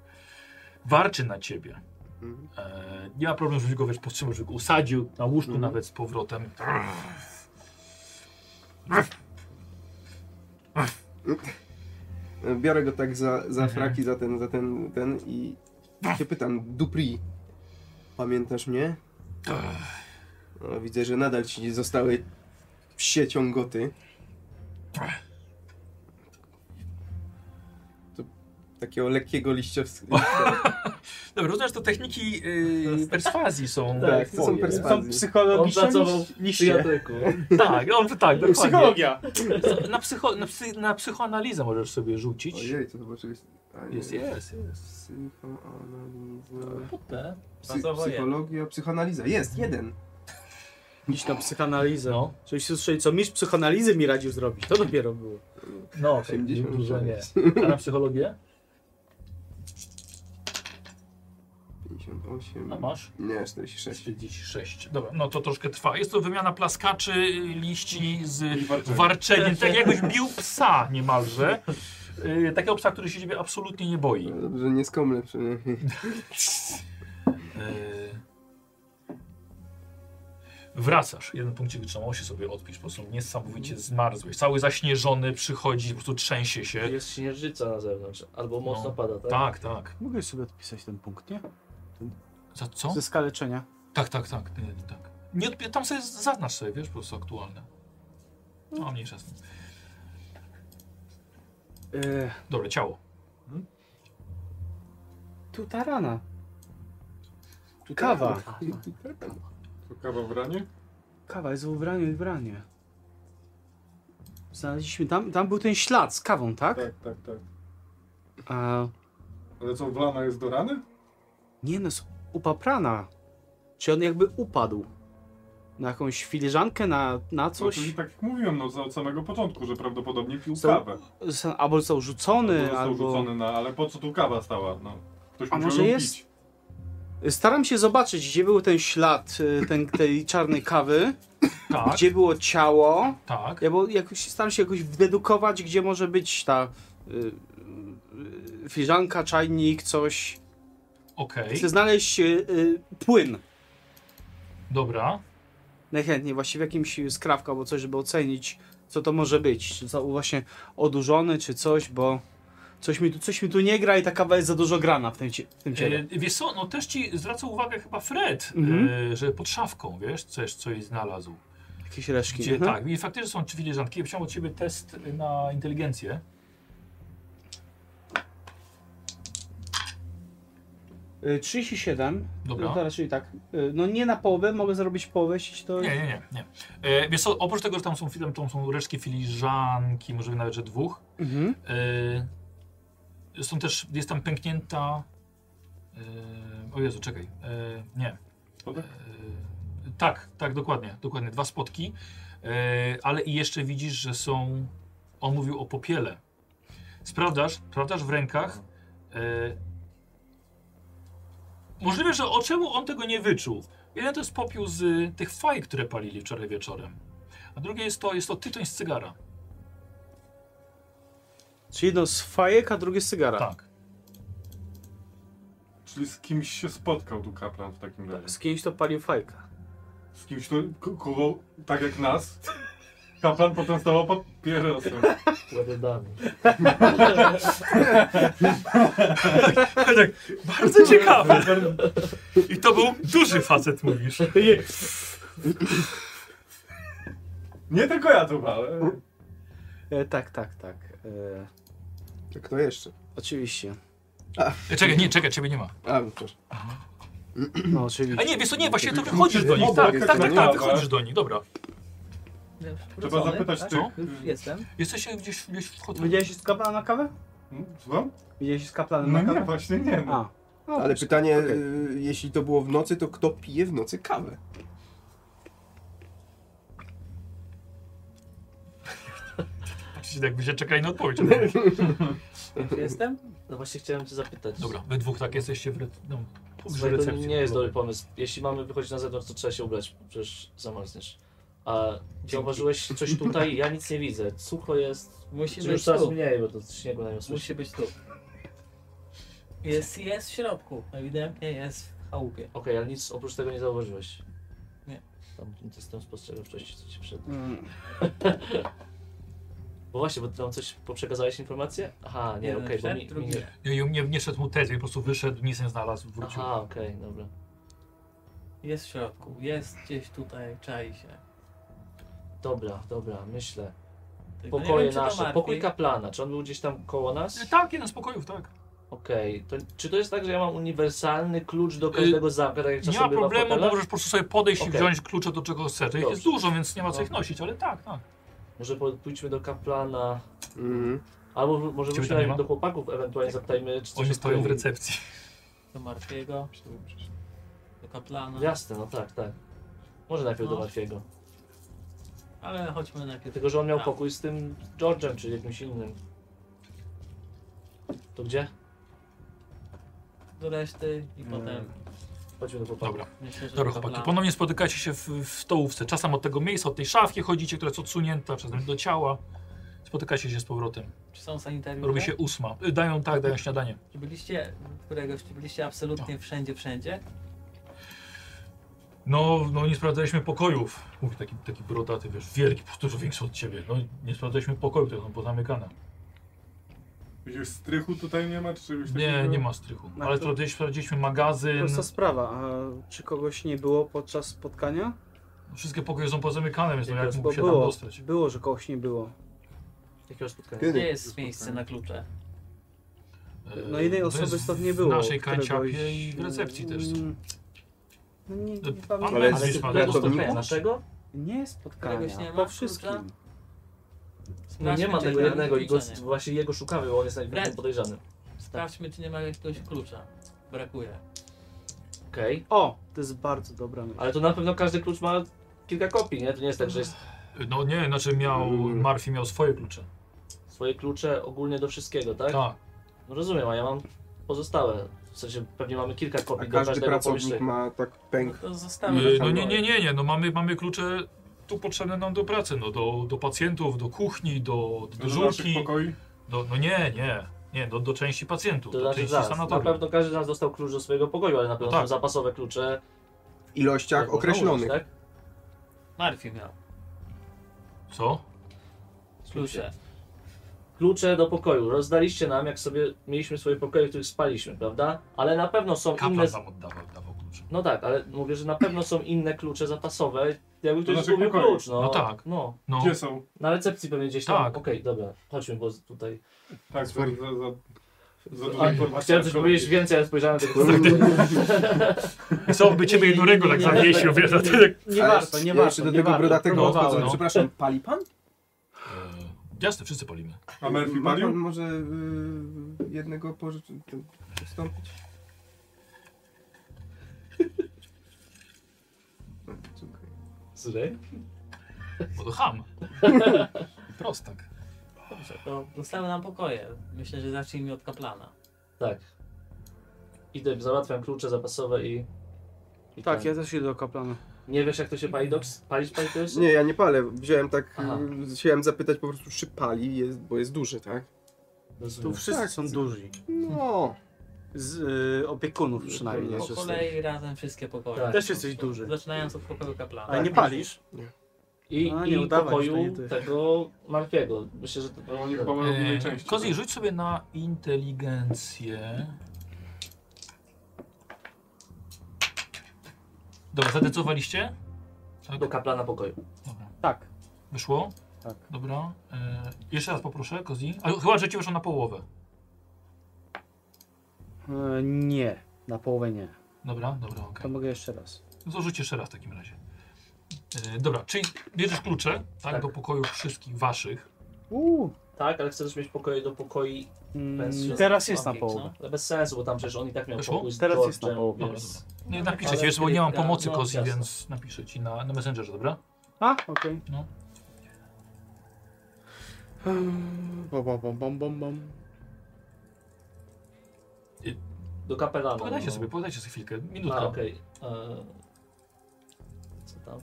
Warczy na ciebie. Mhm. E, nie ma problemu, żebyś go wiesz, powstrzymał, żeby go usadził na łóżku Mhm. nawet z powrotem. Biorę go tak za, Mhm. za fraki, za ten, za ten, ten i się pytam, Dupri, pamiętasz mnie? No, widzę, że nadal ci zostały psie ciągoty. To takiego lekkiego liścia w... Dobra, rozumiem, że to techniki yy, perswazji są. Tak, to są twoje. Są perswazje. psychologiczne On pracował liś- w liście. psychiatryku. Tak, on, tak, dokładnie. Psychologia. Na, psycho, na, psy, na psychoanalizę możesz sobie rzucić. Ojej, to chyba czegoś... pytanie. Jest, jest, jest. Psychoanaliza. Putę. Psy, Bazowo psychologia, psychoanaliza. Jest, jeden. Iść na psychoanalizę. No. Żebyście usłyszeli, co mistrz psychoanalizy mi radził zrobić. To dopiero było. No, okej, 80 dużo nie. jest. A na psychologię? 58. A masz? Nie, 46. 46. Dobra, no to troszkę trwa. Jest to wymiana plaskaczy, liści z I warczenie. warczeniem, tak jakbyś bił psa niemalże. Yy, takiego psa, który się ciebie absolutnie nie boi. No dobrze, nie skomlę przynajmniej. Yy. Wracasz. Jeden punkcik wytrzymałości sobie odpisz. Po prostu niesamowicie zmarzłeś. Cały zaśnieżony przychodzi, po prostu trzęsie się. Jest śnieżyca na zewnątrz, albo mocno No. pada, tak? Tak, tak. Mogę sobie odpisać ten punkt, nie? Za co? Ze skaleczenia. Tak, tak, tak. Nie, tak. Nie, odpi- tam sobie zaznacz sobie, wiesz, po prostu aktualne. No, mniejsza z tym. Yy, Dobre, ciało. tu ta rana. Kawa. To kawa w ranie? Kawa jest w ubraniu i w ranie. Znaleźliśmy tam, tam był ten ślad z kawą, tak? Tak, tak, tak. A, Ale co, wlana jest do rany? nie no, jest upaprana. Czy on jakby upadł? Na jakąś filiżankę, na, na No, czyli coś? tak jak mówiłem, no, za- od samego początku, że prawdopodobnie pił Co? kawę. Został- Albo został Albo rzucony, Został albo... rzucony na, ale po co tu kawa stała? No. Ktoś A musiał może ją jest? pić. Staram się zobaczyć, gdzie był ten ślad y, ten, tej czarnej kawy, Tak, gdzie było ciało. tak. Ja bo jakoś staram się jakoś wdedukować, gdzie może być ta y, y, filiżanka, czajnik, coś. Okej, Chcę znaleźć y, y, płyn. dobra. Najchętniej właśnie w jakimś skrawku albo coś, żeby ocenić, co to może być. Czy to właśnie odurzony, czy coś, bo coś mi tu, coś mi tu nie gra i ta kawa jest za dużo grana w tym, cie- w tym ciele. E, wiesz co, no też ci zwraca uwagę chyba Fred, Mhm. e, że pod szafką, wiesz, coś, coś znalazł. Jakieś reszki. Gdzie, mhm. tak, i faktycznie są trzy filiżanki. Ja Chciałem od ciebie test na inteligencję. Y, 37. Dobra. No to raczej tak. Y, No nie na połowę, mogę zrobić połowę, jeśli to... Nie, nie, nie. nie. E, wiesz co, oprócz tego, że tam są, tam, tam są resztki filiżanki, może nawet, że dwóch, Mhm. e, są też, jest tam pęknięta... E, o Jezu, czekaj. E, nie. E, Spodek? tak, tak, dokładnie, dokładnie. Dwa spotki. E, ale i jeszcze widzisz, że są... On mówił o popiele. Sprawdzasz, sprawdzasz w rękach. E, możliwe, że o czemu on tego nie wyczuł. Jeden to jest popiół z y, tych faj, które palili wczoraj wieczorem. A drugie jest to, jest to tytoń z cygara. Czyli jedno z fajek, a drugie z cygara. Tak. Czyli z kimś się spotkał tu kaplan w takim razie. Z kimś to palił fajka. Z kimś, kto k- kogo, tak jak nas, kaplan potem stawał papierosem. Łebedami. tak. Bardzo ciekawe. I to był duży facet, mówisz. Nie tylko ja tu, ale... E, tak, tak, tak. E, To kto jeszcze? oczywiście. E, Czekaj, nie, czekaj, ciebie nie ma. A, no proszę. No A oczywiście. nie, wiesz co, nie, właśnie to wychodzisz do nich. Tak, no tak, tak, tak, wychodzisz do nich, dobra. Trzeba zapytać tak? tych... No. Już Jestem. Jesteście e, gdzieś, gdzieś w hotelu. Widziałeś się z kaplanem na kawę? Hmm, Słucham? Widziałeś się z kaplanem No na nie, kawę? właśnie nie. No. A. No, Ale to- pytanie, okej. y, jeśli to było w nocy, to kto pije w nocy kawę? Patrzcie, jak będzie czekali tak na odpowiedź. Już jestem. No właśnie chciałem cię zapytać. Dobra, wy dwóch tak jesteście w re... no, przy Słuchaj, to recepcji. nie jest dobry pomysł. Jeśli mamy wychodzić na zewnątrz, to trzeba się ubrać, przecież zamarzniesz. A zauważyłeś coś tutaj? Ja nic nie widzę. Sucho jest. Musi Już być coraz tu. mniej, bo to śniegu namiosło. Musi być tu. Jest, jest w środku. Ewidentnie jest w chałupie. Okej, ale nic oprócz tego nie zauważyłeś. Nie. Tam ten system spostrzegawczości, co ci przed. Mm, Bo właśnie, bo ty nam coś poprzekazałeś informację? Aha, nie, Jeden okej, bo wszedł, mi, mi drugi nie. nie. Nie, nie, nie szedł mu test, po prostu wyszedł, nic nie znalazł, wrócił. Aha, okej, dobra. Jest w środku. Jest gdzieś tutaj, czai się. Dobra, dobra, myślę. Tylko nie Pokoje No wiem, czy to No nasze, martwi. pokój kaplana, czy on był gdzieś tam koło nas? Tak, jeden z pokojów, tak. Okej, to czy to jest tak, że ja mam uniwersalny klucz do każdego zamka, tak jak Y, Nie czasem ma bywa w problemu, bo hotelach? możesz po prostu sobie podejść i Okej. wziąć klucze do czego chcesz. Ich jest Dobrze. dużo, więc nie ma co ich Dobra. nosić, ale tak, tak. Może po- pójdźmy do kaplana. Mhm. Albo w- może Ciebie tam nie ma? wróćmy do chłopaków, ewentualnie Tak. zapytajmy, czy coś Oni stoją w odkryli. recepcji. Do martwiego, do kaplana. Jasne, no tak, tak. Może najpierw do No. Marfiego. Ale chodźmy najpierw. Tylko, że on miał Tak. pokój z tym George'em, czy jakimś innym. To gdzie? do reszty i potem Chodźmy do chłopaków. Dobra, myślę, że Mm. dobra do chłopaki. kaplana. Ponownie spotykacie się w, w stołówce. Czasem od tego miejsca, od tej szafki chodzicie, która jest odsunięta, czasem do ciała. Spotykacie się z powrotem. Czy są sanitariusze? Robi się ósma. Y, Dają tak, dają śniadanie. Czy byliście któregoś, czy byliście absolutnie wszędzie, wszędzie? No, no nie sprawdzaliśmy pokojów. Mówi taki, taki brodaty, wiesz, wielki, dużo większy od ciebie. No nie sprawdzaliśmy pokojów, które są pozamykane. Jakiegoś strychu tutaj nie ma, czy czegoś takiego? Nie, nie ma strychu. Na Ale to- sprawdziliśmy, sprawdziliśmy magazyn. Prosta sprawa, a czy kogoś nie było podczas spotkania? Wszystkie pokoje są pozamykane, więc no jak Bo mógł się tam było, dostać? było, że kogoś nie było. Jakiego spotkania? Kiedy? Gdzie jest miejsce na klucze? No jednej To osoby jest stąd nie było. E, W naszej któregoś, kanciapie i w recepcji też. E, mm, No nie, nie Pan pamiętam. Ale Ale Zjeść ty, mandat, jak to dostać nie mandat. naszego? Nie Któregoś spotkania, nie ma, po klucza? wszystkim. No nie Sprawdźmy, ma czy tego nie ma jednego i go, klucza, nie? właśnie jego szukamy, bo on jest najbardziej Fred. podejrzany. Sprawdźmy, czy nie ma jakiegoś klucza. Brakuje. Okej, O, to jest bardzo dobra myśl. ale to na pewno każdy klucz ma kilka kopii, nie? To nie jest tak, że jest No nie, znaczy miał, Hmm. Mm. Marfi miał swoje klucze. swoje klucze ogólnie do wszystkiego, tak? Tak. No rozumiem, a ja mam pozostałe. W sensie pewnie mamy kilka A kopii do każdy każdego pracownik pomieszczenia. ma tak No pęk. to zostawmy. Yy, No tak. tam nie, dalej. nie, nie, nie, no mamy, mamy klucze tu potrzebne nam do pracy, no do, do pacjentów, do kuchni, do, do Do naszych dyżurki, pokoi? do, no nie, nie, nie, do, do części pacjentów, To do znaczy części zaraz, na sanatorium. pewno każdy z nas dostał klucz do swojego pokoju, ale na pewno No tak. są zapasowe klucze. W ilościach można określonych. użyć, tak? Marfi miał Co? klucze. Klucze do pokoju. Rozdaliście nam, jak sobie mieliśmy swoje pokoje, w których spaliśmy, prawda? Ale na pewno są inne... Kaplan nam oddawał, dawał klucze. No tak, ale mówię, że na pewno są inne klucze zapasowe. Jakby ktoś znaczy naszych zgubił pokoi. klucz, no. No tak. No. No, Gdzie są? Na recepcji pewnie gdzieś tam. Tak. Okej, dobra. Chodźmy, bo tutaj... Tak, za, za, za, za dużo A, informacji. chciałem coś Szkoda. powiedzieć więcej, ale spojrzałem tylko... tak? Mhm. I co, by ciebie jednorego tak zawiesił, wiesz, tak- na tyle. Nie Ale warto, nie jeszcze warto. do nie tego warto. brodatego próbowałem, odchodzę. no. Przepraszam, pali pan? Eee, Jasne, wszyscy palimy. A Murphy Ma pan palił? może y, jednego pożyczyć? Wstąpić? No, Dziękuję. Zrej? Bo to ham. Prostak. Dobrze, to zostały nam pokoje. Myślę, że zacznijmy od kaplana. Tak. Idę, załatwiam klucze zapasowe i... i Tak, ten. ja też idę do kaplana. Nie wiesz, jak to się pali doks? Palić pali to jest? Nie, ja nie palę. Wziąłem tak, Aha. y, chciałem zapytać po prostu, czy pali, jest, bo jest duży, tak? Rozumiem. Tu wszyscy Tak, są duzi. No. Z y, opiekunów przynajmniej. Po Po Wszyscy. kolei razem wszystkie pokoje. Tak. Też jesteś duży. Zaczynając od pokoju kaplana. Tak, Ale nie palisz? I, A, nie i udawaj, że to pokoju nie ty. tego Marfiego. Myślę, że to... No oni chyba mają mniej Eee, części. tak. Kozi, rzuć sobie na inteligencję. Dobra, zadecydowaliście? Tak? Do kaplana pokoju. Dobra. Tak. Wyszło? Tak. Dobra. Eee, jeszcze raz poproszę, Kozi. A, chyba, że ci wyszło na połowę. E, nie, na połowę nie. Dobra, dobra, okej. To mogę jeszcze raz. No to rzuć jeszcze raz w takim razie. Eee, dobra, czyli bierzesz klucze, tak, Tak. do pokoju wszystkich waszych. Uuu. Tak, ale chcę też mieć pokoje do pokoi. Mm, teraz jest na Okej, co? połowę. Ale no? bez sensu, bo tam przecież on i tak miał Wyszło? pokój z Teraz jest na George'em, połowę. więc... Nie, napiszę Ale ci, wiesz, bo nie mam kilka, pomocy no, Kozi, jasne. więc napiszę ci na, na Messengerze, dobra? A, okej. No. Bom, bom, bom, bom, bom, bom. Do kapelana. Pogadajcie no. sobie, pogadajcie sobie chwilkę, A, minutka. okej. E, Co tam?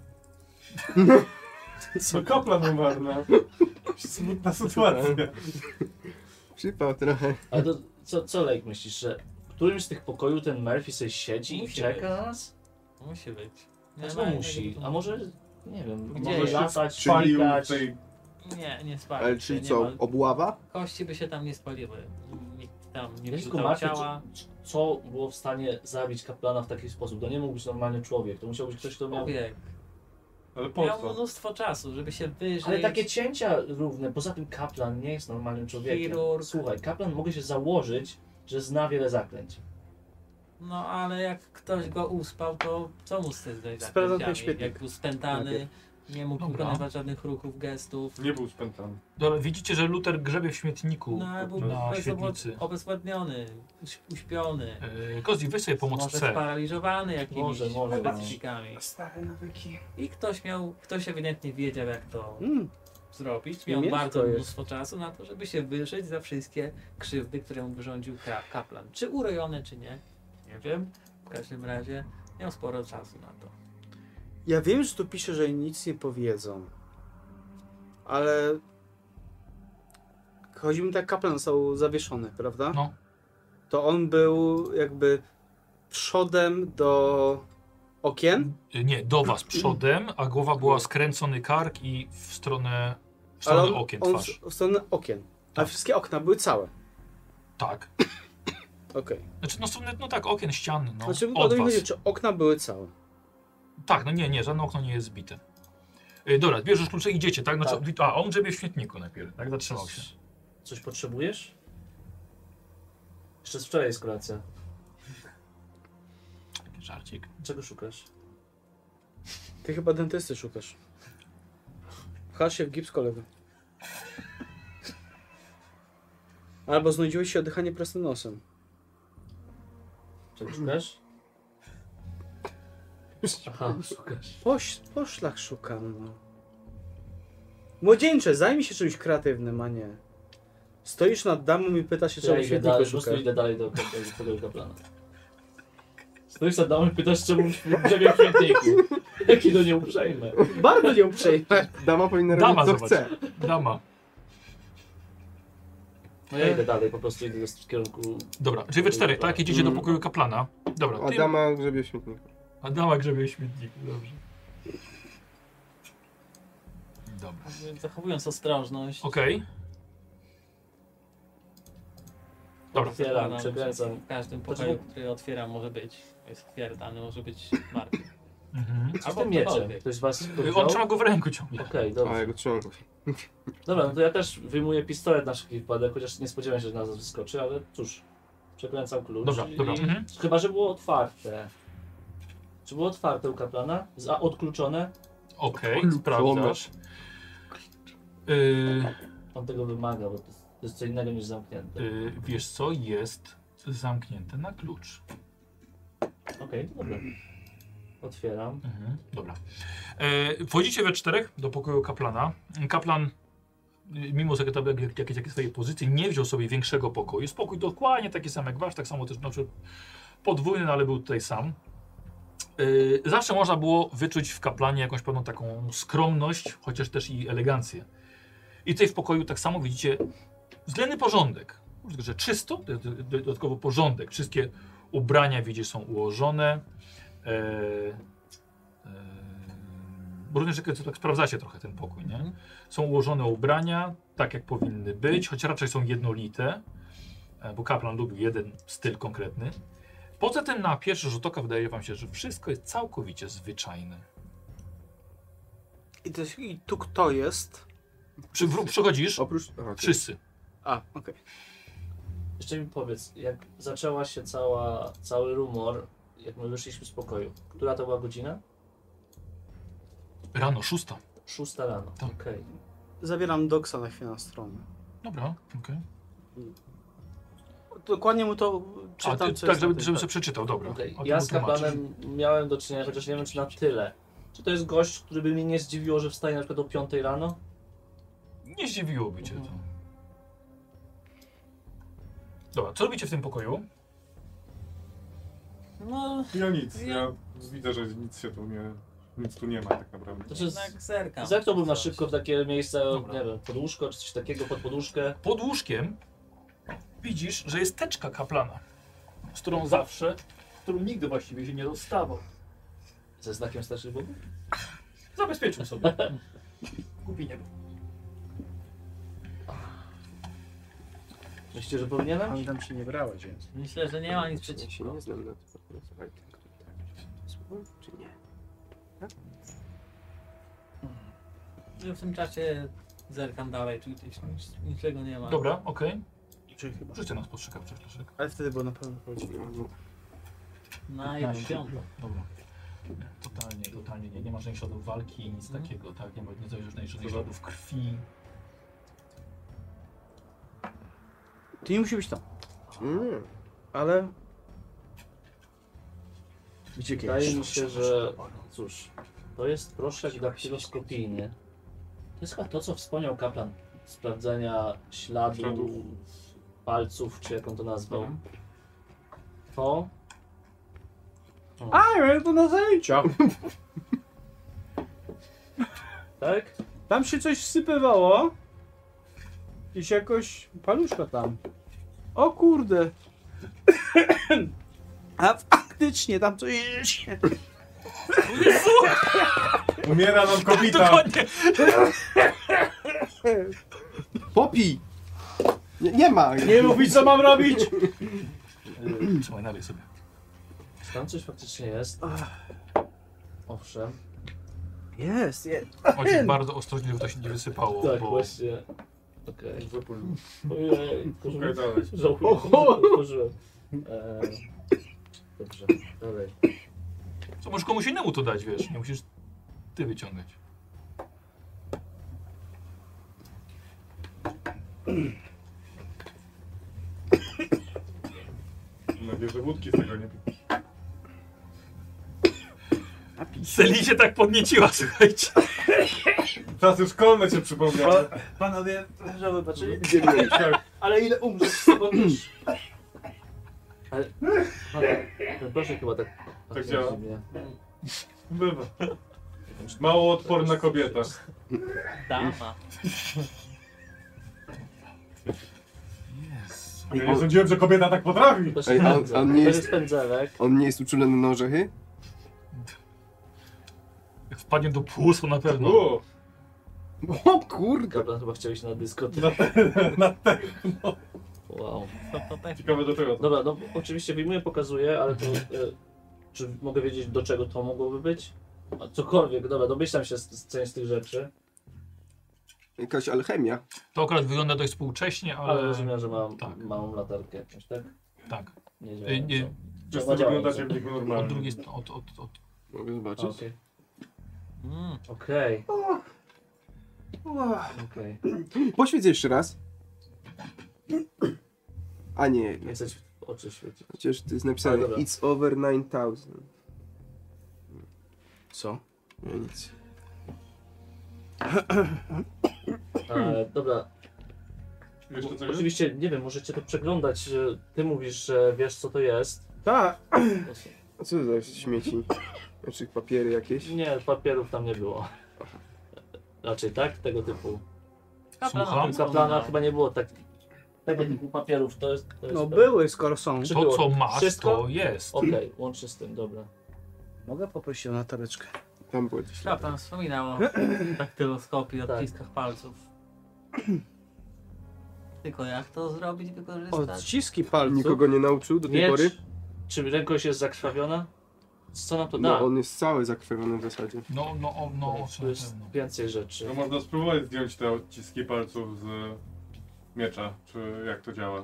Co kaplan umarł, no. Smutna sytuacja. Przypał trochę. Ale to, co, co Lake myślisz, że w którymś z tych pokoju ten Murphy sobie siedzi i Musi czeka na nas? Musi być. A ma co jak- musi? jak tu- A może, nie wiem, Gdzie może jest? latać, Palił palić? tej... Nie, nie spali. Ale się, czyli nie co, ma- obława? Kości by się tam nie spaliły. Nikt tam nie Ja się wrzucał martwię, ciała. Co było w stanie zabić kaplana w taki sposób? To nie mógł być normalny człowiek, to musiał być ktoś, kto miał... Człowiek. Ale po Miał co? mnóstwo czasu, żeby się wyżyć. Ale takie cięcia równe, poza tym kaplan nie jest normalnym człowiekiem. Chirurg. Słuchaj, kaplan mogę się założyć, że zna wiele zaklęć. No ale jak ktoś go uspał, to co mu z tym Tak zdać? Sprawdzam twoje świetlik. Jak był spętany, Nie mógł Dobra. wykonywać żadnych ruchów, gestów. Nie był spętany. Dobra, widzicie, że Luther grzebie w śmietniku No, ale był na bezwład- świetlicy. obezwładniony, uś- uśpiony. Yy, Kozi, weź sobie pomoc może C. sparaliżowany jakimiś Może, może no. być. patyfikami. I ktoś miał, ktoś ewidentnie wiedział jak to Hmm. Mm, zrobić. Miał mięsko bardzo jest. mnóstwo czasu na to, żeby się wyżyć za wszystkie krzywdy, które mu wyrządził ka- kaplan. Czy urojone, czy nie, nie wiem. W każdym razie miał sporo czasu na to. Ja wiem, że tu pisze, że nic nie powiedzą, ale chodzi mi tak, kaplan został zawieszony, prawda? No. To on był jakby przodem do okien, Yy, Nie, do was przodem, a głowa była skręcony kark i w stronę, w ale stronę on, okien on twarz. w, w stronę okien. A Tak. wszystkie okna były całe. Tak. Okej. Znaczy, no, stronę, no tak, okien, ścian, no, Znaczy, o od to mi was. chodzi, czy okna były całe. Tak, no nie, nie, żadne okno nie jest zbite. Yy, dobra, bierzesz klucze i idziecie, tak? Znaczy, A, on grzebie w śmietniku najpierw, tak? Zatrzymał się. Coś potrzebujesz? Jeszcze z wczoraj jest kolacja. Taki żarcik. Czego szukasz? Ty chyba dentysty szukasz. Pchasz się w gips kolego. Albo znudziłeś się oddychanie prostym nosem. Czego szukasz? Aha, szukasz. Poś, poszlak szukam, no. Młodzieńcze, zajmij się czymś kreatywnym, a nie. Stoisz nad damą i pytasz się, Ja czemu idę się tylko dalej, po prostu szukasz. idę dalej do tego kaplana. Stoisz nad domem i pytasz, czemu grzebie w świetniku. Jaki do nie uprzejmy. Bardzo nie uprzejme. Tak. Dama powinna robić Dama, co zobacz. chce. Dama. No ja idę dalej, po prostu idę w kierunku... Dobra, czyli wy czterech, tak? Idziecie do Mm. pokoju kaplana. Dobra, A No, ty... dama grzebie w śmietniku. Adama grzebie w śmietniku, dobrze. Dobra. Zachowując ostrożność, Okej. Dobra. Otwieram, przekręcam. przekręcam. Znaczy, W każdym pokoju, który otwieram, może być. Jest otwierany, może być martwy. Mhm. Co z tym mieczem? Ktoś z was go On wziął? trzyma Okej, go w ręku ciągle. A dobrze. ja go trzymam. Dobra, no to ja też wyjmuję pistolet na szybki wypadek, chociaż nie spodziewałem się, że na nas wyskoczy, ale cóż. Przekręcam klucz Dobra, i... dobra. Mhm. Chyba, że było otwarte. Czy było otwarte u kaplana? Z- A odkluczone? Okej, Olu, sprawdzasz. Yy, On tego wymaga, bo to jest- to jest co innego niż zamknięte. yy, wiesz co? Jest zamknięte na klucz. Okej, to dobra. Otwieram. Mhm, dobra. E, wchodzicie we czterech do pokoju kaplana. Kaplan, y, mimo że tam jak- jakiejś jakiej swojej pozycji, nie wziął sobie większego pokoju. Jest pokój dokładnie taki sam jak wasz, tak samo też znaczy podwójny, no ale był tutaj sam. Y, zawsze można było wyczuć w kaplanie jakąś pewną taką skromność, chociaż też i elegancję. I tutaj w pokoju tak samo widzicie względny porządek. Tylko, Że czysto, do- do- dodatkowo porządek. Wszystkie ubrania widzicie są ułożone. E, Yy, Bo również jak to tak sprawdzacie trochę ten pokój, nie? Są ułożone ubrania tak jak powinny być, choć raczej są jednolite, e, bo kaplan lubił jeden styl konkretny. Poza tym na pierwszy rzut oka wydaje wam się, że wszystko jest całkowicie zwyczajne. I, to, I tu kto jest? Przy, wró- przychodzisz? Oprócz... Aha, ty. Wszyscy. A, okej. Jeszcze mi powiedz, jak zaczęła się cała, cały rumor, jak my wyszliśmy z pokoju, która to była godzina? Rano, szósta. Szósta rano. Tak. Okej. Zabieram doksa na chwilę na stronę. Dobra, okej. Dokładnie mu to A, czytam, co ty- Tak, jest na żeby, tej- żebym sobie przeczytał, dobra. Okej, A ty Ja mu z tłumaczysz. kaplanem miałem do czynienia, chociaż nie wiem czy na tyle. Czy to jest gość, który by mnie nie zdziwiło, że wstaje na przykład o 5 rano? Nie zdziwiłoby cię to. Mhm. Dobra, co robicie w tym pokoju? No, Ja nic, ja widzę, że nic się tu nie... Nic tu nie ma tak naprawdę. To czy z... jednak zerkam. Zerknąłbym na szybko w takie miejsce, Dobra. nie wiem, pod łóżko czy coś takiego, pod poduszkę. Pod łóżkiem widzisz, że jest teczka kaplana, z którą zawsze, którą nigdy właściwie się nie dostawał. Ze znakiem starszych bogów? Zabezpieczył sobie. Głupi nie był. Myślicie, że powinienem? Tam się nie brałeś, więc. Myślę, że nie ma nic Ja się przeciwko. nie znam na tym. Słuchaj, ten, który tak słuchał, Czy nie? Tak? W tym czasie zerkam dalej, czy gdzieś nic- niczego nie ma. Dobra, okej. Czyli chyba. Rzucę nas postrzegawczy Leszek. Ale wtedy było na pewno chodzi. No, no. Na jedną piątą. Dobra. To Totalnie, totalnie nie. Nie ma żadnych śladów walki, nic Mhm. takiego, tak? Nie ma nie zajrzysz żadnych żadnych śladów krwi. To nie musi być tam. Mm. Ale Gdzie Wydaje mi się, że No cóż, to jest proszek daktyloskopijny. To jest chyba to, co wspomniał kaplan. Sprawdzenia śladów, Mhm. Śladów. palców, czy jak on to nazwał. To A, ja to na zajęcia. Tak? Tam się coś sypywało. Gdzieś jakoś paluszka tam. O kurde. A faktycznie tam coś się... Umiera nam kobita! Dokładnie! Popij! Nie, nie ma! mówi co mam robić! Y, Trzymaj, nalej sobie. Czy tam coś faktycznie jest? Owszem. jest, jest. Ojciec bardzo ostrożnie, żeby to się nie wysypało, Tak, bo właśnie. Okej. Ojej, Szukaj kurwa, dalej. Żałuję, otworzyłem. Eee, Dobrze, dalej. to możesz komuś innemu to dać, wiesz, nie musisz ty wyciągać. Mam nadzieję, że wódki z tego nie pi- Seli się tak podnieciła, słuchajcie. Czasy szkolne się przypomniały. Panowie, Że wybaczyli? Gdzie byłeś? Tak, Ale ile umrzesz z sobą też. Ale... ale- Ten proszę chyba tak... Tak działa. Mnie. Bywa. Mało odporna kobieta. Dama. Ja nie sądziłem, że kobieta tak potrafi. To Ej, a on- jest, on nie to jest- jest pędzelek. On nie jest uczulony na orzechy? Jak wpadnie do płusu na pewno. O, O kurde! Kaplan chyba chciał iść na dyskotekę. na, te- na te. Wow. Ciekawe do czego to. Dobra, no oczywiście wyjmuję, pokazuję, ale to... E, czy mogę wiedzieć, do czego to mogłoby być? A cokolwiek, dobra, domyślam się z, z część z tych rzeczy, Jakaś alchemia. To akurat wygląda dość współcześnie, ale ale... rozumiem, że mam tak. małą latarkę jakąś, tak? Tak. Nie Y, wiem. nie, Wszyscy wyglądacie w nich od normalnie. drugiej strony, od, od, od... Mogę zobaczyć? Okej. Mm. Okej. Okej. Poświeć jeszcze raz. A nie, Nie chcę ci w oczy świecić. chociaż to jest napisane A, dobra. It's over 9000. Co? Nie, nic. Hmm. E, dobra, Jeszcze coś? oczywiście, nie wiem, możecie to przeglądać. e, Ty mówisz, że wiesz co to jest. Tak! A co to za śmieci? Znaczy papiery jakieś? Nie, papierów tam nie było. Raczej tak, tego typu. Słucham? Za plana chyba nie było tak. Tego typu papierów to jest. To jest No to. były, skoro są. Czy To, było? co masz, Wszystko? to jest. Okej, łącznie z tym, dobra. Mogę poprosić o natareczkę? Tam było coś. Szatan wspominał o daktyloskopii, Tak. odciskach palców. Tylko jak to zrobić, wykorzystać? Odciski palców. Nikogo nie nauczył do tej Miecz. pory? Czy rękość jest zakrwawiona? Co nam to da? No on jest cały zakrwawiony w zasadzie. No, no, o, no, o, tu co na jest pewno. więcej rzeczy. No można spróbować zdjąć te odciski palców z miecza, czy jak to działa.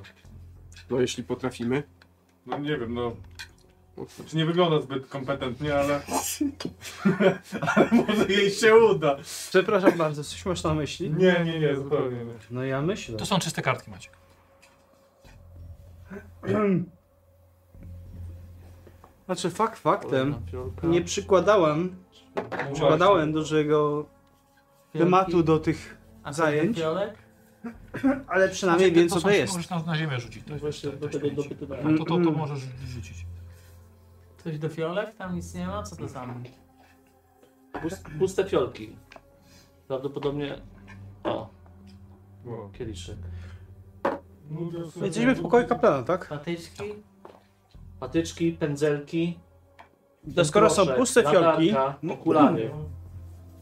No jeśli potrafimy. No nie wiem, no. Znaczy nie wygląda zbyt kompetentnie, ale. ale może jej się uda. Przepraszam bardzo, coś masz na myśli? Nie, nie, nie, zupełnie nie. No ja myślę. To są czyste kartki, Maciek. Znaczy fakt faktem, Kolejna piórka. nie przykładałem, przykładałem dużego tematu do tych, A zajęć. fiolek? ale przynajmniej Znaczy, wiem co są- to jest. Mm, Możesz na, na ziemię rzucić. To No jest, właśnie to, do to, to, tego to, dopytywałem. to, to, to możesz rzucić. Coś do fiolek? Tam nic nie ma? Co to tam? Pust, puste fiolki. Prawdopodobnie. O, Wow. kieliszek. Jesteśmy w pokoju kaplana, tak? Patyczki? Patyczki, pędzelki. To No skoro są proszek, puste fiolki, no- latarka, Okulary.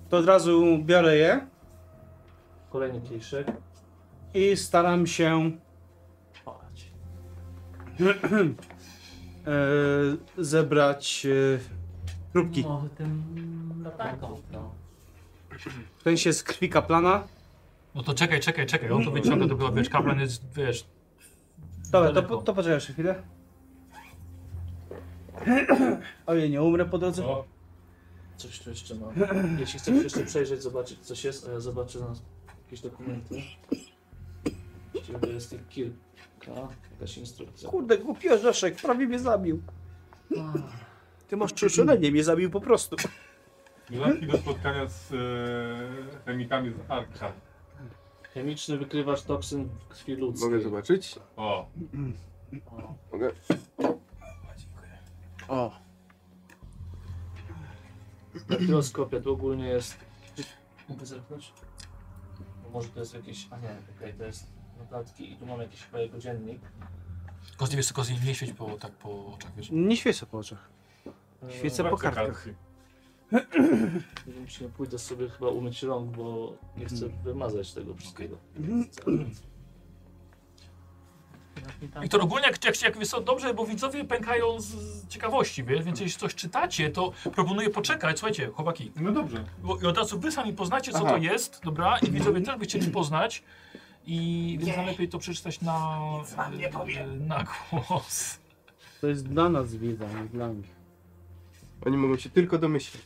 to od razu biorę je Kolejny kieliszek. i staram się Chodź. e, zebrać e, próbki. Może tym latarką. No. W sensie z krwi kaplana. No to czekaj, czekaj, czekaj. On to wyciąga dopiero, wiesz, kaplan jest, wiesz... Dobra, to, daleko. po- to poczekaj jeszcze chwilę. Ojej, nie umrę po drodze. O, Coś tu jeszcze mam. Jeśli chcesz jeszcze przejrzeć, zobaczyć coś jest, a ja zobaczę na jakieś dokumenty. Właściwie to jest ich kilka, jakaś instrukcja. Kurde, głupi orzeszek, prawie mnie zabił. Ty masz przyszulenie, mnie zabił po prostu. Dodatki do spotkania z e, chemikami z Arkham. Chemiczny wykrywasz toksyn w krwi ludzkiej. Mogę zobaczyć? O, Mogę. O, Daktyloskopia to ogólnie jest... Czy- Mogę zerknąć? Bo Może to jest jakieś... A nie, okej, to jest notatki i tu mam jakiś chyba jego dziennik. Kozy, wiesz co, Kozy, nie świeć po, tak po oczach, wiesz? nie świecę po oczach. Eee, Świecę po sprawdźcie kartkach. kartki. Nie wiem, czy nie pójdę sobie chyba umyć rąk, bo nie chcę Hmm. wymazać tego wszystkiego. I to ogólnie, jak, jak, jak wiesz co, dobrze, bo widzowie pękają z, z ciekawości, wiesz? Więc jeśli coś czytacie, to proponuję poczekać. Słuchajcie, chłopaki, No dobrze. bo, i od razu wy sami poznacie, co Aha. to jest, dobra? I widzowie też by chcieli poznać. I więc najlepiej to przeczytać na... Nic wam nie powiem. Na głos. To jest dla nas widza, nie dla nich. Oni mogą się tylko domyślić.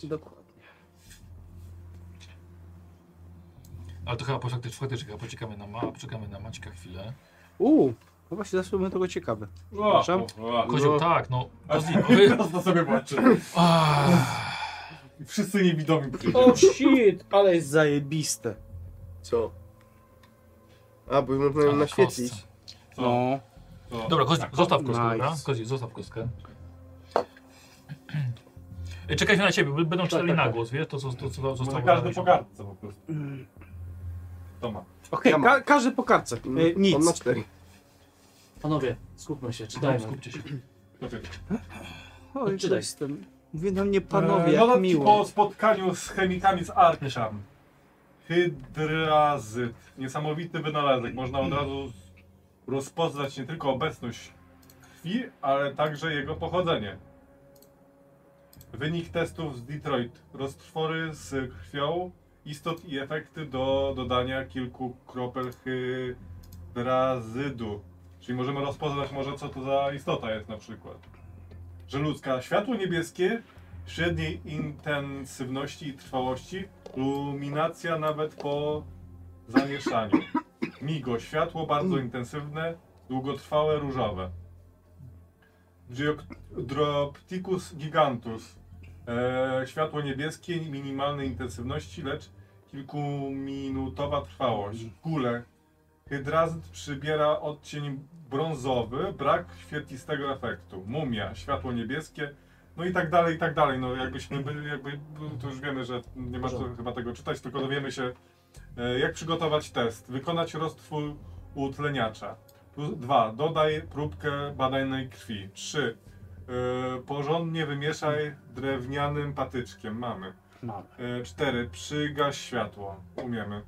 Ale to chyba faktycznie, faktycznie chyba poczekamy na ma, poczekamy na Maćka chwilę. Uuu, no właśnie zawsze byłem tego ciekawy. O, Przepraszam. o, o. Kozioł, tak, no. A Kozi, wy... to sobie włączy. Ach. Wszyscy niewidomi przyjdą. O shit, ale jest zajebiste. Co? A, bo można A, ją naświetlić. kostce. Co? No, Co? Dobra, Kozi, zostaw kostkę, Nice. dobra? Kozi, zostaw kostkę. E, Czekajmy na ciebie, b- będą czytali tak, na tak. głos, wiesz? To, co, to, co Może zostało każdy po na kartce po prostu. To ma. okej, Ja mam. Mm, znaczy- ka każdy po kartce. E, On ma nic. cztery. Panowie, skupmy się, no, czytajmy. skupcie się. Poczekaj. Oj, Czytaj. jestem. Mówię do mnie panowie, Eee, jak dodatki miło. po spotkaniu z chemikami z Arksham. Hydrazyt. Niesamowity wynalazek. Można od razu rozpoznać nie tylko obecność krwi, ale także jego pochodzenie. Wynik testów z Detroit. Roztwory z krwią, istot i efekty do dodania kilku kropel hydrazydu. Czyli możemy rozpoznać może co to za istota jest na przykład. Że ludzka światło niebieskie średniej intensywności i trwałości, luminacja nawet po zamieszaniu. Migo, światło bardzo intensywne, długotrwałe, różowe. Drio- Dropticus gigantus. E, światło niebieskie, minimalnej intensywności, lecz kilkuminutowa trwałość. Kule. Hydrazyt przybiera odcień brązowy, brak świetlistego efektu. Mumia, światło niebieskie, no i tak dalej, i tak dalej. No jakbyśmy byli, jakby, to już wiemy, że nie ma co chyba tego czytać, tylko dowiemy się, e, jak przygotować test. Wykonać roztwór utleniacza. Plus dwa, dodaj próbkę badanej krwi. Trzy, e, porządnie wymieszaj drewnianym patyczkiem. Mamy. Mamy. E, cztery, przygaś światło. Umiemy.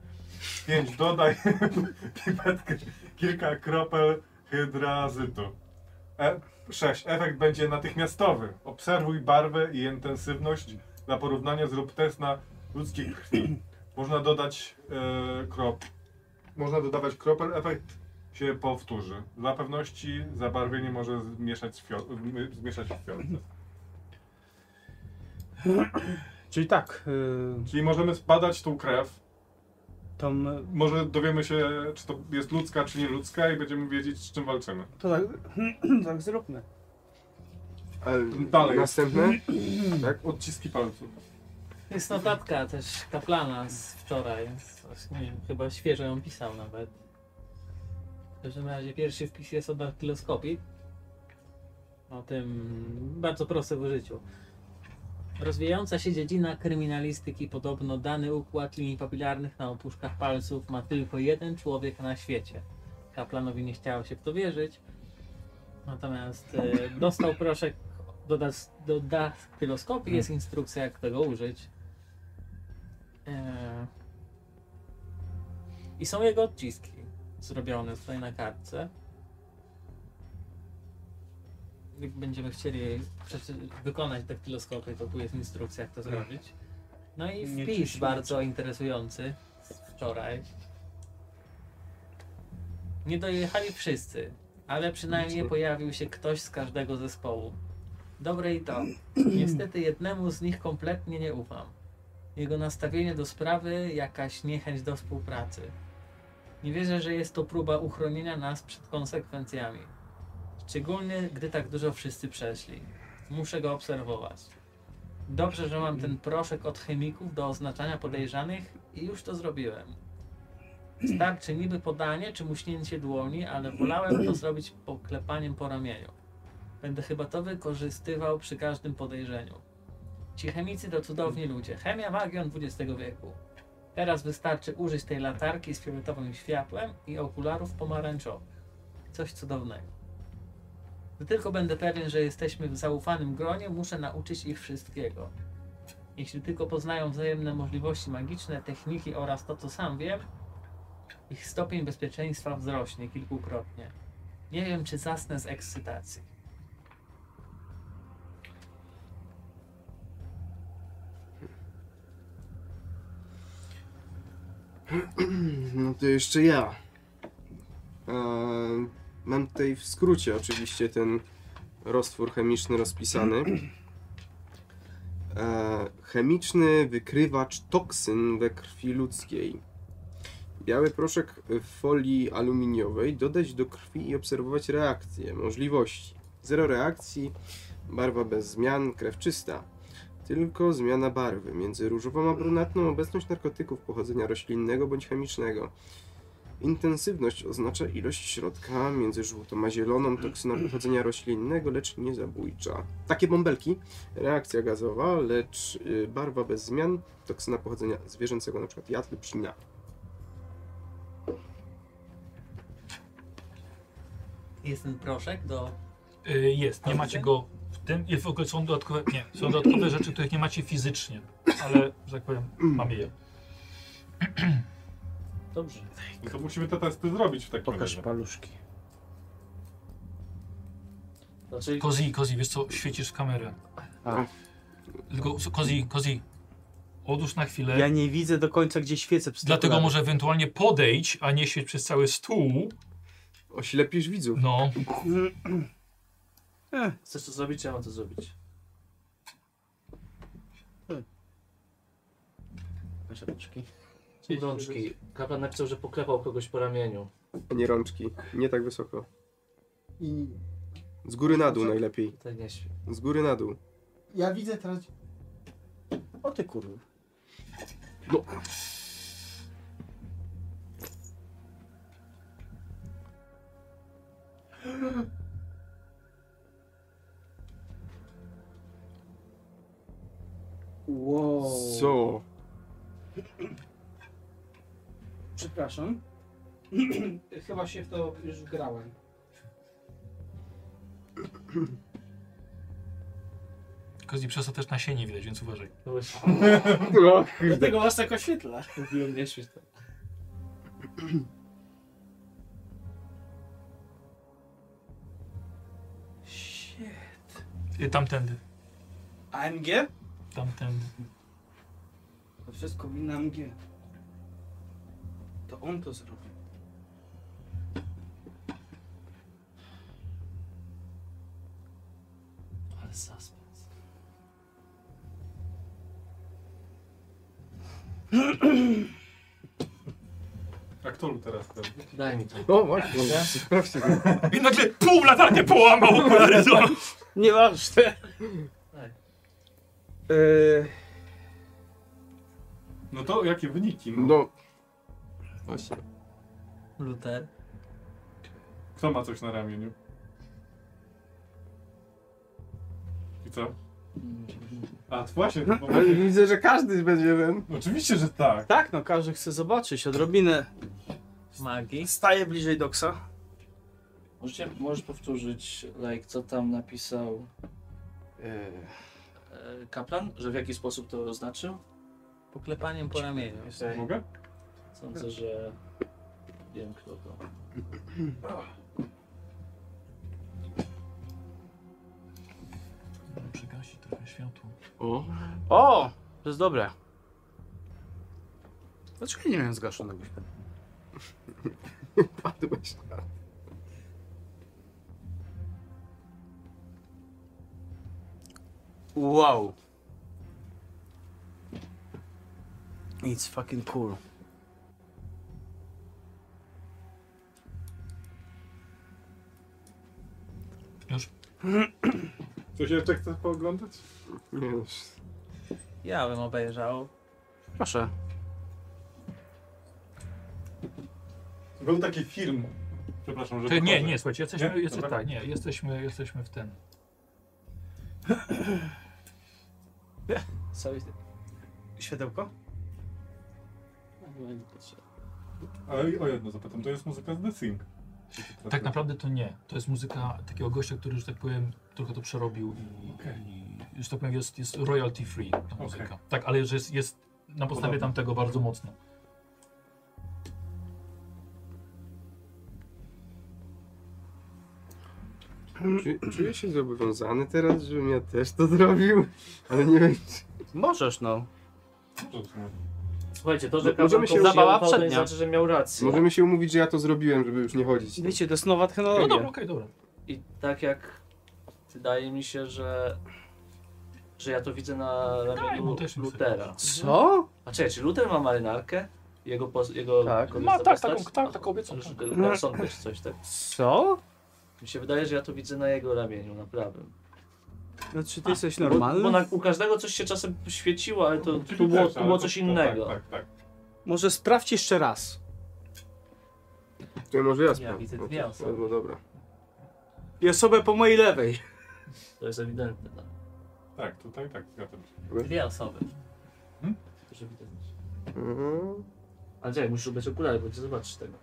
Pięć, dodaj pipetkę, kilka kropel hydrazytu. E, 6. Efekt będzie natychmiastowy. Obserwuj barwę i intensywność. Dla porównania zrób test na ludzkiej krwi. Można dodać e, krop. Można dodawać kropel. Efekt się powtórzy. Dla pewności zabarwienie może zmieszać w, fio- m- zmieszać w fiolce. Czyli tak, y, Czyli możemy zbadać tą krew. tam, y, Może dowiemy się, czy to jest ludzka, czy nie ludzka i będziemy wiedzieć, z czym walczymy. to tak, tak zróbmy. Ale Dalej. następne? Tak? Odciski palców. Jest notatka też kaplana z wczoraj. Właśnie, chyba świeżo ją pisał nawet. W każdym razie pierwszy wpis jest o daktyloskopii. O tym bardzo prostym użyciu. Rozwijająca się dziedzina kryminalistyki podobno dany układ linii papilarnych na opuszkach palców ma tylko jeden człowiek na świecie. Kaplanowi nie chciało się w to wierzyć. Natomiast e, dostał proszek do, das, do daktyloskopii, jest instrukcja jak tego użyć. E, I są jego odciski zrobione tutaj na kartce. Jak będziemy chcieli przeczy- wykonać daktyloskopię, to tu jest instrukcja jak to zrobić. No i Nie wpis ciśnie. bardzo interesujący z wczoraj. Nie dojechali wszyscy, ale przynajmniej pojawił się ktoś z każdego zespołu. dobre i to. Niestety jednemu z nich kompletnie nie ufam. Jego nastawienie do sprawy, jakaś niechęć do współpracy. Nie wierzę, że jest to próba uchronienia nas przed konsekwencjami. Szczególnie, gdy tak dużo wszyscy przeszli. Muszę go obserwować. Dobrze, że mam ten proszek od chemików do oznaczania podejrzanych i już to zrobiłem. Starczy niby podanie czy muśnięcie dłoni, ale wolałem to zrobić poklepaniem po ramieniu. Będę chyba to wykorzystywał przy każdym podejrzeniu. Ci chemicy to cudowni ludzie. Chemia magią XX wieku. Teraz wystarczy użyć tej latarki z fioletowym światłem i okularów pomarańczowych. Coś cudownego. Gdy tylko będę pewien, że jesteśmy w zaufanym gronie, muszę nauczyć ich wszystkiego. Jeśli tylko poznają wzajemne możliwości magiczne, techniki oraz to, co sam wiem, ich stopień bezpieczeństwa wzrośnie kilkukrotnie. Nie wiem, czy zasnę z ekscytacji. No to jeszcze ja. E, mam tutaj w skrócie oczywiście ten roztwór chemiczny rozpisany. E, chemiczny wykrywacz toksyn we krwi ludzkiej. Biały proszek w folii aluminiowej dodać do krwi i obserwować reakcje, możliwości. Zero reakcji, barwa bez zmian, krew czysta. Tylko zmiana barwy między różową a brunatną, obecność narkotyków pochodzenia roślinnego bądź chemicznego. Intensywność oznacza ilość środka między żółtą a zieloną, toksyna pochodzenia roślinnego, lecz nie zabójcza. Takie bąbelki, reakcja gazowa, lecz y, barwa bez zmian, toksyna pochodzenia zwierzęcego, np. jad lub ślina. Jest ten proszek do Y, Jest, nie macie go w tym. Jest w ogóle są dodatkowe, nie, są dodatkowe rzeczy, których nie macie fizycznie, ale że tak powiem, mamy je. Dobrze. No to musimy te testy zrobić w takim Pokaż razie. paluszki. Znaczy, Kozi, Kozi, wiesz co, świecisz w kamerę. A. Tylko so, Kozi, Kozi, odłóż na chwilę. Ja nie widzę do końca, gdzie świecę. przez te Dlatego okulary. może ewentualnie podejdź, a nie świeć przez cały stół. Oślepisz widzów. No, chcesz to zrobić, czy ja mam to zrobić? Masz Hmm. rączki. Rączki. Kaplan napisał, że poklepał kogoś po ramieniu. Nie rączki, nie tak wysoko. I Z góry na dół najlepiej. Tak nie śpi. Z góry na dół. ja widzę teraz... O ty kurwa. Wow. Co? Przepraszam. Chyba się w to już grałem. Kozi, przez to też nasienie widać, więc uważaj. No właśnie, No, Dlatego was tak oświetla. mówiłem nie śpić tak. Y, Tamtędy, AMG? tamtędy. To wszystko wina AMG. To on to zrobił. Ale suspens. A kto teraz ten? Daj mi to. no właśnie, sprawdźcie. I nagle pół latarnie połamał okulary. zobacz. Nieważne. Ej. Yy, No to jakie wyniki? No. No. Właśnie. Luther. Kto ma coś na ramieniu? I co? A to właśnie, to Ale Widzę, że każdy będzie ten. oczywiście, że tak. tak, no każdy chce zobaczyć odrobinę. magii. Staję bliżej doksa. Możecie, możesz powtórzyć, like, co tam napisał e, kaplan, że w jaki sposób to oznaczył? Poklepaniem po ramieniu. Mogę? Sądzę, że wiem kto to. Przygasi trochę światło. O. O! To jest dobre. Dlaczego ja nie miałem zgaszonego światła? Padłeś. Wow. It's fucking cool. Coś jeszcze chcesz pooglądać? Nie, no, już- Ja bym obejrzał. Proszę. Był taki film. Przepraszam, że Ty, nie, wychodzę. nie, słuchajcie, jesteśmy, Nie? jesteśmy, Dobra. tak, nie, jesteśmy, jesteśmy w ten. Cały... Światełko? Ale o jedno zapytam, to jest muzyka z The Sing. Tak naprawdę to nie. To jest muzyka takiego gościa, który, że tak powiem, trochę to przerobił i, Okej. i że tak powiem, jest, jest royalty free ta muzyka. Okej. Tak, ale że jest, jest na podstawie Podobnie. tamtego bardzo mocno. Czu- Czuję się zobowiązany teraz, żebym ja też to zrobił, ale nie wiem, czy... Możesz, no. Słuchajcie, to, że No, Kawan możemy się- się Zabawa to nie przednia. znaczy, że miał rację. Możemy się umówić, że ja to zrobiłem, żeby już nie chodzić. Wiecie, to jest nowa No technologia. dobra, okej, dobra. I tak jak wydaje mi się, że, że ja to widzę na mu ramieniu Tak, też nic Lutera. Co? A czekaj, czy Luter ma marynarkę? Jego, pos, jego Tak. kobieta Ma, tak, postać? taką- tak, taką obiecą, Że tak. ten Garson też coś tak. Co? Mi się wydaje, że ja to widzę na jego ramieniu, na prawym. No czy ty jesteś Bo, bo normalny? na, u każdego coś się czasem świeciło, No, ale to tu było, tu było coś innego. Tak, tak, Może sprawdź jeszcze raz. To może ja Ja sprawdzę. widzę No to- dwie osoby. No dobra. I osobę po mojej lewej. To jest ewidentne. tak. tak. Tak, tutaj tak, zgadzam się. Dwie osoby. To się widać. Mhm. Ale czekaj, musisz ubrać okulary, bo nie zobaczysz tego.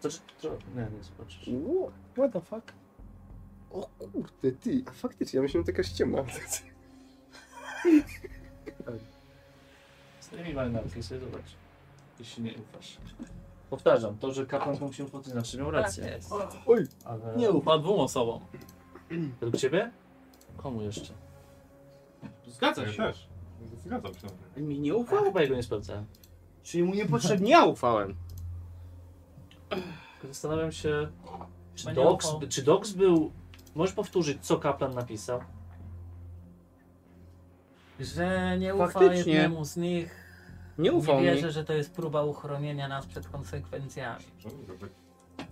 Znaczy, to, nie, nie zobaczysz. Ło, What the fuck? O kurde, ty, a faktycznie, ja myślałem, że taka ściema. Zdejmij marynarkę i sobie zobacz. Jeśli nie ufasz. Powtarzam, to, że kapłan mógł się upłynąć, znaczy Tak. miał rację. jest. Ale... Nie ufa dwóm osobom. Według ciebie? Komu jeszcze? Ja Zgadza się. też. Zgadzam się. Mi nie Ja ufał? chyba jego nie sprawdzałem. Czyli mu niepotrzebnie ja ufałem. Tylko zastanawiam się, czy Będzie Dox, ufał. czy Dox był... Możesz powtórzyć, co kaplan napisał? Że nie ufa Faktycznie. jednemu z nich. Nie Nie ufał mi. wierzę, że to jest próba uchronienia nas przed konsekwencjami.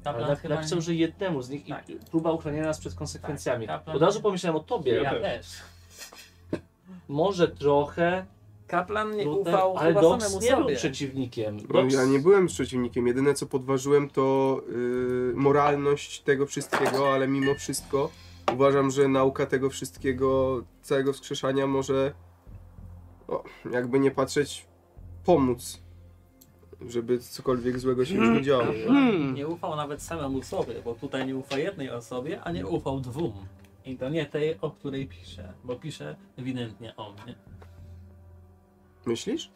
Ale Kaplan nap- chyba napisał, nie... że jednemu z nich Tak. i próba uchronienia nas przed konsekwencjami. Tak, kaplan- Od razu pomyślałem o tobie. Ja Ja też. też. Może trochę, Kaplan nie Luther, ufał ale chyba Dox samemu nie był sobie. przeciwnikiem. No, Dox- ja nie byłem przeciwnikiem, jedyne co podważyłem to y, moralność tego wszystkiego, ale mimo wszystko uważam, że nauka tego wszystkiego, całego wskrzeszania może, o, jakby nie patrzeć, pomóc, żeby cokolwiek złego się już nie działo. nie? Hmm. Nie ufał nawet samemu sobie, bo tutaj nie ufa jednej osobie, a nie ufał dwóm. I to nie tej, o której pisze, bo pisze ewidentnie o mnie. Myślisz?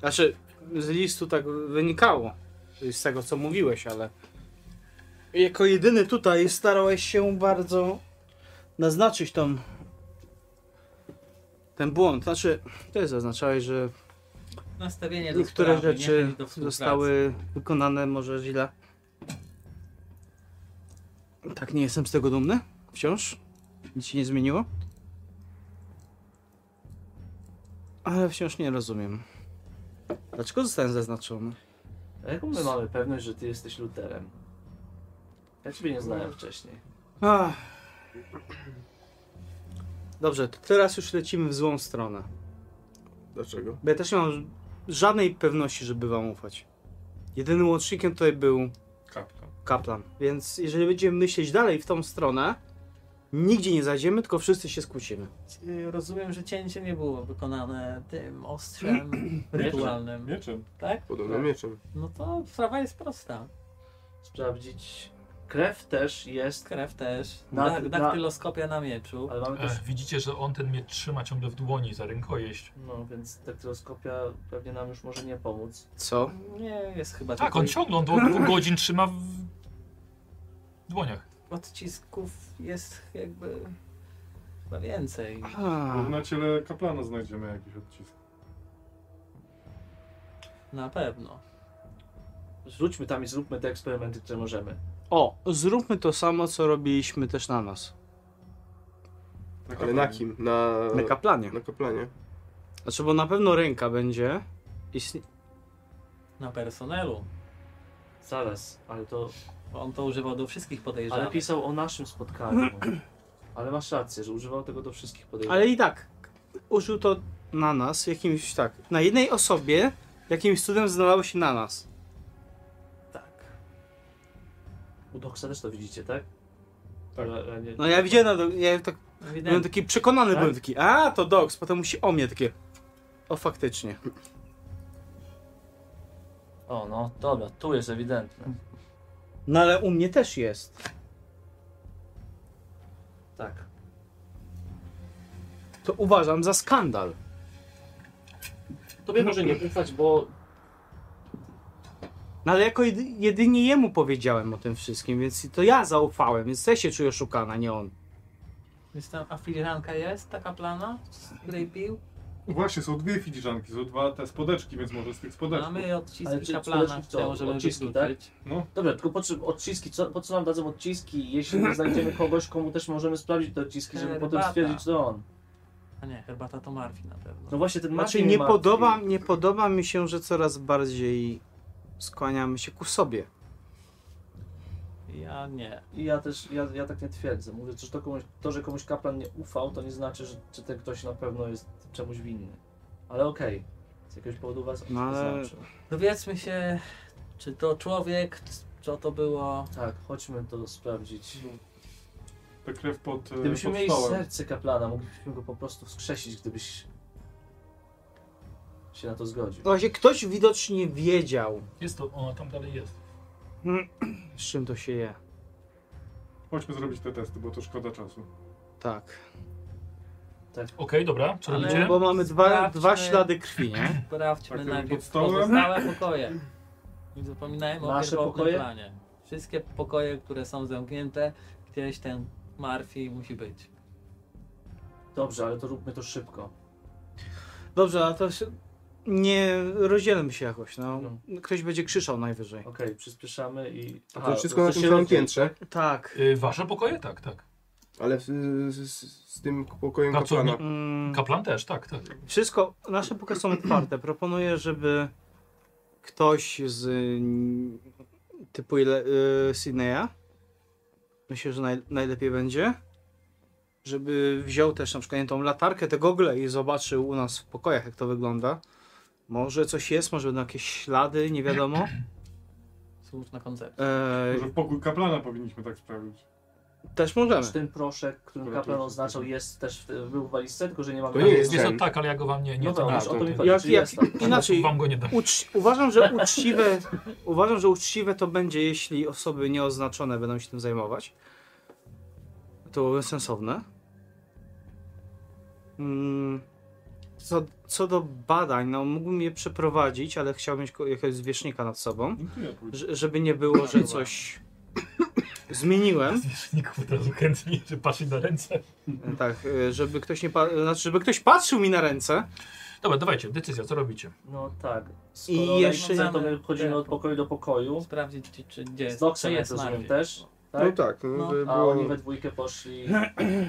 Znaczy, z listu tak wynikało. Z tego, co mówiłeś, ale... Jako jedyny tutaj starałeś się bardzo naznaczyć tą... Ten błąd. Znaczy, ty zaznaczałeś, że Nastawienie do niektóre sprawy, rzeczy niechęć do współpracy. zostały wykonane może źle. Tak, nie jestem z tego dumny. Wciąż. Nic się nie zmieniło. Ale wciąż nie rozumiem. Dlaczego zostałem zaznaczony? A jaką my mamy pewność, że ty jesteś Luterem? Ja ciebie nie No. znałem wcześniej. Ach. Dobrze, to teraz już lecimy w złą stronę. Dlaczego? Bo ja też nie mam żadnej pewności, żeby wam ufać. Jedynym łącznikiem tutaj był Tak. Kapka. Kaplan. Więc jeżeli będziemy myśleć dalej w tą stronę, nigdzie nie zajdziemy, tylko wszyscy się skłócimy. Y, Rozumiem, że cięcie nie było wykonane tym ostrzem rytualnym. Mieczem. Tak? Podobno mieczem. No to sprawa jest prosta. Sprawdzić. Krew też jest, Krew też. Na- Dak- na- daktyloskopia na mieczu. ale mamy też. E, widzicie, że on ten mnie trzyma ciągle w dłoni za rękojeść. No więc daktyloskopia pewnie nam już może nie pomóc. Co? Nie, jest chyba Tak, tylko on ciągle, on dwóch dwóch godzin trzyma w dłoniach. odcisków jest jakby chyba więcej. A, Na ciele kaplana znajdziemy jakiś odcisk. Na pewno. Rzućmy tam i zróbmy te eksperymenty, które możemy. o, zróbmy to samo, co robiliśmy też na nas. kaplanie. Ale na kim? Na, Na kaplanie. na kaplanie. Znaczy, bo na pewno ręka będzie. Istnie... Na personelu. Zaraz, ale to. Bo on to używał do wszystkich podejrzanych. Ale pisał o naszym spotkaniu. Ale masz rację, że używał tego do wszystkich podejrzanych. Ale i tak, użył to na nas jakimś tak. Na jednej osobie jakimś cudem znalazło się na nas. Tak. U Doksa też to widzicie, tak? Tak. Ja, ja nie... No ja widziałem, no, ja tak, byłem taki przekonany, Tak? byłem taki, a to Dogs, potem musi o mnie takie. O faktycznie. O, no dobra, tu jest ewidentne. No ale u mnie też jest. Tak. To uważam za skandal. Tobie może nie ufać, bo No ale jako jedy, jedynie jemu powiedziałem o tym wszystkim, więc to ja zaufałem, więc ja się czuję oszukana, nie on. Więc tam, a filiżanka jest taka plana, z której pił? Właśnie, są dwie filiżanki, są dwa te spodeczki, więc może z tych spodeczków. Mamy Ale odciski czy kaplana, odciski które co? możemy Odciski, tak? wykluczyć. Dobra, tylko po czym odciski, co, po co nam dadzą odciski, jeśli nie znajdziemy kogoś, komu też możemy sprawdzić te odciski, żeby potem Herbata. stwierdzić, że on. A nie, herbata to Marfi na pewno. No właśnie, ten Znaczy Marcin nie ma- podoba, nie podoba mi się, że coraz bardziej skłaniamy się ku sobie. Ja nie. I ja też, ja, ja tak nie twierdzę. Mówię, że to, komuś, to, że komuś kaplan nie ufał, to nie znaczy, że czy ten ktoś na pewno jest czemuś winny. Ale okej, z jakiegoś powodu was No ale- znaczy. Dowiedzmy się, czy to człowiek, co to było. Tak, chodźmy to sprawdzić. No, Ta krew pod, e, Gdybyśmy pod mieli stołem. serce kaplana, moglibyśmy go po prostu wskrzesić, gdybyś się na to zgodził. Właśnie ktoś widocznie wiedział, Jest to, ona tam dalej jest. z czym to się je. Chodźmy zrobić te testy, bo to szkoda czasu. Tak. dobra, co Ale- robicie? Bo mamy dwa, Sprawdźmy. dwa ślady krwi, nie? Sprawdźmy Tak, pod najpierw stołem? pozostałe pokoje. Nie zapominajmy o Nasze pierwotnym pokoje? planie. Wszystkie pokoje, które są zamknięte, gdzieś ten Marfi musi być. Dobrze, ale to róbmy to szybko. Dobrze, a to się... Nie rozdzielmy się jakoś, no. No. Ktoś będzie krzyczał najwyżej. Okej, przyspieszamy i... A to wszystko na tym samym rozdziel- piętrze, Tak. Y, wasze pokoje? Tak, tak. ale w- z, z, z tym pokojem Pracownik- kaplana. Mm, Kaplan też, tak, tak. wszystko, nasze pokoje są otwarte. Proponuję, żeby ktoś z y, typu ile, y, Sydneya, myślę, że naj, najlepiej będzie, żeby wziął też na przykład nie, tą latarkę, te gogle i zobaczył u nas w pokojach, jak to wygląda. Może coś jest, może będą jakieś ślady, nie wiadomo. Słuszna koncepcja. E, Może w pokój kaplana powinniśmy tak sprawdzić. też możemy. Czy ten proszek, którym Dobra, to kaplan już- oznaczał, jest też w, był w walizce, tylko że nie ma To nie jest Jest ten. to tak, ale ja go wam nie... nie No ten- dobra, ten- o to mi ten- chodzi, Jak- czy jak- jest tam. Inaczej, Wam go nie dam. Ucz, uważam, że uczciwe, uważam, że uczciwe to będzie, jeśli osoby nieoznaczone będą się tym zajmować. To byłoby sensowne. Mm, Co, co do badań, no mógłbym je przeprowadzić, ale chciałbym mieć ko- jakiegoś zwierzchnika nad sobą, No to ja pójdę. ż- żeby nie było, że coś zmieniłem. Nikt od razu chętnie, że patrzy na ręce. Tak, y, żeby ktoś nie pa- znaczy, żeby ktoś patrzył mi na ręce. Dobra, dawajcie, decyzja, co robicie? No tak. Skoro I I jeszcze- jeszcze... to my chodzimy od pokoju do pokoju. Sprawdzić, czy, czy gdzie Z jest. Doksem, czy jak jest rozumiem, Marfi. też. No Tak? tak, no, No, by A było... oni we dwójkę poszli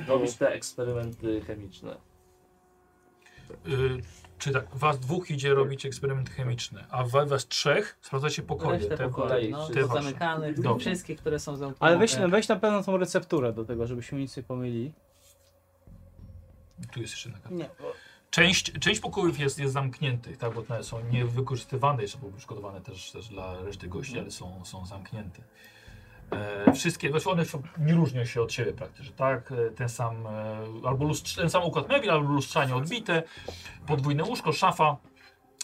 robić te eksperymenty chemiczne. Y, czy tak, was dwóch idzie robić eksperymenty chemiczne, a we was trzech sprawdzacie pokoje. Resztę te- pokoju, no, te wasze. zamykanych, Dobrze. wszystkich, które są zamknięte. Ale weź, weź na pewno tą recepturę do tego, żebyśmy nic nie pomylili. Tu jest jeszcze taka. Nie, bo Część, część pokojów jest, jest zamkniętych, tak, bo one są niewykorzystywane, jeszcze były szkodowane też, też dla reszty gości, Mhm. ale są, są zamknięte. E, wszystkie, znaczy one są, nie różnią się od siebie praktycznie, tak? E, Ten sam, e, albo lustrz, ten sam układ mebli, albo lustrzanie odbite, podwójne łóżko, szafa,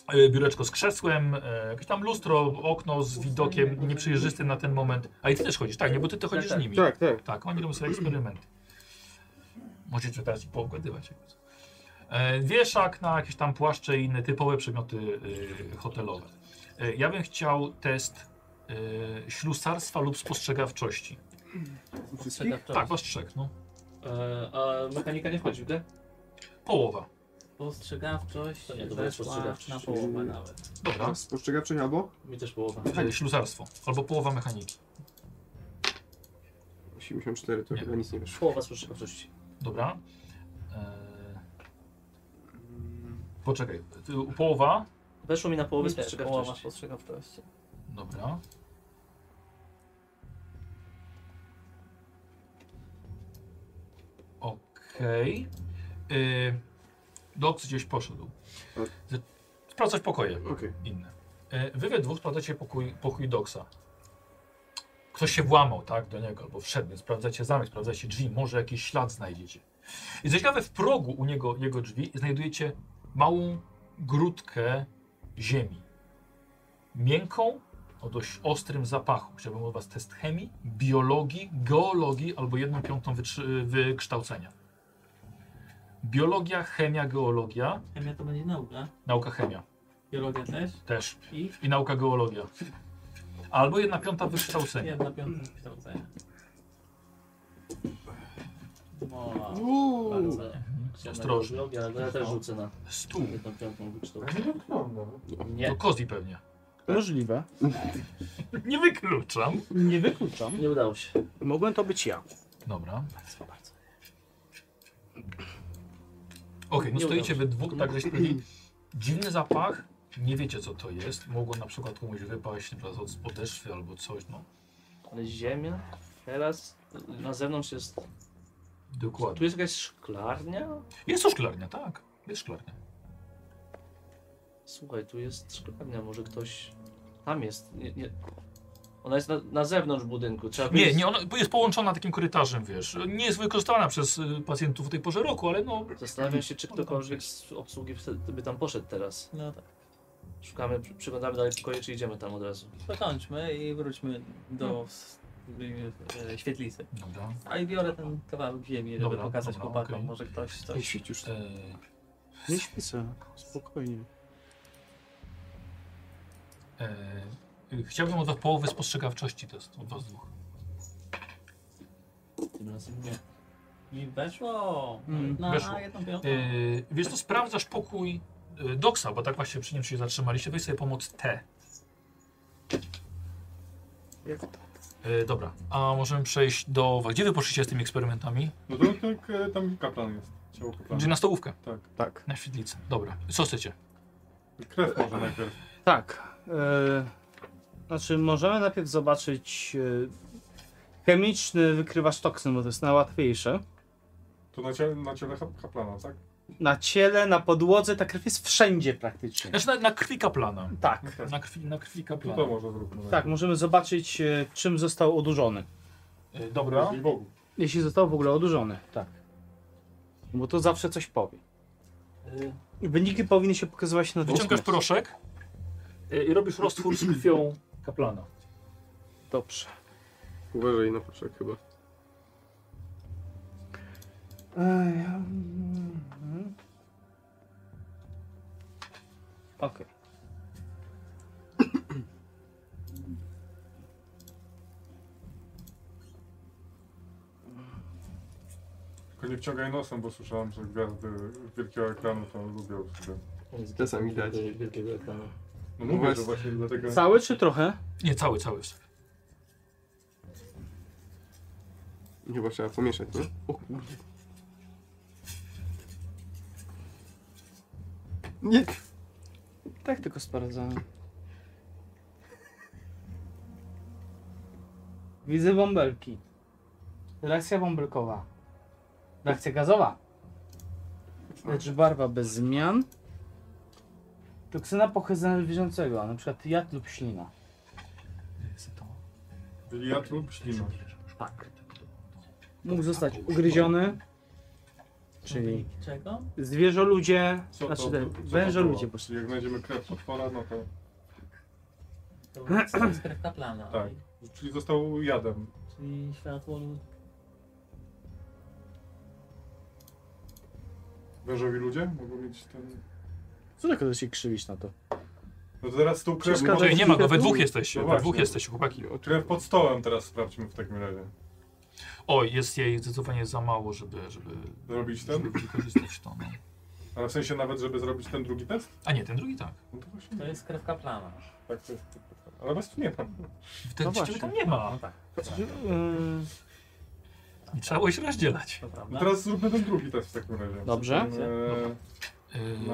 e, biureczko z krzesłem, e, jakieś tam lustro, okno z widokiem nieprzejrzystym na ten moment. A i ty też chodzisz, tak, nie? Bo ty, ty chodzisz z nimi. Tak, tak. Tak, oni robią sobie eksperymenty. Możecie teraz i poobgadywać. jak chcecie. E, wieszak na jakieś tam płaszcze i inne typowe przedmioty e, hotelowe. E, ja bym chciał test e, ślusarstwa lub spostrzegawczości. Wszystkich? Tak, was trzech, no. E, a mechanika nie wchodzi w grę? Połowa. Postrzegawczość To nie, to będzie weszła postrzegawczość. na połowę nawet. Dobra. Spostrzegawczość albo? Mi też połowa. E, ślusarstwo. Albo połowa mechaniki. 84, to Nie. chyba nic nie wyszło. Połowa spostrzegawczości. Dobra. E, Poczekaj, ty- połowa? Weszło mi na połowę Mi też spostrzegawczości. połowa spostrzegawczości. Dobra. Okej. Yy, Doc gdzieś poszedł. Z- Sprawdzać pokoje Okej. inne. Yy, wy we dwóch sprawdzacie pokój, pokój Doxa. Ktoś się włamał, tak, do niego, albo wszedł, więc sprawdzacie zamek, sprawdzacie drzwi, może jakiś ślad znajdziecie. I co ciekawe, w progu u niego, jego drzwi znajdujecie małą grudkę ziemi. Miękką, o dość ostrym zapachu. Chciałbym od Was test chemii, biologii, geologii albo jedną piątą wytrzy- wykształcenia. Biologia, chemia, geologia, Chemia to będzie nauka. nauka chemia Biologia też. też I i nauka geologia. Albo jedna piąta wykształcenia. jedna piąta wykształcenia. O, Uuu. Bardzo. Ostrożnie. Biologia, ale ja też rzucę na Stół. jedną piątą wykształcenie. Nie dotknąłem no? nawet. To Nie, Kozi pewnie. Możliwe. Nie wykluczam. Nie wykluczam. nie udało się. Mogłem to być ja. Dobra. Okej, no Nie stoicie udało we dwóch, tak żeście powiedzieli. Dziwny zapach, nie wiecie co to jest. Mogło na przykład komuś wypaść na przykład od podeszwy albo coś, no. Ale ziemia, teraz na zewnątrz jest... Tu Dokładnie. jest jakaś szklarnia? Jest to szklarnia, tak. Jest szklarnia. Słuchaj, tu jest szklarnia, może ktoś... Tam jest, nie, nie. Ona jest na, na zewnątrz budynku, trzeba Nie, wyjść- nie, ona jest połączona takim korytarzem, wiesz. Nie jest wykorzystywana przez y, pacjentów o tej porze roku, ale no... Zastanawiam się, czy ktokolwiek z obsługi wtedy by tam poszedł teraz. no tak. Szukamy, przy- przyglądamy dalej pokoje, czy idziemy tam od razu. Zakończmy i wróćmy do Hmm. s- y, y, świetlicy. Dobra. A i biorę ten kawałek ziemi, żeby Dobra, pokazać dobra, chłopakom, okej. może ktoś coś... już. E, Nie śpi sobie. Spokojnie. E, y, chciałbym od was połowy spostrzegawczości test, od was dwóch. Tym razem nie. Mi weszło! Mm, na Hmm, weszło. jedną piątą. E, wiesz co, sprawdzasz pokój e, Doksa, bo tak właśnie przy nim się zatrzymaliście. Weź sobie pomoc T. E, dobra, a możemy przejść do... Gdzie wy poszliście z tymi eksperymentami? No to tak, e, tam kaplan jest. Ciało Gdzie kaplana. na stołówkę, Tak. Tak. na świetlicę. Dobra, co chcecie? Krew może najpierw. Tak. E, znaczy, możemy najpierw zobaczyć e, chemiczny wykrywacz toksyn, bo to jest najłatwiejsze. To na ciele, na ciele Kap- kaplana, tak? Na ciele, na podłodze, ta krew jest wszędzie praktycznie. Znaczy na, na krwi kaplana. Tak. Na krwi, na krwi To to kaplana. może zróbmy. Tak, możemy zobaczyć, e, czym został odurzony. E, Dobra. dobra. Bogu. Jeśli został w ogóle odurzony. Tak. Bo to zawsze coś powie. E. Wyniki powinny się pokazywać na Wyciągasz dwóch proszek e, i robisz roztwór z krwią kaplana. stronach. Dobrze. Uważaj na proszek chyba. Ej, mm, mm. Okej. Tylko nie wciągaj nosem, bo słyszałem, że gwiazdy wielkiego ekranu to lubią sobie. Czasami dać. Wielkiego ekranu. No mówię, właśnie. że właśnie dlatego... Cały czy trochę? Nie, cały, cały. jest. Chyba trzeba pomieszać, nie? O kurde. Nie. Tak tylko sprawdzałem. Widzę bąbelki. Reakcja bąbelkowa. Reakcja gazowa. Lecz barwa bez zmian. Toksyna pochodzenia zwierzęcego, na przykład jad lub ślina. Jad lub ślina. Tak. Mógł zostać ugryziony. Czyli Y, Czego? Zwierzę ludzie, Co znaczy to- te co to węże było? ludzie po prostu. Jak znajdziemy krew potwora, no to... To jest ekstrakta plana. Tak. Czyli został jadem. Czyli światło... Wężowi ludzie mogą mieć ten... co tak to się krzywić na to? No to teraz tą krew... Przeszkadza może- Czekaj, nie ma go, we dwóch jesteście, No we dwóch właśnie. jesteście, chłopaki. Krew pod stołem teraz sprawdźmy w takim razie. Oj, jest jej zdecydowanie za mało, żeby, żeby, Zrobić żeby ten? wykorzystać to. No. Ale w sensie nawet, żeby zrobić ten drugi test? A nie, ten drugi tak. No to właśnie To nie. jest krewka plana. Tak, to jest... Ale was tu nie ma. Ten no tak, właśnie. tam nie ma. Yy, I trzeba było się rozdzielać. To No prawda. teraz zróbmy ten drugi test w takim razie. Dobrze. Eee, Yy, No.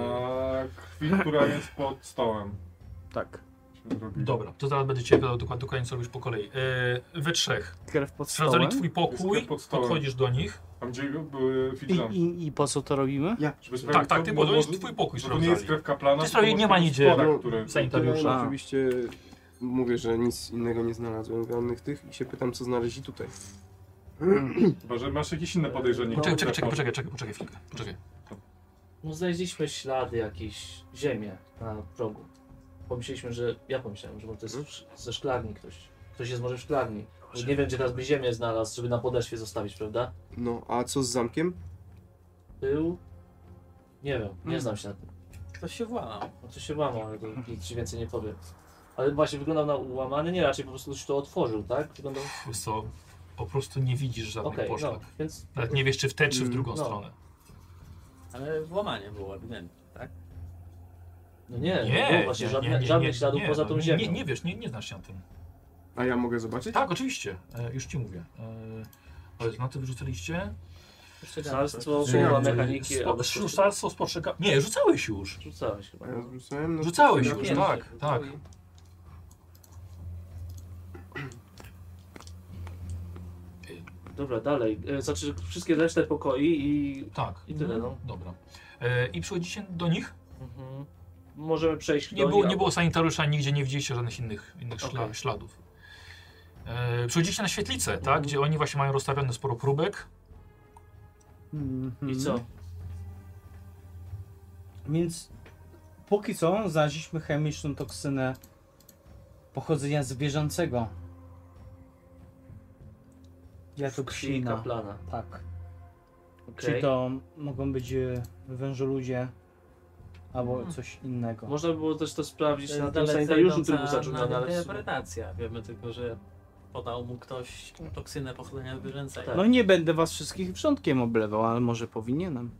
Na krwi, która jest pod stołem. Tak. Zrobimy. Dobra, to zaraz będę cię pytał dokładnie, dokładnie co robisz po kolei. Yy, we trzech. Krew pod Sprawdzali stołem. twój pokój, Jest pod stołem. podchodzisz do nich. Tam gdzie były I, fidżanki. i, I po co to robimy? Żeby sprawdzić, Tak, tak, ty co- bo to no, jest może- twój pokój No to nie jest sprawdzali. krew kaplana, Ty sprawie tylko nie ma może nigdzie No, spora, który- sanitariusza. A. Oczywiście mówię, że nic innego nie znalazłem żadnych tych i się pytam, co znaleźli tutaj. Chyba, że masz jakieś inne podejrzenie. Poczekaj, E, czekaj, czekaj, poczekaj, czekaj, poczekaj chwilkę. Poczekaj. No znaleźliśmy ślady jakieś, ziemię na progu. Pomyśleliśmy, że, ja pomyślałem, że może to jest sz- ze szklarni ktoś. Ktoś jest może w szklarni. Że nie wiem, gdzie teraz by ziemię znalazł, żeby na podeszwie zostawić, prawda? No, a co z zamkiem? Był... Nie wiem, Hmm. nie znam się na tym. Ktoś się włamał. No to się łamał, ale to nic ci więcej nie powiem. Ale właśnie wyglądał na ułamany, nie raczej po prostu ktoś to otworzył, tak? Wyglądał... Wiesz co, po prostu nie widzisz żadnych Okej, poszlak. no, więc... Nawet nie wiesz, czy w tę, czy w Mm, drugą no. stronę. Ale włamanie było ewidentnie, tak? No nie, Nie, nie było właśnie żadnych, żadnych śladów poza no, tą nie- ziemią. Nie, nie wiesz, nie, nie znasz się na tym. A ja mogę zobaczyć? Tak, oczywiście, e, już ci mówię. E, ale na to wyrzuciliście? Śledztwo, Nie, połowa nie, mechaniki, E, Spo- albo... Ślusarstwo spostrzega... Nie, rzucałeś już. Rzucałeś chyba. A ja rzucałem? No, Rzucałeś ja już, wiem. tak, tak. Dobra, dalej. E, Znaczy wszystkie resztę pokoi i Tak. I tyle, no. Dobra. E, I przychodzicie do nich? Mhm. Możemy przejść Nie do było, niej, nie było albo- sanitariusza, nigdzie nie widzieliście żadnych innych, innych szla, Okej. śladów. E, przychodzicie na świetlicę, Mhm. tak? Gdzie oni właśnie mają rozstawione sporo próbek. Mhm. I co? Więc póki co znaleźliśmy chemiczną toksynę pochodzenia zwierzęcego. Ja to Krzyj psina. kaplana. Tak. Okej. Czy to mogą być e, wężoludzie albo Mhm. coś innego. Można by było też to sprawdzić To jest na tym dalece sanitariuszu, który był idąca zatrudniony, no, ale... w sumie- interpretacja. Wiemy tylko, że podał mu ktoś toksynę pochodzenia zwierzęcego. Tak. No nie będę was wszystkich wrzątkiem oblewał, ale może powinienem.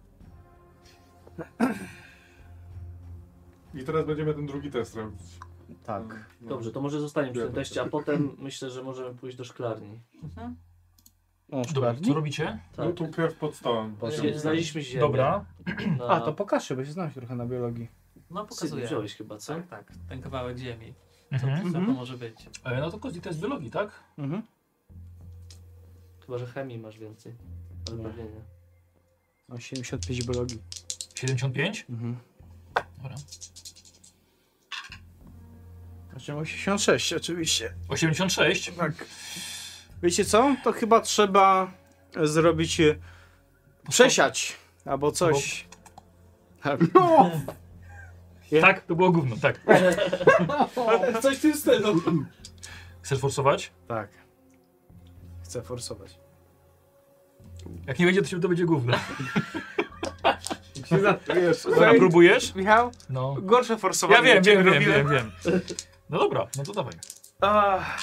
I teraz będziemy ten drugi test robić. Mhm. No. Tak. Dobrze, to może zostaniemy przy Ja tym tak teście, a potem myślę, że możemy pójść do szklarni. O, Dobra, szklarni? co robicie? No Tak. tu krew pod stołem. Zie- Znaleźliśmy ziemię. Dobra. Na... A, to pokażę, bo się znam się trochę na biologii. No Sydney pokazuje. wziąłeś chyba, co? Tak, tak. Ten kawałek ziemi. Co, Mhm. co to może być? E, no to Kozi, to jest biologii, tak? Mhm. Chyba, że chemii masz więcej. Ale No. Nie. pewnie nie. O, 75 biologii. 75? Mhm. Dobra. Znaczy 86 oczywiście. 86? Tak. Wiecie co? To chyba trzeba zrobić e, przesiać albo coś. Tak. Tak, to było gówno, tak. Coś w tym stylu. Chcesz forsować? tak. Chcę forsować. Jak nie będzie, to się to będzie gówno. Wiesz, Dobra, próbujesz? Michał, No. gorsze forsowanie. Ja wiem, niż wiem, wiem, robiłem. wiem, wiem. No dobra, no to dawaj. Ach.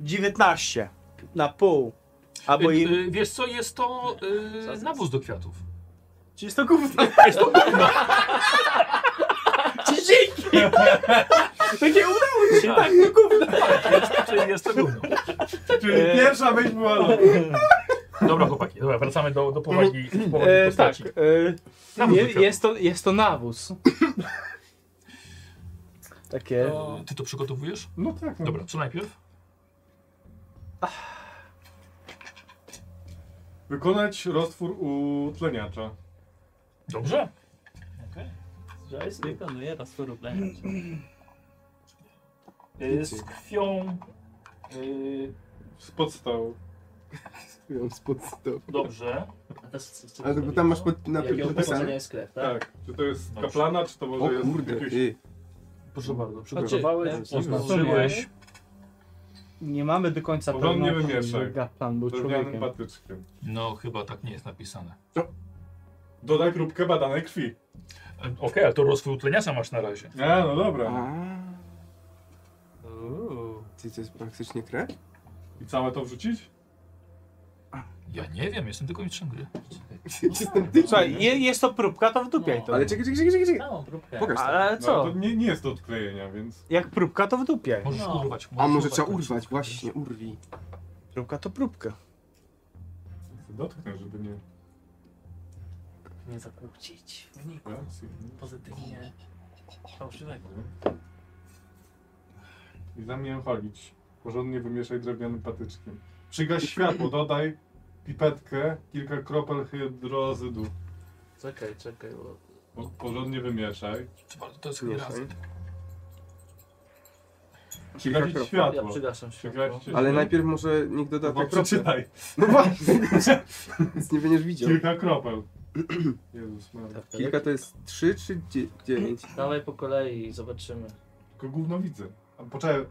19 na pół. Albo Y, im. y, wiesz co, jest to y, nawóz do kwiatów. Czy jest to gówno? Jest to gówno. Takie udało się, tak, to gówno. Czyli jest to gówno. Czyli Eee. pierwsza myśl była loda. Dobra chłopaki, dobra, wracamy do, do powagi, powagi E, tak. postaci. E, Nawóz je, do kwiatów. jest, to, jest to nawóz. Takie. E, Ty to przygotowujesz? No tak. No. Dobra, co najpierw? Wykonać roztwór utleniacza. Dobrze. Joyce wykonuje roztwór utleniacza. E, Z krwią... y, Z podstał. spod stołu. Dobrze. Ale to bo tam masz pod, na Jakiego pochodzenia napisane? jest krew, tak? Tak. Czy to jest Dobrze. kaplana, czy to może O jest kurde, jakieś... ty. Proszę bardzo, przygotowałeś? Oznaczyłeś. Nie mamy do końca Porządnie pewności, wymieszaj. że Gaplan był Drewnianym człowiekiem. patyczkiem. No chyba tak nie jest napisane. Dodaj próbkę badanej krwi. E, Okej, ale to rozwój utleniasa masz na razie. A, no dobra. A, ty to jest praktycznie krew? I całe to wrzucić? Ja nie wiem, jestem tylko mistrzem gry. Jestem ty. Słuchaj, je, jest to próbka, to wdupiaj to. Ale czekaj, czekaj, czekaj, czekaj. Całą próbkę. Pokaż to. Ale No, ale to co? nie, nie jest do odklejenia, więc... Jak próbka, to wdupiaj. Możesz No. urwać. A możesz może trzeba końcówkę. urwać, właśnie, urwij. Próbka to próbka. dotknę, żeby nie... Nie zakłócić. reakcji. Pozytywnie. Fałszywego. I zamieniam cholić. Porządnie wymieszaj drewnianym patyczkiem. Przygaś światło, dodaj pipetkę, kilka kropel hydrozydu. Czekaj, czekaj, bo Po- Porządnie wymieszaj. To jest Mieszaj. Przygasić kropel. ja światło. przygaszam światło. Przygasić Ale światło. najpierw może niech doda Bo te kropki. przeczytaj. No właśnie, nic nie będziesz widział. Kilka kropel. Jezus Maria. Kilka to jest 3 czy 9? Dawaj po kolei i zobaczymy. Tylko gówno widzę. A poczekaj,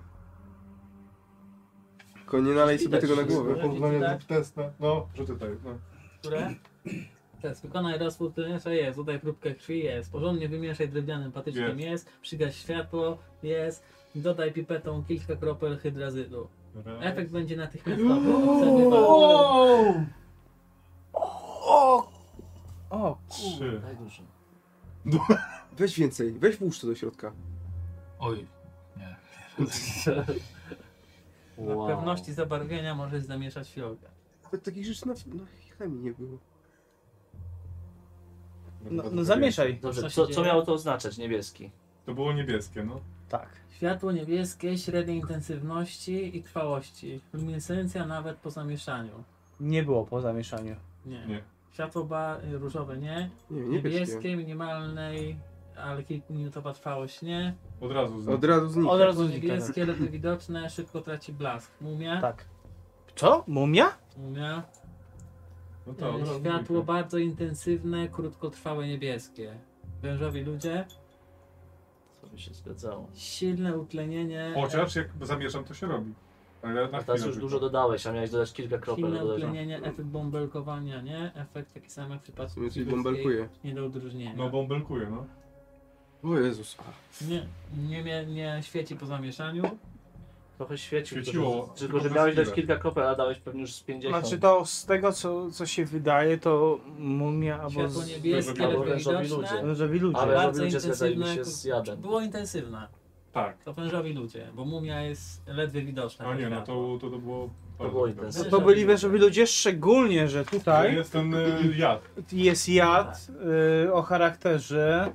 Tylko nie nalej Widać, sobie tego na że głowę. jest. porównanie tak? tak? testne. No, przeczytaj. No. Które? Teraz wykonaj raz powtórzenia, jest, dodaj próbkę krwi, jest. Porządnie wymieszaj drewnianym patyczkiem, Jest. jest. Przygaś światło, jest. Dodaj pipetą kilka kropel hydrazydu. Raz. tak- Efekt będzie natychmiastowy. Obserwuj bardzo- no, No, Trzy. Najdłużej. Weź więcej, weź włóż to do środka. Oj, nie. Na pewności zabarwienia możesz zamieszać fiolkę. Nawet takich rzeczy na, na chemii nie było. No, no zamieszaj. Dobrze, Co się co, co dzieje? miało to oznaczać? Niebieski. To było niebieskie, no. Tak. Światło niebieskie, średniej intensywności i trwałości. Luminescencja nawet po zamieszaniu. Nie było po zamieszaniu. Nie. Nie. Światło ba- różowe nie. Nie, nie Niebieskie, minimalnej, ale kilkuminutowa trwałość nie. Od razu z Od razu znika. Od razu znika. tak. Niebieskie, ledwo widoczne, szybko traci blask. Mumia. Tak. Co? Mumia? Mumia. No E, to od razu Światło znika. bardzo intensywne, krótkotrwałe niebieskie. Wężowi ludzie. Co by się zgadzało. Silne utlenienie. e, Chociaż jak zamieszam, to się robi. Ale na A teraz chwilę już tylko. dużo dodałeś, a miałeś dodać kilka kropel. Silne dodałeś. utlenienie, efekt bąbelkowania, nie? Efekt taki sam jak w W przypadku sumie coś królewskiej, bąbelkuje. Nie do odróżnienia. No bąbelkuje, no. O Jezus. nie, nie, nie, nie świeci po zamieszaniu. Trochę świecił. Świeciło, tylko, że- tylko, tylko że przez miałeś dać chwilę. kilka kropel, a dałeś pewnie już z 50. Znaczy to z tego co, co się wydaje to mumia albo Światło z... niebieskie, Albo ledwo wężowi widoczne. ludzie. Żeby ludzie. Ale bardzo żeby ludzie zgadzali intensywne, się z jadem. Było intensywne. Tak. To wężowi ludzie, bo mumia jest ledwie widoczna. A na nie, no światło. to, to, to było... Tak, To bardzo było dobre. No intensywne. to byli wężowi ludzie, szczególnie, że To tutaj jest ten y, jad. jest jad y, o charakterze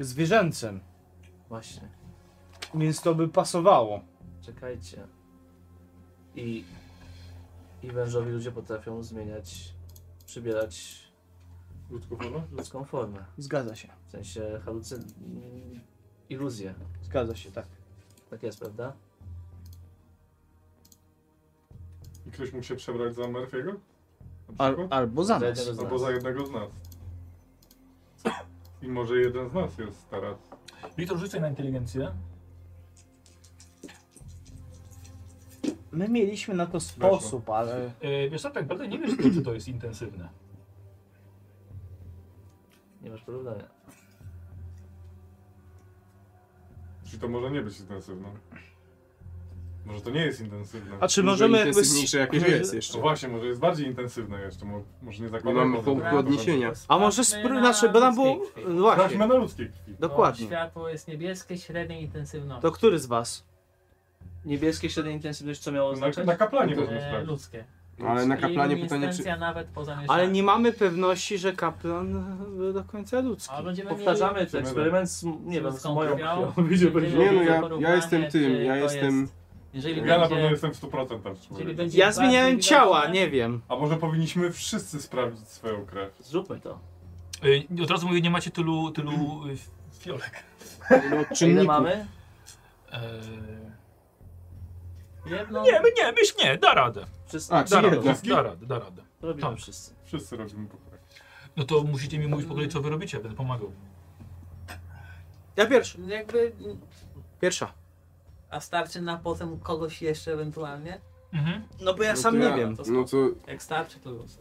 zwierzęcym, Właśnie, więc to by pasowało. czekajcie. I, I wężowi ludzie potrafią zmieniać, przybierać Ludzkoforma? ludzką formę. Zgadza się. W sensie halucyn... iluzję. Zgadza się, tak. Tak jest, prawda? I ktoś mógł się przebrać za Murphy'ego? Na Al, przykład? albo za Za nas. jednego z Albo nas. za jednego z nas. I może jeden z nas jest teraz. Wiktor, rzucaj na inteligencję. My mieliśmy na to sposób, ale E, Yy, wiesz co, tak naprawdę nie wiesz, czy to jest intensywne. Nie masz porównania. Czyli to może nie być intensywne. Może to nie jest intensywne. A czy Dużo możemy jakby... intensywniejsze jakieś jest jeszcze. No właśnie, może jest bardziej intensywne jeszcze. mo- Może nie Nie zakładamy. mamy punktu odniesienia. A może spr... Znaczy, bo nam było... e, Sprawdźmy Właśnie, Znaczy, na ludzkiej krwi. Bo dokładnie. Światło jest niebieskie, średniej intensywności. To który z was? Niebieskie średniej intensywności, co miało Na, oznaczać? na kaplanie można e, sprawdzić. ludzkie. Ale na kaplanie I pytanie czy... luminescencja nawet po zamieszaniu. Ale nie mamy pewności, że kaplan był do końca ludzki. A będziemy mieli... Powtarzamy ten eksperyment z, nie wiem, z moją krwią. Nie no, ja, Porównanie, ja jestem czy tym, ja to jestem... jest- Jeżeli Ja na pewno będzie... jestem w 100% Jeżeli człowiek. będzie Ja bardziej zmieniałem widoczne, ciała, nie wiem. A może powinniśmy wszyscy sprawdzić swoją krew? Zróbmy to. Y, Od razu mówię, nie macie tylu, tylu y, fiolek. No, Ile czynników. mamy? E, Jedną? Nie, nie, myśl nie, da radę. Wszyscy, A, Da czyli radę, jedna. da radę, da radę. robimy tak. wszyscy. Wszyscy robimy po krew. No to musicie mi mówić po kolei, co wy robicie, będę pomagał. Ja pierwszy. Jakby... Pierwsza. A starczy na potem kogoś jeszcze ewentualnie? Mhm. No bo ja No sam to nie ja- wiem. No to Jak starczy, to luz.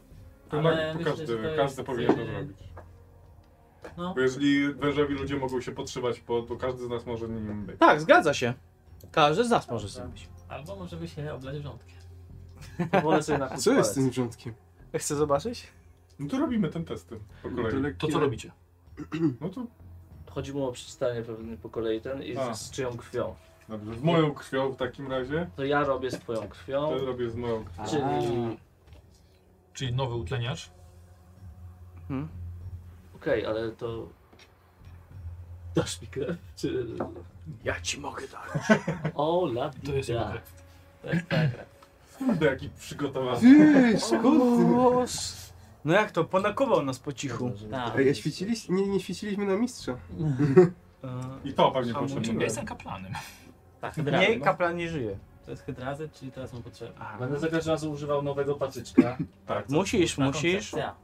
To, Ale to myślę, każdy, że to każdy jest, powinien to y, zrobić. No. Bo jeżeli wężowi ludzie mogą się podszywać, po, to każdy z nas może nim być. Tak, zgadza się. Każdy z nas może zrobić. Albo możemy się oblać wrzątkiem. Wolę sobie na co jest z tym wrzątkiem? Chcę zobaczyć? No to robimy ten testy po kolei. To co robicie? No to Chodzi mu o przeczytanie pewnie po kolei ten i A. z, z czyją krwią. dobrze. Z moją krwią w takim razie. To ja robię z twoją To krwią, robię z moją krwią. czyli czyli nowy utleniacz. Okej, ale to... Dasz mi krew? Czy... Ja ci mogę dać. Ola To jest jego bida. krew. Tak, Kurde, jaki przygotowany. Ty, skąd No jak to? Ponakował nas po cichu. tak. ty? Ej, a świeciliście? Nie, nie świeciliśmy na mistrza. E, I to pewnie A mu potrzebne. czym Ja jestem kaplanem. Tak, hydrazy. nie, No. kaplan nie żyje. To jest hydrazy, czyli teraz mu potrzeba. Będę za każdym razem używał nowego patyczka. Tak, co? Musisz, Ta musisz. koncepcja.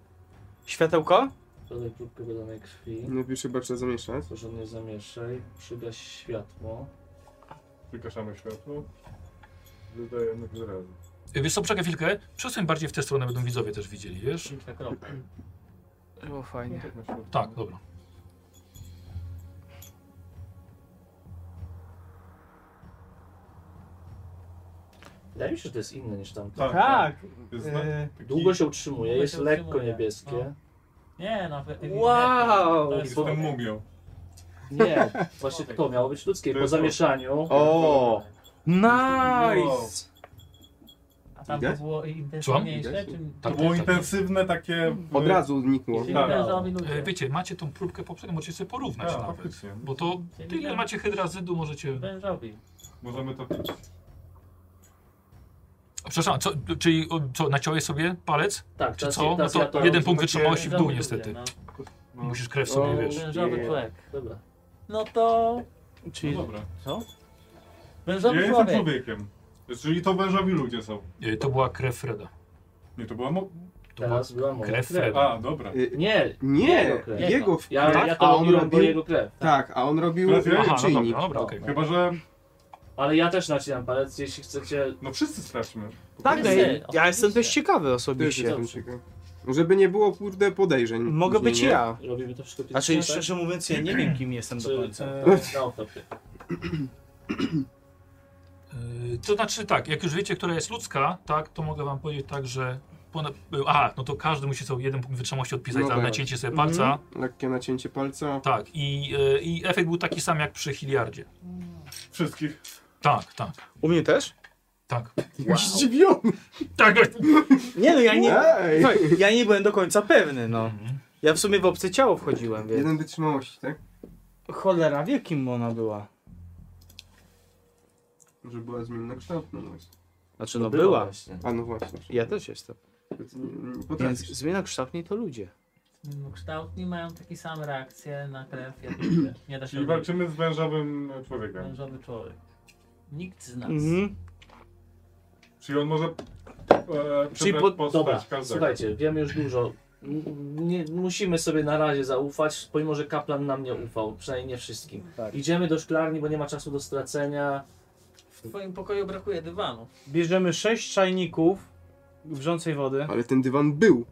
Światełko? Dodaj próbkę wydanej krwi. No już chyba trzeba zamieszać. Porządnie zamieszaj. Przygaś światło. wygaszamy światło. Dodajemy grzewę. Y, Wiesz co, czekaj chwilkę. Przesuń bardziej w tę stronę, będą widzowie też widzieli, wiesz? Piękna kropka. Było fajnie. Tak, na światło. Tak, dobra. Wydaje mi się, że to jest inne niż tamto. Tak, tak. Tak. Jest na- E, taki- Długo się utrzymuje, Długo jest się lekko utrzymuje. niebieskie. Nie, no. ewidentnie. Wow! To z jest tą mumią. No. Nie, właśnie to miało być ludzkie. To Po jest to. zamieszaniu. O! Nice! A tam to Widać? było Słucham? intensywniejsze, czy... Tak, To było tak, tak. intensywne takie... y, Od razu znikło. Czyli Tak. teraz minucie. Y, Wiecie, macie tą próbkę poprzednią, możecie sobie porównać Tak, Znaczy, nawet. faktycznie. Bo to Czyli tyle ten- macie hydrazydu, możecie... Wężowi. Możemy to pić. Przepraszam, co, czyli o, co, naciąłeś sobie palec? Tak, Czy teraz- co? No teraz ja to jeden robię punkt takie- wytrzymałości w dół Wężowi niestety. lubię, No, Musisz krew sobie, O, wiesz. no. Wężowy Nie. człowiek. Dobra. No to... no Czyli dobra. Ja Wężowy jestem człowiek. człowiekiem. Czyli to wężowi ludzie są. Y, To była krew Freda. Nie, to była mo... To była Teraz była moja krew krew. Freda. A, dobra. Y, Nie, Nie, krew. jego w Ja, ja tak, to a on robiłem, bo robił... jego krew. Tak, a on robił Teraz ja- Aha, no czynnik. dobra, dobra, okej. Chyba, że... Ale ja też nacinam palec, jeśli chcecie. No wszyscy sprawdźmy. Tak, Wszyscy, ej, ja oczywiście. jestem też ciekawy To jest osobiście. Dobrze. ciekawe. Żeby nie było, kurde, podejrzeń. Mogę później, być nie? ja. Robimy to wszystko Znaczy, szczerze mówiąc, ja nie wiem, kim jestem do czy, e, no, końca. czy Tak. na autopie. Yy, To znaczy tak, jak już wiecie, która jest ludzka, tak, to mogę wam powiedzieć tak, że. Ponad... y, Aha, no to każdy musi sobie jeden punkt wytrzymałości odpisać No za tak. nacięcie sobie Mhm. palca. Lekkie nacięcie palca. Tak, i, y, i efekt był taki sam jak przy Hiliardzie. Wszystkich. Tak, tak, U mnie też? tak. Zdziwiony! Tak, Nie no, ja nie. Ej! Słuchaj, Ja nie byłem do końca pewny, no. Ja w sumie w obce ciało wchodziłem, więc. Jeden wytrzymałości, tak? Cholera wie, kim ona była. Że była zmienna kształtna, no właśnie. Znaczy, no była. Właśnie. A no właśnie. No, Ja też jestem. Więc Potrafisz. zmiana kształtni to ludzie. No, Kształtni mają takie same reakcje na krew, jak ludzie. Nie da się Czyli odróżnić. walczymy z wężowym człowiekiem. Wężowy człowiek. Nikt z nas. Mhm. Czyli on może... E, Czyli Czyli po- pod... postać No Dobra, każdego. słuchajcie, wiemy już dużo. M- Nie, musimy sobie na razie zaufać, pomimo że kaplan nam nie ufał, przynajmniej nie wszystkim. Tak. Idziemy do szklarni, bo nie ma czasu do stracenia. W twoim pokoju brakuje dywanu. Bierzemy sześć czajników wrzącej wody. Ale ten dywan był.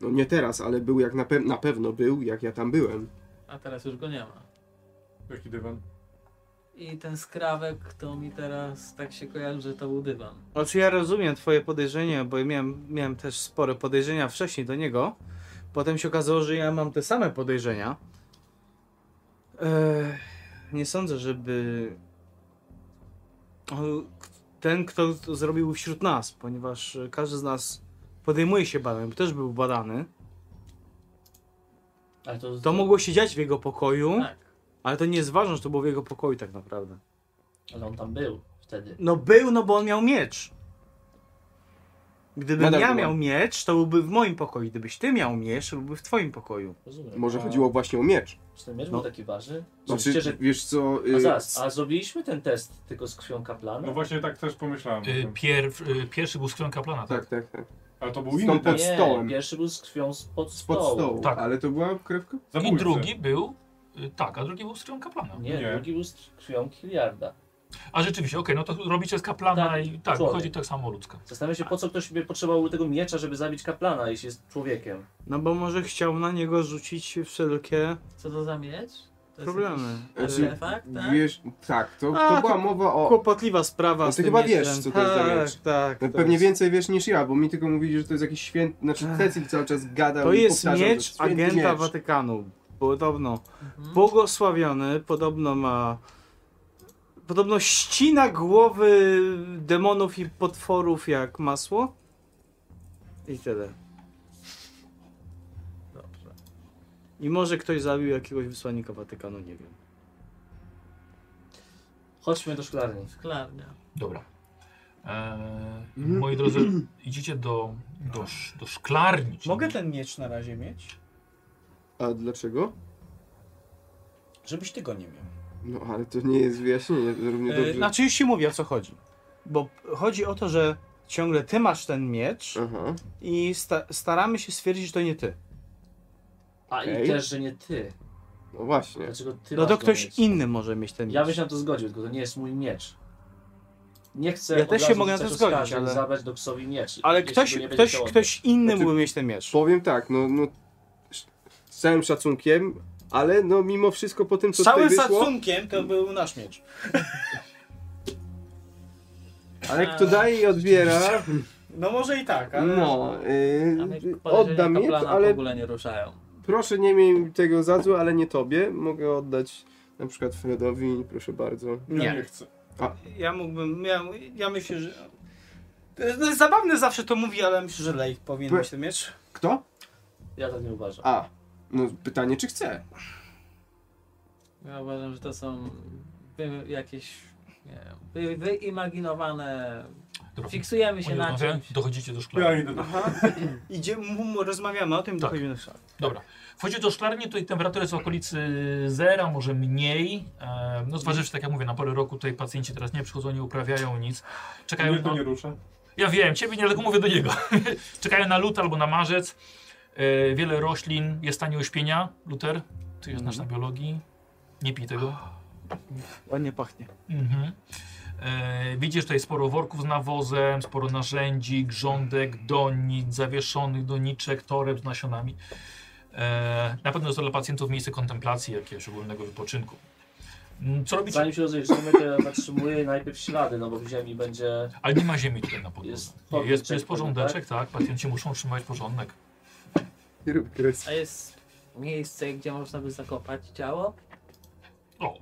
No nie teraz, ale był jak na, pe na pewno był, jak ja tam byłem. A teraz już go nie ma. Jaki dywan? I ten skrawek to mi teraz tak się kojarzy, że to był dywan. Znaczy ja rozumiem twoje podejrzenie, bo ja miałem, miałem też spore podejrzenia wcześniej do niego. Potem się okazało, że ja mam te same podejrzenia. Eee, nie sądzę, żeby on- ten, kto to zrobił wśród nas, ponieważ e, każdy z nas podejmuje się badań, bo też był badany. Ale to, To mogło się dziać w jego pokoju, Tak. ale to nie jest ważne, że to było w jego pokoju tak naprawdę. Ale on tam był wtedy. No był, no bo on miał miecz. Gdybym Nadal ja byłem. miał miecz, to byłby w moim pokoju. Gdybyś ty miał miecz, to byłby w twoim pokoju. Rozumiem. Może A chodziło właśnie o miecz. Czy ten miecz No. był taki ważny? Znaczy, Znaczy, że... wiesz co... A y, zaraz, a zrobiliśmy ten test tylko z krwią kaplana? No właśnie tak też pomyślałem. o Y, tym. pierw, y, pierwszy był skrzynka plana, tak? Tak, tak, tak. Ale to był Skąd inny pod test. nie, stołem. pierwszy był z krwią spod stołu. Spod stołu. Tak. Ale to była krewka? I Zabójcy. drugi był. y, Tak, a drugi był skrzynka plana. Nie, Nie. drugi był z krwią Hilliarda. A rzeczywiście, okej, no to robicie z kaplana Tak, i tak, człowiek. chodzi tak samo o ludzka. Zastanawiam się, po co ktoś by potrzebował tego miecza, żeby zabić kaplana, jeśli jest człowiekiem. No bo może chciał na niego rzucić wszelkie Co to za miecz? To problemy. E, Jest Znaczy, jakiś artefakt, tak? Wiesz, tak, to, A, to była to- mowa o... Kłopotliwa sprawa No z ty tym chyba wiesz, mieczem. co to jest za Tak, miecz. tak. No to pewnie jest- więcej wiesz niż ja, bo mi tylko mówili, że to jest jakiś święty, znaczy Ech. Cecil cały czas gadał To i jest powtarzał, że miecz święty agenta miecz. Watykanu. Podobno Mhm. błogosławiony, podobno ma... Podobno ścina głowy demonów i potworów jak masło. I tyle. Dobrze. I może ktoś zabił jakiegoś wysłannika Watykanu, nie wiem. Chodźmy do szklarni. Szklarnia. Dobra. Eee, moi drodzy, idziecie do, do, sz- do szklarni. czyli- Mogę ten miecz na razie mieć? A dlaczego? Żebyś ty go nie miał. No ale to nie jest wyjaśnienie, to równie Yy, dobrze. Znaczy już ci mówię o co chodzi. Bo chodzi o to, że ciągle ty masz ten miecz Aha. i sta staramy się stwierdzić, że to nie ty. A Okej. i też, że nie ty. No właśnie. Dlaczego ty No masz to go ktoś mieć? inny może mieć ten miecz. Ja bym się na to zgodził, tylko to nie jest mój miecz. Nie chcę Ja od też się razu mogę na to rzucać zgodzić, oskarżeń, ale- zabrać do psowi miecz. Ale jeśli ktoś, go nie będzie ktoś, chciał oddać. ktoś inny Znaczy- mógł mieć ten miecz. Powiem tak, no, no sz- z całym szacunkiem, ale no mimo wszystko po tym co Z całym tutaj wyszło, szacunkiem to był nasz miecz. ale kto daje i odbiera, No może i tak, ale... no, A yy, my oddam miecz, plana w ale ogóle nie ruszają. proszę nie miej tego za złe, ale nie tobie, mogę oddać na przykład Fredowi, proszę bardzo. Ja Nie. nie chcę. Ja mógłbym, ja, ja myślę, że... To jest, to jest zabawne zawsze to mówi, ale myślę, że Lejk powinien By- mieć ten miecz. Kto? Ja tak nie uważam. A, no pytanie czy chce. Ja uważam, że to są wy, jakieś nie wiem, wy, wyimaginowane. Dobra. Fiksujemy się Oni na rozmawiają, czymś. dochodzicie do Ja szklarni. idę do... Idzie, mu, mu, rozmawiamy o tym, Tak. dochodzimy do szafy. Dobra. Wchodzicie do szklarni, tutaj temperatura jest w okolicy zera, może mniej. E, no zważywszy, tak jak mówię, na porę roku tutaj pacjenci teraz nie przychodzą, nie uprawiają nic. Czekają Mnie na... to nie rusza. Ja wiem, ciebie nie, tylko mówię do niego. Czekają na lut albo na marzec. E, wiele roślin jest w stanie uśpienia. Luter, ty jest Mhm. nasz na biologii. Nie pij tego. Ładnie pachnie. Mhm. E, widzisz tutaj sporo worków z nawozem, sporo narzędzi, grządek, donic, zawieszonych doniczek, toreb z nasionami. E, na pewno jest to dla pacjentów miejsce kontemplacji, jakiegoś ogólnego wypoczynku. Mm, Co robicie? Zanim się rozejrzymy, to ja zatrzymuję najpierw ślady, no bo w ziemi będzie... Ale nie ma ziemi tutaj na podłodze. Jest Jest, jest, jest porządeczek, porządeczek, tak. Pacjenci muszą trzymać porządek. Nie rób kres. A jest miejsce, gdzie można by zakopać ciało? O!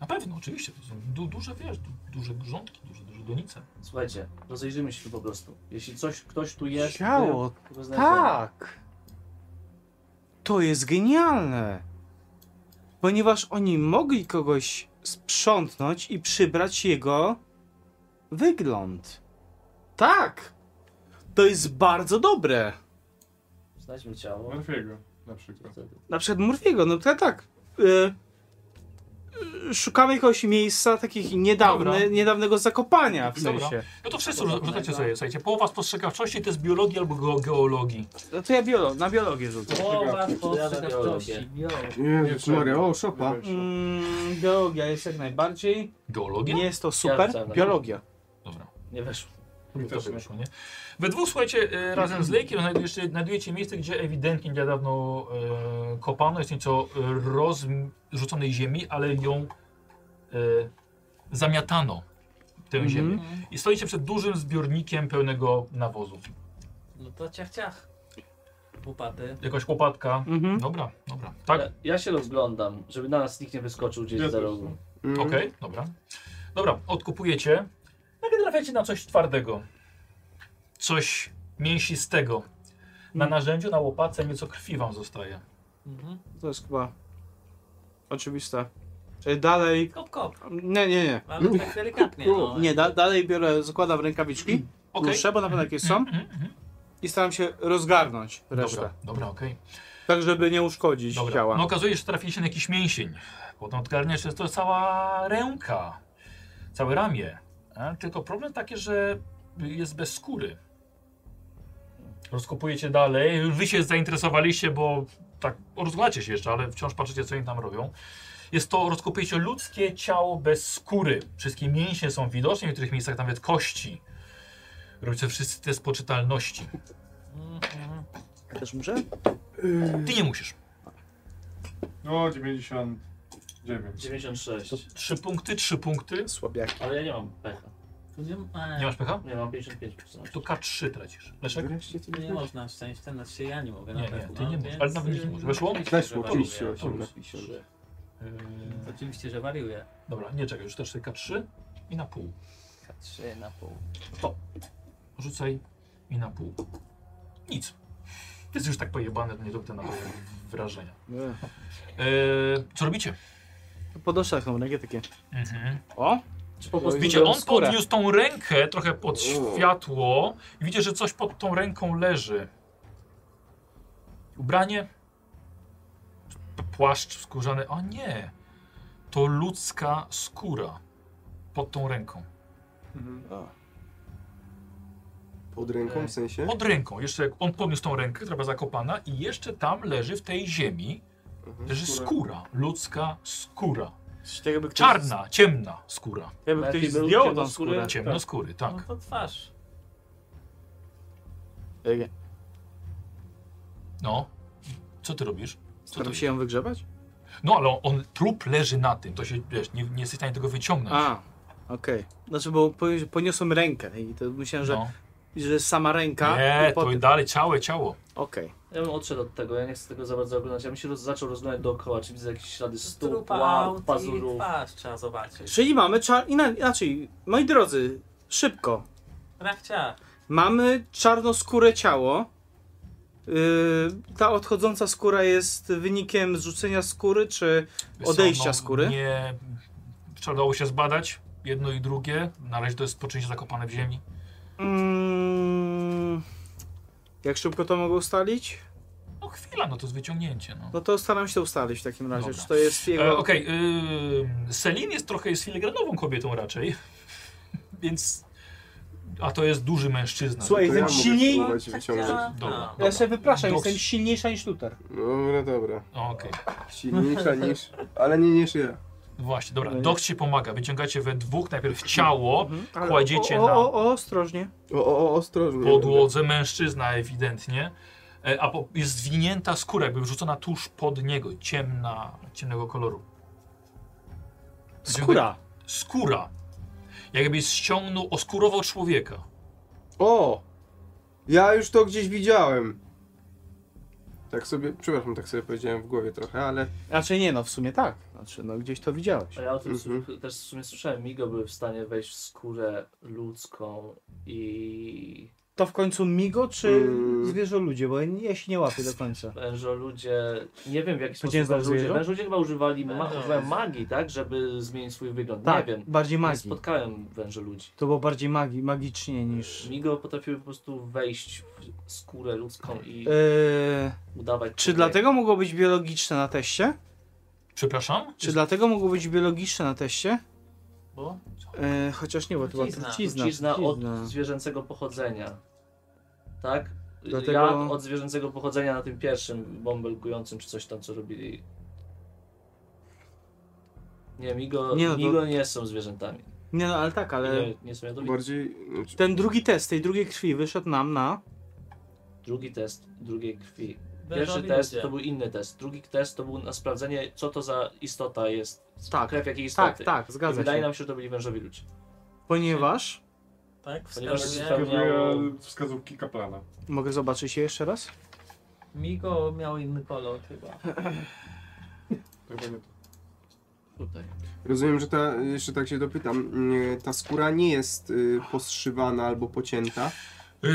Na pewno, oczywiście. To są du duże, wiesz, du duże grządki, duże, duże donice. Słuchajcie, rozejrzymy się po prostu. Jeśli coś, ktoś tu jest... Ciało, to Znaczy- go znajdziemy. Tak! To jest genialne! Ponieważ oni mogli kogoś sprzątnąć i przybrać jego wygląd. Tak! To jest bardzo dobre! Znajdźmy ciało. Marfiego na przykład. Wtedy. Na przykład Murphy'ego, no tak, tak. Y, y, szukamy jakiegoś miejsca takich Dobra. niedawne, niedawnego zakopania w Dobra. sensie. No to wszyscy rzu- tak. rzucacie sobie, słuchajcie. Połowa spostrzegawczości to jest biologii albo ge geologii. No to ja biolo na biologię rzucę. Połowa Ja na spostrzegawczości. Jezus Maria, o, szopa. Nie weszło. Mm, biologia jest jak najbardziej. Geologia? Nie jest to Ja super. rzucałem na- biologia. Dobra. Nie weszło. Mi też nie. wyszło, nie? We dwóch, słuchajcie, e, razem z Lejkiem znajdujecie, znajdujecie miejsce, gdzie ewidentnie niedawno e, kopano. Jest nieco e, rozrzuconej ziemi, ale ją e, zamiatano, tę Mhm. ziemię. I stoicie przed dużym zbiornikiem pełnego nawozu. No to ciach ciach. Upaty. Jakaś łopatka. Mhm. Dobra, dobra. Tak? Ja, ja się rozglądam, żeby na nas nikt nie wyskoczył gdzieś Ja za też. rogu. Mhm. Okej, dobra. Dobra, odkupujecie. Nagle trafiacie na coś twardego. Coś mięsistego. Na narzędziu, na łopatce nieco krwi wam zostaje. Mhm. To jest chyba oczywiste. Czyli dalej. Kop kop. Nie, nie, nie. Ale tak delikatnie. No. Nie, da, dalej biorę, zakładam rękawiczki. Okej. Mhm, Muszę, bo na pewno jakieś są. I staram się rozgarnąć resztę. Dobra, dobra, okej. Tak, żeby nie uszkodzić Dobra. ciała. No okazuje się, że trafiliście na jakiś mięsień. Potem odgarniasz, że to jest cała ręka. Całe ramię. A? Tylko problem taki, że jest bez skóry. Rozkopujecie dalej. Wy się zainteresowaliście, bo tak rozglacie się jeszcze, ale wciąż patrzycie, co oni tam robią. Jest to, rozkopujecie ludzkie ciało bez skóry. Wszystkie mięśnie są widoczne, w niektórych miejscach nawet kości. Robicie wszyscy test poczytalności. Mhm. Też muszę? Ty nie musisz. No, 99. 96. Trzy punkty, trzy punkty. Słabiak. Ale ja nie mam pecha. Tu No nie, Nie ma- masz pecha? Nie mam 55%. To K3 tracisz. Leszek? Wreszcie to tu nie można szczęścia, ten znaczy ja nie mogę na Nie, nie, pewno. ty nie możesz, więc, ale nawet nikt nie y, może. Weszło? Weszło, Weszło, oczywiście, ja. 83. Yy, Oczywiście, że wariuje. dobra, nie czekaj, już też K3 i na pół. K3 na pół. Rzucaj i na pół. Nic. Jest już tak pojebane, to nie robię na to wrażenia. E, co robicie? Podnoszę taką rękę takie. Mhm. O! Czy po prostu Widzicie, on skórę. podniósł tą rękę trochę pod O. światło i widzicie, że coś pod tą ręką leży. Ubranie, p- płaszcz skórzany. O nie, to ludzka skóra pod tą ręką. Pod ręką w sensie? Pod ręką, jeszcze jak on podniósł tą rękę, która była zakopana i jeszcze tam leży w tej ziemi, Mhm. leży skóra, ludzka skóra. Coś tak jakby ktoś- Czarna, ciemna skóra. Jakby Lepiej ktoś był zdjął tą ciemnoskóry. skórę. Ciemnoskóry, No tak. to twarz. Ej, No, co ty robisz? Co Staram ty się ją wygrzebać? No ale on, on trup leży na tym, to się wiesz, nie, nie jesteś w stanie tego wyciągnąć. A, okej. Znaczy, bo po- poniosłem rękę i to myślałem, że, no. że sama ręka. Nie, i to potem- i dalej ciało, ciało. Okej. Ja bym odszedł od tego, ja nie chcę tego za bardzo oglądać. Ja bym się roz, zaczął rozglądać dookoła, czy widzę jakieś ślady stóp, Trupa, łap, aut i pazurów. twarz trzeba zobaczyć. Czyli mamy czar... ina- Inaczej, moi drodzy, szybko. Rachcia, Mamy czarnoskóre ciało. Yy, ta odchodząca skóra jest wynikiem zrzucenia skóry, czy Wiesz co, no, Odejścia skóry? Nie, trzeba dało się zbadać jedno i drugie. Na razie to jest poczęcie zakopane w ziemi. Mm, jak szybko to mogę ustalić? No chwila, no to jest wyciągnięcie. No. No to staram się to ustalić w takim razie. Dobra. Czy to jest jego. E, Okej, ym, Selin jest trochę jest filigranową kobietą raczej, więc... A to jest duży mężczyzna. Słuchaj, To ja jestem mogę silniej. spróbować wyciągnąć. Rachcia. Dobra. Ja się wypraszam, Doks. jestem silniejsza niż Luter. tak. No, no dobra. O, Okej, No Silniejsza niż... Ale nie niż ja. właśnie, No dobra. Doks ci pomaga. Wyciągacie we dwóch najpierw ciało, Ale Mhm. Kładziecie o, na- o, o, o, ostrożnie. O, o, o ostrożnie. podłodze mężczyzna ewidentnie, e, a po, jest zwinięta skóra, jakby wrzucona tuż pod niego, ciemna, ciemnego koloru. Skóra. Skóra. Jakby ściągnął, oskurował człowieka. O! Ja już to gdzieś widziałem. Tak sobie, przepraszam, tak sobie powiedziałem w głowie trochę, ale... Znaczy nie, no w sumie tak. Znaczy, no gdzieś to widziałeś. A ja o tym Mhm. su- też w sumie słyszałem. Migo były w stanie wejść w skórę ludzką i To w końcu migo czy Mm. zwierzę ludzie, bo ja nie- ja się nie łapię do końca. wężoludzie, nie wiem w jaki Gdzie sposób znał wężoludzie, zwierzę? wężoludzie chyba używali ma Węża. używają magii, tak, żeby zmienić swój wygląd, Tak, nie wiem. bardziej Nie magii. spotkałem wężoludzi. To było bardziej magii, magicznie niż... Migo potrafiły po prostu wejść w skórę ludzką i Eee, udawać... czy człowieka. dlatego mogło być biologiczne na teście? Przepraszam? Czy dlatego mogło być biologiczne na teście? Bo? Eee, chociaż nie, bo to była Trucizna. trucizna. Trucizna od trucizna. zwierzęcego pochodzenia. Tak? Dlatego- Ja od zwierzęcego pochodzenia na tym pierwszym bąbelkującym, czy coś tam, co robili. Nie, migo, Nie, nie, no to- migo nie są zwierzętami. Nie no, ale tak, ale... Nie, nie są jadowite. Bardziej... Znaczy, Ten drugi test tej drugiej krwi wyszedł nam na... Drugi test drugiej krwi. Pierwszy wężowi test ludzie. to był inny test. Drugi test to był na sprawdzenie, co to za istota jest. Tak, Krew jakiej istoty. tak, tak, I zgadza wydaje się. nam się, że to byli wężowi ludzie. Ponieważ... tak? Ponieważ Wskazuje. zupełnie- Wskazuje e, wskazówki kaplana. Mogę zobaczyć je jeszcze raz? Migo miał inny kolor chyba. To Chyba nie to. Tutaj. Rozumiem, że ta, jeszcze tak się dopytam, nie, ta skóra nie jest y, poszywana albo pocięta. Yy,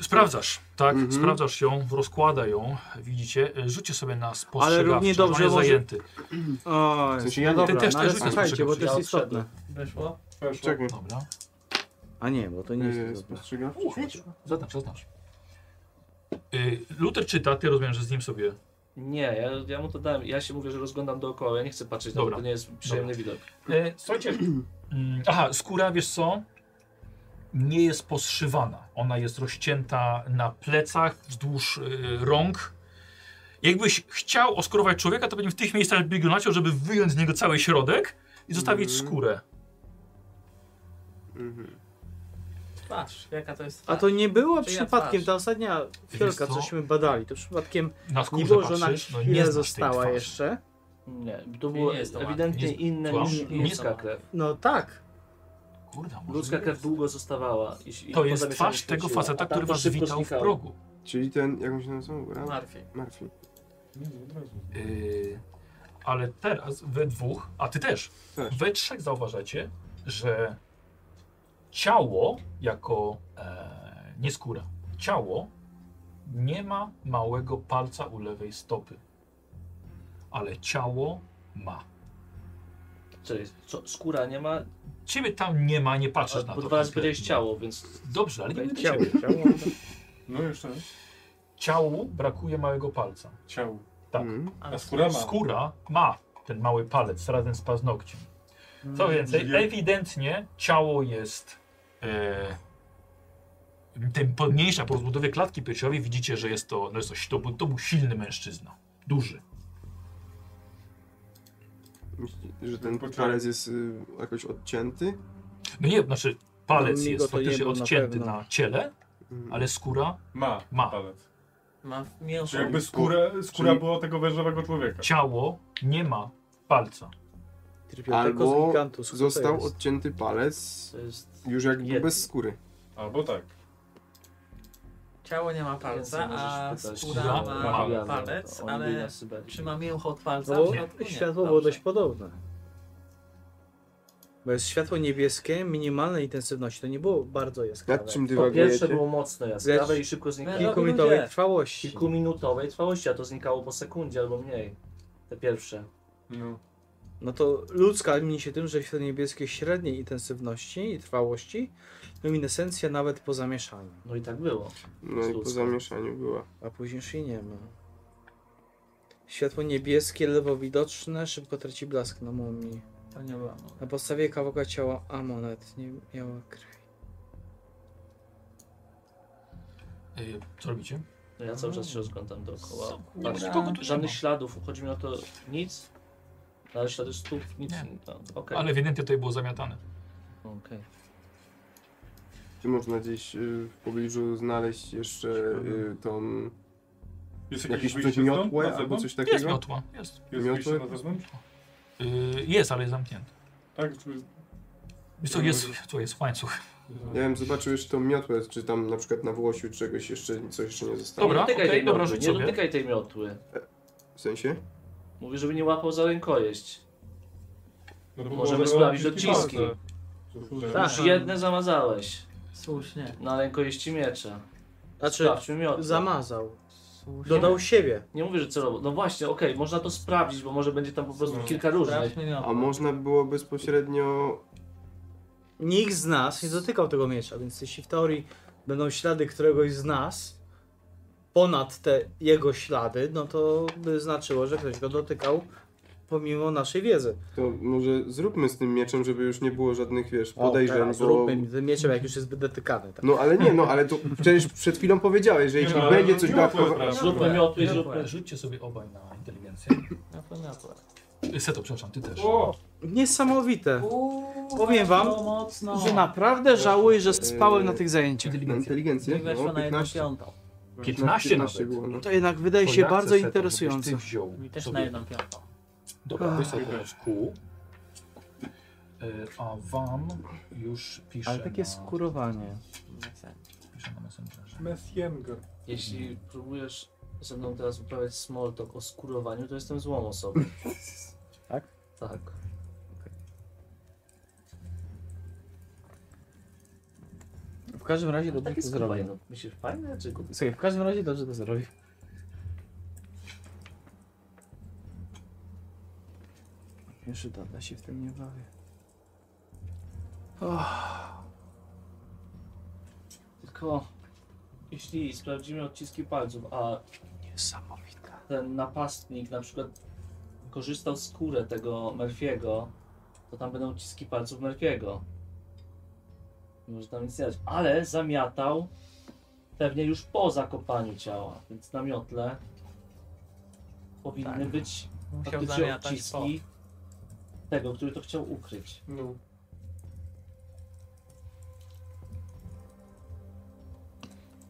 E, sprawdzasz, tak? Mhm. Sprawdzasz ją, rozkłada ją, widzicie. Yy, Rzućcie sobie na spostrzegawczość, równie dobrze on jest może- zajęty. O, sensie ja- dobra, Ty też no, też ale rzucasz słuchajcie, bo to jest Ja istotne. Wyszło? Weszło. Czekaj. Dobra. A nie, bo to nie Y, jest dobre. Tak. spostrzegawczość. Uch, zaznacz, zaznacz. Yy, Luther czyta, ty rozumiem, że z nim sobie Nie, ja, ja mu to dałem. Ja się mówię, że rozglądam dookoła. Ja nie chcę patrzeć Dobra. na to, to nie jest przyjemny widok. E, słuchajcie. mm, Aha, skóra, wiesz co? Nie jest poszywana. Ona jest rozcięta na plecach, wzdłuż y, rąk. Jakbyś chciał oskurować człowieka, to pewnie w tych miejscach biegł naciął, żeby wyjąć z niego cały środek i zostawić Mhm. skórę. Mhm. Twarz. Jaka to jest A twarz? to nie było Czy ja przypadkiem, twarz? ta ostatnia fiolka, co? cośmy badali, to przypadkiem Na nie skórze było, że ona patrzysz, no nie nie znasz tej została twarzy. jeszcze. Nie, to Nie było jest to ewidentnie ładne. inne Tła- niż nie ludzka są. krew. No tak, Kurde, może Ludzka nie krew długo zostawała. I, i To po jest zamieszaniu twarz tego świeciła, a faceta, tamto który was szybko witał w znikało. progu. Czyli ten, jak on się nazywał? Ra- Marfi. Murphy. Y, ale teraz we dwóch, a ty też, Też. we trzech zauważacie, że ciało jako e, nie skóra. Ciało nie ma małego palca u lewej stopy, ale ciało ma. Czyli co, skóra nie ma, Ciebie tam nie ma, nie patrzysz na no a- to. bo dwa razy kompletnie. powiedziałeś ciało, więc Dobrze, ale nie będę Ciało. ciebie. Ciało? No jeszcze raz. Ciału brakuje małego palca. Ciało. Tak. Mm. A skóra ma. Skóra ma ten mały palec razem z paznokciem. Co więcej, Wiel- ewidentnie ciało jest e, tym podniejsza po rozbudowie klatki piersiowej. Widzicie, że jest to, no jest to, to, był, to był silny mężczyzna. Duży. Myśli- Że ten Poczekaj. palec jest y, jakoś odcięty? No nie, znaczy palec No, nigo jest to nie faktycznie był na odcięty pewno. na, ciele, Mm. ale skóra, Ma. Ma. Palec. Ma mięso. Czy jakby skóra, skóra Czyli- była tego wężowego człowieka. ciało nie ma palca. Albo gigantus, kto to Został jest? odcięty palec to jest już jakby Yeti. bez skóry. Albo tak. Ciało nie ma palca, Możesz a pytać skóra Ja ma mam. Mariana, palec, on był ale na Syberii. czy ma mięcho od palca? No, W przypadku nie. światło było Dobrze. dość podobne. Bo jest światło niebieskie, minimalnej intensywności. To nie było bardzo jaskrawe. Nad czym Po pierwsze dywagujecie? było mocno jaskrawe i szybko znikało. Kilkuminutowej Ludzie. trwałości. Kilkuminutowej trwałości, a to znikało po sekundzie albo mniej. Te pierwsze. No. No to ludzka mini się tym, że światło niebieskie średniej intensywności i trwałości, luminescencja nawet po zamieszaniu. No i tak było. No i po Ludzko. zamieszaniu była. A później już jej nie ma. Światło niebieskie, lewo widoczne, szybko traci blask na mumii. To nie była mowa. Na podstawie kawałka ciała amonet nie miała krwi. Yy, co robicie? No ja cały czas się rozglądam dookoła. Skóra. Patrzę. Nikogo tu Mm. nie Żadnych ma. śladów, chodzi mi o to nic. Ale ślady stóp, nic. Nie. No, Okej. Ale ewidentnie tutaj było zamiatane. Okej. Czy można gdzieś y, w pobliżu znaleźć jeszcze y, tą... Jest jakieś, Jakieś coś wyjście stąd? Na miotłe albo zewnątrz? coś Jest takiego? miotła, jest. Jest miotłe? wyjście na zewnątrz? Yy, jest, ale jest zamknięte. Tak? Czy... Wiesz co, jest, tu jest łańcuch. Ja bym zobaczył jeszcze tą miotłę, czy tam na przykład na Włosiu czegoś jeszcze, coś jeszcze nie zostało. Dobra, No, nie dotykaj okej, tej dobra, miotły, rzuć nie sobie. dotykaj tej miotły. W sensie? Mówię, żeby nie łapał za rękojeść. No, bo Możemy było sprawdzić zrobione odciski. palce. Że- Tak. Już jedne zamazałeś. Słusznie. Na rękojeści miecza. Znaczy, Tak. Sprawdźmy miotłę. zamazał. Słusznie. Dodał siebie. Nie mówię, że celowo. No właśnie, okej, można to sprawdzić, bo może będzie tam po prostu No. kilka różnych. Sprawdźmy miotło. A można było bezpośrednio... Nikt z nas nie dotykał tego miecza, więc jeśli w teorii będą ślady któregoś z nas ponad te jego ślady, no to by znaczyło, że ktoś go dotykał pomimo naszej wiedzy. To może zróbmy z tym mieczem, żeby już nie było żadnych, wiesz, O, podejrzeń, teraz bo... zróbmy tym mieczem, jak już jest dotykany. Tak. No ale nie, no ale to przecież przed chwilą powiedziałeś, że jeśli Nie, no, będzie ale coś miotłe dodatkowo... sprawdź. Zróbmy miotły, zróbmy. Dobra, Rzućcie sobie obaj na inteligencję. Miotło, miotło. Y, Seto, przepraszam, ty też. O! Niesamowite. Powiem wam, Weszło mocno. Że naprawdę żałuję, że spałem na tych zajęciach. Na inteligencję? I weszło No, na jedną 15. piątą. 15 nawet. było, no. To jednak wydaje się bardzo interesujące. Ty wziął Mi też sobie- na jedną piątą. Dobra, weź sobie teraz kół. Y, A wam już piszę Ale takie na, skurowanie. piszę na Messengerze. Messiengo. Jeśli próbujesz ze mną teraz uprawiać small talk o skurowaniu, to jestem złą osobą. Tak? Tak. W każdym razie dobrze Takie to skurowanie. zrobił. No, myślisz fajne, czy głupie? Słuchaj, w każdym razie dobrze to zrobił. Jeszcze dawno się w tym nie bawię. Tylko jeśli sprawdzimy odciski palców, a Niesamowite. ten napastnik na przykład korzystał z skórę tego Murphy'ego, to tam będą odciski palców Murphy'ego. Może tam nic nie dać. Ale zamiatał pewnie już po zakopaniu ciała, więc na miotle powinny być Tak. Musiał faktycznie zamiatać po. odciski tego, który to chciał ukryć. No.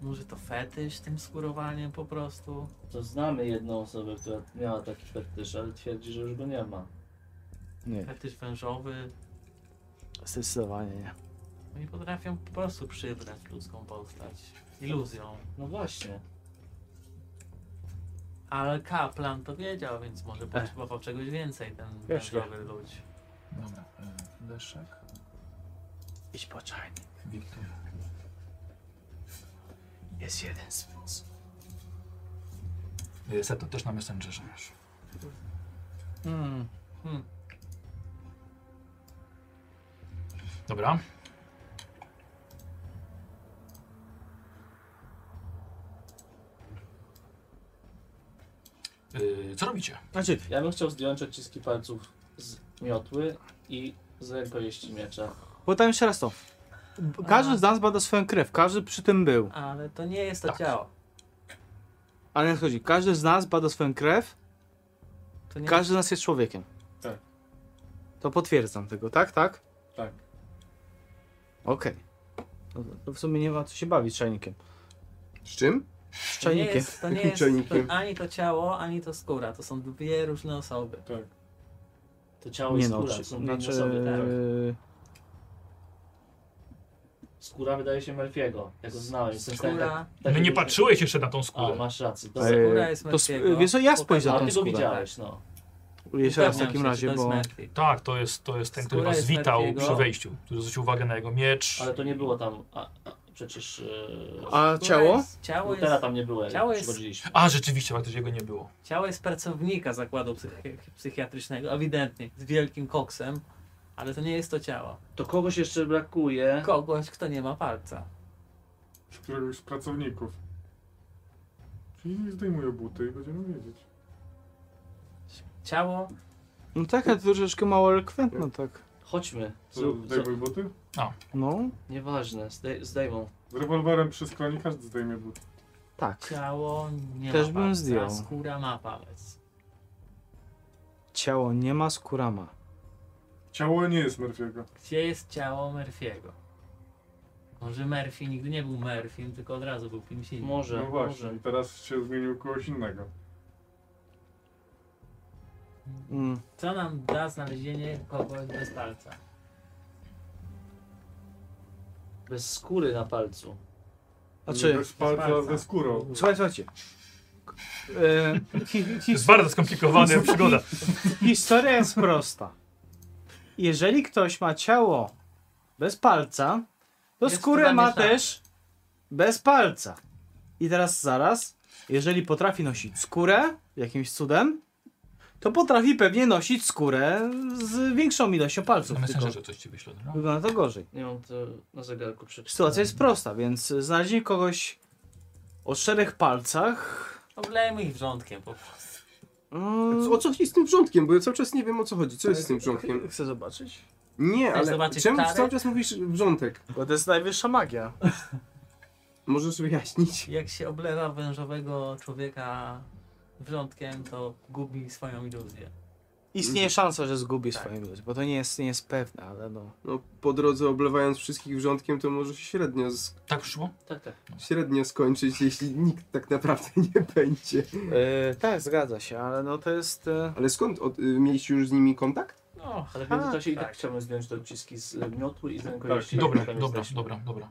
Może to fetysz tym skórowaniem po prostu. To znamy jedną osobę, która miała taki fetysz, ale twierdzi, że już go nie ma. Fetysz wężowy. Zdecydowanie nie. Oni potrafią po prostu przybrać ludzką postać. Iluzją. No właśnie. Ale kaplan to wiedział, więc może potrzebował czegoś więcej ten E. Wiesz, wężowy ludź. Dobra, y, Leszek, Idź po czajnik. Wiktor. Jest jeden sposób. Y, Seto też na Messengerze już. Hmm, Mm. Dobra. Y, co robicie? Znaczy, Ja bym chciał zdjąć odciski palców z miotły i z rękojeści miecza. Bo tam jeszcze raz to. B- Każdy z nas bada swoją krew, każdy przy tym był. Ale to nie jest to Tak. ciało. Ale nie chodzi, każdy z nas bada swoją krew, To nie każdy z nas jest człowiekiem. Tak. To potwierdzam tego, tak, tak? Tak. Okej. To, to w sumie nie ma co się bawić czajnikiem. Z czym? To Z nie czajnikiem. jest, to nie jest Czajnikiem. to, ani to ciało, ani to skóra. To są dwie różne osoby. To ciało i Nie no, skóra czy, są dwie znaczy... e, osoby. Tak. Skóra wydaje się Melfiego. Ja go znałem. Jestem w stanie tak, Skóra, tak No nie jakbyś- patrzyłeś jeszcze na tą A, skórę. masz rację. e, Dobra. skóra jest to, sp- męskiego. Wiesz co, ja spojrzę na A tą ty go skórę. widziałeś, no. Jeszcze raz w upewniam takim się, znaczy, że razie, to jest bo... Murphy. Tak, to jest, to jest ten, który Skóra was jest witał Merfiego. przy wejściu. Który zwrócił uwagę na jego miecz. Ale to nie było tam. A, a, przecież. Yy, A Skóra ciało? Jest, ciało, Lutera jest, tam nie było, ciało jak jest- przychodziliśmy. A, rzeczywiście, faktycznie jego nie było. ciało jest pracownika zakładu psychi- psychiatrycznego, ewidentnie, z wielkim koksem, ale to nie jest to ciało. To kogoś jeszcze brakuje. Kogoś, kto nie ma palca. Z któregoś z pracowników. Czyli zdejmuję buty i będziemy wiedzieć. Ciało, No tak, ale to troszeczkę mało elokwentno, tak. Chodźmy. Co, Zrób, zrób. zdejmuj buty? No, Nieważne, zdej, zdejmą. Z rewolwerem przy skronie każdy zdejmie buty. tak. ciało nie Też ma bym palca, zdjął. skóra ma palec. Ciało nie ma, skóra ma. Ciało nie jest Murphy'ego. Gdzie jest ciało Murphy'ego? Może Murphy nigdy nie był Murphy, tylko od razu był kimś innym. Może, No właśnie, może. i teraz się zmienił kogoś innego. Mm. Co nam da znalezienie kogoś bez palca? Bez skóry na palcu. Znaczy, Bez palca ze skórą. słuchaj, słuchajcie. E, hi, To hi, jest bardzo skomplikowana przygoda. historia jest prosta. Jeżeli ktoś ma ciało bez palca, to Jest skórę ma zamieszany. też bez palca. I teraz zaraz, jeżeli potrafi nosić skórę jakimś cudem, to potrafi pewnie nosić skórę z większą ilością palców. Na Tylko Messengerze coś ci wyślę. No. wygląda to gorzej. Nie mam to na zegarku przed. Sytuacja jest prosta, więc znaleźli kogoś o czterech palcach. Oblejmy ich wrzątkiem po prostu. Mm, O co chodzi z tym wrzątkiem? Bo ja cały czas nie wiem o co chodzi. Co jest z tym wrzątkiem? Chcę zobaczyć. Nie, Chcesz ale zobaczyć czemu karę? cały czas mówisz wrzątek? Bo to jest najwyższa magia. Możesz wyjaśnić. Jak się oblewa wężowego człowieka wrzątkiem, to gubi swoją iluzję. Istnieje szansa, że zgubi swoją ilość, bo to nie jest, nie jest pewne, ale no. No, po drodze oblewając wszystkich wrzątkiem, to może się średnio, z, Tak przyszło? Tak, tak. średnio skończyć, jeśli nikt tak naprawdę nie będzie. E, tak, zgadza się, ale no to jest. E, Ale skąd? Od, y, mieliście już z nimi kontakt? No, Ale w międzyczasie i tak. tak chciałbym zdjąć te odciski z y, miotły i z tak, rękojeści. Dobra, Tam dobra, jesteśmy. dobra, dobra.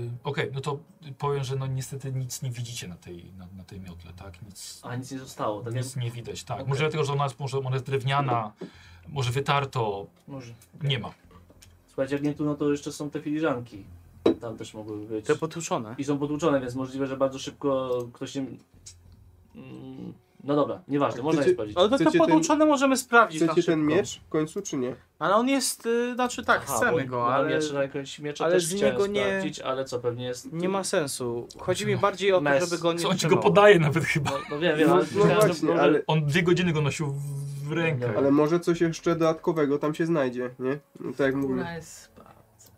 Yy, Okej, no to powiem, że no niestety nic nie widzicie na tej, na, na tej miotle, tak? Nic, A nic nie zostało, tak nic nie widać, tak. Okej. Może dlatego, że ona jest, może ona jest drewniana, może wytarto, jak... Może. nie ma. Słuchajcie, jak nie tu, no to jeszcze są te filiżanki. Tam też mogłyby być. te potłuczone. I są potłuczone, więc możliwe, że bardzo szybko ktoś nie... Mm, No dobra, nieważne, można je Chcecie- sprawdzić. Ale to te Chcecie ten- potłuczone możemy sprawdzić. na Chcecie szybko. ten miecz w końcu, czy nie? No, Ale on jest. E, znaczy tak, Aha, chcemy bo go, na ale. Miecz, na jakiegoś miecza ale też z chciałem niego nie- sprawdzić, ale co, pewnie jest... Nie ma sensu. Chodzi mi bardziej o to, Mes. żeby go nie. Co on ci go trzymało. podaje nawet chyba. No, no wiem, wiem, No, ale... no myślałem, że właśnie, może- ale, On dwie godziny go nosił w- w rękę. ale może coś jeszcze dodatkowego tam się znajdzie, nie? No, tak jak mówię. Skóra jest palcem.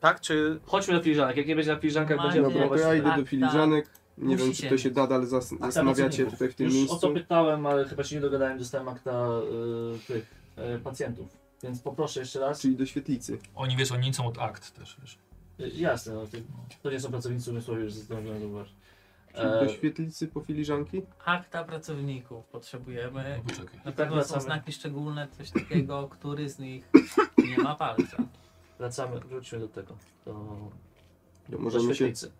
Tak, czy. Chodźmy do filiżanek, jak nie będzie na filiżankach, Normalnie. będziemy Dobra, to próbować... ja idę do tak. filiżanek. Nie Musi wiem, czy się to się mieć. da, ale zas- zastanawiacie tutaj w tym Już o to miejscu. pytałem, ale chyba się nie dogadałem, dostałem akta y, tych y, pacjentów. Więc poproszę jeszcze raz. Czyli do świetlicy. Oni wiesz, oni nie są od akt też, wiesz. Y, jasne, no, ty, to nie są pracownicy umysłowi, już zdążyłem zauważyć. Czyli E, do świetlicy po filiżanki? Akta pracowników potrzebujemy. No poczekaj. Na pewno są Wracamy. znaki szczególne, coś takiego, który z nich nie ma palca. wracamy, wróćmy do tego. Do, To do możemy się, świetlicy.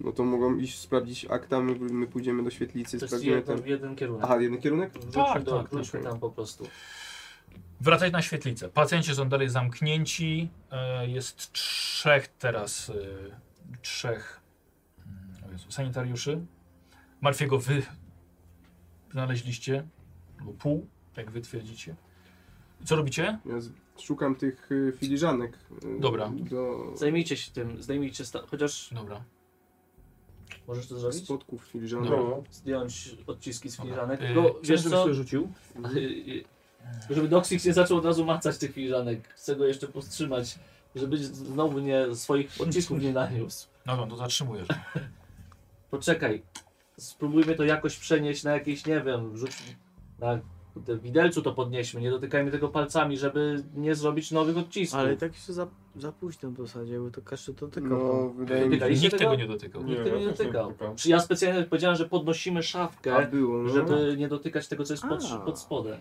no to mogą iść sprawdzić akta, my, my pójdziemy do świetlicy, To jest sprawdzimy jeden, ten... jeden kierunek. Aha, jeden kierunek? Wróćmy Tak, do, tak, wróćmy tak. tam po prostu. Wracać na świetlicę. Pacjenci są dalej zamknięci. E, Jest trzech teraz, e, trzech mm, Jezu, sanitariuszy. Martwiego wy znaleźliście, albo pół, jak wy twierdzicie. I Co robicie? Ja z- szukam tych y, filiżanek. y, Dobra. Do Zajmijcie się tym, zdejmijcie sta- chociaż Dobra. możesz to zrobić? spotków filiżanek. Dobra. No, Zdjąć odciski z Dobra. filiżanek. Yy, Bo chciałem, no, wiesz żebyś co? sobie rzucił. Yy, Żeby Doxix nie zaczął od razu macać tych filiżanek. Chcę go jeszcze powstrzymać, żeby znowu nie swoich odcisków nie naniósł. No, no, to zatrzymujesz. Poczekaj. Spróbujmy to jakoś przenieść na jakieś, nie wiem, rzuć na te widelcu to podnieśmy, nie dotykajmy tego palcami, żeby nie zrobić nowych odcisków. Ale i tak jeszcze za, za późno w zasadzie, bo to każdy to tylko. No, wydaje mi się, Dotykaliście Nikt tego tego? nie dotykał. Nikt tego nie właśnie dotykał. tylko- Czy ja specjalnie powiedziałem, że podnosimy szafkę, a było. No. żeby nie dotykać tego, co jest pod, A. pod spodem.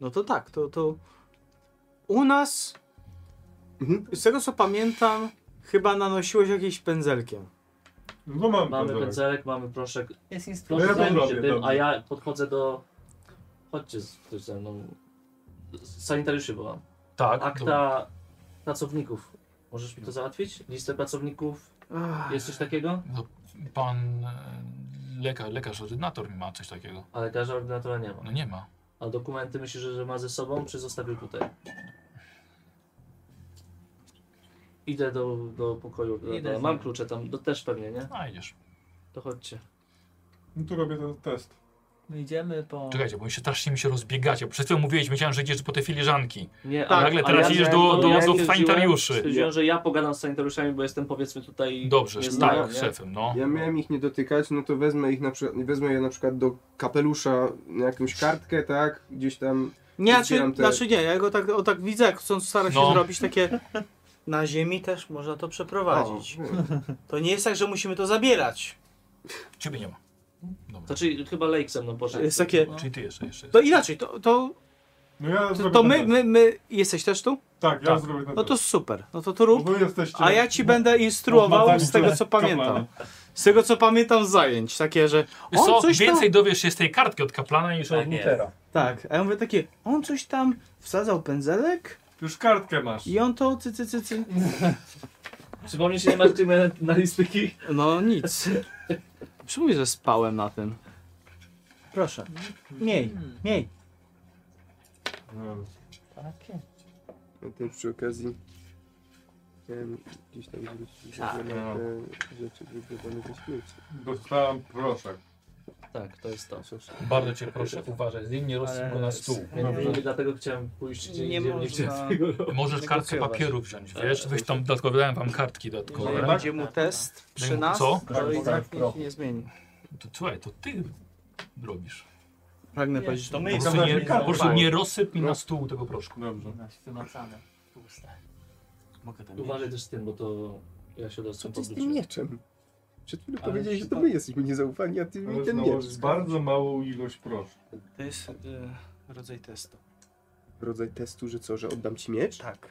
No to tak, to, to u nas, Mhm. z tego co pamiętam, chyba nanosiłeś jakieś pędzelkiem. No to mam Mamy pędzelek. pędzelek, mamy proszek. Jest instrukcja. No ja Proszę to zająć się zrobię, tym, dobrze. a ja podchodzę do... Chodźcie z- ktoś ze mną. Sanitariuszy byłam. Tak, dobra. Akta pracowników. Możesz mi to załatwić? Listę pracowników? Ach, Jest coś takiego? pan e, lekarz, lekarz ordynator ma coś takiego. A lekarza ordynatora nie ma. No nie ma. A dokumenty myślisz, że ma ze sobą, czy zostawił tutaj? Idę do, do pokoju. Idę ordynatora. z Mam nim. klucze tam, do, też pewnie, nie? Znajdziesz. To chodźcie. No tu robię ten test. My idziemy po... Czekajcie, bo mi się strasznie mi się rozbiegacie. Przed chwilą mówiłeś, myślałem, że idziesz po te filiżanki. Nie, Tak, nagle teraz ja idziesz miałem do- to- do- do stwierdziłem- sanitariuszy. Stwierdziłem, że ja pogadam z sanitariuszami, bo jestem powiedzmy tutaj... Dobrze, nie tak, znam, nie? szefem, no. Ja miałem ich nie dotykać, no to wezmę ich na przykład, wezmę je na przykład do kapelusza, na jakąś kartkę, tak? Gdzieś tam. nie, znaczy, Zbieram te- znaczy nie, ja go tak, o, tak widzę, jak chcąc stara się No. zrobić takie... Na ziemi też można to przeprowadzić. O, wiem. To nie jest tak, że musimy to zabierać. Ciebie nie ma. Dobra. Znaczy chyba Lake ze mną Tak. poszedł. Jest takie- No. Czyli ty jeszcze, jeszcze To jesteś. inaczej, to, to, No ja to, zrobię to ten my, test. my, my... Jesteś też tu? Tak, ja zrobię ten No to test. super, no to Bo to rób. wy jesteście... A ja ci będę instruował z tego, co pamiętam. Z tego, co pamiętam z zajęć, takie, że Wiesz on co, coś tam... więcej dowiesz się z tej kartki od kaplana niż od Tak jest. Lutera. Tak, a ja mówię takie, on coś tam wsadzał pędzelek Już kartkę masz. i on to cy, cy, cy, cy. Przypomnij się, nie masz tym na- na listyki? No nic. Przypomnij, że spałem na tym. Proszę. Miej, Hmm, miej. No. Takie. Ja też przy okazji chciałem gdzieś tam zwrócić uwagę na te rzeczy wyglądane ze śmieci. Dostałem proszek. Tak, to jest to. Bardzo cię proszę uważać, z nim nie rozsypał na stół. Ja nie wiem, dlatego chciałem pójść gdzie Nie indziej, nie można. chciałem tego robić. Możesz kartkę Negocjować. papieru wziąć, Tak. wiesz? Weź tam dodatkowo, dałem wam kartki Jeżeli dodatkowe. będzie mu test przy Daj mu- nas, co? to i tak nic się nie zmieni. To, słuchaj, to ty robisz. Pragnę powiedzieć, że to Po my prostu nie, po prostu nie rozsyp mi No. na stół tego proszku. Dobrze. Nasz wymacane. Puste. Mogę tam Uważaj też z tym, bo to ja się Co dostęp ty z tym mieczem? Przed chwilą Ale powiedziałeś, że to to- my jesteśmy niezaufani, a ty mi Ale ten znowu miecz. jest wskazałeś. bardzo małą ilość proszku. To jest rodzaj testu. Rodzaj testu, że co, że oddam ci miecz? Tak.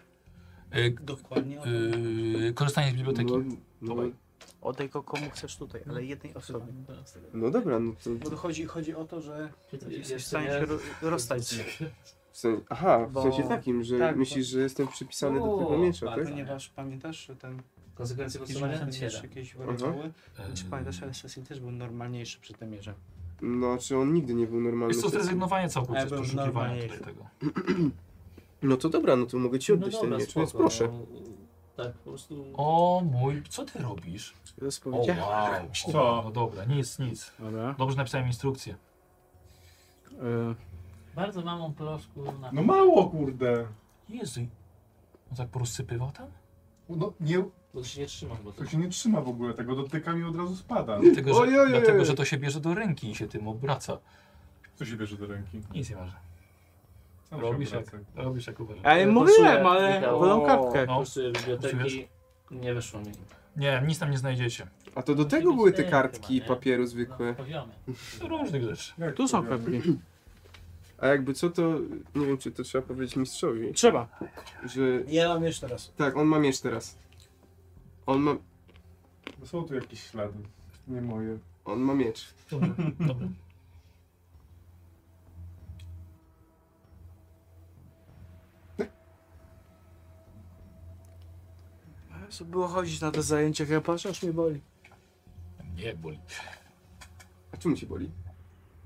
Y, Dokładnie. y, korzystanie z biblioteki. No, no, Dawaj. Oddaj go komu chcesz tutaj, ale jednej osobie. no dobra, no to... Bo to chodzi, chodzi o to, że jesteś w Jeszcze stanie nie. się ro- rozstać z nim. W sensie, aha, w Bo- sensie takim, że tak, bo- myślisz, że jestem przypisany do O, tego miecza, bardzo tak? Ponieważ pamiętasz, że ten Konsekwencje Jeżeli głosowania? ten mierz jakieś wariowały, Y, czy pamiętasz, ale Assassin też był normalniejszy przy tym mierze. No, czy on nigdy nie był normalny? Jest to wtedy? E, zrezygnowanie całkowicie Ja z bym poszukiwania normalnie tutaj tego. No to dobra, no to mogę ci oddać ten miecz, więc no. proszę. Tak, po prostu... O mój, co ty robisz? O wow. Co? O, no dobra, nic, nic. Dobra. Dobrze że napisałem instrukcję. Y, Bardzo mamą proszku na... No mało, kurde. Jezu. On tak porozsypywał tam? No nie, Bo się nie trzymam, bo to... to się nie trzyma w ogóle tego, dotykam i od razu spada. Dlatego że, Ojojoj. dlatego, że to się bierze do ręki i się tym obraca. Co się bierze do ręki? Nic nie masz. Sam się Robisz jak, obracaj. robisz jak uważasz. Ale Ja mówiłem, poczułem, ale Michał. wolą kartkę. No. Kursuję biblioteki, nie weszło mi. Nie, nic tam nie znajdziecie. A to do Musi tego być były te ten kartki chyba, nie? papieru na zwykłe. poziomie. Różnych rzeczy. Jak Tu są to pewnie. A jakby co, to nie wiem, czy to trzeba powiedzieć mistrzowi, Trzeba. że... Ja mam jeszcze raz. Tak, on ma miecz teraz. On ma, robię? Są tu jakieś ślady. Nie moje. on ma miecz. Dobra, dobra. Co było chodzić na te zajęcia, chyba aż mnie boli. Nie, boli. A czemu cię boli?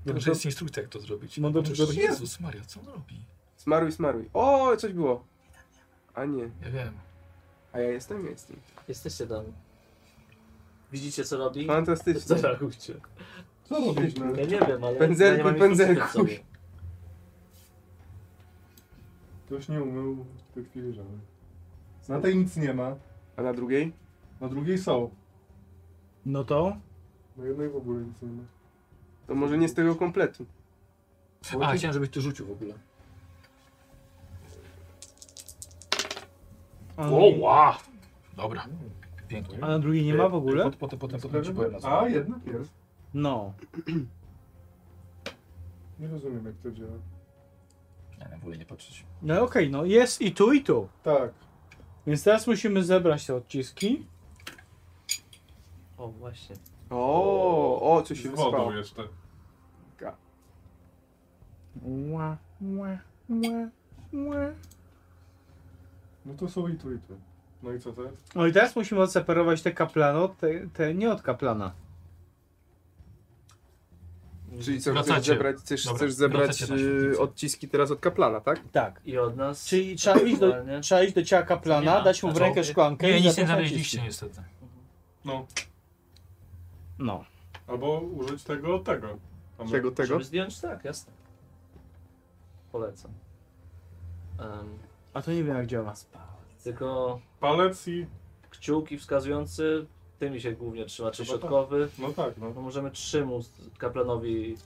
Wiem, że jest instrukcja, jak to zrobić. No dobrze, Przecież- że- Jezus Maria, co on robi? Smaruj, smaruj. O, coś było. A nie. Ja wiem. A ja jestem, ja jestem. Jesteście tam. Widzicie co robi? Fantastycznie. Zareagujcie. Co robisz? No? Ja nie wiem, ale... Pędzelkuj, ja nie mam instrukcji pędzelkuj. przed sobą. Ktoś nie umył tych filiżanek. Na tej nic nie ma, A na drugiej? na drugiej są. No to? Na jednej w ogóle nic nie ma. To może nie z tego kompletu. A, chciałem, żebyś tu rzucił w ogóle. A, O, wow. Dobra, pięknie. a na drugiej nie ma w ogóle? Pot- Potem, potem, potem ci powiem na co. A, jednak jest. No. Nie rozumiem jak to działa. Nie, nie, wolę nie patrzeć. No okej, no jest i tu, i tu. Tak. Więc teraz musimy zebrać te odciski. O, właśnie. O, o, coś Z się wodą wyspało. jeszcze. Ła, ła, ła, ła. No to są i tu i tu. No i co teraz? No i teraz musimy odseparować te kaplany od te, te nie od kaplana. Czyli co, chcesz Wracacie. zebrać, chcesz, Dobra, chcesz zebrać wracacie na y, świetlicę. odciski teraz od kaplana, tak? Tak. I od nas... Czyli trzeba iść do, Aktualnie. trzeba iść do ciała kaplana, Nie ma. dać mu w Znaczy, rękę szklankę Nie, i nic nie zacząć znaleźliście naciskać. niestety. No. Albo użyć tego, tego. A my- Tego, tego? Żeby zdjąć? Tak, jasne. Polecam. Em, A to nie wiem jak działa. tylko Palec i... kciuki wskazujący, tymi się głównie trzyma, czy Chyba tak. środkowy. No tak, no. No możemy trzy mu kaplanowi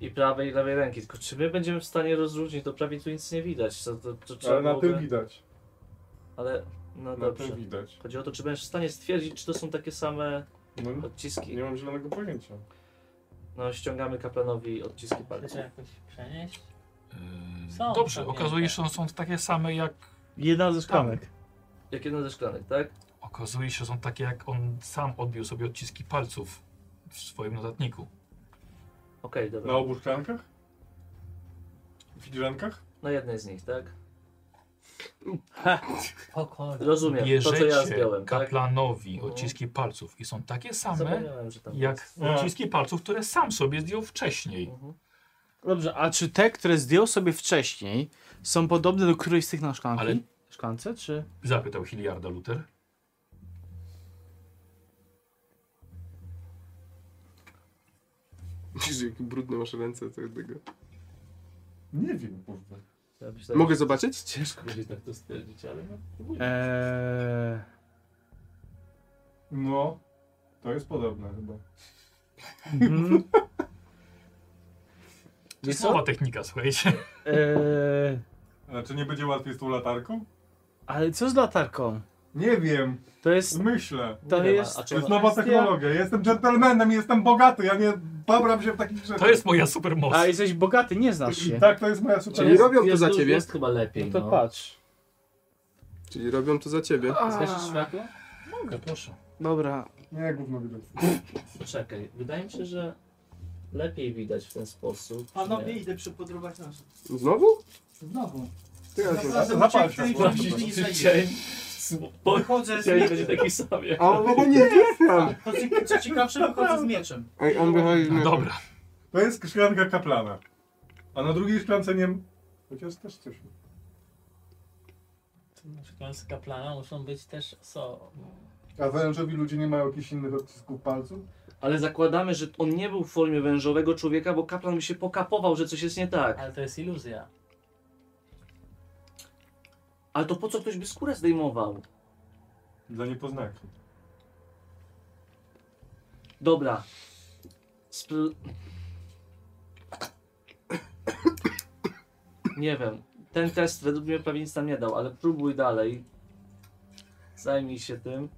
i prawej i lewej ręki, tylko czy my będziemy w stanie rozróżnić, to prawie tu nic nie widać, to, to, to trzeba Ale na tym byłoby... widać. Ale no Na tym dobrze. widać. Chodzi o to, czy będziesz w stanie stwierdzić, czy to są takie same No, odciski. nie mam zielonego pojęcia. No ściągamy kaplanowi odciski palców. Chcecie jakoś przenieść? Yy, Są Dobrze, pewnie, okazuje tak. się, że są takie same jak... Jedna ze szklanek. Jak jedno ze szklanek, tak? Okazuje się, że są takie jak on sam odbił sobie odciski palców w swoim notatniku. Okej, dobra. Na obu szklankach? Filiżankach? Na jednej z nich, tak? Spokojnie. Rozumiem, to co Bierzecie ja zdjąłem, tak? kaplanowi Mhm. odciski palców i są takie same Zapomniałem, że tam jak jest. A. odciski palców, które sam sobie zdjął wcześniej. Mhm. Dobrze, a czy te, które zdjął sobie wcześniej, są podobne do którejś z tych na szklanki? Ale- Szklance, czy? Zapytał Hiliarda Luther. Widzisz, jak brudne masz ręce co do tego. Nie wiem, kurde. Ja Tak. myślałem, Mogę zobaczyć? Ciężko. że będzie tak to stwierdzić, ale no. Eee, No, to jest podobne chyba. mhm. To jest nowa technika, słuchajcie. eee, Ale czy Znaczy, nie będzie łatwiej z tą latarką? ale co z latarką? Nie wiem, To jest... myślę. To Nie wiem, jest... a To czy jest ona... nowa Kwestia- technologia. Jestem dżentelmenem, jestem bogaty, ja nie babram się w takich rzeczach. To jest moja supermoc. A jesteś bogaty, nie znasz się. Tak, to jest moja Czyli super. robią to jest, za już ciebie. jest chyba lepiej, No to patrz. Czyli robią to za ciebie. Zgasisz światło? Mogę, proszę. Dobra. Nie, gówno widać. Czekaj, wydaje mi się, że lepiej widać w ten sposób. czy Panowie, nie? idę przypodrować nas. Znowu? Znowu. Ty, Tak Artur. razem Zapal ucieknę się, i proszę. wrócimy i zejdziemy. Dzień. Bo Wychodzę z dzień mieczem. będzie taki sam jak... A on w ogóle nie wie! Tak, co- Co ciekawsze, wychodzę z mieczem. Ej, on wychodzi No na... dobra. To jest szklanka kaplana. A na drugiej szklance nie... Chociaż też coś. Szklance kaplana muszą być też so. A wężowi ludzie nie mają jakichś innych odcisków palców? Ale zakładamy, że on nie był w formie wężowego człowieka, bo kaplan mi się pokapował, że coś jest nie tak. Ale to jest iluzja. Ale to po co ktoś by skórę zdejmował? Dla niepoznaki. Dobra. Spl... Nie wiem. Ten test według mnie prawie nic tam nie dał, ale próbuj dalej. Zajmij się tym.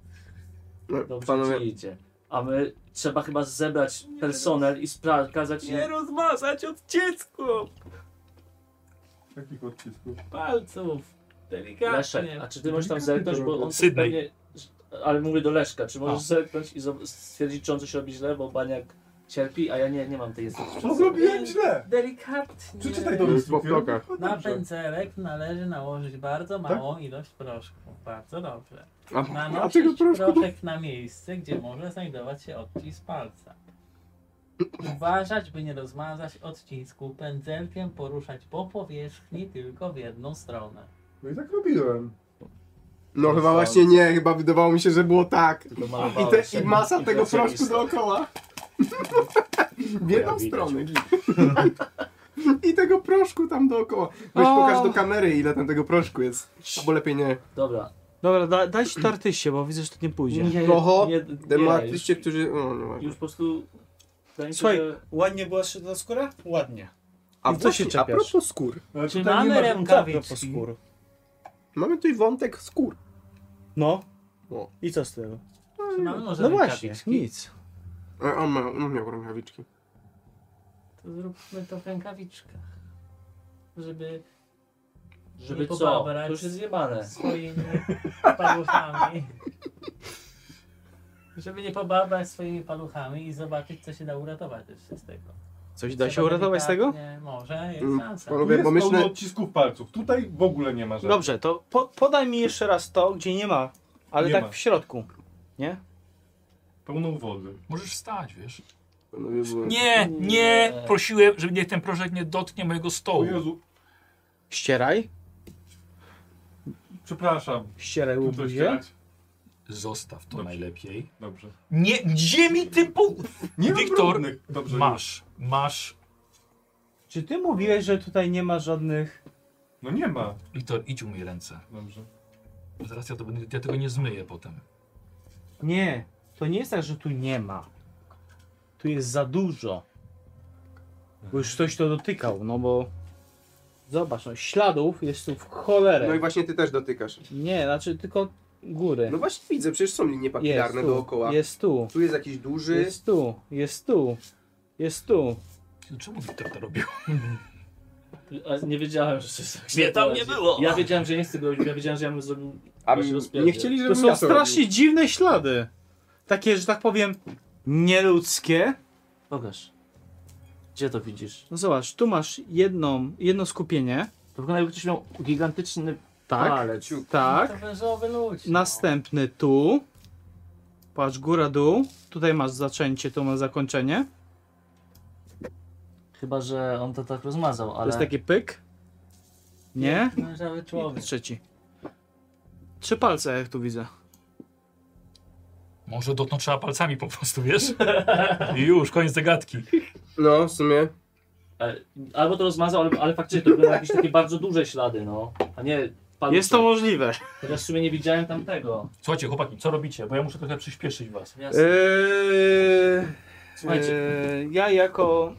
Dobrze Panowie, ci idzie. A my trzeba chyba zebrać personel i sprawdzać Nie im. rozmazać od dziecku! Jakich odcisków? Palców! Delikatnie. Leszek, a czy ty możesz tam zerknąć, bo on Sydney. pewnie... Ale mówię do Leszka, czy możesz zerknąć i zo- stwierdzić, czy on coś robi źle, bo Baniak Cierpi, a ja nie, nie mam tej estetyki. No zrobiłem źle! Delikatnie. Przeczytaj do mnie Jest po blokach. Na pędzelek należy nałożyć bardzo małą ilość proszku. Bardzo dobrze. Tak? A, a tego Nanosić proszku... proszek na miejsce, gdzie może znajdować się odcisk palca. Uważać, by nie rozmazać odcisku. Pędzelkiem poruszać po powierzchni tylko w jedną stronę. No i tak robiłem. No chyba właśnie nie, chyba wydawało mi się, że było tak. Tylko I, malowałeś te, i ten- masa i tego wracaj proszku listę. dookoła. W jedną widać. stronę. I tego proszku tam dookoła. Weź pokaż do kamery, ile tam tego proszku jest. Albo lepiej nie. Dobra, Dobra, da, daj się tartyście, bo widzę, że to nie pójdzie. Oho, nie, nie, już, dematyście, którzy... O, nie ma. już po prostu... Wydaje mi się, Słuchaj, że Ładnie była szyta skóra? Ładnie. A I co się właśnie, a czepiasz? propos skór. Ale Czy tutaj nie mamy ma- tak, tak, no, rękawiczki? skór. Mamy tutaj wątek skór. No. No. I co z tego? Czy mamy może No rękawiczki? właśnie, nic. A E, on ma, on miał rękawiczki. To zróbmy to w rękawiczkach. Żeby żeby nie co, to pobabrać już jest zjebane. swoimi paluchami. Żeby nie pobabrać swoimi paluchami i zobaczyć, co się da uratować jeszcze z tego. Coś da się Trzeba uratować z tego? delikatnie- Może, jest Mm, szansa. Tu Panowie, jest bo myślę... pełno odcisków palców. Tutaj w ogóle nie ma żadnych. Dobrze, to po, podaj mi jeszcze raz to, gdzie nie ma, ale Nie tak ma. w środku. Nie? Pełno wody. Możesz wstać, wiesz? Panowie, bo- Nie, nie, Nie. prosiłem, żeby niech ten proszek nie dotknie mojego O stołu. Jezu, Ścieraj. przepraszam. Ścieraj Tu coś łubzie. ścierać? Zostaw to Dobrze. najlepiej. Dobrze. Nie, gdzie mi ty pół... Nie ma Wiktor, brudnych. Dobrze, Masz, masz. Czy ty mówiłeś, że tutaj nie ma żadnych... No nie ma. Wiktor, idź umyj ręce. Dobrze. Zaraz ja, to będę, ja tego nie zmyję potem. Nie, to nie jest tak, że tu nie ma. Tu jest za dużo. Bo już ktoś to dotykał, no bo... Zobacz, no śladów jest tu w cholerę. No i właśnie ty też dotykasz. Nie, znaczy tylko góry. No właśnie widzę, przecież są linie papilarne tu, dookoła. Jest tu, Tu jest jakiś duży... jest tu, jest tu, jest tu. Czemu Wiktor to robił? A nie wiedziałem, że coś tak się Nie, tam nie wydarzy. było. Ja wiedziałem, że nie chcę go robić, ja wiedziałem, że ja bym zrobił... A Właśnie m- rozpierdzie. Mm, nie chcieli, To żebym są ja to robił. strasznie dziwne ślady. Takie, że tak powiem, nieludzkie. Pokaż. Gdzie to widzisz? No zobacz, tu masz jedną, jedno skupienie. To wygląda jakby ktoś miał gigantyczny Tak, palec. tak. To wężowy ludź. no. Następny tu. Patrz, góra, dół. Tutaj masz zaczęcie, tu masz zakończenie. Chyba, że on to tak rozmazał, ale... To jest taki pyk. Nie? Wężowy człowiek. Trzeci. Trzy palce, jak tu widzę. Może dotknąć trzeba palcami po prostu, wiesz? I już, koniec zagadki. No, w sumie. Ale- Albo to rozmazał, ale, ale faktycznie to były jakieś takie bardzo duże ślady, no. A nie paluszek. Jest to możliwe. Chociaż w sumie nie widziałem tamtego. Słuchajcie, chłopaki, co robicie? Bo ja muszę trochę przyspieszyć was. Jasne. E, Eee, Słuchajcie. eee, ja jako.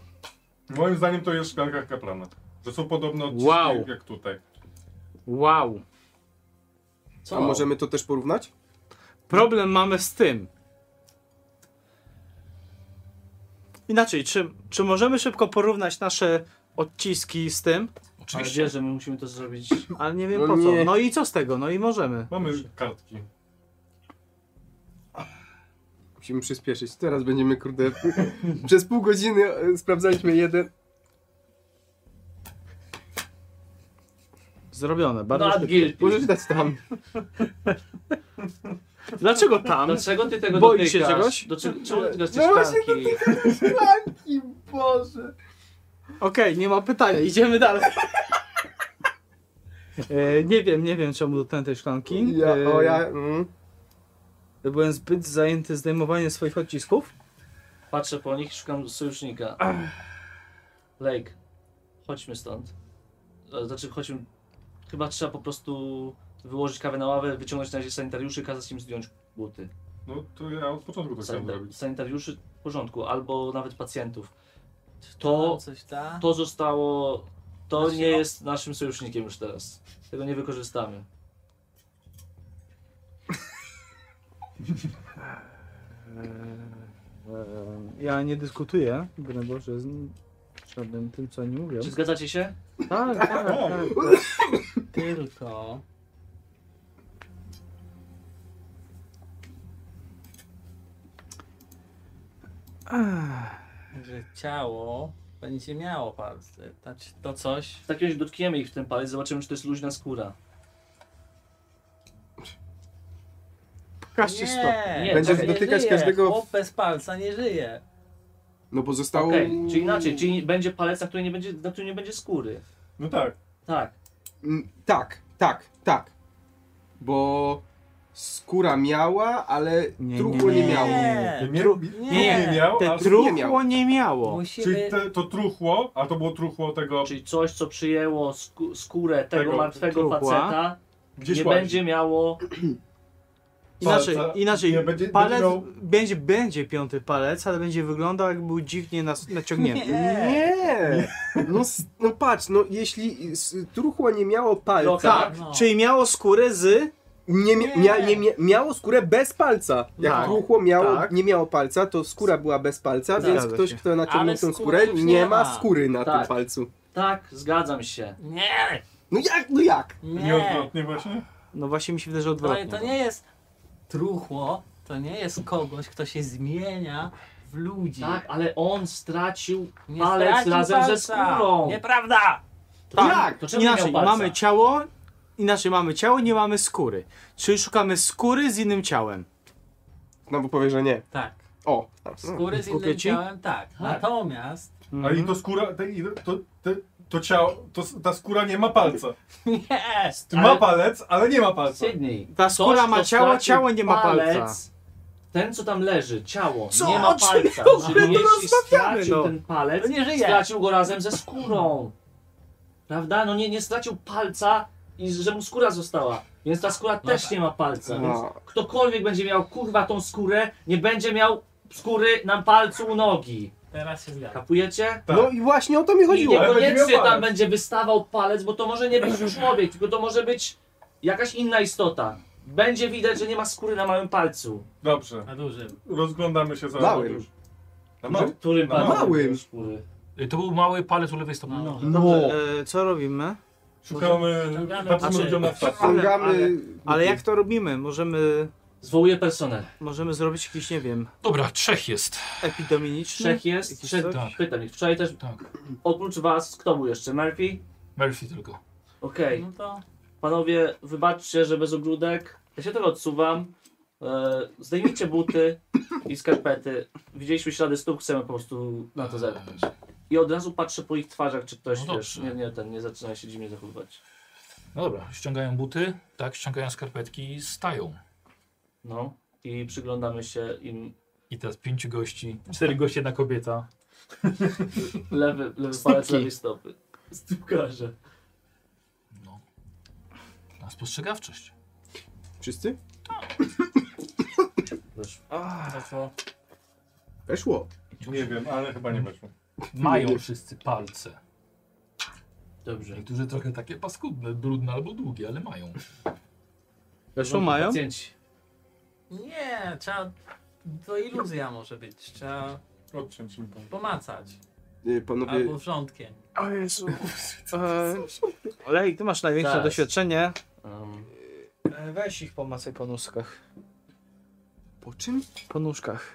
Moim zdaniem to jest w szklarkach kaplana. Że są podobne odciski Wow. jak tutaj. Wow. Co? A możemy to też porównać? Problem mamy z tym. Inaczej, czy, czy możemy szybko porównać nasze odciski z tym? Ale Oczywiście. wiesz, że my musimy to zrobić. Ale nie wiem No po co. nie. No i co z tego? No i możemy. Mamy kartki. Musimy przyspieszyć. Teraz będziemy, kurde... Przez pół godziny e, sprawdzaliśmy jeden... Zrobione. Bardzo Not szybko. guilty. Możesz dać tam. Dlaczego tam? Dlaczego ty tego Boisz się dotykasz? czegoś? Do, czego, czemu ty No dotykasz właśnie szklanki? Szklanki, Boże! Okej, nie ma pytania, idziemy dalej. E, nie wiem, nie wiem czemu dotknę tej szklanki. Ja, E, o ja... Mm. Byłem zbyt zajęty zdejmowaniem swoich odcisków. Patrzę po nich, szukam sojusznika. Lake, chodźmy stąd. E, Znaczy, chodźmy. Chyba trzeba po prostu wyłożyć kawę na ławę, wyciągnąć na razie sanitariuszy, kazać im zdjąć buty. No to ja od początku to chciałem Sanita- zrobić. sanitariuszy w porządku, albo nawet pacjentów. To To, coś tak? da. to zostało. To Znaczy, nie no- jest naszym sojusznikiem już teraz. Tego nie wykorzystamy. E, Ja nie dyskutuję, broń Boże, z żadnym tym, co oni mówią. Czy zgadzacie się? Tak, tak, tak. No, Tylko. że ciało będzie miało palce. Znaczy, to coś W takim razie dotkniemy ich w ten palec, zobaczymy, czy to jest luźna skóra. Pokażcie stop. nie, Będziesz czekaj, nie dotykać żyje. każdego- Chłop bez palca nie żyje. No bo zostało... Okej, czyli inaczej, czyli będzie palec, na którym nie będzie, na którym nie będzie skóry. No tak. Tak. Mm, tak, tak, tak. Bo skóra miała, ale Nie, truchło nie, miało. Nie, Nie, nie, Tru- nie, nie. nie miał, Te a, truchło nie miało. czyli musimy... te, to truchło, a to było truchło tego Czyli coś, co przyjęło sku- skórę tego, Tego martwego trupa. faceta, gdzieś nie łazi. będzie miało... Inaczej, palca. inaczej Nie, będzie- palec, będzie miał- będzie, będzie piąty palec, ale będzie wyglądał jakby był dziwnie nas, naciągnięty. Nie! No, s- no patrz, no jeśli s- truchło nie miało palca, No. Loka. Tak, czyli miało skórę z... nie, mia, mia, nie mia, miało skórę bez palca. Jak Tak. truchło miało, Tak. nie miało palca, to skóra była bez palca, Zgadza więc ktoś, się. kto naciągnął Ale tą skóry skórę, już nie nie ma ma. skóry na Tak. tym palcu. Tak, zgadzam się. Nie! No jak, no jak? Nie! nieodwrotnie właśnie. No właśnie mi się wydaje, że To, odwrotnie. No no. to nie jest truchło, to nie jest kogoś, kto się zmienia w ludzi. Tak, ale on stracił Nie palec stracił razem ze palca. skórą. Nieprawda! to Tak. czemu- To czemu nie Inaczej, miał palca? mamy ciało, inaczej mamy ciało, nie mamy skóry. Czyli szukamy skóry z innym ciałem. No bo powie, że nie. Tak. O, No Skóry z Kupię innym ci? ciałem, tak. Natomiast A i to skóra, te, i to, te, to ciało, to, s- ta skóra nie ma palca. nie! Ma Ale- palec, ale nie ma palca. Sydney. Ta Coś, skóra ma kto ciało, stracił ciało nie ma palec, palca. Ten, co tam leży, ciało, Co? nie ma O czym palca. w ogóle Czyli tu jeśli rozmawiamy, stracił no? ten palec, No nie żyje. stracił go razem ze skórą. Prawda? No nie, nie stracił palca i że mu skóra została. Więc ta skóra też nie ma palca. Więc No. ktokolwiek będzie miał kurwa tą skórę, nie będzie miał skóry na palcu u nogi. Teraz się zgadza. Kapujecie? Tak. no i właśnie o to mi I chodziło. ale będzie niekoniecznie miał tam palec. będzie wystawał palec, bo to może nie być już człowiek, tylko to może być jakaś inna istota. Będzie widać, że nie ma skóry na małym palcu. Dobrze, Na dużym. rozglądamy się za Małym. podróż. Na mał- Którym Na palcu? małym. Skóry. Y, To był mały palec u lewej stopy. No. No, E, co robimy? Szukamy, Ściągamy patrzymy oczy. ludziom na twarz. ściągamy... Ale jak to robimy? Możemy, Zwołuję personel. możemy zrobić jakiś, nie wiem, Dobra, trzech jest. epidemiczny? Trzech jest, Jakiś trzech coś? Tak. pytań. ich. Wczoraj też, Tak. oprócz was, kto był jeszcze? Murphy? Murphy tylko. Okej. No to Panowie, wybaczcie, że bez ogródek. Ja się tego odsuwam. E, zdejmijcie buty i skarpety. Widzieliśmy ślady stóp, chcemy po prostu na to zerknąć. I od razu patrzę po ich twarzach, czy ktoś, No wiesz, dobrze. nie, nie, ten, nie zaczyna się dziwnie zachowywać. No dobra, ściągają buty, tak, ściągają skarpetki i stają. No. I przyglądamy się im. I teraz pięciu gości, cztery goście, jedna kobieta. Lewy, lewy palec Stópki. lewej stopy. Stópkarze. No. Na spostrzegawczość. Wszyscy? Wiesz, weszło. Weszło. Nie wiem, ale chyba nie weszło. Mają wszyscy palce. Dobrze. Niektórzy trochę takie paskudne, brudne albo długie, ale mają. Weszło mają? Pacjenci. Nie, trzeba... To iluzja może być. Trzeba Odciąć mi palec. pomacać. Y, Panowie, Albo wrzątkiem. O Jezu. E, Olej, ty masz największe Zaraz. doświadczenie. Um, E, Weź ich pomacaj po nóżkach. po czym? Po nóżkach.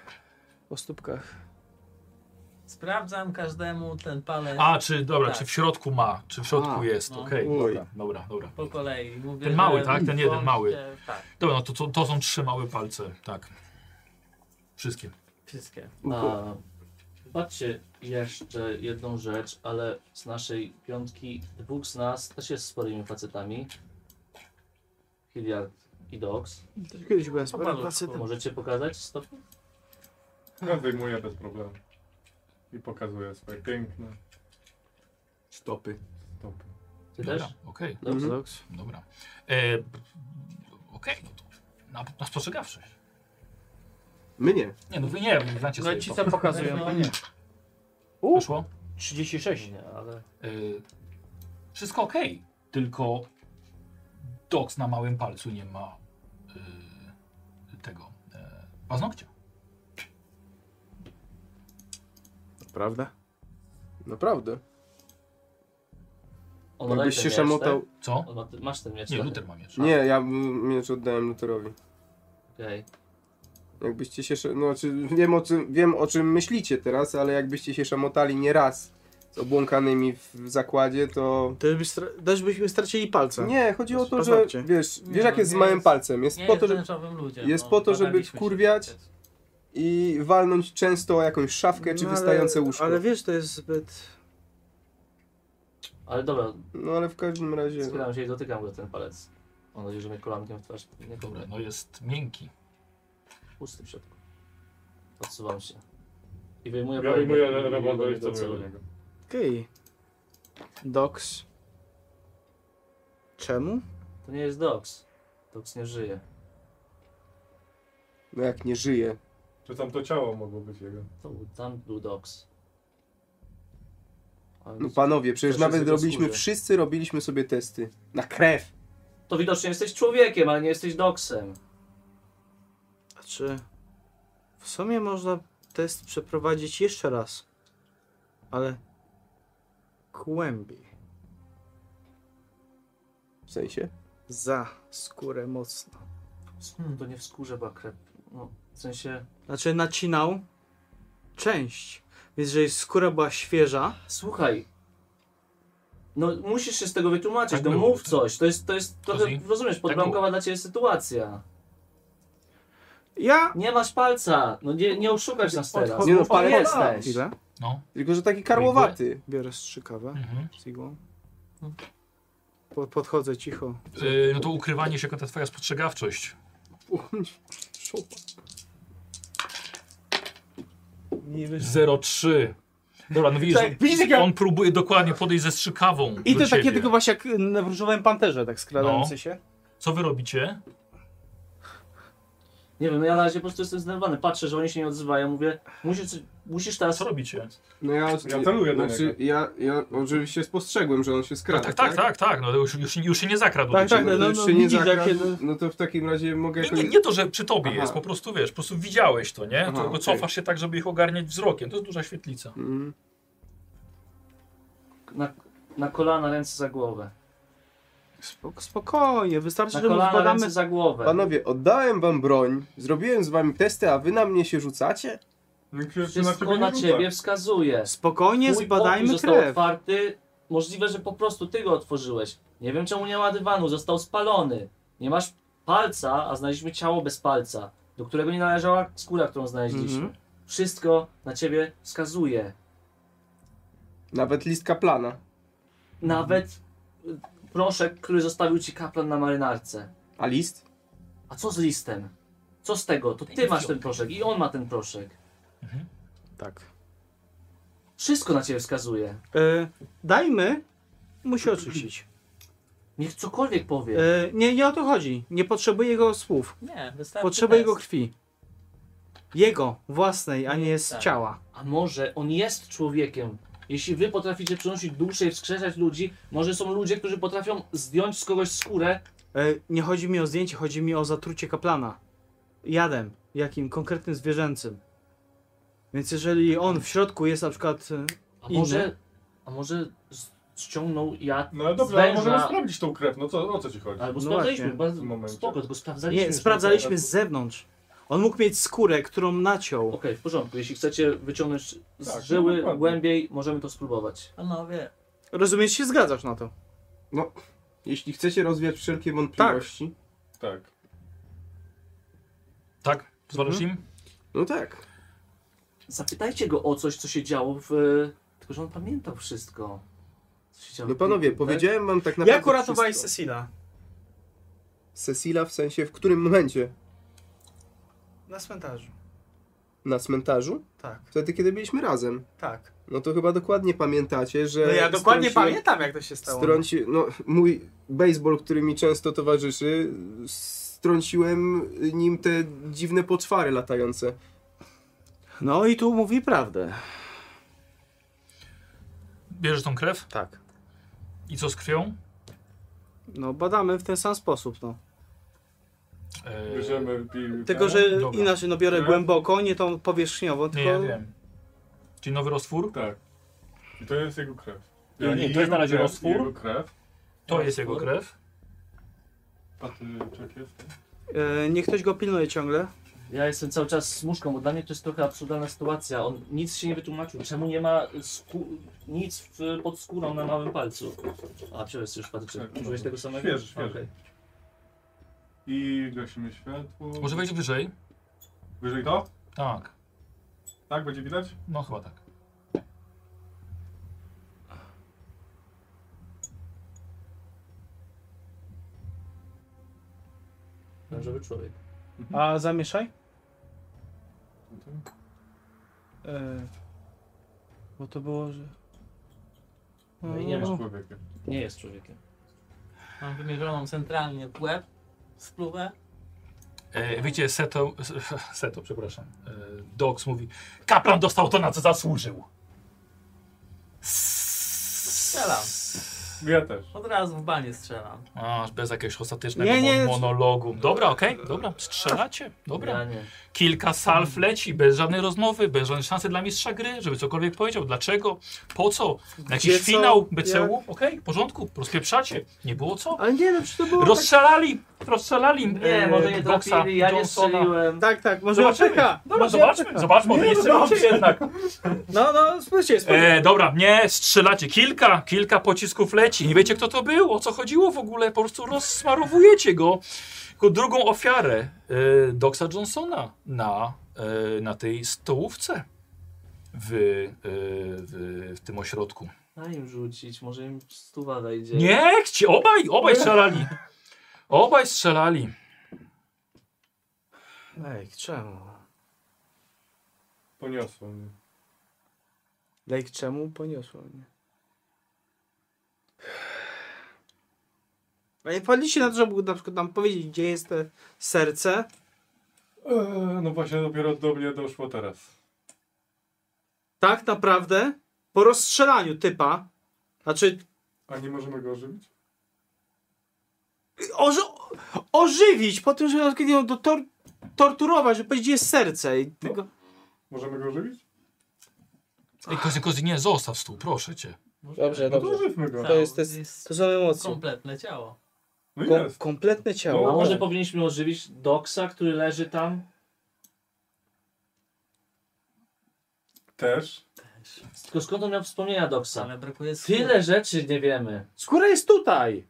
Po stópkach. Sprawdzam każdemu ten palec A, czy dobra, Tak. czy w środku ma, czy w środku A, jest, no. okej. Oj. Dobra, dobra, dobra. po kolei. Mówię, Ten mały, że tak? Ten jeden mały. włączcie- Tak, Dobra, no to, to, to są trzy małe palce, tak. Wszystkie. wszystkie. No. A, patrzcie jeszcze jedną rzecz, ale z naszej piątki dwóch z nas też jest sporymi facetami. Hilliard i Dox. Też Kiedyś byłem z Po paluszku. facetem. Możecie pokazać stopy? Ja zdejmuję bez problemu. I pokazuję swoje piękne Stopy. stopy. Ty Dobra, też? okej, Dobrze. Mhm. Paradoks. dobra. E, b- okej, no to na, na spostrzegawczość. My nie. Nie, no wy nie, wy znacie No sobie i ci to. co pokazują, to nie. Wyszło? 36. Nie, ale Y, wszystko ok, tylko doks na małym palcu nie ma y, tego y, paznokcia. Prawda? Naprawdę. on ma Jakbyś ten się miecz, szamotał... Co? tak? On ma, ty, masz ten miecz. Nie, tak? Luther ma miecz. Nie, ja bym miecz oddałem Luterowi. Okej. Jakbyście się. sze- No, czy wiem, o czym, wiem o czym myślicie teraz, ale jakbyście się szamotali nieraz z obłąkanymi w w zakładzie, to. Też, by stra- też byśmy stracili palce. Nie, chodzi o to, że. Paznokcie. Wiesz, Nie, wiesz jak no jest z nie małym jest- palcem. Jest Nie po jest to, żeby. wręczowym ludziem. jest no, po to, żeby badaliśmy się wkurwiać. przed- I walnąć często o jakąś szafkę czy No, wystające ale, łóżko. Ale wiesz, to jest zbyt... Ale dobra, No ale w każdym razie. schylam się i dotykam go ten palec. Mam nadzieję, że mnie kolankiem w twarz nie Dobra, kołnę. no jest miękki. Pusty w środku. Odsuwam się. I tak wyjmuję Ja broń, bo- wyjmuję bo- bo- rewolwer i bo- bo- celuję do bo- niego. Okej. Dox. Czemu? To nie jest Dox. Dox nie żyje. No jak nie żyje. Czy tam to ciało mogło być jego? To był, tam był Dox. Ale No panowie, przecież Też nawet jest jego robiliśmy, skórze. wszyscy robiliśmy sobie testy. Na krew. To widocznie jesteś człowiekiem, ale nie jesteś Doxem. Znaczy... W sumie można test przeprowadzić jeszcze raz. Ale... Głębiej. W sensie. Za skórę mocno. Hmm, to nie w skórze była krew. No, w sensie... Znaczy nacinał część. Więc jeżeli skóra była świeża, Słuchaj. No musisz się z tego wytłumaczyć, Tak no było. mów coś. To jest, to jest trochę, Ozzy? Tak rozumiesz, podbramkowa dla ciebie sytuacja. Ja. Nie masz palca, no nie, nie oszukasz nas teraz. Nie no, Pan palec- jesteś. Chwilę. No. Tylko, że taki karłowaty. Biorę strzykawę Mhm. z igłą. No. Po, podchodzę cicho. Yy, no to ukrywanie się jako ta twoja spostrzegawczość. Nie wiesz, 03. Dobra, no widzisz, Tak, widzisz, jak ja- on próbuje dokładnie podejść ze strzykawą I do to takie ciebie. tylko właśnie jak na różowym panterze, tak skradający No. się. Co wy robicie? Nie wiem, no ja na razie po prostu jestem zdenerwowany. Patrzę, że oni się nie odzywają, mówię, musisz, musisz teraz... Co robicie? No ja, Ja celuję do znaczy, ja, ja oczywiście spostrzegłem, że on się skrada. Tak, tak, tak, tak. No już, już, już się nie zakradł. Tak, do tak, ciebie. no, no, Jeszcze no nie widzisz jak zakradł, się... No, No to w takim razie mogę Nie, jakoś... nie, nie to, że przy tobie tak. Aha. jest, po prostu wiesz, po prostu widziałeś to, nie? Aha, Tylko okej. cofasz się tak, żeby ich ogarniać wzrokiem. To jest duża świetlica. Mhm. Na, na kolana, ręce za głowę. spok- spokojnie, wystarczy, Na że mu kolana, zbadamy... ręce za głowę. Panowie, oddałem wam broń, zrobiłem z wami testy, a wy na mnie się rzucacie? Nikt się Wszystko na nie ciebie wskazuje. Spokojnie, Twój pokój zbadajmy został krew. otwarty. Możliwe, że po prostu ty go otworzyłeś. Nie wiem czemu nie ma dywanu, został spalony. Nie masz palca, a znaleźliśmy ciało bez palca, do którego nie należała skóra, którą znaleźliśmy. Mhm. Wszystko na ciebie wskazuje. Nawet list kaplana. Nawet y, proszek, który zostawił ci kaplan na marynarce. A list? A co z listem? Co z tego? To ty masz ten proszek i on ma ten proszek. Tak. Wszystko na ciebie wskazuje. E, dajmy, musi oczyścić. Niech cokolwiek powie. E, nie, nie o to chodzi. Nie potrzebuję jego słów. Nie, wystarczy Potrzebuję test. jego krwi. Jego, własnej, a nie z Tak. ciała. A może on jest człowiekiem? Jeśli wy potraficie przynosić duszę i wskrzeszać ludzi, może są ludzie, którzy potrafią zdjąć z kogoś skórę. E, nie chodzi mi o zdjęcie, chodzi mi o zatrucie kaplana. Jadem, jakim konkretnym zwierzęcym. Więc jeżeli on w środku jest na przykład. e, A Inny. może, a może z- ściągnął jad No ale z dobra, ale węża. możemy sprawdzić tą krew, no co, o co ci chodzi? Albo No sprawdzaliśmy, właśnie. bardzo W momencie. spoko, tylko sprawdzaliśmy. Nie, że- sprawdzaliśmy z zewnątrz. On mógł mieć skórę, którą Okej, naciął. w porządku. Jeśli chcecie wyciągnąć z Tak, no żyły dokładnie. głębiej, możemy to spróbować. Panowie, Rozumiesz, się zgadzasz na to. Jeśli chcecie rozwiać wszelkie wątpliwości... Tak. Tak? Pozwalasz im? No tak. Zapytajcie go o coś, co się działo w... Tylko, że on pamiętał wszystko. Co się działo No w panowie, klubie, tak? powiedziałem wam tak naprawdę Jak uratowałeś wszystko. Cecila? Cecila w sensie w którym momencie? Na cmentarzu. Na cmentarzu? Tak, Wtedy, kiedy byliśmy razem. tak. No to chyba dokładnie pamiętacie, że... No ja dokładnie strąciłem- pamiętam, jak to się stało. E, Strąci, no, mój baseball, który mi często towarzyszy, strąciłem nim te dziwne poczwary latające. no i tu mówi prawdę. Bierzesz tą krew? Tak. I co z krwią? No badamy w ten sam sposób, no. Eee, Bierzemy pi- Tylko, tak? że Dobra. inaczej, no biorę Tak. głęboko, nie tą powierzchniowo, Nie, tylko... ja wiem. Czyli nowy roztwór? Tak. I to jest jego krew. Nie, nie, to jest jego na razie krew, roztwór. Jego krew. To jest jego krew. A ty, czek jest? E, nie ktoś go pilnuje ciągle. Ja jestem cały czas z muszką, bo dla mnie to jest trochę absurdalna sytuacja. On nic się nie wytłumaczył, czemu nie ma skó- nic w, pod skórą na małym palcu. A, wziąłeś sobie już patyczek. Tak, Użyłeś tego samego? Świeży, świeży. Okej. I gasimy światło. Może wejść wyżej? Wyżej to? Tak. Tak, będzie widać? No chyba tak. Mężowy człowiek. A zamieszaj? Tutaj. E, bo to było, że... No i nie ma. Człowiek. Nie jest człowiekiem. Mam wymierzoną centralnie w łeb, spluwę. E, wiecie, Seto, Seto, przepraszam. E, Dox mówi, kaplan dostał to, na co zasłużył. Strzelam. Ja też. Od razu w banie strzelam. A, bez jakiegoś ostatecznego Nie, nie, mon- nie. monologu. Dobra, okej, dobra, strzelacie, dobra. Ja nie. Kilka salw leci, bez żadnej rozmowy, bez żadnej szansy dla mistrza gry, żeby cokolwiek powiedział, dlaczego, po co, na jakiś Gdzie, co, finał BCU, okej, w porządku, rozpieprzacie, nie było co. Ale nie, no przecież to było... Rozstrzelali, rozstrzelali Nie, e, może nie Doxa trafili, ja nie Johnsona. strzeliłem. Tak, tak, może Zobaczymy. apteka. Dobra, Może zobaczmy, apteka. zobaczmy, może nie strzelacie jednak. No, no, spójrzcie, spójrzcie. E, dobra, nie, strzelacie. Kilka, kilka pocisków leci. Nie wiecie, kto to był, o co chodziło w ogóle. Po prostu rozsmarowujecie go jako drugą ofiarę e, Doxa Johnsona na, e, na tej stołówce w, e, w, w tym ośrodku. Daj im rzucić, może im stuwa wejdzie. Nie, ci obaj, obaj strzelali. Obaj strzelali. Ej, czemu? Poniosło mnie. Lejk czemu poniosło mnie? A nie padliście na to, żeby na przykład nam powiedzieć, gdzie jest te serce? Eee, no właśnie dopiero do mnie doszło teraz. Tak naprawdę? Po rozstrzelaniu typa. Znaczy, A nie możemy go ożywić? oży ożywić po tym, że na przykład ją do tor torturować, żeby powiedzieć, gdzie jest serce. I tylko... Możemy go ożywić? Ej, kozy, kozy, nie, zostaw stół, proszę cię. Dobrze, No to ożywmy go. To jest- to jest- jest To są emocje. kompletne ciało. No Ko jest. kompletne ciało. A No. może powinniśmy ożywić Doksa, który leży tam? Też. Tylko skąd on miał wspomnienia Doksa? Ale brakuje skóry. Tyle rzeczy nie wiemy. Skóra jest tutaj!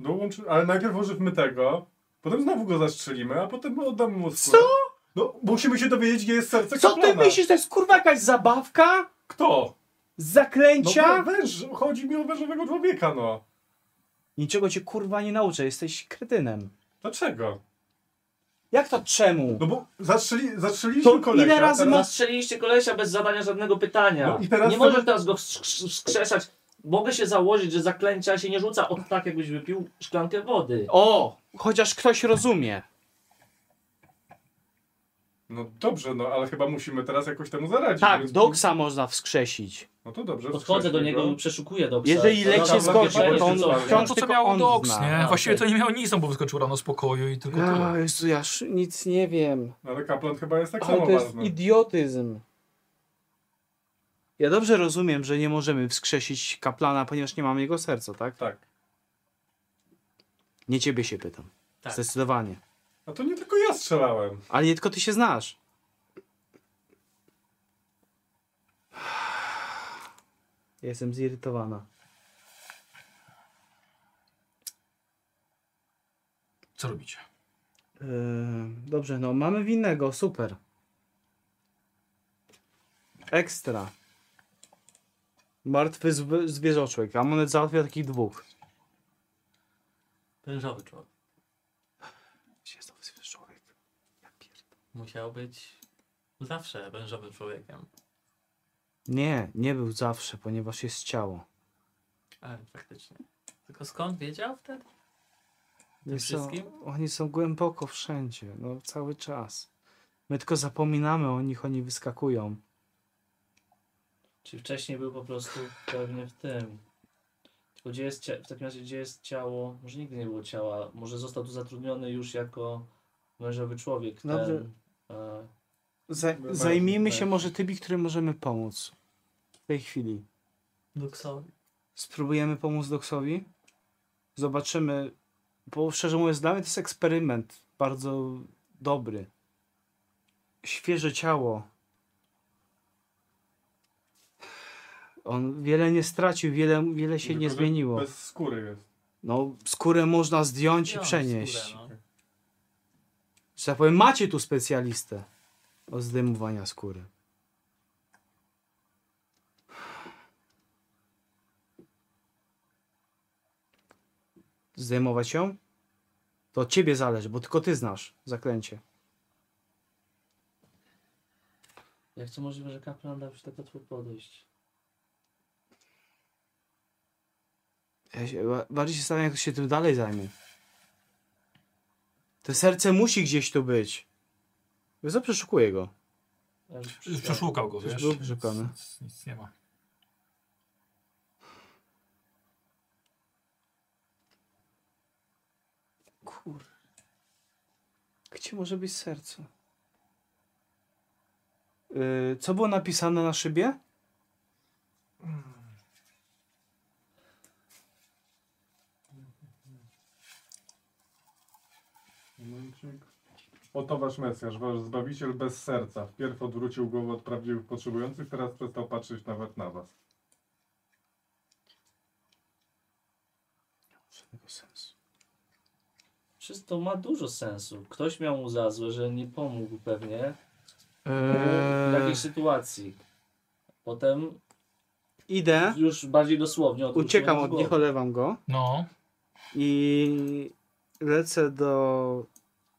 Dołączy... Ale najpierw ożywmy tego, potem znowu go zastrzelimy, a potem oddamy mu skórę. Co? No musimy się dowiedzieć, gdzie jest serce Co ty kaplana. myślisz, to jest kurwa jakaś zabawka? Kto? Z No zaklęcia? wę- węż, chodzi mi o wężowego człowieka, no. Niczego cię kurwa nie nauczę, jesteś kretynem. Dlaczego? Jak to czemu? No bo zastrzeli, zastrzeliliśmy To kolesia. ile razy teraz... ma- Zastrzeliliście kolesia bez zadania żadnego pytania. No i teraz nie to- możesz teraz go wskrz- wskrzeszać. Mogę się założyć, że zaklęcia się nie rzuca od tak, jakbyś wypił szklankę wody. O! Chociaż ktoś rozumie. No dobrze, no ale chyba musimy teraz jakoś temu zaradzić. Tak, więc- doksa można wskrzesić. No to dobrze. Podchodzę do wstrzeliśmy niego go. i przeszukuję Doksa. Jeżeli No lek dobra, się mogę zgodzi, bo to powiedzieć, on że co? No wciąż to co tylko miał on Dox, zna. Tak, nie? A, Właściwie to okej. nie miał nic, no bo wyskoczył rano z pokoju i tylko tyle. A, Jezu, ja już nic nie wiem. No, Ale kaplan chyba jest tak Ale samo to jest ważny. idiotyzm. Ja dobrze rozumiem, że nie możemy wskrzesić kaplana, ponieważ nie mamy jego serca, tak? Tak. Nie ciebie się pytam. Tak. Zdecydowanie. A to nie tylko ja strzelałem. Ale nie tylko ty się znasz. Ja Jestem zirytowana. Co robicie? Yy, dobrze, no mamy winnego, super. Ekstra. Martwy zw- zwierzoczłek. Amonet załatwia takich dwóch. Wężowy człowiek. Gdzie znowu zwierzoczłek? Ja pierd- Musiał być zawsze wężowym człowiekiem. Nie, nie był zawsze, ponieważ jest ciało. Ale faktycznie. Tylko skąd wiedział wtedy? Oni są, wszystkim? oni są głęboko wszędzie, no cały czas. My tylko zapominamy o nich, oni wyskakują. Czy wcześniej był po prostu pewnie w tym. Tylko gdzie jest cia- w takim razie gdzie jest ciało? Może nigdy nie było ciała. Może został tu zatrudniony już jako mężowy człowiek. Ten, Dobrze. e, Zaj- Dobra, zajmijmy tak. się może tymi, którym możemy pomóc. W tej chwili. No Luksowi. Spróbujemy pomóc Doksowi. Zobaczymy. Bo szczerze mówiąc, dla mnie to jest eksperyment bardzo dobry. świeże ciało. On wiele nie stracił, wiele, wiele się Tylko, nie że zmieniło. Bez skóry jest. No, skórę można zdjąć i No, przenieść. skórę, no. Że tak powiem, macie tu specjalistę od zdejmowania skóry. Zdejmować ją? To od ciebie zależy, bo tylko ty znasz zaklęcie. Jak to możliwe, że kaplan dał się tak łatwo podejść? Ja się, ba- bardziej się stawiam, jak się tym dalej zajmę. To serce musi gdzieś tu być. Wiesz, przeszukuję go. Ja już Już przyszedłem. Przeszukał go, Już wiesz? był przeszukany. Nic, nic nie ma. Kur... Gdzie może być serce? Yy, co było napisane na szybie? Momencik. Oto wasz Mesjasz, wasz Zbawiciel bez serca. Wpierw odwrócił głowę od prawdziwych potrzebujących, teraz przestał patrzeć nawet na was. Żadnego sensu. Wszystko to ma dużo sensu. Ktoś miał mu za złe, że nie pomógł pewnie w Eee, takiej sytuacji. Potem idę, już bardziej dosłownie odwrócił uciekam mu od głowę. nich, olewam go No, i lecę do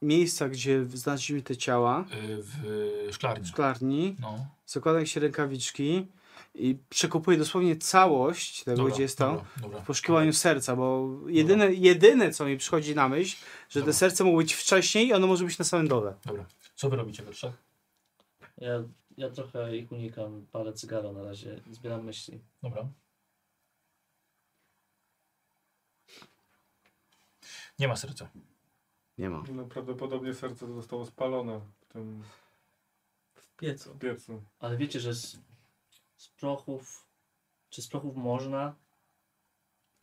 miejsca, gdzie znaleźliśmy te ciała, y, w szklarni. szklarni, No, zakładam się rękawiczki i przekupuję dosłownie całość tego, dobra, gdzie jest to. dobra, dobra. w poszukiwaniu serca, bo jedyne, jedyne co mi przychodzi na myśl, że Dobra. to serce mogło być wcześniej i ono może być na samym dole. Dobra. Co wy robicie we trzech? Ja, ja trochę ich unikam, palę cygaro na razie, zbieram myśli. Dobra. Nie ma serca. Nie ma. No, prawdopodobnie serce zostało spalone w tym W piecu. piecu. Ale wiecie, że z, z prochów, czy z prochów można?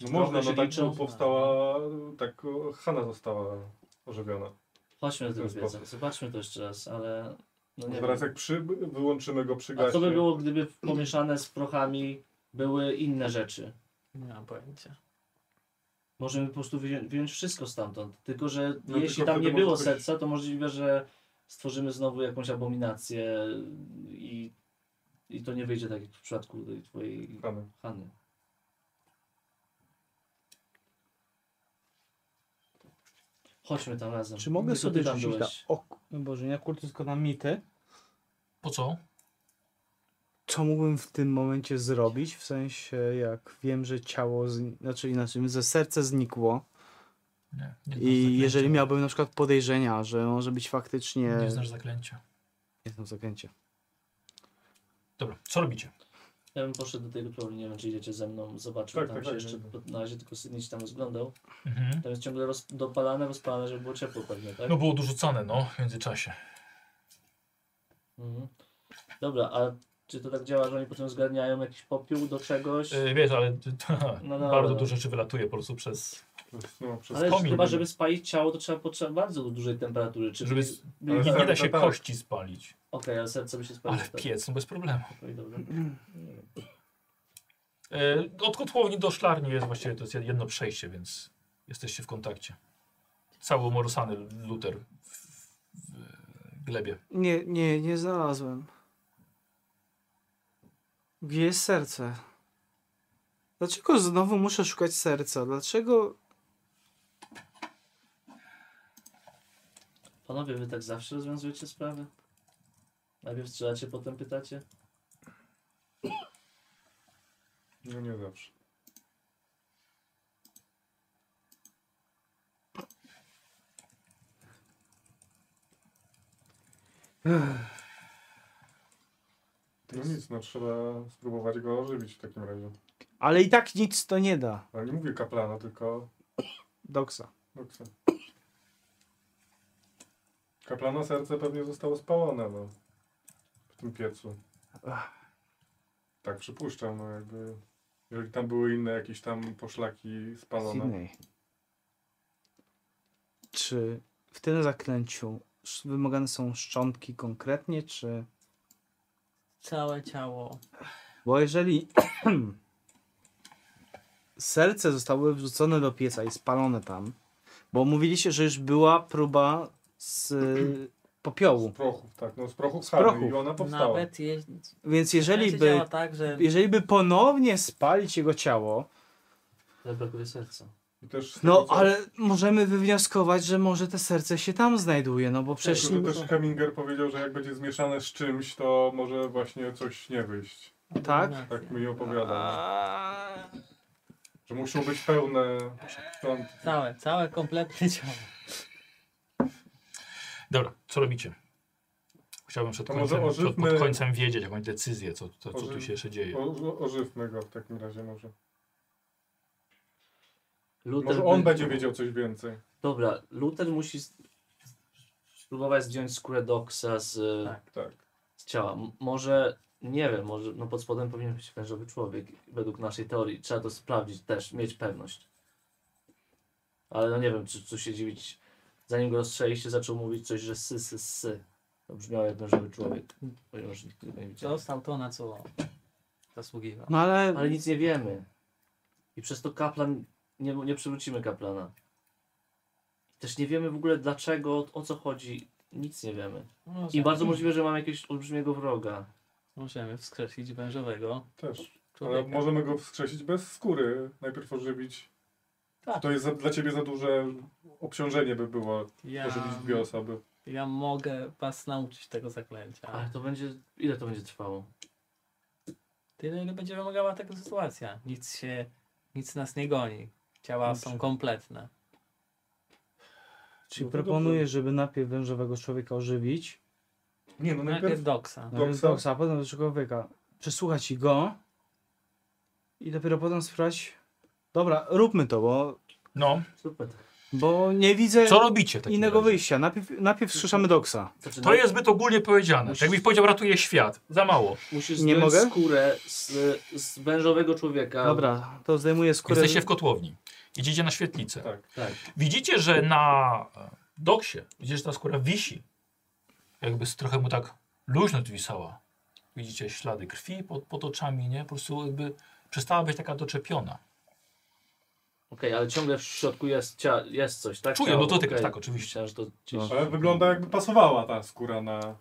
No Trochę można, się no. no tak liczą. powstała, tak o, Hanna została ożywiona. Chodźmy do W ten tego pieca, sposób. zobaczmy to jeszcze raz, ale no nie Teraz wiem. jak przy, wyłączymy go przy A co by gaśnie. było, gdyby pomieszane z prochami były inne rzeczy? Nie mam pojęcia. Możemy po prostu wyjąć, wyjąć wszystko stamtąd. Tylko, że No, jeśli tylko tam wtedy nie było może być- serca, to możliwe, że stworzymy znowu jakąś abominację i, i to nie wyjdzie tak jak w przypadku tej twojej Hanny. Hany. Chodźmy tam razem. Czy mogę Tylko sobie ty tam rzucić na byłeś. ok... No Boże, nie kurczę, tylko na mity. Po co? Co mógłbym w tym momencie zrobić? W sensie, jak wiem, że ciało, zni- znaczy inaczej, że serce znikło Nie, nie znasz i zaklęcia. jeżeli miałbym na przykład podejrzenia, że może być faktycznie... Nie znasz zaklęcia. Nie znam zakręcie. Dobra, co robicie? Ja bym poszedł do tego plonu, nie wiem czy idziecie ze mną, zobaczył Tak, tam tak, się tak, jeszcze, tak. bo na razie tylko Sydney się tam rozglądał. Mhm. Tam jest ciągle roz, dopalane, rozpalane, żeby było ciepło pewnie, tak? No było dorzucane, no, w międzyczasie. Mhm. Dobra, a czy to tak działa, że oni potem zgarniają jakiś popiół do czegoś? Yy, wiesz, ale No dobra. bardzo dużo rzeczy wylatuje po prostu przez... No, przez Ale komin. chyba, żeby spalić ciało, to trzeba potrzeba bardzo dużej temperatury. Czy Żeby... byli- byli- Nie, nie da się tak, tak. kości spalić, Okej, ale serce by się spaliło. ale tak. piec, no bez problemu. Okej, dobra. Yy, od kotłowni do szklarni jest właściwie to jest jedno przejście, więc jesteście w kontakcie. Cały umorosany luter w, w, w glebie. Nie, nie, nie znalazłem. Gdzie jest serce? Dlaczego znowu muszę szukać serca? Dlaczego Panowie, wy tak zawsze rozwiązujecie sprawy? Najpierw strzelacie, potem pytacie? No nie zawsze. No nic, no trzeba spróbować go ożywić w takim razie. Ale i tak nic to nie da. Ale nie mówię kaplana, tylko Doksa. doksa. Kaplana serce pewnie zostało spalone, no. W tym piecu. Tak przypuszczam, no jakby... Jeżeli tam były inne jakieś tam poszlaki spalone. Sydney. Czy w tym zaklęciu sz- wymagane są szczątki konkretnie, czy... Całe ciało. Bo jeżeli serce zostało wrzucone do pieca i spalone tam, bo mówiliście, że już była próba z popiołu, Z prochów, tak, no z prochów Z Hany prochów. i ona powstała. Nawet je, więc jeżeli Słuchajcie, by, działa tak, że jeżeli by ponownie spalić jego ciało, Ale brakuje serca. I też z no tego, co- ale możemy wywnioskować, że może te serce się tam znajduje, no bo przecież... To też Heminger powiedział, że jak będzie zmieszane z czymś, to może właśnie coś nie wyjść. Tak? No, Tak mi opowiadał. Że muszą być pełne szczątki. całe, całe kompletnie ciało. Dobra, co robicie? Chciałbym przed To może końcem, przed, ożywmy- pod końcem wiedzieć jakąś decyzję, co, co, co tu Ożyw- się jeszcze dzieje. O- o- Ożywmy go w takim razie może. Luther Może on będzie wiedział coś więcej. Dobra, Luther musi s- spróbować zdjąć skórę Doxa z, Tak. z ciała. M- może, nie wiem, może no pod spodem powinien być wężowy człowiek, według naszej teorii. Trzeba to sprawdzić też, mieć pewność. Ale no nie wiem, czy, czy się dziwić. Zanim go rozstrzeliście, zaczął mówić coś, że sy, sy, sy. To brzmiało jak wężowy człowiek, ponieważ nikt tego nie widział. Dostał to, na co zasługiwał. No ale Ale nic nie wiemy. I przez to kaplan. Nie, nie przywrócimy kaplana. Też nie wiemy w ogóle dlaczego, o, o co chodzi. Nic nie wiemy. No, I bardzo możliwe, że mamy jakiegoś olbrzymiego wroga. Możemy wskrzesić wężowego Też. Ale człowieka. możemy go wskrzesić bez skóry. Najpierw ożywić. Tak. To jest za, dla ciebie za duże obciążenie by było. Ja, Ożywić dwie osoby. ja mogę was nauczyć tego zaklęcia. Ale to będzie. Ile to będzie trwało? Tyle, ile będzie wymagała taka sytuacja. Nic się, nic nas nie goni. Ciała są kompletne. No czyli proponuję, żeby najpierw wężowego człowieka ożywić, Nie, no najpierw Najpierw doksa. Doksa? Doksa? Doksa, potem do człowieka. Przesłuchać go i dopiero potem sprawdź. Dobra, róbmy to, bo, No, Super. bo nie widzę co robicie w takim innego razie? wyjścia. Najpierw, najpierw skrzeszamy Doksa. Znaczy, To jest zbyt ogólnie powiedziane. Musisz- Jakbyś powiedział, ratuje świat. Za mało. Musisz nie zdjąć nie mogę? mogę? skórę z, z wężowego człowieka. Dobra, to zdejmuję skórę. Jesteście w kotłowni. Idziecie na świetlicę. Tak. Tak. Widzicie, że na e, doksie, widzicie, że ta skóra wisi. Jakby z- trochę mu tak luźno wisała. Widzicie ślady krwi pod, pod oczami, nie? Po prostu jakby przestała być taka doczepiona. Okej, ale ciągle w środku jest, cia, jest coś, tak? Czuję, Ciało, no dotykasz, okej. tak, oczywiście. Myślałem, że to No. gdzieś... Ale wygląda jakby pasowała ta skóra na...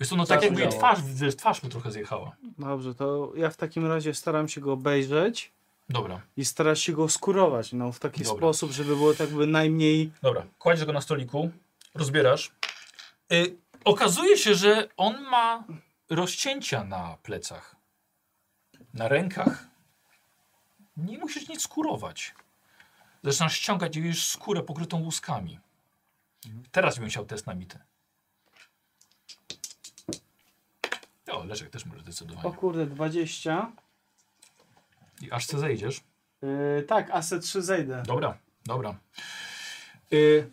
Wiesz co, no Tak tak jakby jej udało. twarz, widzę, że twarz mu trochę zjechała. Dobrze, to ja w takim razie staram się go obejrzeć Dobra, i starać się go skurować no, w taki Dobra. sposób, żeby było tak by najmniej. dobra. Kładziesz go na stoliku, rozbierasz. Y, okazuje się, że on ma rozcięcia na plecach, na rękach. Nie musisz nic kurować. Zaczynasz ściągać i widzisz skórę pokrytą łuskami. Teraz bym chciał test na mitę. O, Leszek też może O zdecydowanie. kurde, 20. I aż co zejdziesz. Yy, tak, AC3 zejdę. Dobra, dobra. Y,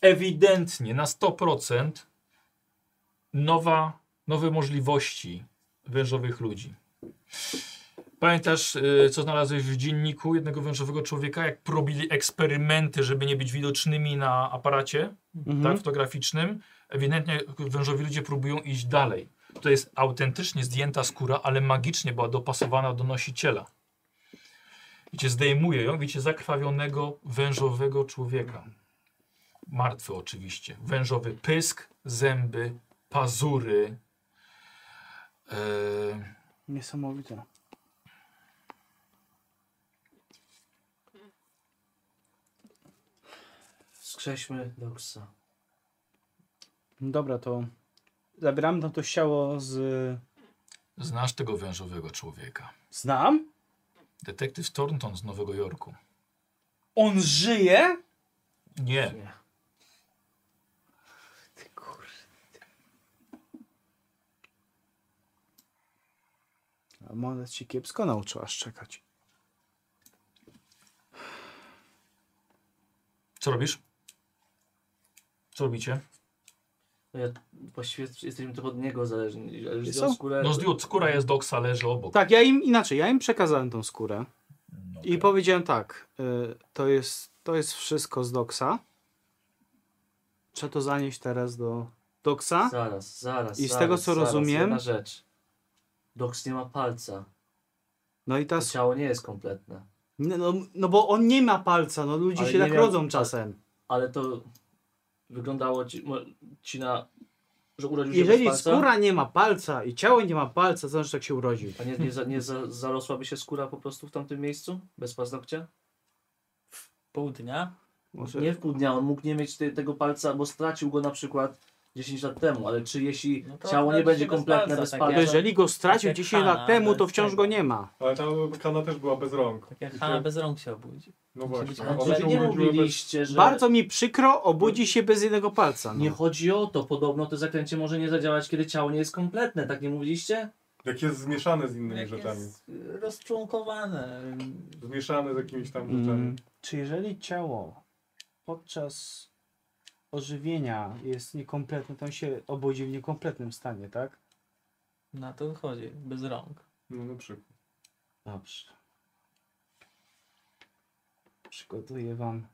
ewidentnie na 100% nowa, nowe możliwości wężowych ludzi. Pamiętasz, y, co znalazłeś w dzienniku jednego wężowego człowieka, jak robili eksperymenty, żeby nie być widocznymi na aparacie tak, Mhm. fotograficznym? Ewidentnie wężowi ludzie próbują iść dalej. To jest autentycznie zdjęta skóra, ale magicznie była dopasowana do nosiciela. Widzicie, zdejmuje ją, widzicie, zakrwawionego, wężowego człowieka. Martwy oczywiście. Wężowy pysk, zęby, pazury. Eee, Niesamowite. Skrześmy Doksa. Dobra, to zabieram tam to ciało z. znasz tego wężowego człowieka. Znam? Detektyw Thornton z Nowego Jorku. On żyje? Nie, A może ci kiepsko nauczyła szczekać. co robisz? Co robicie? No ja, właściwie jesteśmy tylko od niego zależni. ale już Wiesz zdjął co? skórę- No zdjął, skóra jest doksa, leży obok. Tak, ja im inaczej, ja im przekazałem tą skórę No, i powiedziałem tak, y, to jest, to jest wszystko z doksa. Trzeba to zanieść teraz do Doksa. Zaraz, zaraz. I z zaraz, tego, co zaraz, rozumiem- Jedna rzecz. Doks nie ma palca. No i To teraz. ciało nie jest kompletne. No, no, no bo on nie ma palca, no ludzie Ale się nie tak miał- rodzą czasem. Ale to wyglądało ci, mo- ci na. że urodził się Jeżeli bez palca, skóra nie ma palca i ciało nie ma palca, to znaczy tak się urodził. A nie, nie, za, nie za, zarosłaby się skóra po prostu w tamtym miejscu? Bez paznokcia? Pół dnia. Może... Nie w pół dnia, on mógł nie mieć te, tego palca, bo stracił go na przykład 10 lat temu, ale czy jeśli No to ciało nie oczywiście będzie bez kompletne palca, bez tak palca, jak- Jeżeli go stracił jak 10 Hana, lat temu, bez to wciąż tego. go nie ma. Ale ta kana też była bez rąk. Tak jak I się- Hanna bez rąk się obudzi. No być właśnie. rąk. one ale się Znaczy, nie urodziły bez- mówiliście, że Bardzo mi przykro, obudzi się bez jednego palca. nie No. chodzi o to, podobno to zaklęcie może nie zadziałać, kiedy ciało nie jest kompletne, tak nie mówiliście? Jak jest zmieszane z innymi Jak rzeczami. jest y, rozczłonkowane. Zmieszane z jakimiś tam rzeczami. Mm. Czy jeżeli ciało podczas ożywienia jest niekompletne, to on się obudzi w niekompletnym stanie, tak? Na to chodzi, bez rąk. No na przykład. Dobrze. Przygotuję wam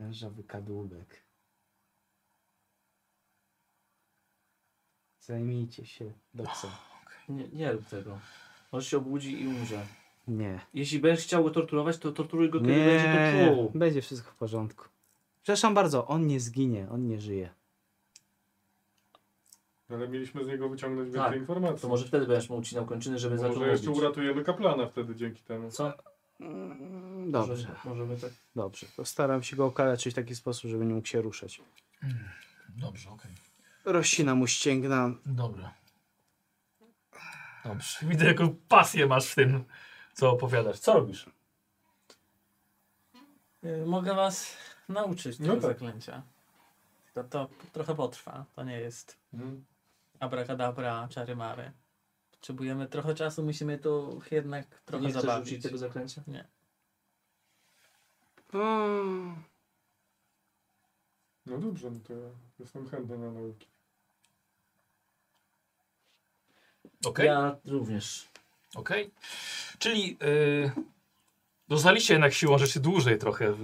mężowy kadłubek. Zajmijcie się doksem. Nie, nie rób tego. Może się obudzi i umrze. Nie. Jeśli będziesz chciał go torturować, to torturuj go, kiedy będzie to Nie, czuł. będzie wszystko w porządku. Przepraszam bardzo, on nie zginie, on nie żyje. No, Ale mieliśmy z niego wyciągnąć więcej Tak, informacji. To może wtedy będziesz mu ucinał kończyny, żeby zaczął Może jeszcze mówić. uratujemy kaplana wtedy dzięki temu. Co? Mm, Dobrze, Może- Możemy tak... dobrze. Postaram się go okaleczyć w taki sposób, żeby nie mógł się ruszać. Dobrze, okej. Rościna mu ścięgna. Dobra. Dobrze. Widzę, jaką pasję masz w tym, co opowiadasz. Co robisz? Y, Mogę was nauczyć No tego tak. zaklęcia. To, to trochę potrwa. To nie jest Mhm. abracadabra, czary mary. Potrzebujemy trochę czasu, musimy tu jednak trochę nie chcesz zabawić. rzucić tego zaklęcia? Mm. No dobrze, no to ja jestem chętny na nauki. Okej. Ja również. Okej. Czyli yy, doznaliście jednak siłą rzeczy dłużej trochę w,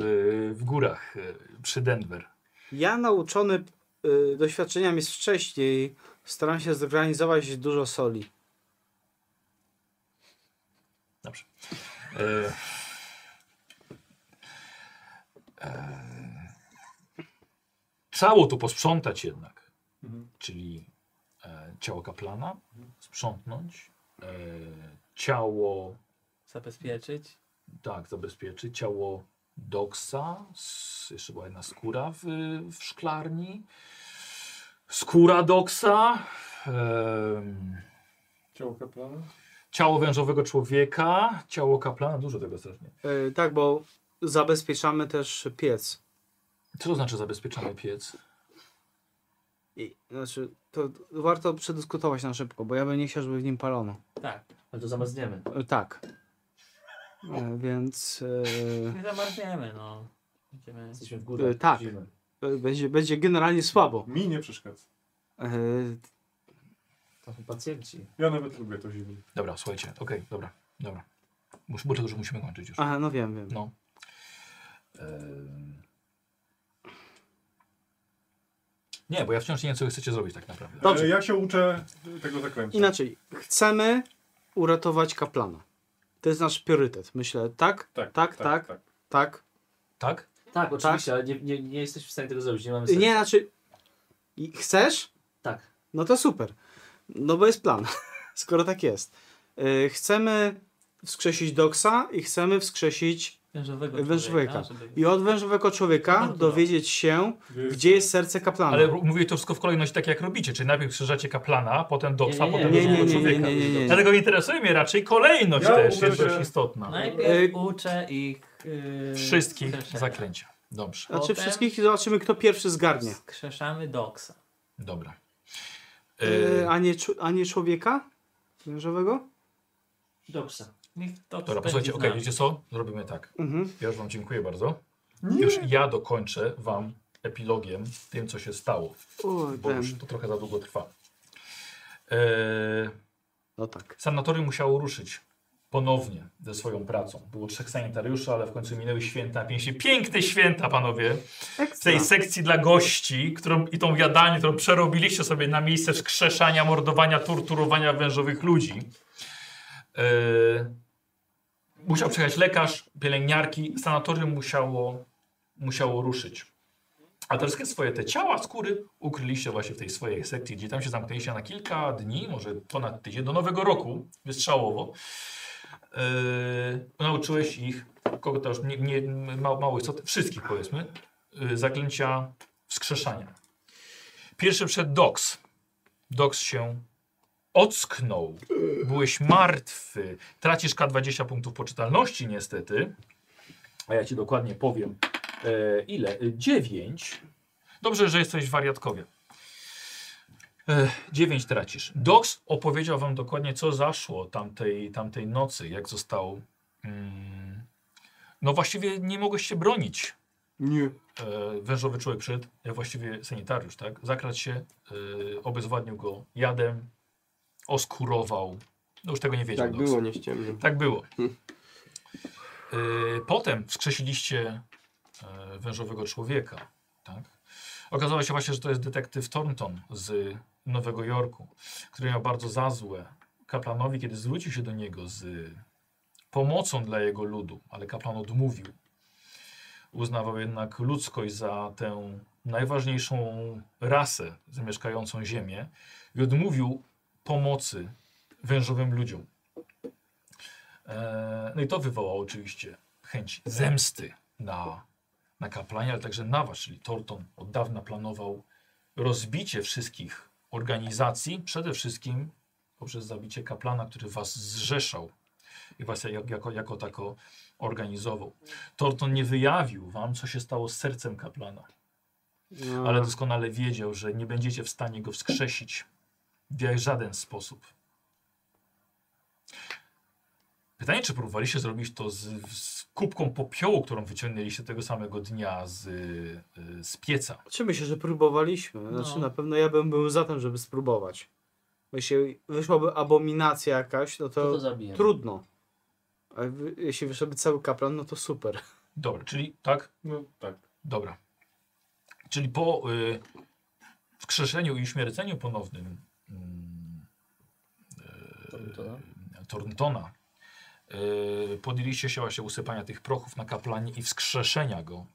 w górach y, przy Denver. Ja nauczony y, doświadczeniami z wcześniej staram się zorganizować dużo soli. E, e, Cało tu posprzątać jednak, Mhm. czyli e, ciało kaplana sprzątnąć, e, ciało, Zabezpieczyć. tak, zabezpieczyć, ciało doksa, s- jeszcze była jedna skóra w, w szklarni, skóra doksa, em, Ciało kaplana? ciało wężowego człowieka, ciało kaplana, dużo tego strasznie. Y, tak, bo zabezpieczamy też piec. Co to znaczy zabezpieczony piec? I, znaczy, to warto przedyskutować na szybko, bo ja bym nie chciał, żeby w nim palono. Tak. Ale to zamarzniemy. Y, tak. Y, więc y, Nie zamarzniemy, no. Będziemy... Jesteśmy w górach. E, tak. Zimę. y, będzie, będzie generalnie słabo. Mi nie przeszkadza. Y, To są pacjenci. Ja nawet lubię to zimno. Dobra, słuchajcie, okej, dobra, dobra. Mus, bo to już musimy kończyć już. aha, no wiem, wiem. No. Em. Nie, bo ja wciąż nie wiem, co wy chcecie zrobić tak naprawdę. Dobrze. E, Ja się uczę tego zaklęcia. Inaczej, chcemy uratować kaplana. To jest nasz priorytet. Myślę, tak, Tak, tak, tak, tak. tak. Tak? Tak, oczywiście, ale nie, nie, nie jesteś w stanie tego zrobić. Nie mamy Y, sensu. Nie, znaczy, i- chcesz? Tak. No to super. No bo jest plan, skoro tak jest. Yy, chcemy wskrzesić Doksa i chcemy wskrzesić Wężowego człowieka. wężowika. żeby- I od wężowego człowieka Bardzo dowiedzieć się, Gdzie jest- gdzie jest serce kaplana. Ale ru- mówię to wszystko w kolejności tak jak robicie, czyli najpierw krzyżacie kaplana, potem doksa, Nie, nie, potem Nie, nie, nie, drugiego nie, człowieka. nie, nie, nie. Dlatego interesuje mnie raczej kolejność Ja też, uważam, jest dość że- istotna. No Najpierw uczę ich... Yy, Wszystkich tak. skrzeszenia. zaklęcia. Dobrze, Znaczy Potem- wszystkich i zobaczymy, kto pierwszy zgarnie. Skrzeszamy doksa. dobra. Yy, E, a, nie, czu- a nie człowieka? Wężowego? Doksa. Niech doks dobra, będzie posłuchajcie, z okej, nami. wiecie co? Zrobimy tak. Mhm. Ja już Wam dziękuję bardzo. Już ja dokończę Wam epilogiem tym, co się stało, O, bo ten. już to trochę za długo trwa. Eee, No tak. sanatorium musiało ruszyć ponownie ze swoją pracą. Było trzech sanitariuszy, ale w końcu minęły święta. Pięknie, piękne święta, panowie. W tej sekcji dla gości, którą, i tą jadalnię, którą przerobiliście sobie na miejsce skrzeszania, mordowania, torturowania wężowych ludzi. Yy, musiał przyjechać lekarz, pielęgniarki, sanatorium musiało, musiało ruszyć. A te wszystkie swoje te ciała, skóry ukryliście właśnie w tej swojej sekcji, gdzie tam się zamknęliście na kilka dni, może ponad tydzień, do nowego roku, wystrzałowo. Yy, nauczyłeś ich, kogo to już nie, nie, ma, mało istoty, wszystkich powiedzmy, yy, zaklęcia wskrzeszania. Pierwszy przed Dox. Dox się ocknął. Byłeś martwy. Tracisz K20 punktów poczytalności niestety. A ja ci dokładnie powiem e, ile? 9. Dobrze, że jesteś wariatkowie. 9 tracisz. Dox opowiedział wam dokładnie, co zaszło tamtej, tamtej nocy, jak został. Mm, no właściwie nie mogłeś się bronić. Nie. tak E, wężowy człowiek przed, e, właściwie sanitariusz, tak? Zakradł się, e, obezwładnił go jadem, oskurował. No już tego nie wiedział. Tak Dox. było, nie ściemniam. Tak było. Hmm. Y, Potem wskrzesiliście e, wężowego człowieka. Tak? Okazało się właśnie, że to jest detektyw Thornton z Nowego Jorku, który miał bardzo za złe kaplanowi, kiedy zwrócił się do niego z pomocą dla jego ludu, ale kaplan odmówił. Uznawał jednak ludzkość za tę najważniejszą rasę zamieszkającą Ziemię i odmówił pomocy wężowym ludziom. E, No i to wywołało oczywiście chęć zemsty na, na kaplanie, ale także na was, czyli Torton od dawna planował rozbicie wszystkich organizacji, przede wszystkim poprzez zabicie kaplana, który was zrzeszał i was jak- jako, jako tako organizował. Torton nie wyjawił wam, co się stało z sercem kaplana, No, ale doskonale wiedział, że nie będziecie w stanie go wskrzesić w żaden sposób. Pytanie, czy próbowaliście zrobić to z, z kubką popiołu, którą wyciągnęliście tego samego dnia z, y, z pieca. Czy myślę, że próbowaliśmy? Znaczy No. na pewno ja bym był za tym, żeby spróbować. Bo jeśli wyszłaby abominacja jakaś, no To to, to zabijemy. trudno. A wy- jeśli wyszedłby cały kaplan, no to super. Dobra, czyli tak? No tak. Dobra. Czyli po y, wskrzeszeniu i uśmierceniu ponownym mm, y, Torntona y, podjęliście się właśnie usypania tych prochów na kaplanie i wskrzeszenia go.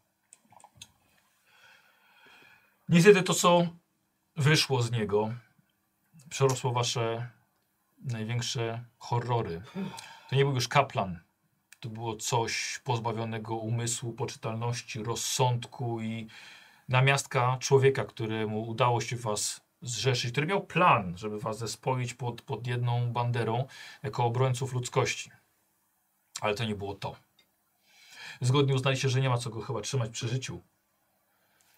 Niestety to, co wyszło z niego, przerosło wasze największe horrory. To nie był już kaplan, to było coś pozbawionego umysłu, poczytalności, rozsądku i namiastka człowieka, któremu udało się was zrzeszyć, który miał plan, żeby was zespoić pod, pod jedną banderą jako obrońców ludzkości. Ale to nie było to. Zgodnie uznaliście, że nie ma co go chyba trzymać przy życiu.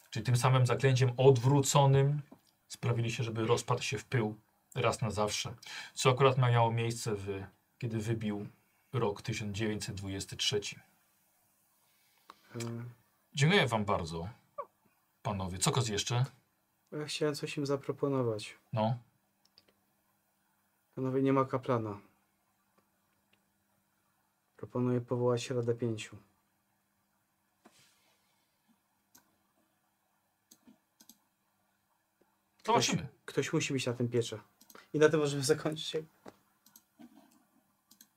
Czyli tym samym zaklęciem odwróconym sprawiliście, żeby rozpadł się w pył raz na zawsze. Co akurat miało miejsce, w, kiedy wybił rok 1923. Dziękuję Wam bardzo, panowie. Co koz jeszcze? Ja chciałem coś im zaproponować. No, Panowie, nie ma kaplana. Proponuję powołać Radę Pięciu. zobaczymy. Ktoś musi być na tym piecze. I na tym możemy zakończyć.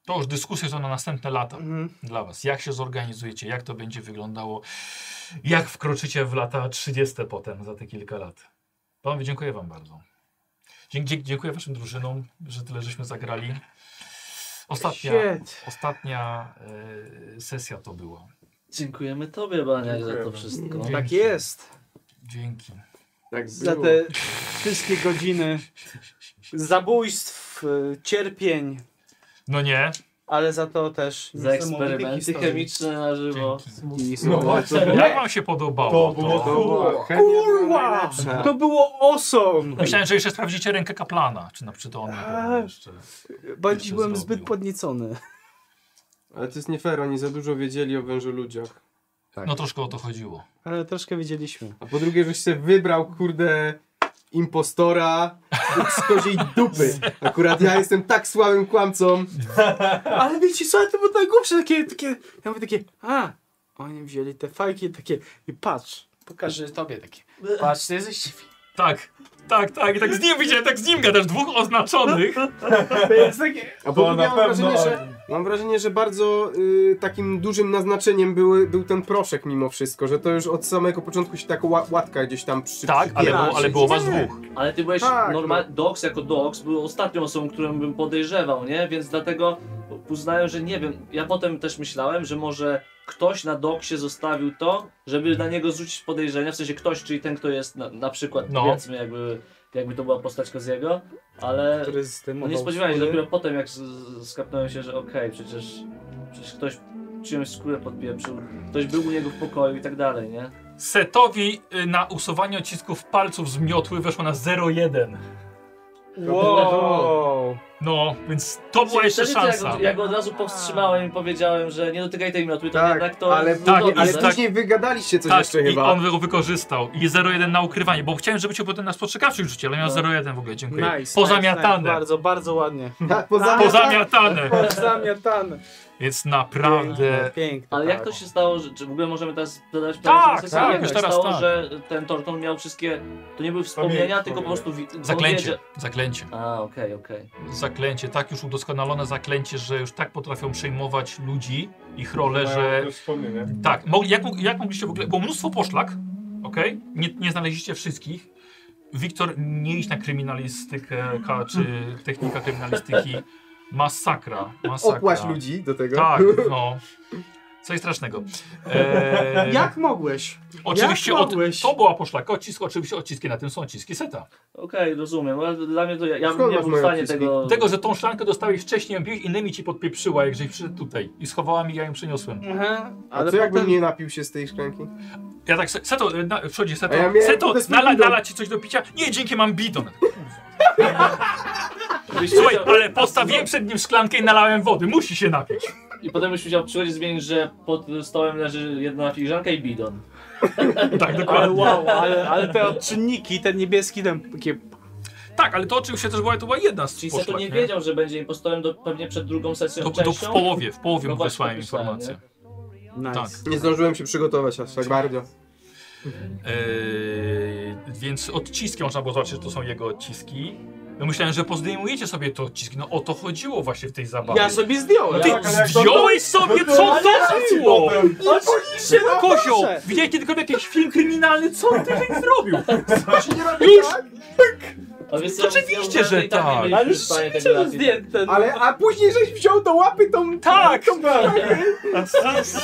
To już dyskusje są na następne lata Mhm. dla Was. Jak się zorganizujecie, jak to będzie wyglądało, jak wkroczycie w lata 30 potem, za te kilka lat. Panowie, dziękuję Wam bardzo. Dzie- dzie- dziękuję Waszym drużynom, że tyle żeśmy zagrali. Ostatnia, Shit. ostatnia e, sesja to była. Dziękujemy Tobie, Baniak, za to Dziękujemy. wszystko. Dzięki. Tak jest. Dzięki. Tak Za było. te wszystkie godziny zabójstw, y, cierpień, No nie. ale za to też Za niesamowitych eksperymenty historii. chemiczne na żywo. Dzięki. I No słowa. właśnie. Jak Wam się podobało? To, było to. była chemia, była Kurwa! najlepsza. To było awesome! Myślałem, że jeszcze sprawdzicie rękę kaplana. Czy na czy to on na pewno Eee. jeszcze. Bardziej byłem zrobił. zbyt podniecony. Ale to jest nie fair, oni za dużo wiedzieli o wężu ludziach. No troszkę o to chodziło. Ale troszkę wiedzieliśmy. A po drugie, żeś się wybrał, kurde, impostora z koziej dupy. Akurat ja jestem tak słabym kłamcą. Ale wiecie co, ale to było najgłupsze, takie, takie, ja mówię takie, a, oni wzięli te fajki takie i patrz, pokażę tobie takie, patrz, ty jesteś siwy. Tak, tak, tak, tak z nim widziałem, tak z nim gadasz, dwóch oznaczonych. To jest takie, A bo To na mam pewno wrażenie, że, mam wrażenie, że bardzo y, takim dużym naznaczeniem były, był ten proszek mimo wszystko, że to już od samego początku się taka ła, łatka gdzieś tam przy, Tak, ale, przybiera. było, ale było was dwóch. Ale ty byłeś Tak, normal... Dox jako Dox był ostatnią osobą, którą bym podejrzewał, nie? Więc dlatego uznałem, że nie wiem. Ja potem też myślałem, że może ktoś na Doxie zostawił to, żeby na niego zrzucić podejrzenia. W sensie ktoś, czyli ten, kto jest na, na przykład, No. powiedzmy, jakby, jakby to była postać Koziego, ale który z tym no nie spodziewałem się, dopiero potem jak z- z- skapnąłem się, że okej, przecież, przecież ktoś czyjąś skórę podpieprzył, ktoś był u niego w pokoju i tak dalej, nie? Setowi y, na usuwanie odcisków palców z miotły weszło na 0,1. Wow. No, więc to była jeszcze Wtedy to jak- szansa. Jak go od razu powstrzymałem i powiedziałem, że nie dotykaj tej miotły, to Tak, jednak to... ale, no tak, dobrze, ale tak. później wygadaliście coś Tak, jeszcze i chyba. on go wykorzystał. I 0,1 na ukrywanie, bo chciałem, żebycie potem nas postrzegawczy rzucił, ale miał No. 0,1 w ogóle, dziękuję. Nice, Pozamiatane. Nice, nice, bardzo, bardzo ładnie. Tak, poza, Pozamiatane. Pozamiatane. Więc E. naprawdę... Piękne. Ale jak to tak. się stało, że, czy w ogóle możemy teraz zadać Tak, na sesję? tak, jak już to teraz stało, tak. że ten Torton miał wszystkie, to nie były wspomnienia, tylko po prostu... Wi- on Zaklęcie, wiedział- zaklęcie, A, okej, okej. zaklęcie. Tak już udoskonalone zaklęcie, że już tak potrafią przejmować ludzi, ich rolę, że... Mają też wspomnienie. Tak, mogli, jak, mógł- jak mogliście w ogóle. Było mnóstwo poszlak, okej? Nie, nie znaleźliście wszystkich. Wiktor, nie idź na kryminalistykę ka, czy technika kryminalistyki. Masakra. masakra. Opłać ludzi do tego. Tak, no. Coś strasznego. Eee, jak mogłeś? Oczywiście jak od, mogłeś? to była poszlak. Odcisk, oczywiście odciski na tym są odciski seta. Okej, rozumiem, ale dla mnie to... Ja, ja Skąd bym nie masz był w moje stanie odciski? tego... Tego, że tą szklankę dostałeś wcześniej, a innymi ci podpieprzyła, jak żeś przyszedł tutaj i schowała mi, ja ją przyniosłem. Aha, A co jakbym nie napił się z tej szklanki? Ja tak, se- Seto, e, na, przychodzi Seto, A ja miałem Seto, kurde z nala, bidon. nala ci coś do picia? Nie, dzięki, mam bidon. Słuchaj, ale postawiłem przed nim szklankę i nalałem wody, musi się napić. I potem byś musiał przychodzić zmienić, że pod stołem leży jedna filiżanka i bidon. Tak, Ale dokładnie. wow, ale, ale te odczynniki, ten niebieski, ten takie... Tak, ale to oczywiście też była, to była jedna z Czyli poszlak, Seto nie wiedział, że będzie impostorem do, pewnie przed drugą sesją Do, do, w częścią. połowie, w połowie No mu właśnie, wysłałem pisałem, informację. Nice. Tak. Nie zdążyłem się przygotować aż tak bardzo. Eee, E, więc odciski można było zobaczyć, że to są jego odciski. No myślałem, że pozdejmujecie sobie te odciski, no o to chodziło właśnie w tej zabawie. Ja sobie zdjąłem. Ty Tak, ale jak to- zdjąłeś sobie, co to było? Potem Szybko, kozioł! Widziałeś kiedykolwiek jakiś film kryminalny? Co ty żeś zrobił? Już! A więc Oczywiście, ja- ja- że i nie tak. mieliśmy Ale już w stanie tego się racji. zdjęte. Ale, a później żeś wziął do łapy tą... Tak! Tą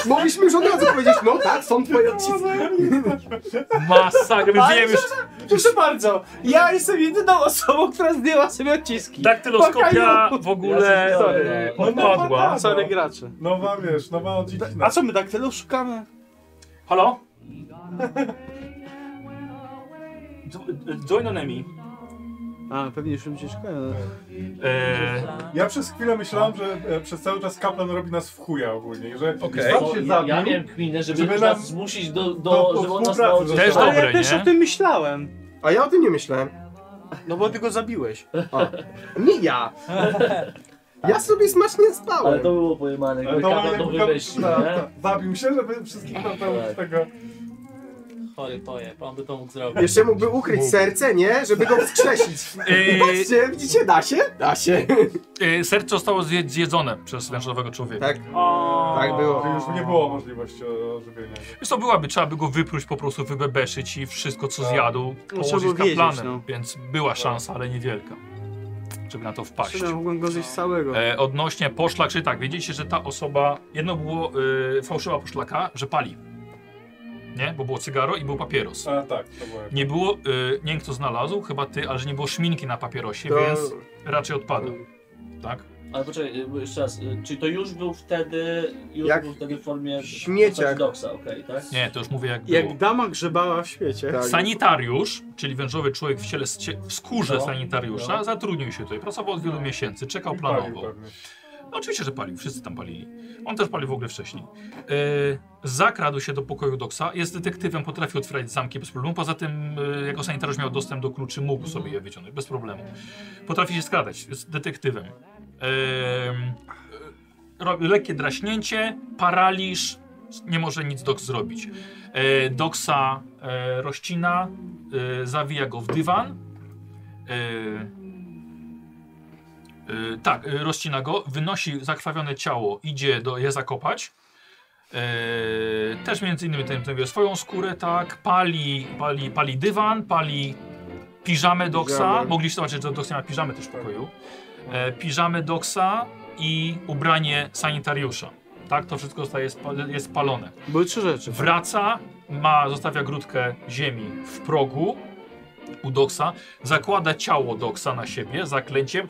Mogliśmy już od razu powiedzieć, no tak, są twoje odciski. No, Masakra, więc Ale wiem już Proszę bardzo, ja jestem jedyną osobą, która zdjęła sobie odciski. daktyloskopia w Ja ogóle się sorry, e, no. odpadła. tak, Sorry gracze. Nowa, wiesz, nowa odcinek. A co my tak daktylu szukamy? Halo? Join on enemy. A, pewnie już bym cię szukają. E, Ja przez chwilę myślałem, że e, przez cały czas Kaplan robi nas w chuja ogólnie, że Okej. sam O, się ja, zabił. ja miałem kminę, żeby, żeby nam- nas zmusić do, do, do żeby on nas współpracy nauczył. ze Też sobą. Ale ja dobre, też nie? o tym myślałem. A ja o tym nie myślałem. No bo ty go zabiłeś. Nie ja. Ja sobie smacznie spałem. Ale to było pojemane, Ale jakby E, to kawał jakby to Kaplan- wymyślił, tak, nie? tak. Zabił się, żeby wszystkich napełnić Tak. tego. Chory pojeb, on by to mógł zrobić. Jeszcze mógłby ukryć serce, nie? Żeby go wskrzesić. Eee. Patrzcie, widzicie, da się? Da się. e, serce zostało zje- zjedzone przez wężowego człowieka. Tak, tak było. Że już nie było możliwości ożywienia. Wiesz co, byłaby, trzeba by go wypróć, po prostu wybebeszyć i wszystko co Tak. zjadł No. trzeba położyć było wiedzieć, kaplanem, no. więc była szansa, ale niewielka, żeby na to wpaść. Przecież mogłem go zjeść całego. E, odnośnie poszlak, czyli tak, wiedzieliście, że ta osoba, jedno było y, fałszywa poszlaka, że pali. Nie? Bo było cygaro i był papieros. A tak, to było. Nie było, y, nie wiem kto znalazł, chyba ty, ale że nie było szminki na papierosie, To- więc raczej odpada. Tak? Ale poczekaj, y, jeszcze raz, y, czy to już był wtedy, już Jak był wtedy w formie śmieciak. postaci doksa, okej, tak? Nie, to już mówię jak było. Jak dama grzebała w świecie. Tak. Sanitariusz, czyli wężowy człowiek w, ciele, w skórze No, sanitariusza, no. zatrudnił się tutaj. Pracował od wielu miesięcy, czekał I palił tak. planowo. pewnie. Oczywiście, że palił. Wszyscy tam palili. On też palił w ogóle wcześniej. Yy, zakradł się do pokoju Doksa. Jest detektywem, potrafi otwierać zamki bez problemu. Poza tym, yy, jako sanitarz miał dostęp do kluczy, mógł sobie je wyciągnąć bez problemu. Potrafi się skradać. Jest detektywem. Yy, ro- lekkie draśnięcie, paraliż. Nie może nic Doks zrobić. Yy, Doksa yy, rozcina, yy, zawija go w dywan. E, Yy, Y, tak, y, rozcina go, wynosi zakrwawione ciało, idzie do je zakopać. Y, też między innymi ten, ten swoją skórę, tak, pali, pali, pali dywan, pali piżamę doksa. Piżamę. Mogliście zobaczyć, że doks nie ma piżamy też w pokoju. E, piżamę doksa i ubranie sanitariusza. Tak, to wszystko zostaje spa- jest spalone. Były trzy rzeczy. Wraca, ma, zostawia grudkę ziemi w progu u Doksa, zakłada ciało Doksa na siebie zaklęciem,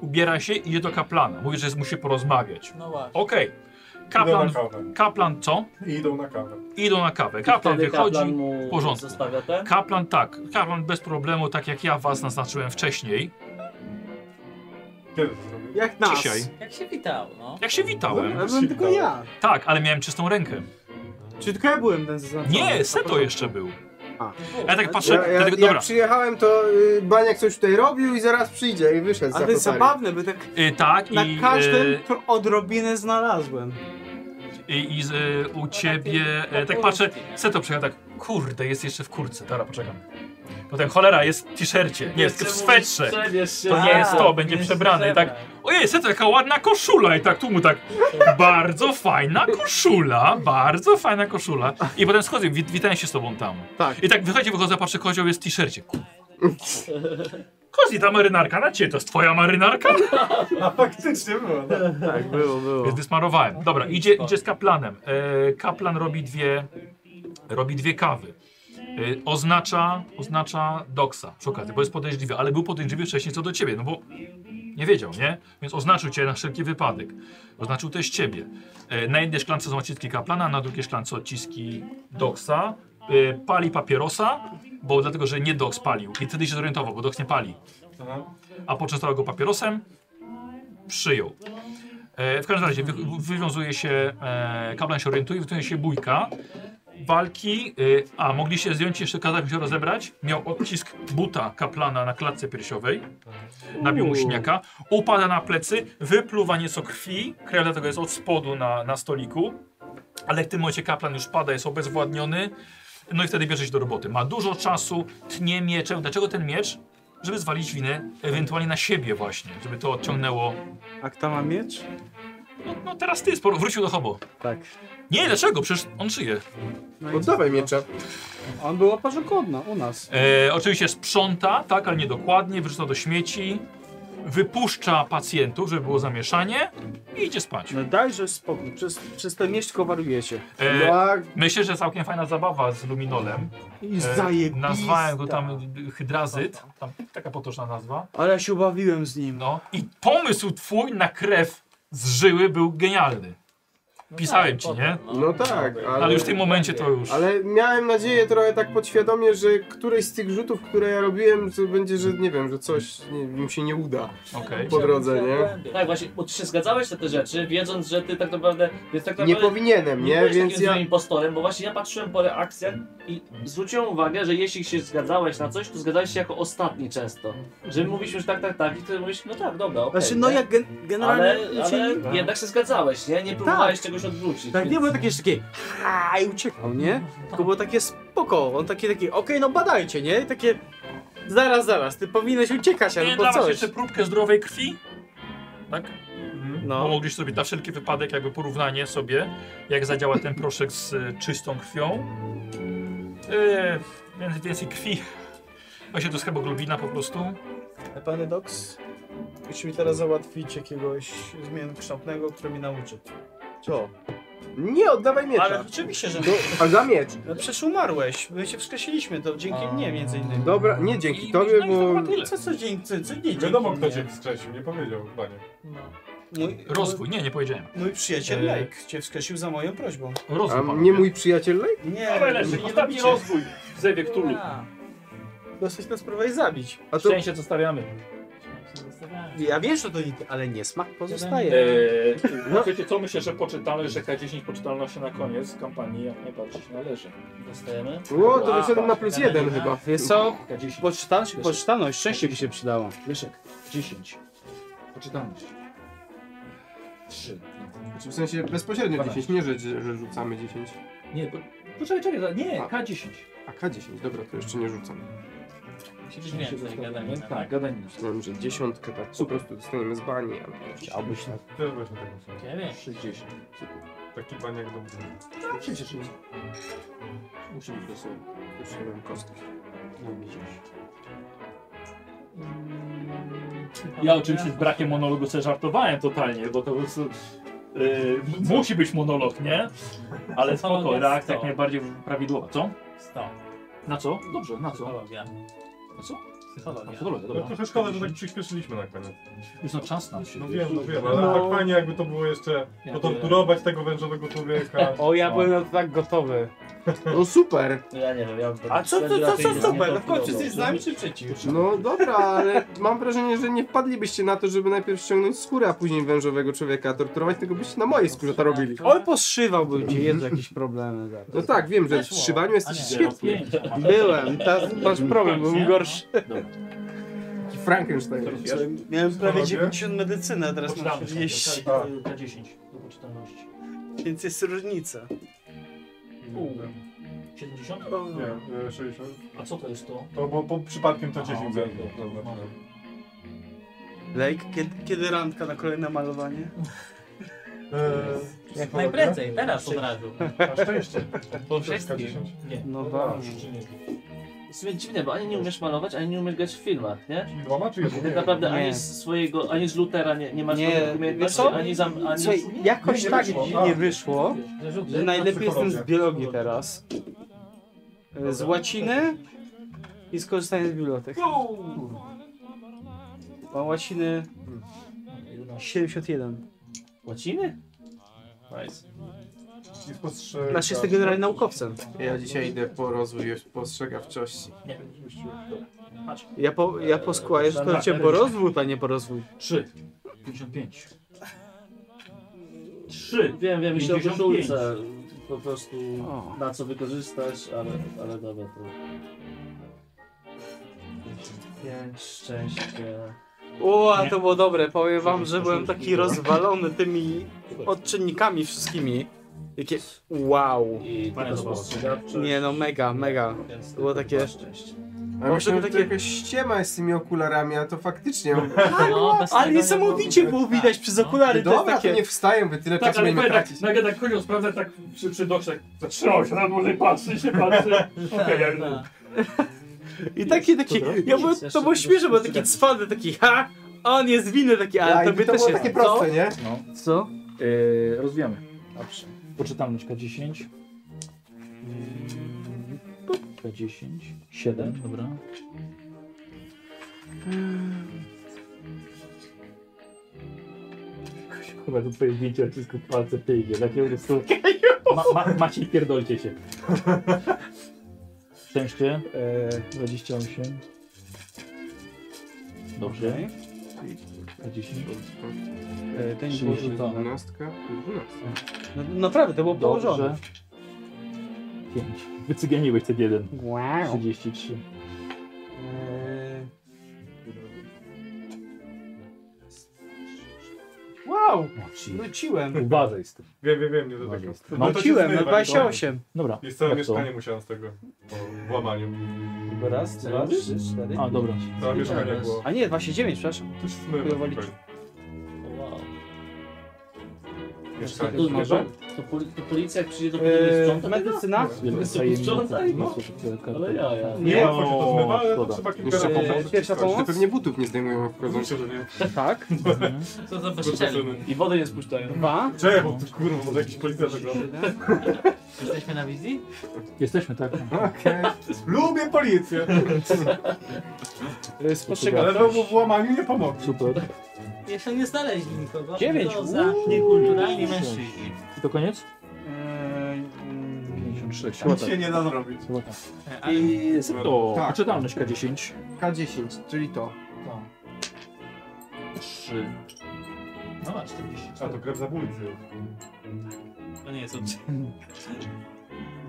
ubiera się i idzie do kaplana. Mówi, że z- musi porozmawiać. No właśnie. Okej. Idą Kaplan, na kawę. kaplan co? I idą na kawę. Idą na kawę. Kaplan Wtedy wychodzi. kaplan mu w porządku. Zostawia ten. Kaplan tak, kaplan bez problemu, tak jak ja was naznaczyłem wcześniej. Kiedy to zrobił? Jak nas. Dzisiaj. Jak się witał, no. Jak się witałem. Ale byłem tylko ja. Tak, ale miałem czystą rękę. Czy tylko ja byłem ten zaznaczony? Nie, Seto jeszcze był. A. Ja tak patrzę, Ja, ja, dlatego- dobra. jak przyjechałem, to y, Baniak coś tutaj robił i zaraz przyjdzie i wyszedł Ale to jest za kotarek. zabawne, bo tak Y, tak, na i, każdym y, pro- odrobinę znalazłem. I, i z, y, u ciebie. E, tak patrzę, Seto przyjechał tak. Kurde, jest jeszcze w kurce, dobra, poczekam. Potem cholera, jest w t-shircie. Nie, jest w swetrze. Przebierz się. To nie jest to, będzie przebrany. I tak. Ojej, Seto, jaka ładna koszula. I tak tu mu tak. Bardzo fajna koszula, bardzo fajna koszula. I potem schodzę, wit witałem się z tobą tam. Tak. I tak wychodzi, wychodzę, patrzę, kozioł jest w t-shircie. Kur- Kozi, ta marynarka na ciebie, to jest twoja marynarka? A faktycznie było. No. Tak, było, było. Więc wysmarowałem. Dobra, idzie, idzie z kaplanem. E, kaplan robi dwie, robi dwie kawy. E, oznacza, oznacza doksa przy okazji, bo jest podejrzliwy, ale był podejrzliwy wcześniej co do ciebie, no bo nie wiedział, nie? Więc oznaczył cię na wszelki wypadek. Oznaczył też ciebie. E, na jednej szklance są odciski kaplana, na drugiej szklance odciski doksa. E, pali papierosa, bo dlatego, że nie doks palił. I wtedy się zorientował, bo doks nie pali Aha. a poczęstował go papierosem, przyjął. E, w każdym razie wy, wywiązuje się, e, kaplan się orientuje, wywiązuje się bójka, walki, e, a mogli się zdjąć, jeszcze kazał się rozebrać, miał odcisk buta kaplana na klatce piersiowej, nabił mu siniaka, upada na plecy, wypluwa nieco krwi, krew dlatego jest od spodu na, na stoliku, ale w tym momencie kaplan już pada, jest obezwładniony, no i wtedy bierze się do roboty. Ma dużo czasu, tnie mieczem. Dlaczego ten miecz? żeby zwalić winę ewentualnie na siebie właśnie, żeby to odciągnęło. A kto ma miecz? No, no teraz ty, sporo, wrócił do hobo. Tak. Nie, dlaczego? Przecież on żyje. No i Oddawaj miecza. On był oparzokodna u nas. E, oczywiście sprząta, tak, ale niedokładnie, wyrzuca do śmieci, wypuszcza pacjentów, żeby było zamieszanie i idzie spać. No dajże spokój, przez, przez ten miecz tylko wariujecie. E, Jak myślę, że całkiem fajna zabawa z Luminolem. Tak. I E, zajebista. nazwałem go tam y, hydrazyt, tam taka potoczna nazwa. Ale ja się ubawiłem z nim. No i pomysł twój na krew z żyły był genialny. Pisałem ci, nie? No tak, ale, Ale już w tym momencie to już... ale miałem nadzieję trochę tak podświadomie, że któryś z tych rzutów, które ja robiłem, to będzie, że nie wiem, że coś nie, mi się nie uda Okej. po drodze, nie? Tak, właśnie, bo ty się zgadzałeś na te rzeczy, wiedząc, że ty tak naprawdę. Więc tak Nie naprawdę powinienem, nie? byłeś Więc takim ja... złym impostorem, bo właśnie ja patrzyłem po reakcjach i zwróciłem uwagę, że jeśli się zgadzałeś na coś, to zgadzałeś się jako ostatni często. Że mówisz już tak, tak, tak i ty mówisz, no tak, dobra, okej. Znaczy, no nie? jak gen generalnie... Ale, się ale nie- jednak się zgadzałeś, nie? Nie próbowałeś czegoś odwrócić. Tak, więc- nie było takie jeszcze takie "Ha", i uciekał, nie? Tylko było takie spoko, on takie, takie okej, no badajcie, nie? I takie zaraz, zaraz, ty powinieneś uciekać Nie albo dla was coś. jeszcze próbkę zdrowej krwi? Tak? Bo No, mogliście sobie na wszelki wypadek jakby porównanie sobie, jak zadziała ten proszek z y, czystą krwią. Yy, więc więcej krwi. Właśnie to jest hemoglobina po prostu. panie Doks, musi mi teraz załatwić jakiegoś zmiennokształtnego, który mi nauczy. Co? Nie, oddawaj Ale miecza. oczywiście, że Do, a za miecz. no, przecież umarłeś. My się wskreśliliśmy, to dzięki mnie między innymi. Dobra, nie dzięki tobie, no i to bo... chyba tyle. Co, co, dzięki, co, co nie dzięki Wiadomo, kto mnie. cię wskrzesił, nie powiedział panie. No, Mój, Rozwój, nie, nie powiedziałem. Mój przyjaciel E. Lake cię wskreślił za moją prośbą. Rozwój. A panowie. nie mój przyjaciel Lej? Nie, Ale leży, nie ostatni robicie. rozwój w zewie Cthulhu. Dosyć nas próbowałeś zabić. A to Szczęście, co stawiamy. Ja wiem, że to nie, ale niesmak pozostaje. Eee, no. Wiecie co, myślę, że poczytalność, że K10 poczytalności na koniec kampanii jak najbardziej się należy. Dostajemy? O, to wyszedłem na plus jeden chyba. Wiesz co? K10. Poczytalność, poczytalność, szczęście by się przydało. Leszek, 10. Poczytalność. 3. Znaczy, W sensie bezpośrednio 10, nie że, że rzucamy 10. Nie, po, poczekaj, no, czekaj, nie, A. K10. A K10, dobra, to jeszcze nie rzucam. Siedzisz więcej, gadanina. Tak, gadanina. Wiem, że dziesiątkę tak po prostu dostaniemy z bani, ale nie chciałbyś tak. To ja właśnie tak myślę. Nie wiem. 60. Taki baniak do burzy. No, przecież jest. Musi być wesoło. Jeszcze nie mam kostki. No, widzisz. Ja oczywiście z brakiem monologu sobie żartowałem totalnie, bo to po prostu... Yy, m- musi być monolog, nie? Ale spoko, Monolog reakcja jak sto. najbardziej prawidłowa. Co? 100. Na co? Dobrze, na co? Psychologia. Na co? Na Psychologia. psychologię, No dobra. trochę szkoda, że tak przyspieszyliśmy na koniec. Już na czas nam się. No wiesz. wiem, no wiem, ale tak fajnie jakby to było jeszcze Ja potorturować tego wężowego człowieka. O, ja byłem na to tak gotowy. No super! Ja nie wiem, ja bym A co, co, co, co, Nie super? No w końcu kalkulował. jesteś z nami czy przeciw? No dobra, ale mam wrażenie, że nie wpadlibyście na to, żeby najpierw ściągnąć skórę, a później wężowego człowieka torturować, tylko byście na mojej skórze to robili. Oj, poszywałbym cię, jest jakieś problemy zaraz. No tak, wiem, że w trzymaniu jesteś no, świetny. Byłem, ta, masz problem, byłem gorszy. Taki Frankenstein. Miałem prawie Panowie? 90 medycyny, a teraz mam 40, Na 10 do poczytalności. więc jest różnica. Pół. 70? Nie, e, 60. A co to jest to? To bo po przypadkiem to znaczy, Aha, 10 okej, zerwał. dobra, Dobra. dobra. Lejk, kiedy, kiedy randka na kolejne malowanie? Eee, Jak psychologia? najprędzej, teraz od razu. Na szczęście. Po Wszystko wszystkim. 10. Nie. No Dobra. ważne. W sumie dziwne, bo ani nie umiesz malować, ani nie umiesz grać w filmach, nie? Czyli dwoma czy jedną? Tak naprawdę Nie. ani z swojego, ani z Lutera nie, nie masz Nie, żadnych wiesz umiejętności, co? ani zam... Ani... Słuchaj, jakoś nie tak wyszło. nie wyszło, że najlepiej jestem z Psychologia. biologii teraz. E, Z łaciny i z korzystania z bibliotek. Mam łaciny 71. Łaciny? I spostrzegam. Znaczy jestem generalnie naukowcem. Ja dzisiaj idę po rozwój postrzegawczości. Ja po, ja po skłaję, że to cię po rozwój, a nie po rozwój. 3. 55. 3. Wiem, wiem, myślę o 55. koszulce. Po prostu O. na co wykorzystać, ale, ale dobra to... 5, szczęście... O, a to było dobre. Powiem wam, że byłem taki rozwalony tymi odczynnikami wszystkimi. Jakie wow. I Fajne tylko to było. spostrzegawczość. Nie no, mega, mega. Więc było tylko takie- szczęście. A Mam myślę, sobie że to tak takie- jakaś ściema jest z tymi okularami, a to faktycznie... No, bez Ale tego nie niesamowicie było widać przez okulary, to jest Dobra, to takie... nie wstaję, wy tyle Tak, czasu ale nie powiem tak, tracić. nagle tak chodził, sprawdzę tak przy, przy doksie, tak zatrzymał się, na dłużej patrzy, się patrzy. Okej, ja już... Tak, I taki, taki... Ja byłem, to było śmieszne, bo taki cwany, taki ha! On jest winny taki, Ja, ale i tobie to też było jest. takie proste, nie? Co? Yy, rozwijamy. Dobrze. Poczytam na 10. K10. 7. Yy, Dobra. Chyba to twoje zdjęcie wszystko palce tak pygnie. Takie po prostu... Ma, ma, macie i pierdolcie się. Szczęście. E, 28. Dobrze. Okej. K10. E, ten Trzy. był- Porzucone. Dwunastka, dwunastka. No, naprawdę, to było położone. Dobrze. 5. Wycyganiłeś ten jeden. Wow. 33. Eee. Wow, wróciłem. Uważaj z tym. Wiem, wiem, wiem, nie do Uważaj tego. z tym. No to Wróciłem się na zrywa, 28. Dobra. Jest całe tak co? mieszkanie musiałem z tego. Po włamaniu. Raz, dwa, trzy, cztery. A, dobra. Całe mieszkanie Teraz. było. A nie, 29, przepraszam. Coś smywa Chujowo tutaj. Wow. Mieszkanie. To, to, zwierzę? to, poli- to policja jak przyjdzie do mnie i Eee, sprząta tego? medycyna? Sprzątaj, no. Ale ja, ja. Nie, Nie, nie łatwo się to zmywa, ale to szkoda. trzeba kilka Jeszcze razy pomoc? pomóc. Pierwsza Coś. pomoc? To pewnie butów nie zdejmują, jak wchodzą. Myślę, że nie. Tak. Co za bezczelny. I wodę nie spuszczają. Dwa. Czekaj, bo tu, kurwa, może jakiś policjant ogląda. Jesteśmy na wizji? Jesteśmy, tak. Okej. Lubię policję! Eee, Ale Spostrzegam. no, w włamaniu nie pomogli. Super. Jeszcze nie znaleźli nikogo. Dziewięć. To za niekulturalni mężczyźni. I to koniec? Eee, mm, 56. Nic się nie da zrobić. I jest to. Tak. Czytalność K10. K10, czyli to. trzy. No a 44. A to krew zabójcy. To nie jest od...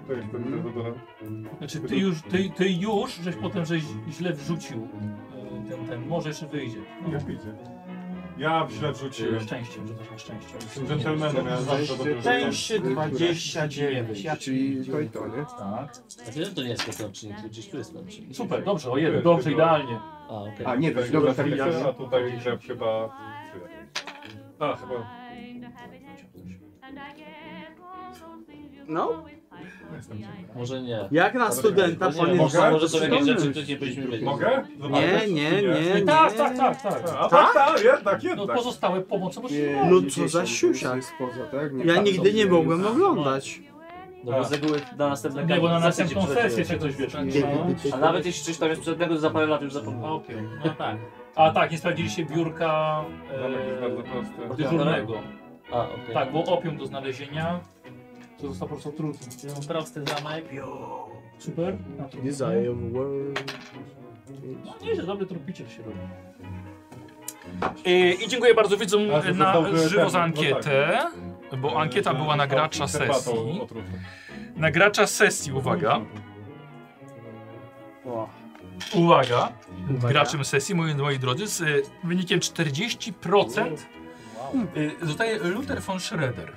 To jest ten mm. do Znaczy ty już, ty, ty już, żeś potem żeś źle wrzucił e, ten, ten, może jeszcze wyjdzie. No, Jak widzicie. Ja źle wrzuciłem. Szczęściem, że masz szczęście. Jestem dżentelmenem, ja zawsze dobrze rzucam. Część 29. Ja Czyli to i to, nie? Tak. A wiem, to nie jest podręcznik, tu gdzieś tu jest podręcznik. Super, dobrze, o jeden, dobrze, idealnie. A, okej. A nie, Tak, weź, dobra, tak tak ja. A tutaj krew chyba... A, chyba... No, Może nie. jak na studenta Może, nie, powinien mogę? może, może są jakieś przytomny. rzeczy, których nie powinniśmy wiedzieć. Mogę? Nie, Zobaczyć, nie, czy nie, nie. Tak, tak, tak, tak. A, tak, tak, jednak, No jednak. pozostałe pomocą oczywiście. No co za siusia. tak? Ja nigdy nie mogłem oglądać. No bo z reguły na następne Nie, bo Tak na karty ci następną sesję przeżyjesz. czy coś wiesz. No, A nawet jeśli coś tam jest przedmiotów, za parę lat już zapomniałem. Okej, no tak. A tak, nie sprawdziliście biurka Zamek jest bardzo e, prosty. dyżurnego. A, okej. Tak, bo opium do znalezienia to został po prostu trudny. Prosty zamek. Super. Desire of World. No nieźle, dobry trupicie się robi. I, I dziękuję bardzo widzom A, to na został żywo za ten, no E, ankietę, bo ankieta była na gracza sesji. Na gracza sesji, uwaga. Uwaga, graczem sesji, moi, moi drodzy, z y, wynikiem 40% y, zostaje Luther von Schroeder.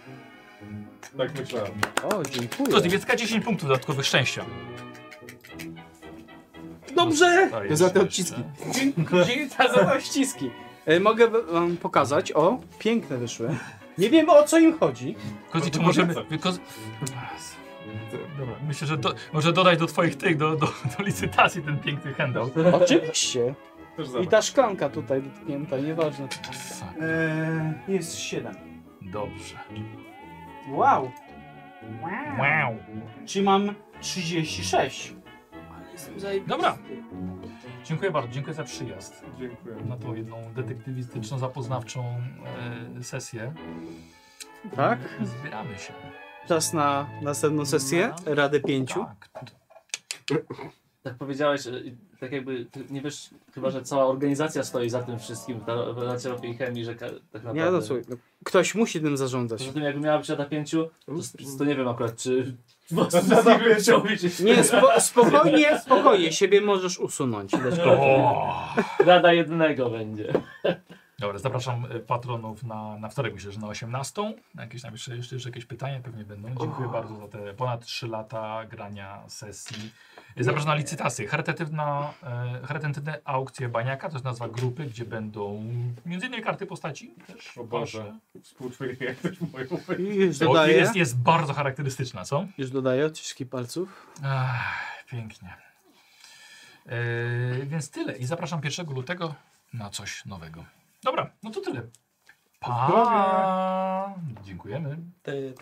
Tak myślałem. O, dziękuję. To z Niemiecka 10 punktów dodatkowych szczęścia. Dobrze! Tak, To za te odciski. Za to ściski. E, Mogę wam pokazać. O, piękne wyszły. Nie wiem o co im chodzi. Kozi, czy No to możemy... powiedz. Koz... Dobra, myślę, że do, może dodać do twoich tych, do, do, do licytacji ten piękny handout. Oczywiście. Też I zamek. ta szklanka tutaj dotknięta, nieważne. Tak. E, Eee, jest 7. Dobrze. Wow. Wow. Czy mam 36? Dobra. Dziękuję bardzo, dziękuję za przyjazd Dziękuję. na tą jedną detektywistyczną, zapoznawczą e, sesję. Tak? Zbieramy się. Czas na następną sesję. Radę pięciu. Tak. Tak powiedziałeś, e, i tak jakby, ty nie wiesz, chyba, że cała organizacja stoi za tym wszystkim, ta relacja robiej chemii, że ka- tak naprawdę... Nie, no słuchaj, no, ktoś musi tym zarządzać. Poza tym jakby miała być rada pięciu, to, Mm, to nie wiem akurat, czy... Rada pięciu. Nie, spo, spokojnie, spokojnie, siebie możesz usunąć. O! Rada jednego będzie. Dobra, zapraszam e, patronów na, na wtorek, myślę, że na 18. Na Jakieś tam jeszcze, jeszcze, jeszcze jakieś pytania pewnie będą. Dziękuję bardzo za te ponad 3 lata grania sesji. E, Zapraszam na licytację. Charytatywna, e, charytatywne aukcje Baniaka, to jest nazwa grupy, gdzie będą między innymi karty postaci. Też, O Boże. Współczuję jak też moją Już O, dodaję, jest, jest bardzo charakterystyczna, co? już dodaję odciski palców. Ach, pięknie. E, więc tyle. I zapraszam 1 lutego na coś nowego. Dobra, no to tyle. Pa! Dziękujemy. Ty,